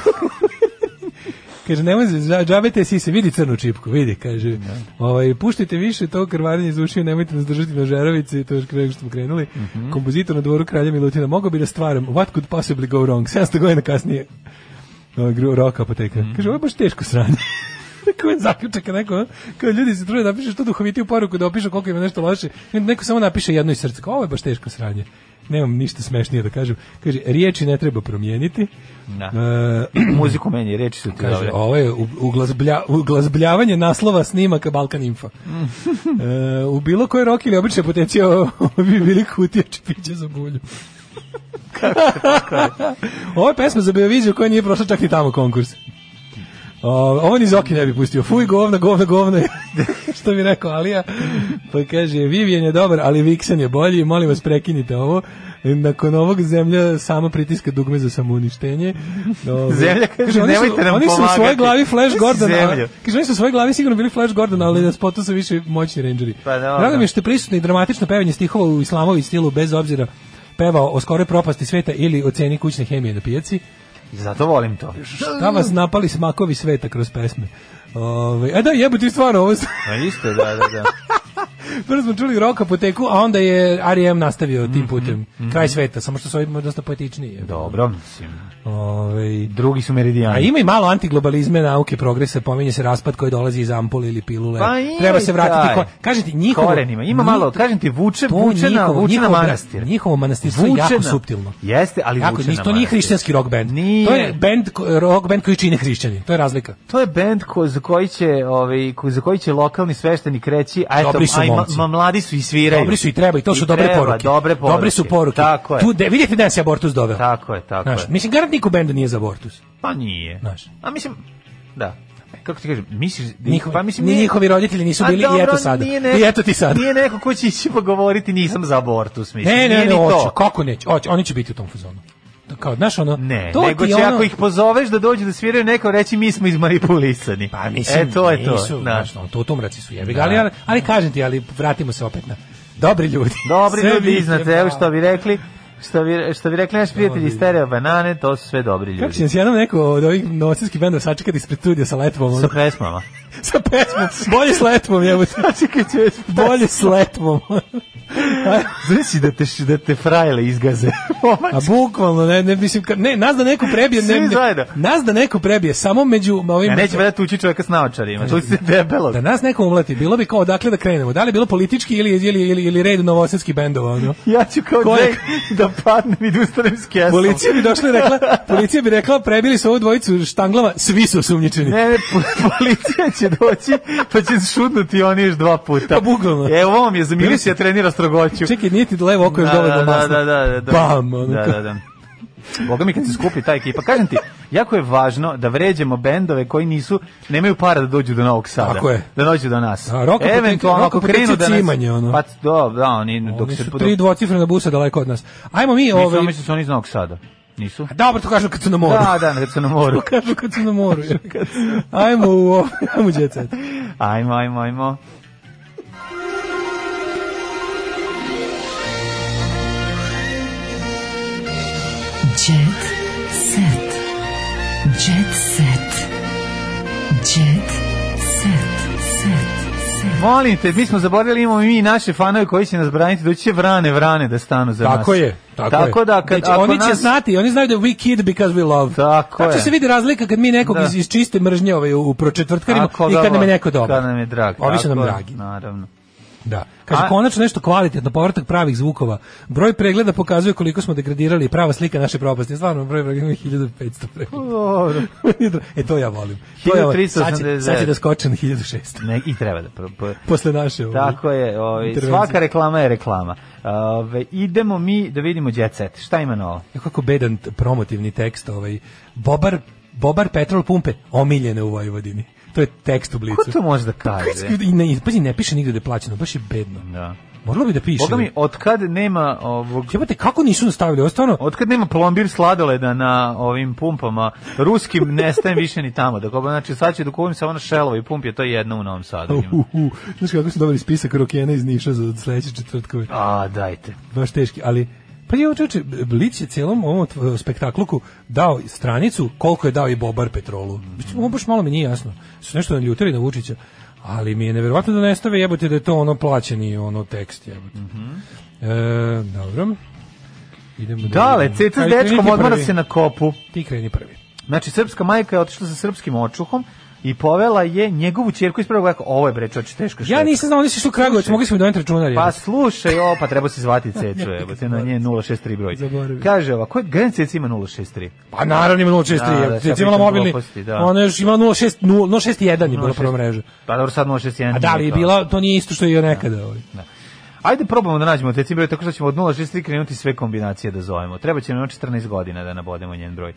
[SPEAKER 6] kaže, nemoj, za- džabete si se, vidi crnu čipku, vidi, kaže. Ovaj, puštajte više to krvarenje iz ušiju, nemojte nas držati na žeravici, to je krenu što smo krenuli. Kompozitor na dvoru kralja Milutina, mogao bi da stvaram, what could possibly go wrong, 700 godina kasnije. Ovaj, gru- Rock apoteka. Kaže, ovo je baš teško sranje. Kako je zaključak neko, a? kao ljudi se trude da piše što duhovitiju poruku, da opišu koliko ima nešto loše. I onda Neko samo napiše jedno iz srca, kao, ovo je baš teško sranje. Nemam ništa smešnije da kažem. Kaže, riječi ne treba promijeniti.
[SPEAKER 7] Da.
[SPEAKER 6] E,
[SPEAKER 7] Muziku meni, reči su ti
[SPEAKER 6] Kaže,
[SPEAKER 7] dobre.
[SPEAKER 6] ovo je u- uglazblja, uglazbljavanje naslova snimaka Balkan Info. e, u bilo kojoj rok ili obične potenci ovo bi bili kutija čepića za bulju. ovo je pesma za Beoviziju koja nije prošla čak ni tamo konkurs. O, ovo ni Zoki ne bi pustio. Fuj, govna, govna, govna. što bi rekao Alija. Pa kaže, Vivian je dobar, ali Vixen je bolji. Molim vas, prekinite ovo. Nakon ovog zemlja sama pritiska dugme za samouništenje. Ovo-
[SPEAKER 7] Zemlja kaže,
[SPEAKER 6] oni su-
[SPEAKER 7] "Nemojte nam
[SPEAKER 6] Oni su u svojoj
[SPEAKER 7] pomagati."
[SPEAKER 6] glavi Flash Gordon. a-
[SPEAKER 7] Zemlju.
[SPEAKER 6] Kaže, oni su u svojoj glavi sigurno bili Flash Gordon, ali na spotu su više moćni rangeri.
[SPEAKER 7] Pa dobro.
[SPEAKER 6] Drago mi je što je prisutno i dramatično pevanje stihova u islamovi stilu, bez obzira pevao o skoroj propasti sveta ili o ceni kućne hemije na pijaci.
[SPEAKER 7] Zato volim to.
[SPEAKER 6] Šta vas napali smakovi sveta kroz pesme? Ove, a da, jebote stvarno, ovo s-
[SPEAKER 7] A isto, je, da, da, da.
[SPEAKER 6] prvo smo čuli roka po teku, a onda je R.E.M. nastavio tim putem. Kraj sveta, samo što su ovim dosta poetičniji. jebote.
[SPEAKER 7] Dobro, mislim.
[SPEAKER 6] Ove,
[SPEAKER 7] Drugi su meridijani.
[SPEAKER 6] A ima i malo antiglobalizme, nauke, progresa, pominje se raspad koji dolazi iz ampule ili pilule.
[SPEAKER 7] Pa ima
[SPEAKER 6] Treba
[SPEAKER 7] i
[SPEAKER 6] se
[SPEAKER 7] taj.
[SPEAKER 6] vratiti. Ko, kažete, njihovo...
[SPEAKER 7] Korenima. Ima malo, kažem ti, vuče- vuče na- vuče na
[SPEAKER 6] njihovo-
[SPEAKER 7] manastir.
[SPEAKER 6] Njihovo manastirstvo je
[SPEAKER 7] Vuče
[SPEAKER 6] jako
[SPEAKER 7] na-
[SPEAKER 6] suptilno.
[SPEAKER 7] Jeste, ali
[SPEAKER 6] jako,
[SPEAKER 7] vuče
[SPEAKER 6] ni-
[SPEAKER 7] na
[SPEAKER 6] To nije
[SPEAKER 7] manastir.
[SPEAKER 6] hrišćanski rock band.
[SPEAKER 7] Nije.
[SPEAKER 6] To je band, ko- rock band koji čine hrišćani. To je razlika.
[SPEAKER 7] To je bend ko, za koji će, ovaj, ko, za koji će lokalni sveštenik reći, a eto,
[SPEAKER 6] Dobri su
[SPEAKER 7] aj, ma,
[SPEAKER 6] momci.
[SPEAKER 7] ma, mladi su i sviraju.
[SPEAKER 6] Dobri su i treba i to su dobre
[SPEAKER 7] treba,
[SPEAKER 6] poruke.
[SPEAKER 7] Dobre poruke.
[SPEAKER 6] Dobre su poruke.
[SPEAKER 7] Tako je.
[SPEAKER 6] Tu, de, vidite da nas je abortus doveo.
[SPEAKER 7] Tako je, tako
[SPEAKER 6] Znaš,
[SPEAKER 7] je.
[SPEAKER 6] mislim, garant niko benda nije za abortus.
[SPEAKER 7] Pa nije.
[SPEAKER 6] Znaš.
[SPEAKER 7] A mislim, da. Kako ti kažem, misliš...
[SPEAKER 6] Njihovi,
[SPEAKER 7] pa mislim,
[SPEAKER 6] ni
[SPEAKER 7] nije-
[SPEAKER 6] njihovi roditelji nisu
[SPEAKER 7] A
[SPEAKER 6] bili i
[SPEAKER 7] dobro,
[SPEAKER 6] eto sada.
[SPEAKER 7] nije neko-
[SPEAKER 6] I eto ti sada.
[SPEAKER 7] Nije neko ko će ići pogovoriti nisam za abortus, mislim.
[SPEAKER 6] Ne, ne,
[SPEAKER 7] nije
[SPEAKER 6] ne,
[SPEAKER 7] ni to.
[SPEAKER 6] hoće, kako neće, hoće, oni će biti u tom fazonu. Da Kao, znaš, ono,
[SPEAKER 7] Ne,
[SPEAKER 6] to
[SPEAKER 7] nego
[SPEAKER 6] ti
[SPEAKER 7] će
[SPEAKER 6] je ono,
[SPEAKER 7] ako ih pozoveš da dođu da sviraju neko reći mi smo izmanipulisani. Pa
[SPEAKER 6] mislim,
[SPEAKER 7] e, to je to.
[SPEAKER 6] Nisu,
[SPEAKER 7] znaš.
[SPEAKER 6] znaš, ono, to tumraci su jebi ga, ali, ali, ali kažem ti, ali vratimo se opet na dobri ljudi.
[SPEAKER 7] Dobri
[SPEAKER 6] Sve
[SPEAKER 7] ljudi
[SPEAKER 6] njih
[SPEAKER 7] iznad,
[SPEAKER 6] je
[SPEAKER 7] evo
[SPEAKER 6] pravo.
[SPEAKER 7] što bi rekli, što bi, što bi rekli naši prijatelji iz Stereo Banane, to su sve dobri
[SPEAKER 6] Kako će
[SPEAKER 7] ljudi.
[SPEAKER 6] nas jednom neko od ovih novosadskih benda sačekati ispred studija sa letvom?
[SPEAKER 7] Sa
[SPEAKER 6] Ono,
[SPEAKER 7] pesmama.
[SPEAKER 6] sa pesmom, bolje s letvom, jebo te.
[SPEAKER 7] Sačekaj će već
[SPEAKER 6] Bolje s letvom.
[SPEAKER 7] Znači da te, da te frajle izgaze.
[SPEAKER 6] A bukvalno, ne, ne, mislim, ka- ne, nas da neko prebije, ne,
[SPEAKER 7] Svi zajedno.
[SPEAKER 6] ne, nas da neko prebije, samo među ovim...
[SPEAKER 7] Ja E, neće vedeti tući čovjeka s naočarima, to se debelo.
[SPEAKER 6] Da nas neko umleti, bilo bi kao odakle da krenemo. Da li je bilo politički ili, ili, ili, ili red novosadskih bendova, ono?
[SPEAKER 7] Ja ću kao
[SPEAKER 6] Ko je-
[SPEAKER 7] Jake da padnem i da ustanem s kesom.
[SPEAKER 6] Policija bi došla i rekla, policija bi rekla, prebili su ovu dvojicu štanglama, svi su osumnjičeni.
[SPEAKER 7] Ne, ne, po- policija će doći, pa će šutnuti oni još dva puta.
[SPEAKER 6] Pa bukvalno.
[SPEAKER 7] Evo ovom je za milicija trenira strogoću.
[SPEAKER 6] Čekaj, nije ti levo oko još dovoljno
[SPEAKER 7] da,
[SPEAKER 6] masno.
[SPEAKER 7] da, da, da, da.
[SPEAKER 6] Bam, ono
[SPEAKER 7] da,
[SPEAKER 6] kao.
[SPEAKER 7] da, da. Boga mi kad se skupi ta ekipa. Kažem ti, jako je važno da vređamo bendove koji nisu, nemaju para da dođu do Novog Sada.
[SPEAKER 6] Tako je.
[SPEAKER 7] Da dođu do nas.
[SPEAKER 6] A, rock apotek-
[SPEAKER 7] Eventualno,
[SPEAKER 6] rock
[SPEAKER 7] ako krenu
[SPEAKER 6] apotek je
[SPEAKER 7] da nas...
[SPEAKER 6] cimanje, ono.
[SPEAKER 7] Pa, do, da, oni, dok
[SPEAKER 6] Oni
[SPEAKER 7] se...
[SPEAKER 6] su
[SPEAKER 7] Dok,
[SPEAKER 6] tri dvocifrena busa daleko od nas. Ajmo mi
[SPEAKER 7] nisu,
[SPEAKER 6] ovaj...
[SPEAKER 7] mislim da su oni iz Novog Sada. Nisu?
[SPEAKER 6] Dobro, to kažu kad su na moru.
[SPEAKER 7] Da, da, kad su na moru.
[SPEAKER 6] To kažu kad su na moru. Ajmo u ovaj... Ajmo u jet set.
[SPEAKER 7] Ajmo, ajmo, ajmo.
[SPEAKER 5] Jet set. Jet set. Jet set. Set. Set.
[SPEAKER 7] Molim te, mi smo zaboravili, imamo i mi naše fanove koji će nas braniti, doći će vrane, vrane da stanu za nas.
[SPEAKER 6] Tako je, tako, je.
[SPEAKER 7] da, kad,
[SPEAKER 6] Znači,
[SPEAKER 7] ako
[SPEAKER 6] oni će
[SPEAKER 7] nas-
[SPEAKER 6] znati, oni znaju da we kid because we love.
[SPEAKER 7] Tako
[SPEAKER 6] Tačno
[SPEAKER 7] je.
[SPEAKER 6] se vidi razlika kad mi nekog
[SPEAKER 7] Da.
[SPEAKER 6] iz, iz čiste mržnje ovaj, u pročetvrtkarima
[SPEAKER 7] Ako
[SPEAKER 6] i
[SPEAKER 7] ga
[SPEAKER 6] kad nam je
[SPEAKER 7] voli,
[SPEAKER 6] neko dobar.
[SPEAKER 7] Kad nam je drag.
[SPEAKER 6] Ovi su nam
[SPEAKER 7] tako je,
[SPEAKER 6] dragi.
[SPEAKER 7] Naravno.
[SPEAKER 6] Da. Kaže,
[SPEAKER 7] A-
[SPEAKER 6] konačno nešto kvalitetno, povratak pravih zvukova. Broj pregleda pokazuje koliko smo degradirali i prava slika naše propasti. Stvarno, broj pregleda ima 1500 pregleda.
[SPEAKER 7] Dobro.
[SPEAKER 6] e, to ja volim. To ja volim. Sad, će,
[SPEAKER 7] 1389.
[SPEAKER 6] sad će da skoče na 1600.
[SPEAKER 7] Ne, I treba da... pro- pro-
[SPEAKER 6] Posle naše. ovaj,
[SPEAKER 7] Tako je, ovaj,
[SPEAKER 6] intervencije.
[SPEAKER 7] svaka reklama je reklama. Ove, idemo mi da vidimo Jet Set. Šta ima novo?
[SPEAKER 6] Ja, Kako bedan t- promotivni tekst. Ovaj. Bobar, Bobar petrol pumpe omiljene u Vojvodini. To je tekst u blicu.
[SPEAKER 7] Ko Pa to može da
[SPEAKER 6] pa
[SPEAKER 7] kaže?
[SPEAKER 6] I ne, i- pazi, ne piše nigde da je plaćeno, baš je bedno.
[SPEAKER 7] Da.
[SPEAKER 6] Moralo bi da piše.
[SPEAKER 7] Boga mi, otkad nema ovog...
[SPEAKER 6] Jebote, kako nisu nastavili? Ovo je stvarno,
[SPEAKER 7] Otkad nema plombir sladoleda na ovim pumpama, ruskim nestajem više ni tamo. Dakle, znači sad će da kupim samo na šelovi pump, je to jedno u Novom Sadu. ima.
[SPEAKER 6] Uh, uh, znaš kako su dobili spisak rokena iz Niša za sledeće četvrtkove.
[SPEAKER 7] A, dajte.
[SPEAKER 6] Baš teški, ali pa je čoče, Blic je cijelom ovom tv- spektakluku dao stranicu koliko je dao i Bobar Petrolu. Mislim, ovo baš malo mi nije jasno. Su nešto naljutili na Vučića, ali mi je neverovatno da ne stave jebote da je to ono plaćeni ono tekst jebote.
[SPEAKER 7] Mhm.
[SPEAKER 6] e, dobro. Idemo da
[SPEAKER 7] Dale,
[SPEAKER 6] vidimo.
[SPEAKER 7] ceca s
[SPEAKER 6] Ajde, kreni
[SPEAKER 7] dečkom
[SPEAKER 6] ti
[SPEAKER 7] odmara
[SPEAKER 6] prvi.
[SPEAKER 7] se na kopu.
[SPEAKER 6] Ti kreni prvi.
[SPEAKER 7] Znači, srpska majka je otišla sa srpskim očuhom i povela je njegovu čerku iz prvog veka. Ovo je bre, čoče, teško što
[SPEAKER 6] Ja nisam znao, oni su išli u Kragujevac, mogli smo i doneti računar.
[SPEAKER 7] Pa
[SPEAKER 6] jebote.
[SPEAKER 7] slušaj, o, pa treba se zvati Cecu, evo, te na nje 063 broj.
[SPEAKER 6] Zaboravio.
[SPEAKER 7] Kaže ovako, Gren Ceca ima 063.
[SPEAKER 6] Pa naravno ima 063,
[SPEAKER 7] Da, da,
[SPEAKER 6] da,
[SPEAKER 7] šta
[SPEAKER 6] da, imala
[SPEAKER 7] pričam
[SPEAKER 6] mobilni,
[SPEAKER 7] gluposti, da.
[SPEAKER 6] da. ona je još imala 06, 061 je bila
[SPEAKER 7] 06.
[SPEAKER 6] prva mreža.
[SPEAKER 7] Pa dobro, sad 061.
[SPEAKER 6] A da li je
[SPEAKER 7] nije to.
[SPEAKER 6] bila, to nije isto što je i nekada. Ovaj.
[SPEAKER 7] Ajde probamo da nađemo Ceca broj, tako što ćemo od 063 krenuti sve kombinacije da zovemo. Treba će nam 14 godina da nabodemo njen broj.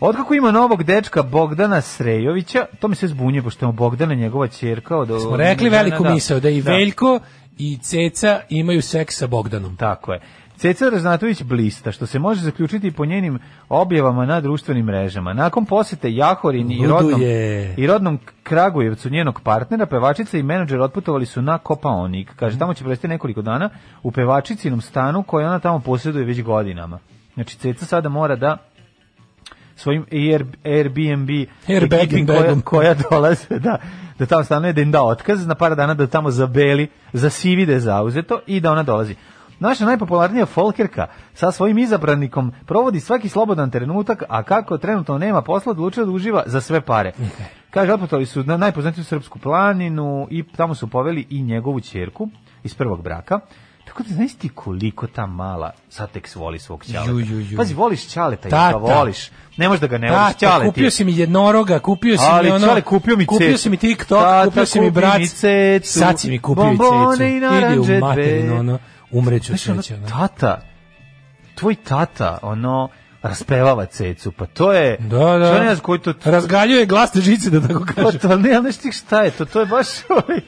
[SPEAKER 7] Otkako ima novog dečka Bogdana Srejovića, to mi se zbunjuje, pošto je Bogdana njegova čerka. Od,
[SPEAKER 6] Smo rekli veliku
[SPEAKER 7] žena,
[SPEAKER 6] misao da i Veljko i Ceca imaju seks sa Bogdanom.
[SPEAKER 7] Tako je. Ceca Raznatović blista, što se može zaključiti i po njenim objavama na društvenim mrežama. Nakon posete Jahorin i rodnom,
[SPEAKER 6] Luduje.
[SPEAKER 7] i rodnom Kragujevcu njenog partnera, pevačica i menadžer otputovali su na Kopaonik. Kaže, tamo će prestati nekoliko dana u pevačicinom stanu koji ona tamo posjeduje već godinama. Znači, Ceca sada mora da svojim Air, Airbnb
[SPEAKER 6] Airbagom,
[SPEAKER 7] ekipi koja,
[SPEAKER 6] bagom.
[SPEAKER 7] koja dolaze da, da tamo stanuje, da im da otkaz na par dana da tamo zabeli, za sivi da je zauzeto i da ona dolazi. Naša najpopularnija Folkerka sa svojim izabranikom provodi svaki slobodan trenutak, a kako trenutno nema posla, odlučila da uživa za sve pare. Kaže, otputovali su na najpoznatiju srpsku planinu i tamo su poveli i njegovu ćerku iz prvog braka. Tako da znaš ti koliko ta mala Satex voli svog ćaleta.
[SPEAKER 6] Ju, ju, ju.
[SPEAKER 7] Pazi, voliš ćaleta i
[SPEAKER 6] Tata.
[SPEAKER 7] ga voliš. Ne možeš da ga ne voliš.
[SPEAKER 6] Tata,
[SPEAKER 7] Ćale ti
[SPEAKER 6] kupio
[SPEAKER 7] je.
[SPEAKER 6] si mi jednoroga, kupio si
[SPEAKER 7] Ali,
[SPEAKER 6] mi ono...
[SPEAKER 7] čale, kupio mi
[SPEAKER 6] Kupio
[SPEAKER 7] cecu.
[SPEAKER 6] si mi TikTok,
[SPEAKER 7] Tata,
[SPEAKER 6] kupio si mi
[SPEAKER 7] kupi
[SPEAKER 6] brat.
[SPEAKER 7] mi cecu.
[SPEAKER 6] Sad si mi kupio i
[SPEAKER 7] Bombone
[SPEAKER 6] cecu.
[SPEAKER 7] i
[SPEAKER 6] Idi
[SPEAKER 7] naranđe
[SPEAKER 6] u materinu,
[SPEAKER 7] dve.
[SPEAKER 6] ono, umreću od
[SPEAKER 7] Znaš, ono,
[SPEAKER 6] sreće, ono.
[SPEAKER 7] tata, tvoj tata, ono, raspevava cecu, pa to je...
[SPEAKER 6] Da, da.
[SPEAKER 7] Što ne znam koji to...
[SPEAKER 6] Razgaljuje glasne žice, da tako
[SPEAKER 7] Pa
[SPEAKER 6] kažem.
[SPEAKER 7] to ne, ali znaš ti šta je to, to je baš, ovaj,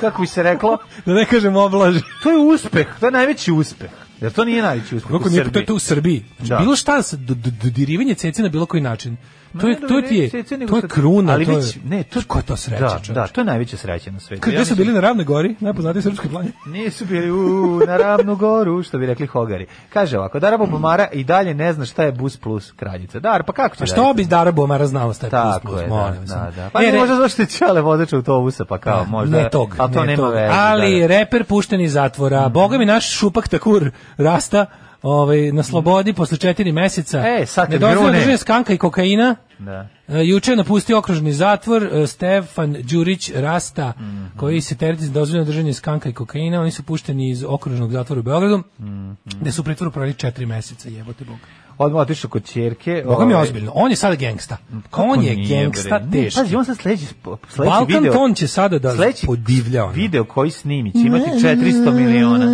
[SPEAKER 7] kako bi se reklo,
[SPEAKER 6] Da ne kažem oblaže.
[SPEAKER 7] to je uspeh, to je najveći uspeh. Jer to nije najveći uspeh
[SPEAKER 6] Kako
[SPEAKER 7] u
[SPEAKER 6] nije to,
[SPEAKER 7] Srbiji.
[SPEAKER 6] to u Srbiji. Znači,
[SPEAKER 7] Da.
[SPEAKER 6] Bilo šta sa do- do- dodirivanje cece na bilo koji način. To
[SPEAKER 7] Ma
[SPEAKER 6] je
[SPEAKER 7] ne
[SPEAKER 6] to ti je
[SPEAKER 7] dodirivanje cece, nego
[SPEAKER 6] to je
[SPEAKER 7] sad-
[SPEAKER 6] kruna,
[SPEAKER 7] ali
[SPEAKER 6] to je.
[SPEAKER 7] već- ne, to-
[SPEAKER 6] ko je to sreća,
[SPEAKER 7] Da,
[SPEAKER 6] čoveče?
[SPEAKER 7] da, to je najveća sreća na svetu.
[SPEAKER 6] Kad
[SPEAKER 7] Ja
[SPEAKER 6] gde su
[SPEAKER 7] mislim-
[SPEAKER 6] bili na Ravnoj gori, najpoznatiji srpski planin.
[SPEAKER 7] Nisu bili u, na ravnu goru, što bi rekli hogari. Kaže ovako, Dara Bobomara i dalje ne zna šta je bus plus kraljica. Dar, pa kako će
[SPEAKER 6] A što bi Dara Bomara znala šta je plus
[SPEAKER 7] Tako
[SPEAKER 6] plus,
[SPEAKER 7] je,
[SPEAKER 6] molim
[SPEAKER 7] da,
[SPEAKER 6] vas.
[SPEAKER 7] da, da. Pa
[SPEAKER 6] E,
[SPEAKER 7] ne,
[SPEAKER 6] re-
[SPEAKER 7] možda zašto je čale vozač autobusa, pa kao možda...
[SPEAKER 6] ne tog,
[SPEAKER 7] ali to
[SPEAKER 6] ne
[SPEAKER 7] nema
[SPEAKER 6] tog.
[SPEAKER 7] veze.
[SPEAKER 6] Ali
[SPEAKER 7] da, Mhm. da.
[SPEAKER 6] reper pušten iz zatvora, boga mi naš šupak takur rasta, ovaj na slobodi posle četiri meseca.
[SPEAKER 7] Mhm. E, sad kad
[SPEAKER 6] Nedozvoljeno
[SPEAKER 7] grune.
[SPEAKER 6] držanje skanka i kokaina.
[SPEAKER 7] Da.
[SPEAKER 6] E, Juče je napustio okružni zatvor e, Stefan Đurić Rasta,
[SPEAKER 7] Mhm.
[SPEAKER 6] koji se tereti za dozvoljeno držanje skanka i kokaina. Oni su pušteni iz okružnog zatvora u Beogradu,
[SPEAKER 7] Mhm.
[SPEAKER 6] gde su u pritvoru proveli četiri meseca, jebote Bog.
[SPEAKER 7] Odmah otišao kod čerke.
[SPEAKER 6] Boga mi je
[SPEAKER 7] ovaj,
[SPEAKER 6] ozbiljno. On je sada gangsta. Kao
[SPEAKER 7] kako
[SPEAKER 6] on je
[SPEAKER 7] nije, pa
[SPEAKER 6] gangsta
[SPEAKER 7] bre? Ne,
[SPEAKER 6] teški.
[SPEAKER 7] Pazi, on sad sledeći, sledeći
[SPEAKER 6] Balkan
[SPEAKER 7] video...
[SPEAKER 6] ton će sada da
[SPEAKER 7] sledeći
[SPEAKER 6] podivlja. ono.
[SPEAKER 7] Video koji snimi će imati 400 miliona.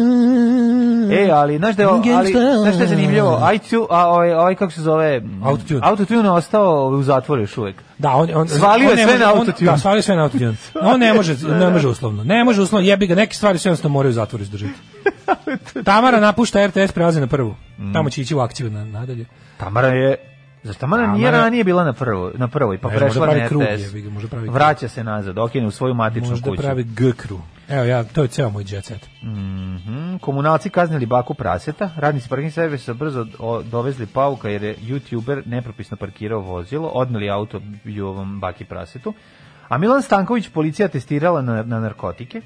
[SPEAKER 7] E, ali znaš da je, ali, znaš šta je zanimljivo? IQ, a ovaj, ovaj kako se zove?
[SPEAKER 6] Autotune.
[SPEAKER 7] Autotune je ostao u zatvoru još uvek.
[SPEAKER 6] Da, on, on
[SPEAKER 7] Svalio
[SPEAKER 6] on
[SPEAKER 7] je
[SPEAKER 6] ne
[SPEAKER 7] sve
[SPEAKER 6] može-
[SPEAKER 7] na
[SPEAKER 6] on-
[SPEAKER 7] autotune.
[SPEAKER 6] Da, svalio je sve na autotune. On ne može, ne može uslovno. Ne može uslovno, jebi ga, neke stvari se jednostavno moraju u zatvoru izdržati. Tamara napušta RTS, prelazi na prvu.
[SPEAKER 7] Mm.
[SPEAKER 6] Tamo će ići u akciju na, nadalje.
[SPEAKER 7] Tamara je Zašto Tamara, nije
[SPEAKER 6] Tamara-
[SPEAKER 7] ranije bila na prvoj, na prvoj pa
[SPEAKER 6] Ne, možda
[SPEAKER 7] prešla
[SPEAKER 6] pravi
[SPEAKER 7] na
[SPEAKER 6] krug,
[SPEAKER 7] RTS.
[SPEAKER 6] jebi ga, možda pravi krug.
[SPEAKER 7] Vraća se nazad, okine u svoju matičnu
[SPEAKER 6] Možda
[SPEAKER 7] kuću.
[SPEAKER 6] pravi G-kru. Evo ja, to je ceo moj jet set.
[SPEAKER 7] Mm, Komunalci kaznili baku praseta, radnici parking servisa brzo o- dovezli pauka jer je youtuber nepropisno parkirao vozilo, odneli auto i ovom baki prasetu. A Milan Stanković policija testirala na, na narkotike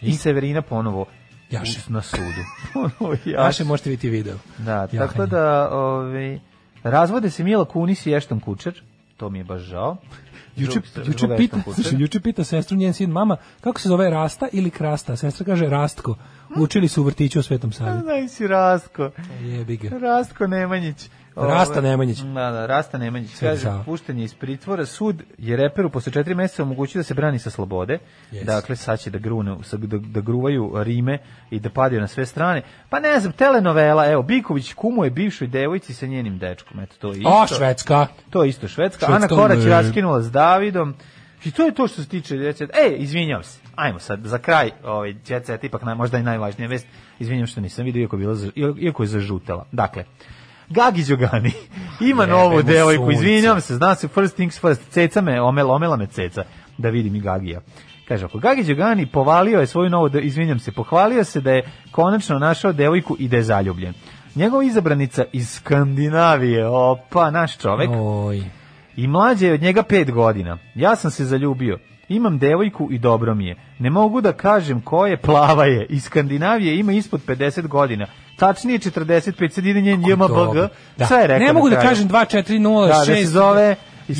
[SPEAKER 7] i, Severina ponovo
[SPEAKER 6] Jaše.
[SPEAKER 7] u- na sudu. Ponovo jaše.
[SPEAKER 6] Naše možete vidjeti video.
[SPEAKER 7] Da,
[SPEAKER 6] Jahanje.
[SPEAKER 7] tako da ovaj, razvode se Mila Kunis i Ešton Kučer, to mi je baš žao.
[SPEAKER 6] Juče,
[SPEAKER 7] Zbog- zbog
[SPEAKER 6] juče
[SPEAKER 7] Ashton
[SPEAKER 6] pita,
[SPEAKER 7] Kutchera.
[SPEAKER 6] slušaj, juče pita sestru njen sin mama kako se zove Rasta ili Krasta. Sestra kaže Rastko. Učili su u vrtiću u Svetom Savi.
[SPEAKER 7] Znaj si Rasko.
[SPEAKER 6] Jebi ga.
[SPEAKER 7] Rastko Nemanjić. Ovaj,
[SPEAKER 6] Rasta Nemanjić.
[SPEAKER 7] Da, da, Rasta Nemanjić. Kaže,
[SPEAKER 6] Sava.
[SPEAKER 7] pušten je iz pritvora. Sud je reperu posle četiri meseca omogućio da se brani sa slobode.
[SPEAKER 6] Yes.
[SPEAKER 7] Dakle, sad će da, grune, sad da, da gruvaju Rime i da padaju na sve strane. Pa ne znam, telenovela, evo, Biković kumuje bivšoj devojci sa njenim dečkom. Eto, to je isto.
[SPEAKER 6] O, Švedska.
[SPEAKER 7] To je isto Švedska.
[SPEAKER 6] Švedska,
[SPEAKER 7] Ana Korać je
[SPEAKER 6] ne.
[SPEAKER 7] raskinula s Davidom. I to je to što se tiče djece. E, izvinjam se. Ajmo sad, za kraj, ovaj, djece, ipak naj, možda i najvažnija vest. Izvinjam što nisam vidio, iako je, bila, za- iako je zažutela. Dakle, Gagi Đogani ima
[SPEAKER 6] Jebe
[SPEAKER 7] novu
[SPEAKER 6] mu
[SPEAKER 7] devojku,
[SPEAKER 6] sunce.
[SPEAKER 7] izvinjam se, zna se, first things first, ceca me, omela, omela me ceca, da vidim i Gagija. Kaže ako Gagi Đogani povalio je svoju novu, de- izvinjam se, pohvalio se da je konačno našao devojku i da je zaljubljen. Njegova izabranica iz Skandinavije, opa, naš čovek,
[SPEAKER 6] Oj.
[SPEAKER 7] i mlađe je od njega pet godina. Ja sam se zaljubio. Imam devojku i dobro mi je. Ne mogu da kažem ko je, plava je. Iz Skandinavije ima ispod 50 godina. Tačnije 45, sad ide njen JMBG.
[SPEAKER 6] Dobro. Da.
[SPEAKER 7] Pa Sve je rekao
[SPEAKER 6] Ne
[SPEAKER 7] na
[SPEAKER 6] mogu da
[SPEAKER 7] kraju.
[SPEAKER 6] kažem 2 4
[SPEAKER 7] da,
[SPEAKER 6] 0
[SPEAKER 7] da se zove Sto-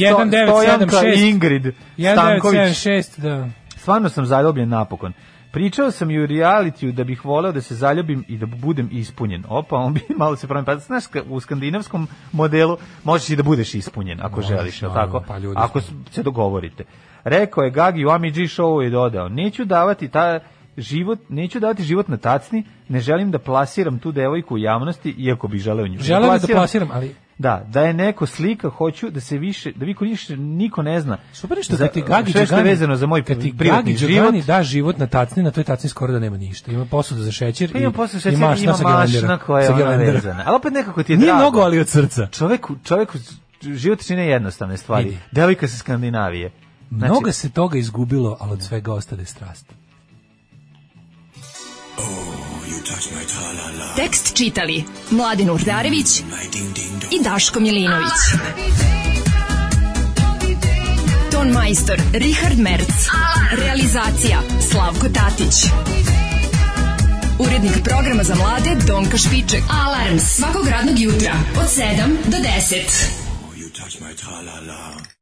[SPEAKER 7] Stojanka Ingrid Stanković.
[SPEAKER 6] 1976, da.
[SPEAKER 7] Stvarno sam zaljubljen napokon. Pričao sam i u realitiju da bih voleo da se zaljubim i da budem ispunjen. Opa, on bi malo se promeni. Pa znaš, ka- u skandinavskom modelu možeš i da budeš ispunjen ako želiš, je li
[SPEAKER 6] naravno,
[SPEAKER 7] tako?
[SPEAKER 6] pa ljudi
[SPEAKER 7] ako s- se dogovorite. Rekao je Gagi u Amidži showu i dodao, neću davati ta život, neću davati život na tacni, ne želim da plasiram tu devojku u javnosti, iako bi želeo nju.
[SPEAKER 6] Želeo bih da plasiram, ali
[SPEAKER 7] Da, da je neko slika, hoću da se više, da vi više niko ne zna.
[SPEAKER 6] super je što
[SPEAKER 7] Za-
[SPEAKER 6] kad ti Gagi
[SPEAKER 7] sve što je
[SPEAKER 6] Đogani,
[SPEAKER 7] vezano za moj
[SPEAKER 6] kad ti
[SPEAKER 7] privatni
[SPEAKER 6] Gagi
[SPEAKER 7] život.
[SPEAKER 6] Đogani da život na tacni, na toj tacni skoro da nema ništa. Ima posudu za šećer
[SPEAKER 7] Pa
[SPEAKER 6] i,
[SPEAKER 7] ima posle šećer,
[SPEAKER 6] i
[SPEAKER 7] ima
[SPEAKER 6] mašna sa
[SPEAKER 7] mašna
[SPEAKER 6] gelendera.
[SPEAKER 7] koja je
[SPEAKER 6] sa
[SPEAKER 7] ona
[SPEAKER 6] gelendera.
[SPEAKER 7] vezana. Ali opet nekako ti je
[SPEAKER 6] Nije
[SPEAKER 7] drago.
[SPEAKER 6] mnogo, ali od srca.
[SPEAKER 7] Čoveku, čoveku, život čine jednostavne stvari.
[SPEAKER 6] Vidi.
[SPEAKER 7] Devojka sa Skandinavije. Znači,
[SPEAKER 6] Mnogo se toga izgubilo, ali od svega ostade strast.
[SPEAKER 5] Tekst čitali Mladin Urdarević i Daško Milinović. Ton majstor Richard Merc. Realizacija Slavko Tatić. Urednik programa za mlade Donka Špiček. Alarms svakog radnog jutra od 7 do 10.